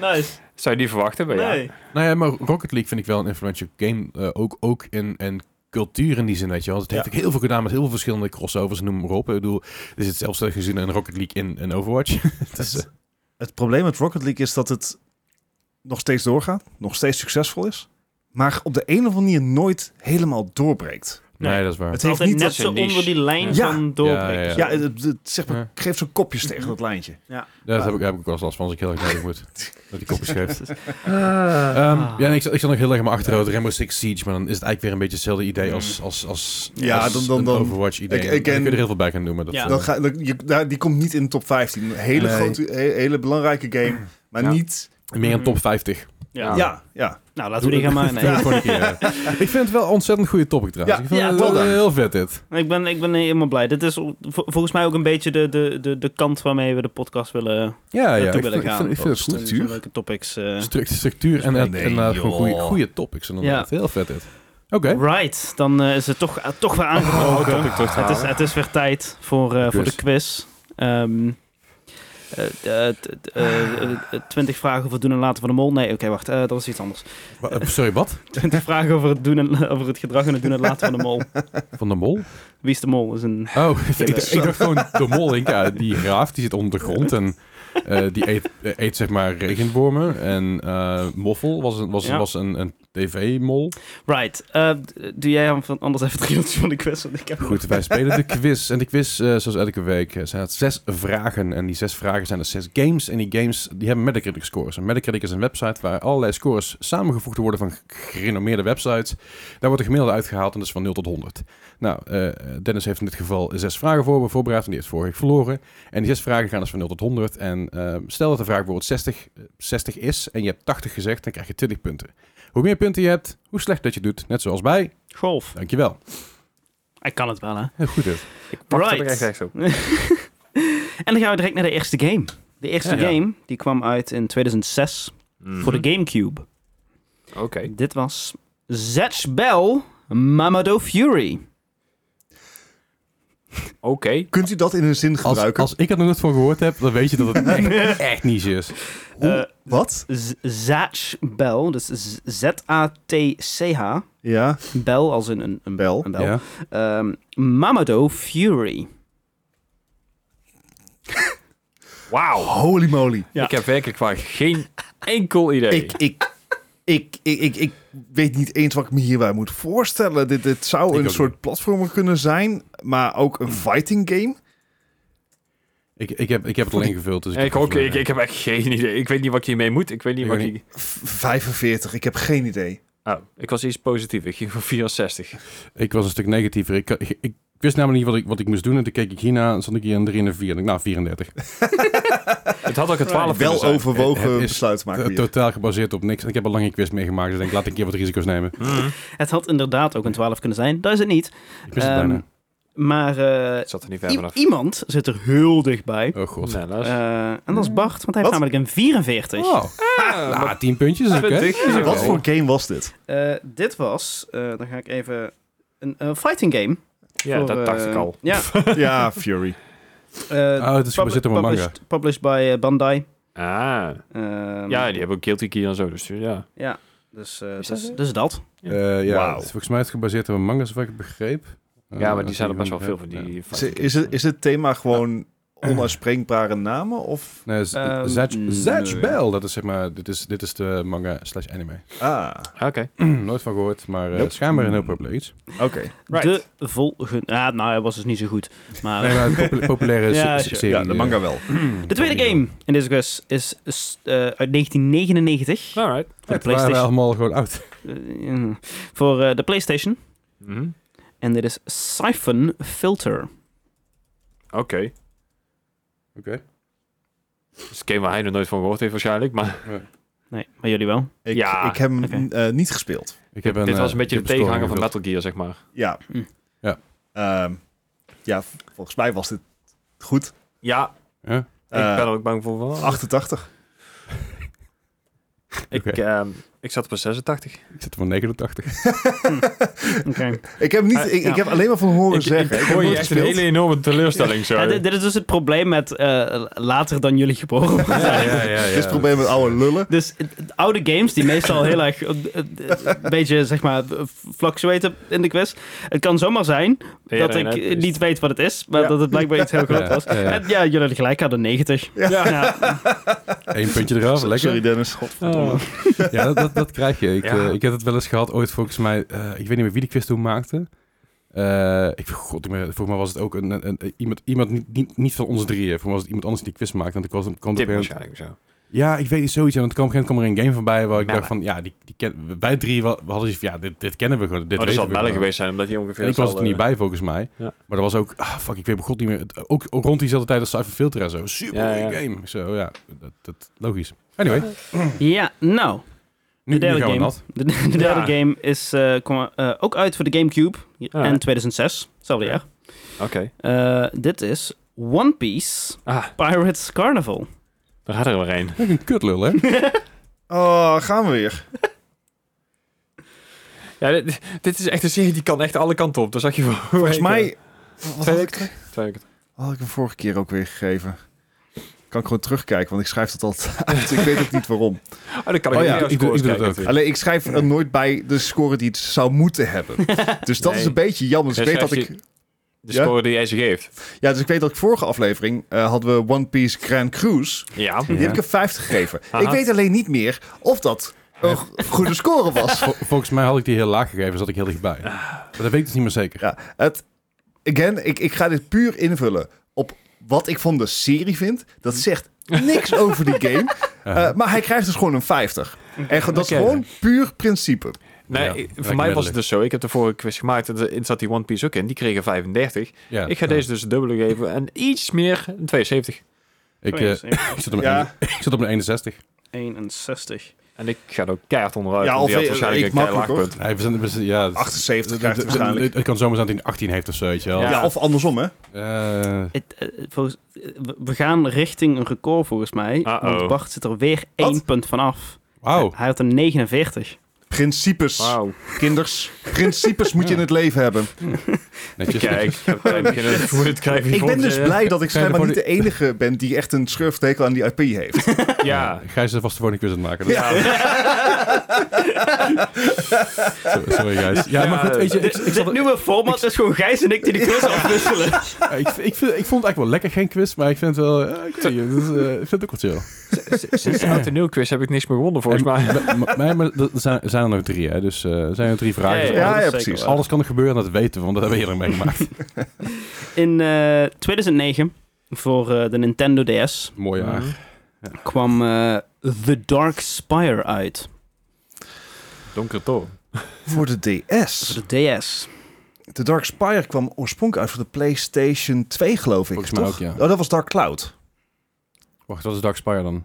[SPEAKER 1] Nice.
[SPEAKER 2] Zou je die verwachten? Maar ja.
[SPEAKER 1] Nee.
[SPEAKER 3] Nou ja, maar Rocket League vind ik wel een influential game. eh, ook ook in, in cultuur in die zin, weet je wel. Het heeft
[SPEAKER 4] Ja.
[SPEAKER 3] ook heel veel gedaan met heel veel verschillende crossovers, noem maar op. Ik bedoel, er zit zelfs eh, gezien een Rocket League in, in Overwatch. *laughs* Het is,
[SPEAKER 4] Dus,
[SPEAKER 3] eh,
[SPEAKER 4] Het probleem met Rocket League is dat het nog steeds doorgaat, nog steeds succesvol is, maar op de een of andere manier nooit helemaal doorbreekt.
[SPEAKER 3] nee,
[SPEAKER 1] Nee.
[SPEAKER 3] dat is waar.
[SPEAKER 4] Het
[SPEAKER 1] Het
[SPEAKER 4] heeft
[SPEAKER 1] altijd
[SPEAKER 4] niet
[SPEAKER 1] net
[SPEAKER 4] dat...
[SPEAKER 1] zo
[SPEAKER 2] een niche.
[SPEAKER 1] onder die lijn
[SPEAKER 4] Ja.
[SPEAKER 1] van doorbreken.
[SPEAKER 3] Ja, ja, ja.
[SPEAKER 4] Ja, het, het- zeg maar,
[SPEAKER 3] Ja.
[SPEAKER 4] geef zo'n kopjes tegen dat lijntje.
[SPEAKER 3] Ja, dat
[SPEAKER 4] Maar-
[SPEAKER 3] heb ik, heb ik wel eens last van als ik heel erg nodig moet. Dat die kopjes geeft. Ehm,
[SPEAKER 1] Ah.
[SPEAKER 3] ja, en ik, zat- ik zat nog heel erg in mijn achterhoofd. Rainbow Six Siege, maar dan is het eigenlijk weer een beetje hetzelfde
[SPEAKER 1] Mm.
[SPEAKER 3] idee als, als, als,
[SPEAKER 4] Ja,
[SPEAKER 3] als
[SPEAKER 4] dan- dan-
[SPEAKER 3] een
[SPEAKER 4] dan-
[SPEAKER 3] Overwatch idee.
[SPEAKER 4] ik- ik
[SPEAKER 3] Dan kun je
[SPEAKER 4] ken-
[SPEAKER 3] er heel veel bij gaan doen. Maar dat,
[SPEAKER 1] Ja.
[SPEAKER 3] eh,
[SPEAKER 4] Dan ga, dan- je, daar- die komt niet in de top 15. Een hele,
[SPEAKER 3] Nee.
[SPEAKER 4] grote, he- hele belangrijke game, maar
[SPEAKER 2] Ja.
[SPEAKER 4] niet...
[SPEAKER 3] meer een top 50.
[SPEAKER 1] Ja.
[SPEAKER 4] Ja, ja.
[SPEAKER 1] Nou, laten we die gaan
[SPEAKER 3] *laughs*
[SPEAKER 1] maken.
[SPEAKER 4] *laughs*
[SPEAKER 1] Nee.
[SPEAKER 3] Doe het gewoon een keer, eh. Ik vind het wel een ontzettend goede topic trouwens.
[SPEAKER 4] Ja,
[SPEAKER 3] ik vind
[SPEAKER 1] ja,
[SPEAKER 3] het
[SPEAKER 4] wel
[SPEAKER 3] wel
[SPEAKER 4] dan.
[SPEAKER 3] heel vet dit.
[SPEAKER 1] Ik ben, ik ben helemaal blij. Dit is vol- volgens mij ook een beetje de, de, de, de kant waarmee we de podcast willen
[SPEAKER 3] Ja, ja.
[SPEAKER 1] naartoe
[SPEAKER 3] Ik vind,
[SPEAKER 1] willen
[SPEAKER 3] ik
[SPEAKER 1] gaan.
[SPEAKER 3] vind, ik vind het
[SPEAKER 1] Zo'n-
[SPEAKER 3] goed.
[SPEAKER 1] zo'n leuke topics. eh.
[SPEAKER 3] Struct- Structuur en, en,
[SPEAKER 4] Nee,
[SPEAKER 3] en eh, gewoon
[SPEAKER 4] joh.
[SPEAKER 3] goede, goede topics. Inderdaad. Heel vet dit. Oké.
[SPEAKER 1] Right, dan eh, is het toch, eh, toch weer
[SPEAKER 2] Oh,
[SPEAKER 1] aangebroken.
[SPEAKER 2] topic terug te
[SPEAKER 1] het, is,
[SPEAKER 2] halen.
[SPEAKER 1] het is weer tijd voor, eh, voor de quiz. Ehm, eh, eh, t- t- eh, eh, 20 vragen over het doen en laten van de mol. Nee, oké, wacht. eh, dat was iets anders. *laughs*
[SPEAKER 3] Wa- eh, Sorry, wat?
[SPEAKER 1] 20 vragen over het, doen en, over het gedrag en het doen en laten van de mol.
[SPEAKER 3] Van de mol?
[SPEAKER 1] Wie is de mol? Is een...
[SPEAKER 3] Oh, ik, dacht- ik dacht gewoon de mol. Ik, ja, die graaf, die zit onder de grond en eh, die eet, eh, eet zeg maar regenwormen. En eh, moffel was een, was,
[SPEAKER 1] Ja.
[SPEAKER 3] was een, een TV-mol.
[SPEAKER 1] Right. Eh, d- doe jij hem van anders even het *laughs* rieltje van de quest? Want ik heb...
[SPEAKER 3] Goed, wij spelen de quiz. En de quiz, eh, zoals elke week, eh, zijn het zes vragen. En die zes vragen zijn er zes games. En die games die hebben Metacritic scores. En Metacritic is een website waar allerlei scores samengevoegd worden van gerenommeerde websites. Daar wordt de gemiddelde uitgehaald en dat is van 0 tot 100. Nou, eh, Dennis heeft in dit geval zes vragen voor me voorbereid. En die heeft vorige week verloren. En die zes vragen gaan dus van 0 tot 100. En eh, stel dat de vraag bijvoorbeeld 60, eh, 60 is en je hebt 80 gezegd, dan krijg je 20 punten. Hoe meer punten je hebt, hoe slecht dat je doet. Net zoals bij.
[SPEAKER 1] Golf.
[SPEAKER 3] Dankjewel.
[SPEAKER 1] Ik kan het wel, hè?
[SPEAKER 3] Heel goed, hè?
[SPEAKER 2] Ik pak het er
[SPEAKER 1] Right.
[SPEAKER 2] echt rechts op.
[SPEAKER 1] En dan gaan we direct naar de eerste game. De eerste
[SPEAKER 2] Ja. Mhm.
[SPEAKER 1] game die kwam uit in 2006 voor de GameCube.
[SPEAKER 2] Oké.
[SPEAKER 1] Dit was Zatch Bell Mamado Fury.
[SPEAKER 2] Oké.
[SPEAKER 4] Kunt u dat in een zin
[SPEAKER 3] Als,
[SPEAKER 4] gebruiken?
[SPEAKER 3] als ik er nog nooit van gehoord heb, dan weet je dat het echt, echt niche is.
[SPEAKER 4] Hoe- Wat?
[SPEAKER 1] Eh, Z- Zatch Bell, dus Z- Z-A-T-C-H.
[SPEAKER 4] Ja,
[SPEAKER 1] Bell als in een, een
[SPEAKER 4] Bel.
[SPEAKER 1] Een bel.
[SPEAKER 3] Ja.
[SPEAKER 1] Ehm, Mamado Fury.
[SPEAKER 2] Wauw.
[SPEAKER 4] Holy moly.
[SPEAKER 1] Ja.
[SPEAKER 2] Ik heb werkelijk waar geen enkel idee.
[SPEAKER 4] Ik, ik, ik, ik, ik, ik weet niet eens wat ik me hierbij moet voorstellen. Dit, dit
[SPEAKER 3] Ik
[SPEAKER 4] zou een
[SPEAKER 3] ook
[SPEAKER 4] soort platformer kunnen zijn, maar ook een fighting game.
[SPEAKER 3] Ik, ik, heb, ik heb het alleen gevuld. Dus
[SPEAKER 2] En ik,
[SPEAKER 3] heb
[SPEAKER 2] ook,
[SPEAKER 3] geen
[SPEAKER 2] ik, ik heb echt geen idee. Ik weet niet wat ik hiermee moet. Ik weet niet
[SPEAKER 3] Ik
[SPEAKER 2] wat
[SPEAKER 3] ook
[SPEAKER 2] ik...
[SPEAKER 4] V- 45, ik heb geen idee.
[SPEAKER 2] Oh, ik was iets positiefs. Ik ging voor 64.
[SPEAKER 3] Ik was een stuk negatiever. Ik, ik, ik wist namelijk niet wat ik, wat ik moest doen. En toen keek ik hierna en stond ik hier een 3 en een 4. En ik, nou, 34.
[SPEAKER 2] Het had ook een 12 kunnen
[SPEAKER 4] Wel
[SPEAKER 2] zijn.
[SPEAKER 4] overwogen
[SPEAKER 3] Het is *laughs*
[SPEAKER 4] besluit maken we hier.
[SPEAKER 3] Totaal gebaseerd op niks. En ik heb al lang geen quiz meegemaakt. Dus ik denk, laat ik een keer wat risico's nemen.
[SPEAKER 2] Mhm.
[SPEAKER 1] Het had inderdaad ook een 12 kunnen zijn. Dat is het niet.
[SPEAKER 3] Ik wist het
[SPEAKER 1] Ehm,
[SPEAKER 3] bijna.
[SPEAKER 1] Maar eh,
[SPEAKER 2] Het zat er niet ver
[SPEAKER 1] i-
[SPEAKER 2] vanaf.
[SPEAKER 1] iemand zit er heel dichtbij.
[SPEAKER 3] Oh god.
[SPEAKER 2] Nou, dat is...
[SPEAKER 1] Eh, en dat is Bart, want hij heeft
[SPEAKER 4] Wat?
[SPEAKER 1] namelijk een 44.
[SPEAKER 3] Oh,
[SPEAKER 2] Ah,
[SPEAKER 3] nou,
[SPEAKER 2] maar-
[SPEAKER 3] 10 puntjes is ook, hè?
[SPEAKER 2] Twintig is ook
[SPEAKER 4] Wat
[SPEAKER 2] wel.
[SPEAKER 4] voor game was *laughs* dit?
[SPEAKER 1] Eh, dit was, eh, dan ga ik even, een eh, fighting game.
[SPEAKER 2] Ja,
[SPEAKER 1] Voor,
[SPEAKER 2] dat dacht ik
[SPEAKER 1] eh,
[SPEAKER 2] al.
[SPEAKER 1] Ja.
[SPEAKER 4] ja, Fury.
[SPEAKER 1] eh,
[SPEAKER 3] Oh, het is gebaseerd op een manga.
[SPEAKER 1] published, published by eh, Bandai.
[SPEAKER 2] Ah.
[SPEAKER 1] Ehm,
[SPEAKER 2] Ja, die hebben ook Guilty Gear en zo. Dus ja.
[SPEAKER 1] Dus, eh,
[SPEAKER 2] Is dat
[SPEAKER 1] dus,
[SPEAKER 2] zo?
[SPEAKER 1] dus dat.
[SPEAKER 3] Eh, ja,
[SPEAKER 2] Wauw.
[SPEAKER 3] het is volgens mij is het gebaseerd op een manga, zoals ik het begreep.
[SPEAKER 2] ja,
[SPEAKER 3] Eh,
[SPEAKER 2] maar die zijn er best wel
[SPEAKER 3] ja.
[SPEAKER 2] veel van. Die
[SPEAKER 4] Is, is, het, is het thema gewoon onuitspreekbare namen? Of?
[SPEAKER 3] Nee, Z-
[SPEAKER 1] Ehm,
[SPEAKER 3] Zatch-
[SPEAKER 1] nee.
[SPEAKER 3] Zatch Bell, dat is zeg maar, dit is, dit is de manga slash anime. *clears throat*
[SPEAKER 4] Ah,
[SPEAKER 2] Oké.
[SPEAKER 3] Nooit van gehoord, maar eh,
[SPEAKER 4] Nope.
[SPEAKER 3] schijnbaar een heel populair iets.
[SPEAKER 4] oké.
[SPEAKER 2] Right.
[SPEAKER 1] De volgende... Ah, nou, hij was dus niet zo goed. Maar,
[SPEAKER 3] Nee, maar een popul-
[SPEAKER 1] Ja,
[SPEAKER 3] populaire se- se-
[SPEAKER 1] sure.
[SPEAKER 3] serie. eh,
[SPEAKER 4] Ja, de
[SPEAKER 3] *clears throat*
[SPEAKER 4] manga wel.
[SPEAKER 1] de tweede game in deze quest is eh, uit 1999.
[SPEAKER 2] Alright.
[SPEAKER 1] Voor de
[SPEAKER 3] Het waren wij
[SPEAKER 1] PlayStation.
[SPEAKER 3] allemaal gewoon oud.
[SPEAKER 1] Eh, ja. voor eh, de PlayStation.
[SPEAKER 2] Mhm.
[SPEAKER 1] En dit is Siphon Filter.
[SPEAKER 2] Oké. Dus een game waar hij nog nooit van gehoord heeft waarschijnlijk. Maar
[SPEAKER 1] Nee, maar jullie wel.
[SPEAKER 4] Ik,
[SPEAKER 2] Ja.
[SPEAKER 4] ik heb hem
[SPEAKER 1] Oké.
[SPEAKER 4] eh, niet gespeeld.
[SPEAKER 3] Ik heb
[SPEAKER 2] dit
[SPEAKER 3] eh,
[SPEAKER 2] was een beetje de
[SPEAKER 3] ik heb score
[SPEAKER 2] tegenhanger van
[SPEAKER 3] ingevuld.
[SPEAKER 2] Metal Gear, zeg maar.
[SPEAKER 4] Ja.
[SPEAKER 1] Hm.
[SPEAKER 3] Ja.
[SPEAKER 4] Ehm, ja, v- volgens mij was dit goed.
[SPEAKER 2] Ja,
[SPEAKER 3] Ja?
[SPEAKER 4] Eh,
[SPEAKER 2] ik ben er ook bang voor. Wel.
[SPEAKER 4] 88.
[SPEAKER 2] Ah, ik,
[SPEAKER 3] Oké.
[SPEAKER 2] ehm, ik zat op een 86.
[SPEAKER 3] Ik zit op een 89.
[SPEAKER 1] Oké.
[SPEAKER 4] Ik heb, niet,
[SPEAKER 2] Eh,
[SPEAKER 4] ik,
[SPEAKER 1] ja.
[SPEAKER 4] ik heb alleen maar van horen
[SPEAKER 2] ik,
[SPEAKER 4] zeggen.
[SPEAKER 2] ik
[SPEAKER 4] heb
[SPEAKER 2] gooi je
[SPEAKER 4] nooit
[SPEAKER 2] echt een
[SPEAKER 4] gespeeld.
[SPEAKER 2] hele enorme teleurstelling zo.
[SPEAKER 1] Ja, dit, dit is dus het probleem met eh, later dan jullie geboren *laughs* worden.
[SPEAKER 3] *laughs*
[SPEAKER 4] Dit is het probleem met oude lullen.
[SPEAKER 1] Dus eh, oude games die meestal heel erg eh, eh, een beetje zeg maar fluctuaten in de quest. Het kan zomaar zijn
[SPEAKER 2] Ja,
[SPEAKER 1] dat
[SPEAKER 2] nee,
[SPEAKER 1] ik
[SPEAKER 2] nee,
[SPEAKER 1] eh,
[SPEAKER 2] het is-
[SPEAKER 1] niet weet wat het is, maar
[SPEAKER 4] Ja.
[SPEAKER 1] dat het blijkbaar iets heel groot was.
[SPEAKER 3] Ja, ja.
[SPEAKER 1] En ja, jullie hadden gelijk, hadden 90. Ja.
[SPEAKER 3] Eén puntje eraf, lekker.
[SPEAKER 4] Sorry Dennis.
[SPEAKER 2] Oh.
[SPEAKER 3] *laughs* Ja, dat, dat, dat krijg je. Ik,
[SPEAKER 2] Ja.
[SPEAKER 3] eh, ik heb het wel eens gehad ooit, volgens mij. eh, ik weet niet meer wie de quiz toen maakte. Eh, ik, god, ik me- volgens mij was het ook een, een, een- iemand, iemand niet, niet, niet van ons drieën. Volgens mij was het iemand anders die die quiz maakte. Want ik was, kwam er
[SPEAKER 2] Tip
[SPEAKER 3] op een-
[SPEAKER 2] waarschijnlijk zo.
[SPEAKER 3] Ja, ik weet niet zoiets. En dan kwam, op een gegeven moment kwam er een game voorbij waar ik
[SPEAKER 2] Melle.
[SPEAKER 3] dacht van... Ja, die, die ken, wij drie wa- we hadden zoiets van... Ja, dit, dit kennen we gewoon. Dit
[SPEAKER 2] Oh, dat
[SPEAKER 3] weten
[SPEAKER 2] zal
[SPEAKER 3] we
[SPEAKER 2] Melle
[SPEAKER 3] gewoon.
[SPEAKER 2] geweest zijn, omdat hij ongeveer...
[SPEAKER 3] En ik was er
[SPEAKER 2] hetzelfde-
[SPEAKER 3] toen niet bij, volgens mij.
[SPEAKER 2] Ja.
[SPEAKER 3] Maar er was ook... Ah, fuck, ik weet mijn god niet meer. Het- Ook, ook rond diezelfde tijd als Cypher Filter en zo. Super
[SPEAKER 2] Ja, ja.
[SPEAKER 3] game. Zo, ja. Dat, dat, logisch. Anyway, nu,
[SPEAKER 1] ja, nou.
[SPEAKER 3] nu
[SPEAKER 1] derde
[SPEAKER 3] gaan we
[SPEAKER 1] game.
[SPEAKER 3] nat.
[SPEAKER 1] De, de
[SPEAKER 2] Ja.
[SPEAKER 1] derde game is eh, kwam, eh, ook uit voor de GameCube
[SPEAKER 3] Ah.
[SPEAKER 1] en 2006, hetzelfde
[SPEAKER 2] Ja.
[SPEAKER 1] jaar.
[SPEAKER 2] Oké.
[SPEAKER 1] Eh, dit is One Piece
[SPEAKER 2] Ah,
[SPEAKER 1] Pirates Carnival.
[SPEAKER 2] daar had er weer een.
[SPEAKER 3] Leuk een kutlul, hè?
[SPEAKER 4] Oh, gaan we weer.
[SPEAKER 2] Ja, dit, dit is echt een serie die kan echt alle kanten op. Daar zag je voor.
[SPEAKER 4] Volgens mij... Wat had ik,
[SPEAKER 2] Twee weken-
[SPEAKER 4] wat had ik hem vorige keer ook weer gegeven? Kan ik gewoon terugkijken, want ik schrijf dat altijd *laughs* uit. Ik weet ook niet
[SPEAKER 2] *laughs*
[SPEAKER 4] waarom.
[SPEAKER 2] Oh, dat kan
[SPEAKER 4] Oh
[SPEAKER 2] ik ook
[SPEAKER 4] ja,
[SPEAKER 2] weer als
[SPEAKER 3] ik doe- ik doe
[SPEAKER 2] scores
[SPEAKER 3] dat
[SPEAKER 2] kijken.
[SPEAKER 3] ook.
[SPEAKER 4] Alleen, ik schrijf er nooit bij de score die het zou moeten hebben.
[SPEAKER 2] *laughs*
[SPEAKER 4] Dus dat
[SPEAKER 2] Nee.
[SPEAKER 4] is een beetje jammer. Dus ik
[SPEAKER 2] Ja,
[SPEAKER 4] weet dat
[SPEAKER 2] schrijf
[SPEAKER 4] ik...
[SPEAKER 2] De
[SPEAKER 4] Ja?
[SPEAKER 2] score die jij ze geeft.
[SPEAKER 4] Ja, dus ik weet dat ik vorige aflevering eh, hadden we One Piece Grand Cruise.
[SPEAKER 2] Ja.
[SPEAKER 4] Die
[SPEAKER 3] Ja.
[SPEAKER 4] heb ik een 50 gegeven.
[SPEAKER 2] Aha.
[SPEAKER 4] Ik weet alleen niet meer of dat een go- goede
[SPEAKER 3] *laughs*
[SPEAKER 4] score
[SPEAKER 3] *laughs*
[SPEAKER 4] was.
[SPEAKER 3] Vol- volgens mij had ik die heel laag gegeven, zat ik heel dichtbij.
[SPEAKER 2] Ah.
[SPEAKER 3] Maar dat weet ik dus niet meer zeker.
[SPEAKER 4] Ja, het, again, ik, ik ga dit puur invullen op wat ik van de serie vind. Dat zegt niks over die game.
[SPEAKER 3] Eh,
[SPEAKER 4] Eh, maar hij krijgt dus gewoon een 50. En ge- dat is
[SPEAKER 2] Oké.
[SPEAKER 4] gewoon puur principe.
[SPEAKER 2] Nee,
[SPEAKER 3] Ja,
[SPEAKER 2] ik- voor
[SPEAKER 3] lekker
[SPEAKER 2] mij was
[SPEAKER 3] middelig.
[SPEAKER 2] het dus zo. Ik heb de vorige quiz gemaakt en er zat die One Piece ook in. Die kregen 35.
[SPEAKER 3] ja, nou,
[SPEAKER 2] ik ga
[SPEAKER 3] ja.
[SPEAKER 2] deze dus dubbele geven en iets meer, een 72.
[SPEAKER 3] Ik, eh,
[SPEAKER 2] Oh,
[SPEAKER 3] ik zit op een
[SPEAKER 4] Ja.
[SPEAKER 3] een- *laughs* ik zit op een 61.
[SPEAKER 1] 61.
[SPEAKER 2] En ik ga er ook keihard onderuit.
[SPEAKER 4] Ja,
[SPEAKER 2] want die
[SPEAKER 4] of
[SPEAKER 2] had
[SPEAKER 4] ik-
[SPEAKER 2] waarschijnlijk
[SPEAKER 4] ik
[SPEAKER 2] een keihard
[SPEAKER 4] makkelijk,
[SPEAKER 2] laagpunt.
[SPEAKER 3] Nee, we zijn, we zijn- ja, het-
[SPEAKER 4] 78
[SPEAKER 3] het-
[SPEAKER 4] krijgt
[SPEAKER 3] het-
[SPEAKER 4] het waarschijnlijk.
[SPEAKER 3] het- Het kan zomaar zijn dat hij een 18 heeft of zo, weet je wel.
[SPEAKER 2] Ja.
[SPEAKER 4] Ja. of andersom, hè?
[SPEAKER 3] Eh,
[SPEAKER 1] Het, eh, volgens- eh, we- we gaan richting een record volgens mij.
[SPEAKER 2] Uh-oh.
[SPEAKER 1] Want Bart zit er weer één punt vanaf.
[SPEAKER 3] Wauw.
[SPEAKER 1] Hij had een 49.
[SPEAKER 4] Principes,
[SPEAKER 2] Wauw.
[SPEAKER 4] *laughs* kinders. Principes moet je in het leven hebben.
[SPEAKER 3] Netjes.
[SPEAKER 2] Kijk,
[SPEAKER 3] *laughs*
[SPEAKER 2] ik heb klein beginnen het gevoel te krijgen.
[SPEAKER 4] Ik ben dus blij dat ik
[SPEAKER 3] Zijn er
[SPEAKER 4] schijnbaar niet
[SPEAKER 3] voor
[SPEAKER 4] de enige ben die echt een schurftekel aan die IP heeft. *laughs*
[SPEAKER 2] Ja.
[SPEAKER 3] Gijs is vast de volgende quiz aan het maken.
[SPEAKER 2] Ja.
[SPEAKER 3] *laughs* Zo- Sorry, Gijs. Ja, maar goed,
[SPEAKER 2] *laughs*
[SPEAKER 3] weet je, ik, ik,
[SPEAKER 1] Dit nieuwe format is gewoon Gijs en ik die de quiz afwisselen.
[SPEAKER 3] ik, ik, vind, ik vond het eigenlijk wel lekker geen quiz, maar ik vind het wel... eh, oké, dus, eh, ik vind het ook wel chill.
[SPEAKER 2] Sinds de oud en nieuw quiz heb ik niks meer gewonnen volgens mij.
[SPEAKER 3] En- maar- maar- maar er zijn, zijn er nog drie, hè? Dus eh, er zijn er drie vragen.
[SPEAKER 1] Ja,
[SPEAKER 3] Dus
[SPEAKER 1] ja,
[SPEAKER 4] Ja,
[SPEAKER 1] dat
[SPEAKER 4] ja,
[SPEAKER 1] is
[SPEAKER 4] precies.
[SPEAKER 1] zeker waar.
[SPEAKER 3] Alles kan er gebeuren, dat weten we, want dat hebben we eerder
[SPEAKER 2] *laughs*
[SPEAKER 3] meegemaakt.
[SPEAKER 1] In eh, 2009, voor eh, de Nintendo DS,
[SPEAKER 3] Mooi
[SPEAKER 2] Mm.
[SPEAKER 3] jaar.
[SPEAKER 1] kwam eh, The Dark Spire uit.
[SPEAKER 2] Donker toon.
[SPEAKER 4] Voor de DS.
[SPEAKER 1] Voor de DS.
[SPEAKER 4] De Dark Spire kwam oorspronkelijk uit voor de PlayStation 2, geloof ik.
[SPEAKER 3] Volgens mij
[SPEAKER 4] toch?
[SPEAKER 3] ook, ja.
[SPEAKER 4] Oh, dat was Dark Cloud.
[SPEAKER 3] Wacht, wat is Dark Spire dan?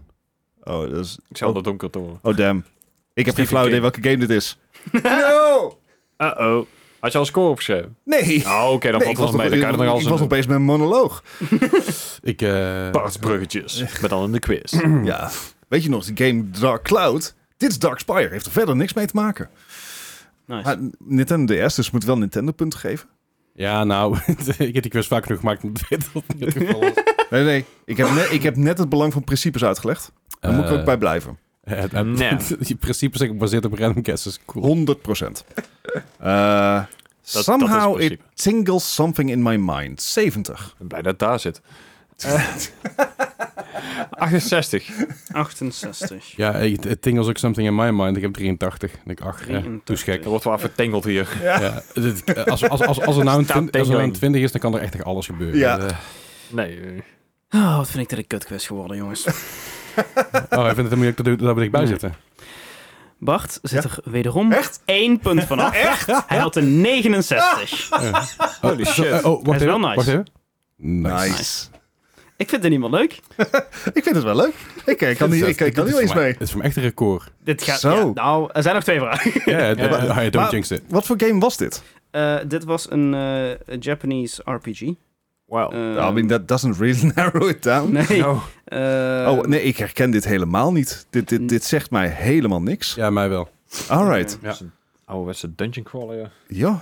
[SPEAKER 4] Oh, dat is...
[SPEAKER 2] Ik zal dat donker toon.
[SPEAKER 4] Oh, damn. Ik heb geen flauw
[SPEAKER 2] King.
[SPEAKER 4] idee welke game dit is. *laughs* no!
[SPEAKER 2] Uh-oh. Had je al een score
[SPEAKER 4] *laughs*
[SPEAKER 2] opgeschreven?
[SPEAKER 4] Nee!
[SPEAKER 2] Oh, oké, dan
[SPEAKER 4] Nee, nog-
[SPEAKER 2] valt het nog mee. Dan kan je
[SPEAKER 4] ik,
[SPEAKER 2] er nog als
[SPEAKER 4] ik was nog
[SPEAKER 2] een
[SPEAKER 4] bezig met een monoloog.
[SPEAKER 3] Ik, eh,
[SPEAKER 2] Bart bruggetjes. Maar dan in de quiz.
[SPEAKER 4] ja. Weet je nog, die game Dark Cloud? Dit is Dark Spire, heeft er verder niks mee te maken.
[SPEAKER 1] Nice.
[SPEAKER 4] Maar Nintendo DS, dus moet wel Nintendo punten geven.
[SPEAKER 3] Ja, nou, *laughs* ik heb die quiz vaak genoeg gemaakt om te weten wat het geval is.
[SPEAKER 4] *laughs* Nee, nee, ik heb, *gasps* net, ik heb net het belang van principes uitgelegd. Daar moet ik
[SPEAKER 3] Eh,
[SPEAKER 4] ook bij blijven.
[SPEAKER 3] Het, het, *laughs*
[SPEAKER 2] Nee.
[SPEAKER 3] het- je principe is gebaseerd op random guesses. Cool.
[SPEAKER 4] 100 procent. *laughs* Eh, somehow
[SPEAKER 2] dat is het
[SPEAKER 4] it tingles something in my mind. 70.
[SPEAKER 2] Ik ben blij dat het daar zit. *laughs* Eh, 68.
[SPEAKER 3] *laughs*
[SPEAKER 1] 68.
[SPEAKER 3] Ja, ik- het tingles ook something in my mind. Ik heb 83. Ik denk, ach, ja, doe eens gek.
[SPEAKER 2] Er wordt wel vertengeld hier.
[SPEAKER 3] Ja, dit- eh, als, als, als, als er nou een
[SPEAKER 2] Staat
[SPEAKER 3] 20, als er nou een
[SPEAKER 2] tingling.
[SPEAKER 3] 20 is, dan kan er echt alles gebeuren.
[SPEAKER 4] Ja.
[SPEAKER 3] Eh,
[SPEAKER 2] Nee. eh,
[SPEAKER 1] Oh, wat vind ik dit een kutquiz geworden, jongens.
[SPEAKER 3] oh, ik vind het moeilijk dat we daar dichtbij
[SPEAKER 2] Nee.
[SPEAKER 3] zitten.
[SPEAKER 1] Bart zit
[SPEAKER 4] Ja?
[SPEAKER 1] er wederom
[SPEAKER 4] Echt?
[SPEAKER 1] één punt vanaf. Echt? Hij had een 69.
[SPEAKER 3] Ah.
[SPEAKER 2] Holy
[SPEAKER 3] Zo,
[SPEAKER 2] shit.
[SPEAKER 3] eh, oh, wacht
[SPEAKER 1] Hij is wel
[SPEAKER 3] even,
[SPEAKER 1] nice.
[SPEAKER 3] Wacht even. Nice.
[SPEAKER 4] Nice.
[SPEAKER 1] Ik vind het niet meer leuk.
[SPEAKER 4] Ik vind het wel leuk. Ik, eh, *laughs* kan, niet, ik, ik kan
[SPEAKER 3] Dit
[SPEAKER 4] niet
[SPEAKER 3] is
[SPEAKER 4] eens
[SPEAKER 3] voor mij-
[SPEAKER 4] mee.
[SPEAKER 3] Dit is voor mij echt een
[SPEAKER 4] *laughs*
[SPEAKER 3] record.
[SPEAKER 1] Dit gaat,
[SPEAKER 4] Zo.
[SPEAKER 1] ja, nou, er zijn nog twee vragen.
[SPEAKER 3] Ja, dat-
[SPEAKER 2] Ja.
[SPEAKER 3] ah, ja, don't
[SPEAKER 4] Maar-
[SPEAKER 3] jinx it.
[SPEAKER 4] Wat voor game was dit?
[SPEAKER 1] Eh, dit was een eh, Japanese RPG.
[SPEAKER 4] Oh,
[SPEAKER 2] Wow.
[SPEAKER 1] Eh,
[SPEAKER 4] I mean, that doesn't really *laughs* narrow it down.
[SPEAKER 1] *laughs* nee.
[SPEAKER 2] Oh,
[SPEAKER 1] eh,
[SPEAKER 4] Oh, nee, ik herken dit helemaal niet. Dit, dit, dit zegt mij helemaal niks.
[SPEAKER 3] Ja, mij wel.
[SPEAKER 4] All right.
[SPEAKER 1] eh,
[SPEAKER 3] Ja.
[SPEAKER 2] ouderwetse dungeon crawler. ja.
[SPEAKER 4] Ja.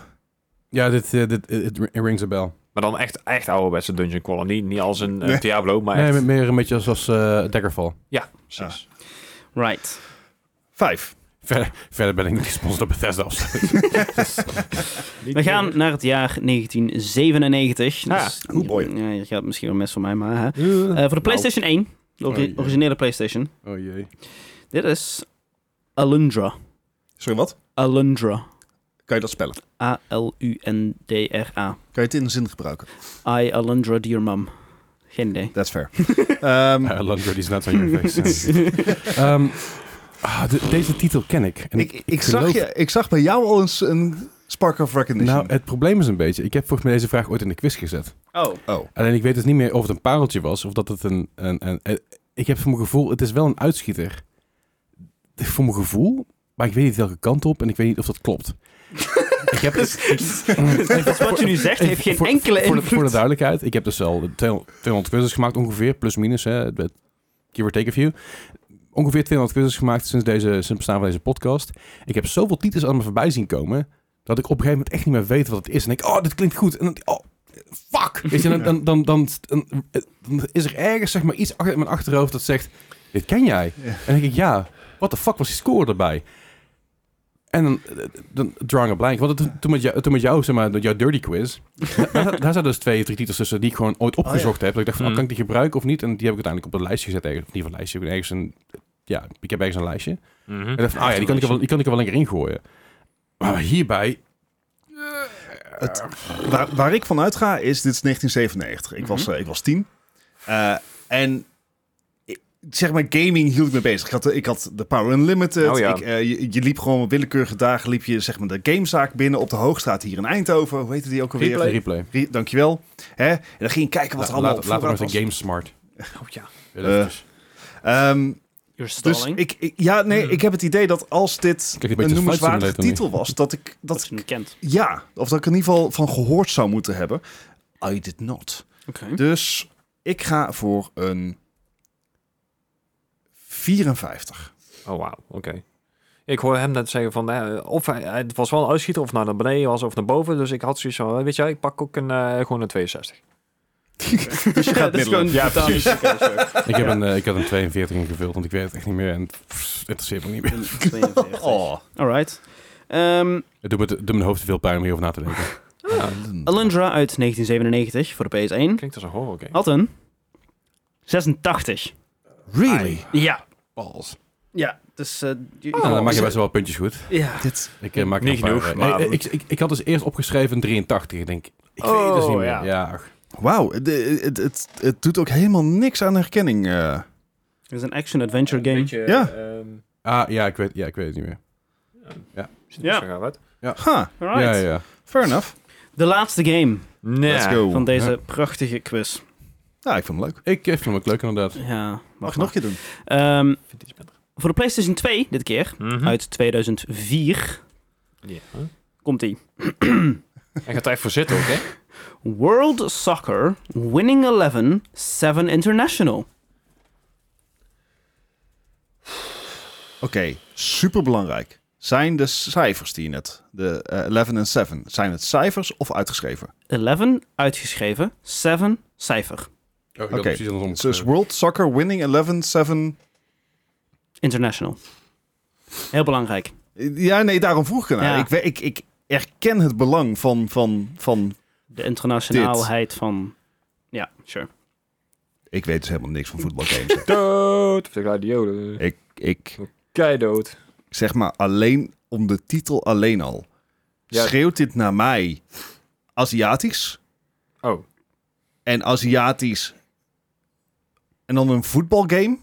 [SPEAKER 3] Ja, dit, eh, dit, it it rings a bell.
[SPEAKER 2] Maar dan echt, echt ouderwetse dungeon crawler. Niet, niet als een eh,
[SPEAKER 4] Nee.
[SPEAKER 2] Diablo, maar
[SPEAKER 3] Nee,
[SPEAKER 2] echt.
[SPEAKER 3] meer een beetje als, als eh, Daggerfall.
[SPEAKER 2] Ja, precies.
[SPEAKER 1] Right.
[SPEAKER 4] Vijf.
[SPEAKER 3] Verder, verder ben ik niet gesponsord door Bethesda of *laughs* zo.
[SPEAKER 1] We gaan naar het jaar 1997.
[SPEAKER 2] Ah,
[SPEAKER 1] Dus-
[SPEAKER 4] oh boy. Nou.
[SPEAKER 1] Ja, je gaat misschien wel mes van mij, maar... hè. Eh, voor de PlayStation 1, de ori-
[SPEAKER 3] Oh, jee.
[SPEAKER 1] originele PlayStation.
[SPEAKER 3] Oh jee.
[SPEAKER 1] Dit is Alundra.
[SPEAKER 4] Sorry, wat?
[SPEAKER 1] Alundra.
[SPEAKER 4] Kan je dat spellen?
[SPEAKER 1] A-L-U-N-D-R-A.
[SPEAKER 4] Kan je het in een zin gebruiken?
[SPEAKER 1] I, Alundra, dear mum. Geen idee. *laughs*
[SPEAKER 4] *laughs* That's fair. Ehm,
[SPEAKER 3] Uh, Landry is net
[SPEAKER 4] *laughs*
[SPEAKER 3] on your face. Ehm, ah, de- deze titel ken ik. En
[SPEAKER 4] ik, ik, zag
[SPEAKER 3] geloof-
[SPEAKER 4] je, ik zag bij jou al eens een spark of recognition.
[SPEAKER 3] Nou, het probleem is een beetje. Ik heb volgens mij deze vraag ooit in de quiz gezet.
[SPEAKER 1] Oh.
[SPEAKER 4] oh,
[SPEAKER 3] Alleen ik weet dus niet meer of het een pareltje was of dat het een. een, een- eh, ik heb voor mijn gevoel, het is wel een uitschieter. Voor mijn gevoel, maar ik weet niet welke kant op en ik weet niet of
[SPEAKER 1] *laughs*
[SPEAKER 3] dat klopt. ik heb dus.
[SPEAKER 1] Dus wat je nu zegt heeft geen
[SPEAKER 3] Voor-
[SPEAKER 1] enkele
[SPEAKER 3] voor, de-
[SPEAKER 1] invloed.
[SPEAKER 3] voor de duidelijkheid, ik heb dus al 200 200 quizzes gemaakt ongeveer, plus minus, hè, met give or take a few. Ongeveer 200 quizzes gemaakt sinds, deze, sinds het bestaan van deze podcast. Ik heb zoveel titels aan me voorbij zien komen, dat ik op een gegeven moment echt niet meer weet wat het is. En ik, oh, dit klinkt goed. En dan, oh, fuck. Weet je, dan, dan, dan, dan, dan, dan is er ergens zeg maar, iets achter in mijn achterhoofd dat zegt, dit ken jij.
[SPEAKER 4] Ja.
[SPEAKER 3] En dan denk ik, ja, what the fuck was die score erbij? En dan, dan drawing a blank. Want het- toen met jou, toen met jou zeg maar, met jouw dirty
[SPEAKER 4] *laughs*
[SPEAKER 3] quiz, daar, daar zaten dus twee, drie titels tussen die ik
[SPEAKER 4] Oh,
[SPEAKER 3] gewoon ooit opgezocht heb. Dat ik dacht van,
[SPEAKER 2] Mm.
[SPEAKER 3] oh, kan ik die gebruiken of niet? En die heb ik uiteindelijk op een lijstje gezet. Eigenlijk. Of niet op een lijstje, ik heb ergens een ja, ik heb ergens een lijstje. En ik dacht van, ah ja, die kan ik, er wel, die kan ik er wel een keer in gooien. Maar hierbij...
[SPEAKER 4] Het, waar, waar ik van uitga is, dit is 1997. Ik,
[SPEAKER 3] Mhm.
[SPEAKER 4] was, eh, ik was tien. Eh, en ik- zeg maar, gaming hield ik me bezig. Ik had, de- ik had de Power Unlimited.
[SPEAKER 2] Oh ja.
[SPEAKER 4] ik, eh, je, je liep gewoon op willekeurige dagen liep je, zeg maar, de gamezaak binnen op de Hoogstraat hier in Eindhoven. Hoe heette die ook alweer?
[SPEAKER 3] Replay. Replay.
[SPEAKER 4] Re- Dankjewel. Hè? En dan ging je kijken wat er
[SPEAKER 3] La-
[SPEAKER 4] allemaal Eh.
[SPEAKER 3] later
[SPEAKER 4] op
[SPEAKER 3] later nog
[SPEAKER 4] voorraad
[SPEAKER 3] eens
[SPEAKER 4] was.
[SPEAKER 3] een GameSmart.
[SPEAKER 2] Oh ja.
[SPEAKER 3] Heel eventjes.
[SPEAKER 4] Ehm,
[SPEAKER 1] You're
[SPEAKER 4] dus
[SPEAKER 1] stalling.
[SPEAKER 4] ik, ik- ja,
[SPEAKER 3] Hmm.
[SPEAKER 4] nee, ik heb het idee dat als dit
[SPEAKER 3] Kijk, een beetje
[SPEAKER 4] een
[SPEAKER 3] Flight
[SPEAKER 4] noemenswaardige
[SPEAKER 3] Simulator nu.
[SPEAKER 4] titel was, dat ik,
[SPEAKER 1] dat
[SPEAKER 4] dat
[SPEAKER 1] is niet kent.
[SPEAKER 4] Ja, of dat ik er in ieder geval van gehoord zou moeten hebben. I did not.
[SPEAKER 1] Oké.
[SPEAKER 4] Dus ik ga voor een 54.
[SPEAKER 2] Oh, wauw. Oké. Ik hoor hem net zeggen van, eh, of hij, het was wel een uitschieter, of naar beneden was, of naar boven. Dus ik had zoiets van, eh, weet je, wel, ik pak ook een, eh, gewoon een 62.
[SPEAKER 4] Dus
[SPEAKER 1] *laughs*
[SPEAKER 4] je gaat
[SPEAKER 1] Dat is
[SPEAKER 4] middelen.
[SPEAKER 1] gewoon totaal niet
[SPEAKER 3] Ik, heb een, eh, ik had een 42 ingevuld, want ik weet het echt niet meer. En pff, interesseert me niet meer.
[SPEAKER 1] gekend.
[SPEAKER 4] Oh.
[SPEAKER 1] Alright. Ehm,
[SPEAKER 3] Het doet, me- het doet mijn hoofd te veel pijn om hierover na te denken.
[SPEAKER 1] Ah. Alundra uit 1997 voor de PS1
[SPEAKER 2] Klinkt als een horror game.
[SPEAKER 1] had een 86.
[SPEAKER 4] Really?
[SPEAKER 1] Ja.
[SPEAKER 3] Balls.
[SPEAKER 1] Ja. Dus eh, je-
[SPEAKER 3] nou, dan maak je
[SPEAKER 1] je-
[SPEAKER 3] best wel puntjes goed.
[SPEAKER 1] Ja.
[SPEAKER 4] Dit.
[SPEAKER 3] Ik eh, maak er
[SPEAKER 2] Oh, Niet
[SPEAKER 3] een paar,
[SPEAKER 2] genoeg,
[SPEAKER 3] eh,
[SPEAKER 2] maar-
[SPEAKER 3] nee, ik, ik, ik had dus eerst opgeschreven een 83. Ik denk, ik weet het dus
[SPEAKER 2] Oh,
[SPEAKER 3] niet meer.
[SPEAKER 2] ja.
[SPEAKER 3] Ja, ach.
[SPEAKER 4] Wauw, de- het, het, het doet ook helemaal niks aan herkenning. eh.
[SPEAKER 1] Het is een ehm, action-adventure game.
[SPEAKER 4] Ja.
[SPEAKER 3] Ah, ja, ik weet, ja, ik weet het niet meer.
[SPEAKER 1] Ja.
[SPEAKER 2] ja. Wat?
[SPEAKER 4] Ha,
[SPEAKER 1] Alright.
[SPEAKER 3] Ja, ja.
[SPEAKER 4] fair enough.
[SPEAKER 1] De laatste game
[SPEAKER 2] Nee.
[SPEAKER 4] Let's go.
[SPEAKER 1] van deze prachtige quiz.
[SPEAKER 4] Ja, ik vind hem leuk.
[SPEAKER 3] Ik eh, vind hem ook leuk inderdaad.
[SPEAKER 1] Ja.
[SPEAKER 4] Mag ik nog een keer doen?
[SPEAKER 1] Ehm,
[SPEAKER 2] Vind iets beter.
[SPEAKER 1] voor de PlayStation 2 dit keer,
[SPEAKER 2] Mhm.
[SPEAKER 1] uit 2004,
[SPEAKER 2] Ja.
[SPEAKER 1] komt die.
[SPEAKER 2] Hij gaat er echt voor zitten ook, hè?
[SPEAKER 1] World Soccer Winning 11 7 International.
[SPEAKER 4] Oké, superbelangrijk. Zijn de cijfers die je net, de eh, 11 en 7, zijn het cijfers of uitgeschreven?
[SPEAKER 1] 11 uitgeschreven, 7 cijfer.
[SPEAKER 3] Oké,
[SPEAKER 4] Oké, Dus
[SPEAKER 3] precies andersom.
[SPEAKER 4] Het is World Soccer Winning 11, 7,
[SPEAKER 1] International. Heel belangrijk.
[SPEAKER 4] Ja, nee, daarom vroeg ik ernaar.
[SPEAKER 1] Ja.
[SPEAKER 4] Ik, we- ik, ik erken het belang van, van, van...
[SPEAKER 1] De internationaalheid van. Ja, sure.
[SPEAKER 4] Ik weet dus helemaal niks van
[SPEAKER 2] *laughs*
[SPEAKER 4] voetbalgames. hè.
[SPEAKER 2] *laughs* Dood. Of de gladiolen.
[SPEAKER 4] ik, ik
[SPEAKER 2] Keidood.
[SPEAKER 4] zeg maar alleen om de titel alleen al.
[SPEAKER 2] Ja.
[SPEAKER 4] Schreeuwt dit naar mij Aziatisch?
[SPEAKER 2] Oh.
[SPEAKER 4] En Aziatisch... En dan een voetbalgame?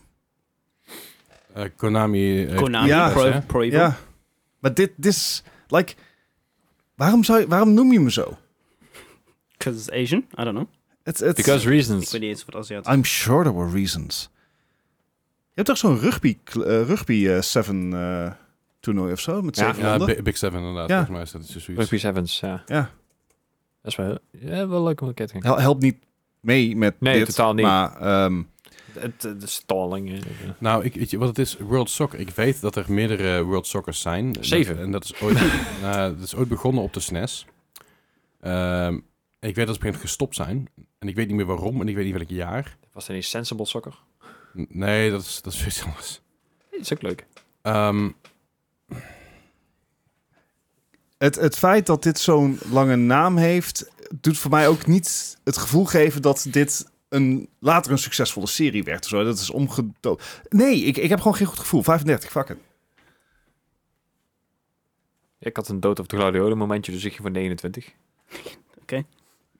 [SPEAKER 3] Eh, Konami. eh,
[SPEAKER 1] Konami,
[SPEAKER 4] Ja.
[SPEAKER 1] Pro,
[SPEAKER 3] Ja.
[SPEAKER 1] Pro Evo.
[SPEAKER 4] Ja. Maar dit, dit is... Like, waarom, zou, je- waarom noem je me zo?
[SPEAKER 1] Because it's Asian. I don't know.
[SPEAKER 4] Het, het,
[SPEAKER 2] Because
[SPEAKER 1] Ik
[SPEAKER 2] reasons.
[SPEAKER 1] weet niet eens wat Aziatisch
[SPEAKER 4] I'm sure there were reasons. Je hebt toch zo'n rugby, kl- eh, rugby 7 toernooi of zo? Met
[SPEAKER 2] Ja.
[SPEAKER 4] zeven
[SPEAKER 3] Ja,
[SPEAKER 4] landen?
[SPEAKER 3] Bi- Big Seven inderdaad.
[SPEAKER 4] Ja.
[SPEAKER 3] Volgens mij is dat dus zoiets.
[SPEAKER 2] Rugby Sevens, ja.
[SPEAKER 4] Ja.
[SPEAKER 2] Dat is wel, ja, wel leuk om een keer te gaan.
[SPEAKER 4] Hel- helpt niet mee met
[SPEAKER 2] Nee,
[SPEAKER 4] dit.
[SPEAKER 2] totaal niet.
[SPEAKER 4] Maar ehm,
[SPEAKER 2] Het, de stalling. eh,
[SPEAKER 3] Nou, ik, weet je, wat het is, World Soccer. Ik weet dat er meerdere World Soccers zijn.
[SPEAKER 2] Zeven.
[SPEAKER 3] En dat is ooit, *laughs* nou, dat is ooit begonnen op de SNES. Ehm, en ik weet dat ze op een gegeven moment gestopt zijn. En ik weet niet meer waarom en ik weet niet welk jaar.
[SPEAKER 2] Was er niet Sensible Soccer?
[SPEAKER 3] N- Nee, dat is, dat is weer iets anders.
[SPEAKER 2] Dat is ook leuk.
[SPEAKER 3] Ehm,
[SPEAKER 4] het, het feit dat dit zo'n lange naam heeft, doet voor mij ook niet het gevoel geven dat dit een, later een succesvolle serie werd. of Zo. Dat is omgedood. Nee, ik, ik heb gewoon geen goed gevoel. 35, fuck it.
[SPEAKER 2] Ik had een dood of de gladiolen momentje, dus ik ging voor 29.
[SPEAKER 3] ik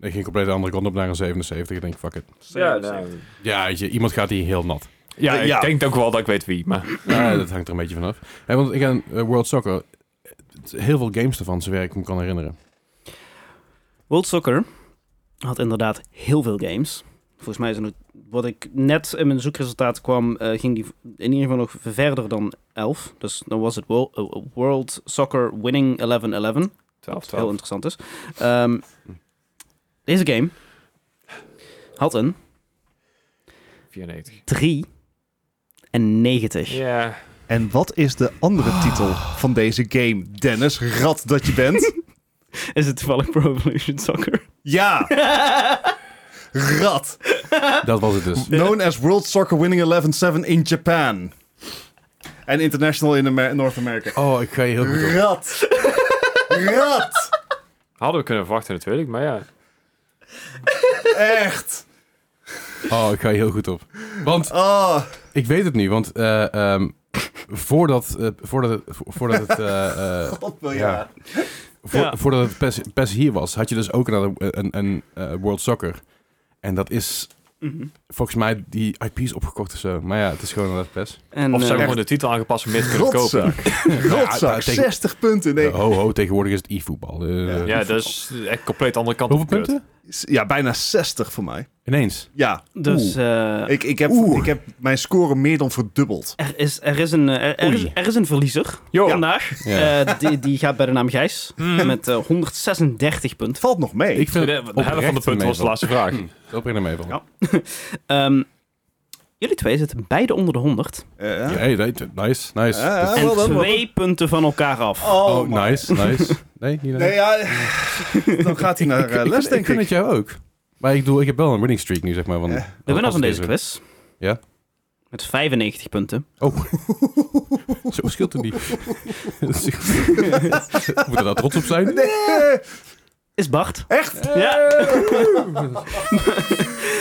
[SPEAKER 3] ging compleet de andere kant op naar een 77. Ik denk, fuck it.
[SPEAKER 2] Ja, nou.
[SPEAKER 3] Ja, weet je, iemand gaat hier heel nat. *clears throat*
[SPEAKER 2] ja,
[SPEAKER 4] Eh, ja.
[SPEAKER 2] ik denk ook wel dat ik weet wie, maar...
[SPEAKER 3] Ja, dat hangt er een beetje vanaf. Hey, want ik aan eh, World Soccer, eh, heel veel games ervan, zover ik me kan herinneren.
[SPEAKER 1] World Soccer had inderdaad heel veel games. Volgens mij zijn het, wat ik net in mijn zoekresultaten kwam, eh, ging die in ieder geval nog verder dan 11. Dus dan was het World, eh, World Soccer Winning 11-11.
[SPEAKER 2] 12,
[SPEAKER 1] Heel
[SPEAKER 2] 12.
[SPEAKER 1] interessant is. Ehm, deze game had een
[SPEAKER 2] 94.
[SPEAKER 1] 3 en 90.
[SPEAKER 2] Ja.
[SPEAKER 4] En wat is de andere titel van deze game? Dennis, rat dat je *laughs* bent.
[SPEAKER 1] Is het toevallig Pro Evolution Soccer?
[SPEAKER 4] ja, *laughs* rat.
[SPEAKER 3] Dat was het
[SPEAKER 4] *laughs*
[SPEAKER 3] dus.
[SPEAKER 4] Known as World Soccer Winning 11-7 in Japan. En international in Amer- North America.
[SPEAKER 3] Oh, ik ga je heel goed op.
[SPEAKER 4] Rat. Rat.
[SPEAKER 2] Hadden we kunnen verwachten natuurlijk, maar ja.
[SPEAKER 4] Echt.
[SPEAKER 3] Oh, ik ga je heel goed op. Want
[SPEAKER 4] Oh.
[SPEAKER 3] Ik weet het nu, want eh, ehm, voordat, eh, voordat het, vo- voordat het, eh,
[SPEAKER 2] *laughs*
[SPEAKER 3] eh,
[SPEAKER 4] God, wil je
[SPEAKER 3] Ja.
[SPEAKER 4] aan.
[SPEAKER 3] voor-
[SPEAKER 1] Ja.
[SPEAKER 3] voordat het PES, PES hier was, had je dus ook een, een, een eh, World Soccer. En dat is
[SPEAKER 1] Mhm.
[SPEAKER 3] volgens mij die IP's opgekocht of zo. Maar ja, het is gewoon inderdaad PES.
[SPEAKER 1] En,
[SPEAKER 2] Of ze hebben
[SPEAKER 1] eh,
[SPEAKER 2] gewoon de titel aangepast om meer te kunnen kopen.
[SPEAKER 4] Rotzak. Rotzak,
[SPEAKER 3] Ja, tegen-
[SPEAKER 4] 60 punten. Nee.
[SPEAKER 3] Eh, ho, ho, tegenwoordig is het e-voetbal. Eh,
[SPEAKER 4] Ja.
[SPEAKER 2] Ja, dat is echt compleet andere kant
[SPEAKER 3] Hoeveel
[SPEAKER 2] op de kut.
[SPEAKER 3] punten?
[SPEAKER 4] Ja, bijna 60 voor mij.
[SPEAKER 3] Ineens.
[SPEAKER 4] Ja,
[SPEAKER 1] dus eh,
[SPEAKER 4] ik, ik, heb,
[SPEAKER 3] Oeh.
[SPEAKER 4] ik heb mijn score meer dan verdubbeld.
[SPEAKER 1] er, is, er, is een, eh, er, er is,
[SPEAKER 3] Oei.
[SPEAKER 1] er is een verliezer
[SPEAKER 2] Yo.
[SPEAKER 1] vandaag.
[SPEAKER 3] Ja.
[SPEAKER 1] Eh, die, die gaat bij de naam Gijs. Met eh, 136 punten.
[SPEAKER 4] Valt nog mee.
[SPEAKER 3] Ik vind
[SPEAKER 2] De
[SPEAKER 3] het
[SPEAKER 2] helft van de punten was de laatste vraag.
[SPEAKER 1] Hm.
[SPEAKER 3] Oprecht een meeval.
[SPEAKER 1] Ja. Ehm, jullie twee zitten beide onder de 100.
[SPEAKER 4] Eh,
[SPEAKER 3] Ja, hey, nee, t- nice, nice.
[SPEAKER 4] Eh,
[SPEAKER 3] Dat-
[SPEAKER 4] eh,
[SPEAKER 1] en
[SPEAKER 4] wel dan, wel
[SPEAKER 1] twee punten van elkaar af.
[SPEAKER 4] dan.
[SPEAKER 3] oh, nice,
[SPEAKER 2] *laughs*
[SPEAKER 3] nice. Nee, niet
[SPEAKER 4] Nee, ja, dan gaat hij naar eh,
[SPEAKER 3] ik,
[SPEAKER 4] les,
[SPEAKER 3] vind- ik
[SPEAKER 4] denk ik.
[SPEAKER 3] vind het jou ook. Maar ik bedoel, ik heb wel een winning streak nu, zeg maar. Van,
[SPEAKER 4] Ja.
[SPEAKER 1] de winnaar van
[SPEAKER 3] als
[SPEAKER 1] deze quiz.
[SPEAKER 3] Ja.
[SPEAKER 1] Met 95 punten.
[SPEAKER 3] Oh. *laughs* Zo scheelt het niet. Moet er daar trots op zijn?
[SPEAKER 1] Is Bart.
[SPEAKER 4] Echt?
[SPEAKER 1] Ja. *laughs*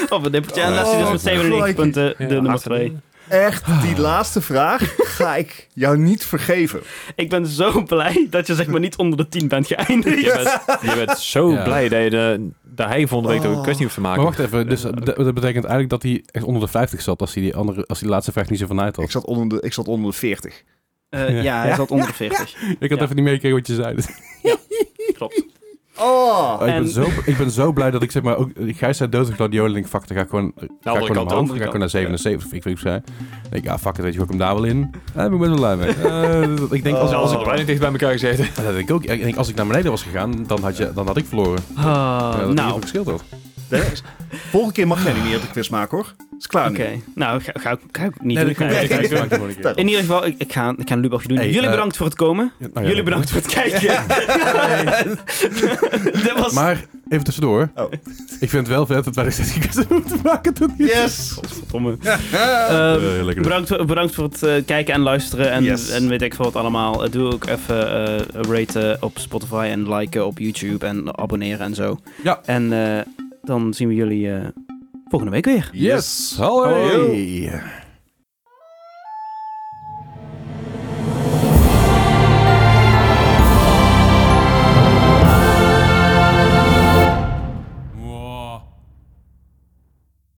[SPEAKER 1] of een nippertje. En laatst hij dus met
[SPEAKER 4] Oh,
[SPEAKER 1] 97
[SPEAKER 4] crikey.
[SPEAKER 1] punten de
[SPEAKER 2] Ja,
[SPEAKER 1] nummer
[SPEAKER 2] achter-
[SPEAKER 1] 2.
[SPEAKER 4] Echt, die laatste vraag ga ik jou niet vergeven.
[SPEAKER 1] Ik ben zo blij dat je zeg maar niet onder de 10 bent geëindigd.
[SPEAKER 2] Je bent, je bent zo
[SPEAKER 3] Ja.
[SPEAKER 2] blij dat je de, dat hij volgende week
[SPEAKER 4] Oh.
[SPEAKER 2] ook een kwestie hoeft te
[SPEAKER 3] Maar
[SPEAKER 2] maken.
[SPEAKER 3] wacht even, dus dat dat betekent eigenlijk dat hij echt onder de 50 zat als hij die, andere, als hij die laatste vraag niet zo vanuit
[SPEAKER 4] Ik
[SPEAKER 3] had.
[SPEAKER 4] zat onder de, ik zat onder de 40.
[SPEAKER 1] Eh, ja. hij zat onder de 40.
[SPEAKER 3] Ik had
[SPEAKER 1] Ja.
[SPEAKER 3] even niet meegekregen wat je zei.
[SPEAKER 1] Klopt.
[SPEAKER 4] Oh,
[SPEAKER 3] Oh, ik,
[SPEAKER 1] En-
[SPEAKER 3] ben zo, ik ben zo blij dat ik zeg maar ook... Gijs zei dood en gladiolen. Ik denk, fuck, dan ga ik gewoon, ga ik gewoon
[SPEAKER 2] andere kant
[SPEAKER 3] omhoog.
[SPEAKER 1] ook.
[SPEAKER 3] Dan ga ik gewoon naar 77. of Ik weet niet wat ik zei. Ik denk, ja, fuck it, weet je, gooi ik hem daar wel in. Daar ben ik best wel blij mee. Eh, ik denk,
[SPEAKER 1] Oh.
[SPEAKER 3] als, als
[SPEAKER 2] Als
[SPEAKER 3] ik,
[SPEAKER 2] ik bijna dicht bij elkaar gezeten.
[SPEAKER 3] dat denk ik ook. Ik denk, als ik naar beneden was gegaan, dan had, je, dan had ik verloren.
[SPEAKER 1] Ah,
[SPEAKER 3] Ja, dat nou.
[SPEAKER 1] nou,
[SPEAKER 3] Ook
[SPEAKER 1] oké.
[SPEAKER 3] geschild had.
[SPEAKER 4] Dennis, volgende keer mag jij niet meer de quiz maken, hoor. Is klaar nu.
[SPEAKER 1] Nou, ga, ga, ik- ga ik niet
[SPEAKER 3] Nee,
[SPEAKER 1] doen.
[SPEAKER 3] dat kan
[SPEAKER 1] Nee,
[SPEAKER 3] ik
[SPEAKER 1] ga ik
[SPEAKER 3] niet.
[SPEAKER 1] doen.
[SPEAKER 3] Maak je gewoon een keer.
[SPEAKER 1] In ieder geval, ik, ik ga, ik ga Lubach doen.
[SPEAKER 3] Hey,
[SPEAKER 1] Jullie
[SPEAKER 3] eh,
[SPEAKER 1] bedankt voor het komen.
[SPEAKER 3] Ja, nou ja,
[SPEAKER 1] Jullie bedankt voor het kijken. *laughs* Dit was...
[SPEAKER 3] Maar even tussendoor.
[SPEAKER 4] Oh.
[SPEAKER 3] Ik vind het wel vet dat wij er steeds een quiz moeten maken. Tot nu.
[SPEAKER 4] *laughs* Yes!
[SPEAKER 1] Godverdomme.
[SPEAKER 4] Ja.
[SPEAKER 1] Ehm,
[SPEAKER 3] Eh, lekker.
[SPEAKER 1] bedankt, voor- bedankt voor het eh, kijken en luisteren. En,
[SPEAKER 4] Yes.
[SPEAKER 1] en weet ik veel wat allemaal. Eh, doe ook even eh, raten op Spotify en liken op YouTube en abonneren en zo.
[SPEAKER 3] Ja.
[SPEAKER 1] En eh, dan zien we jullie eh, volgende week weer.
[SPEAKER 3] Yes, hallo.
[SPEAKER 1] Hallo.
[SPEAKER 3] Hey.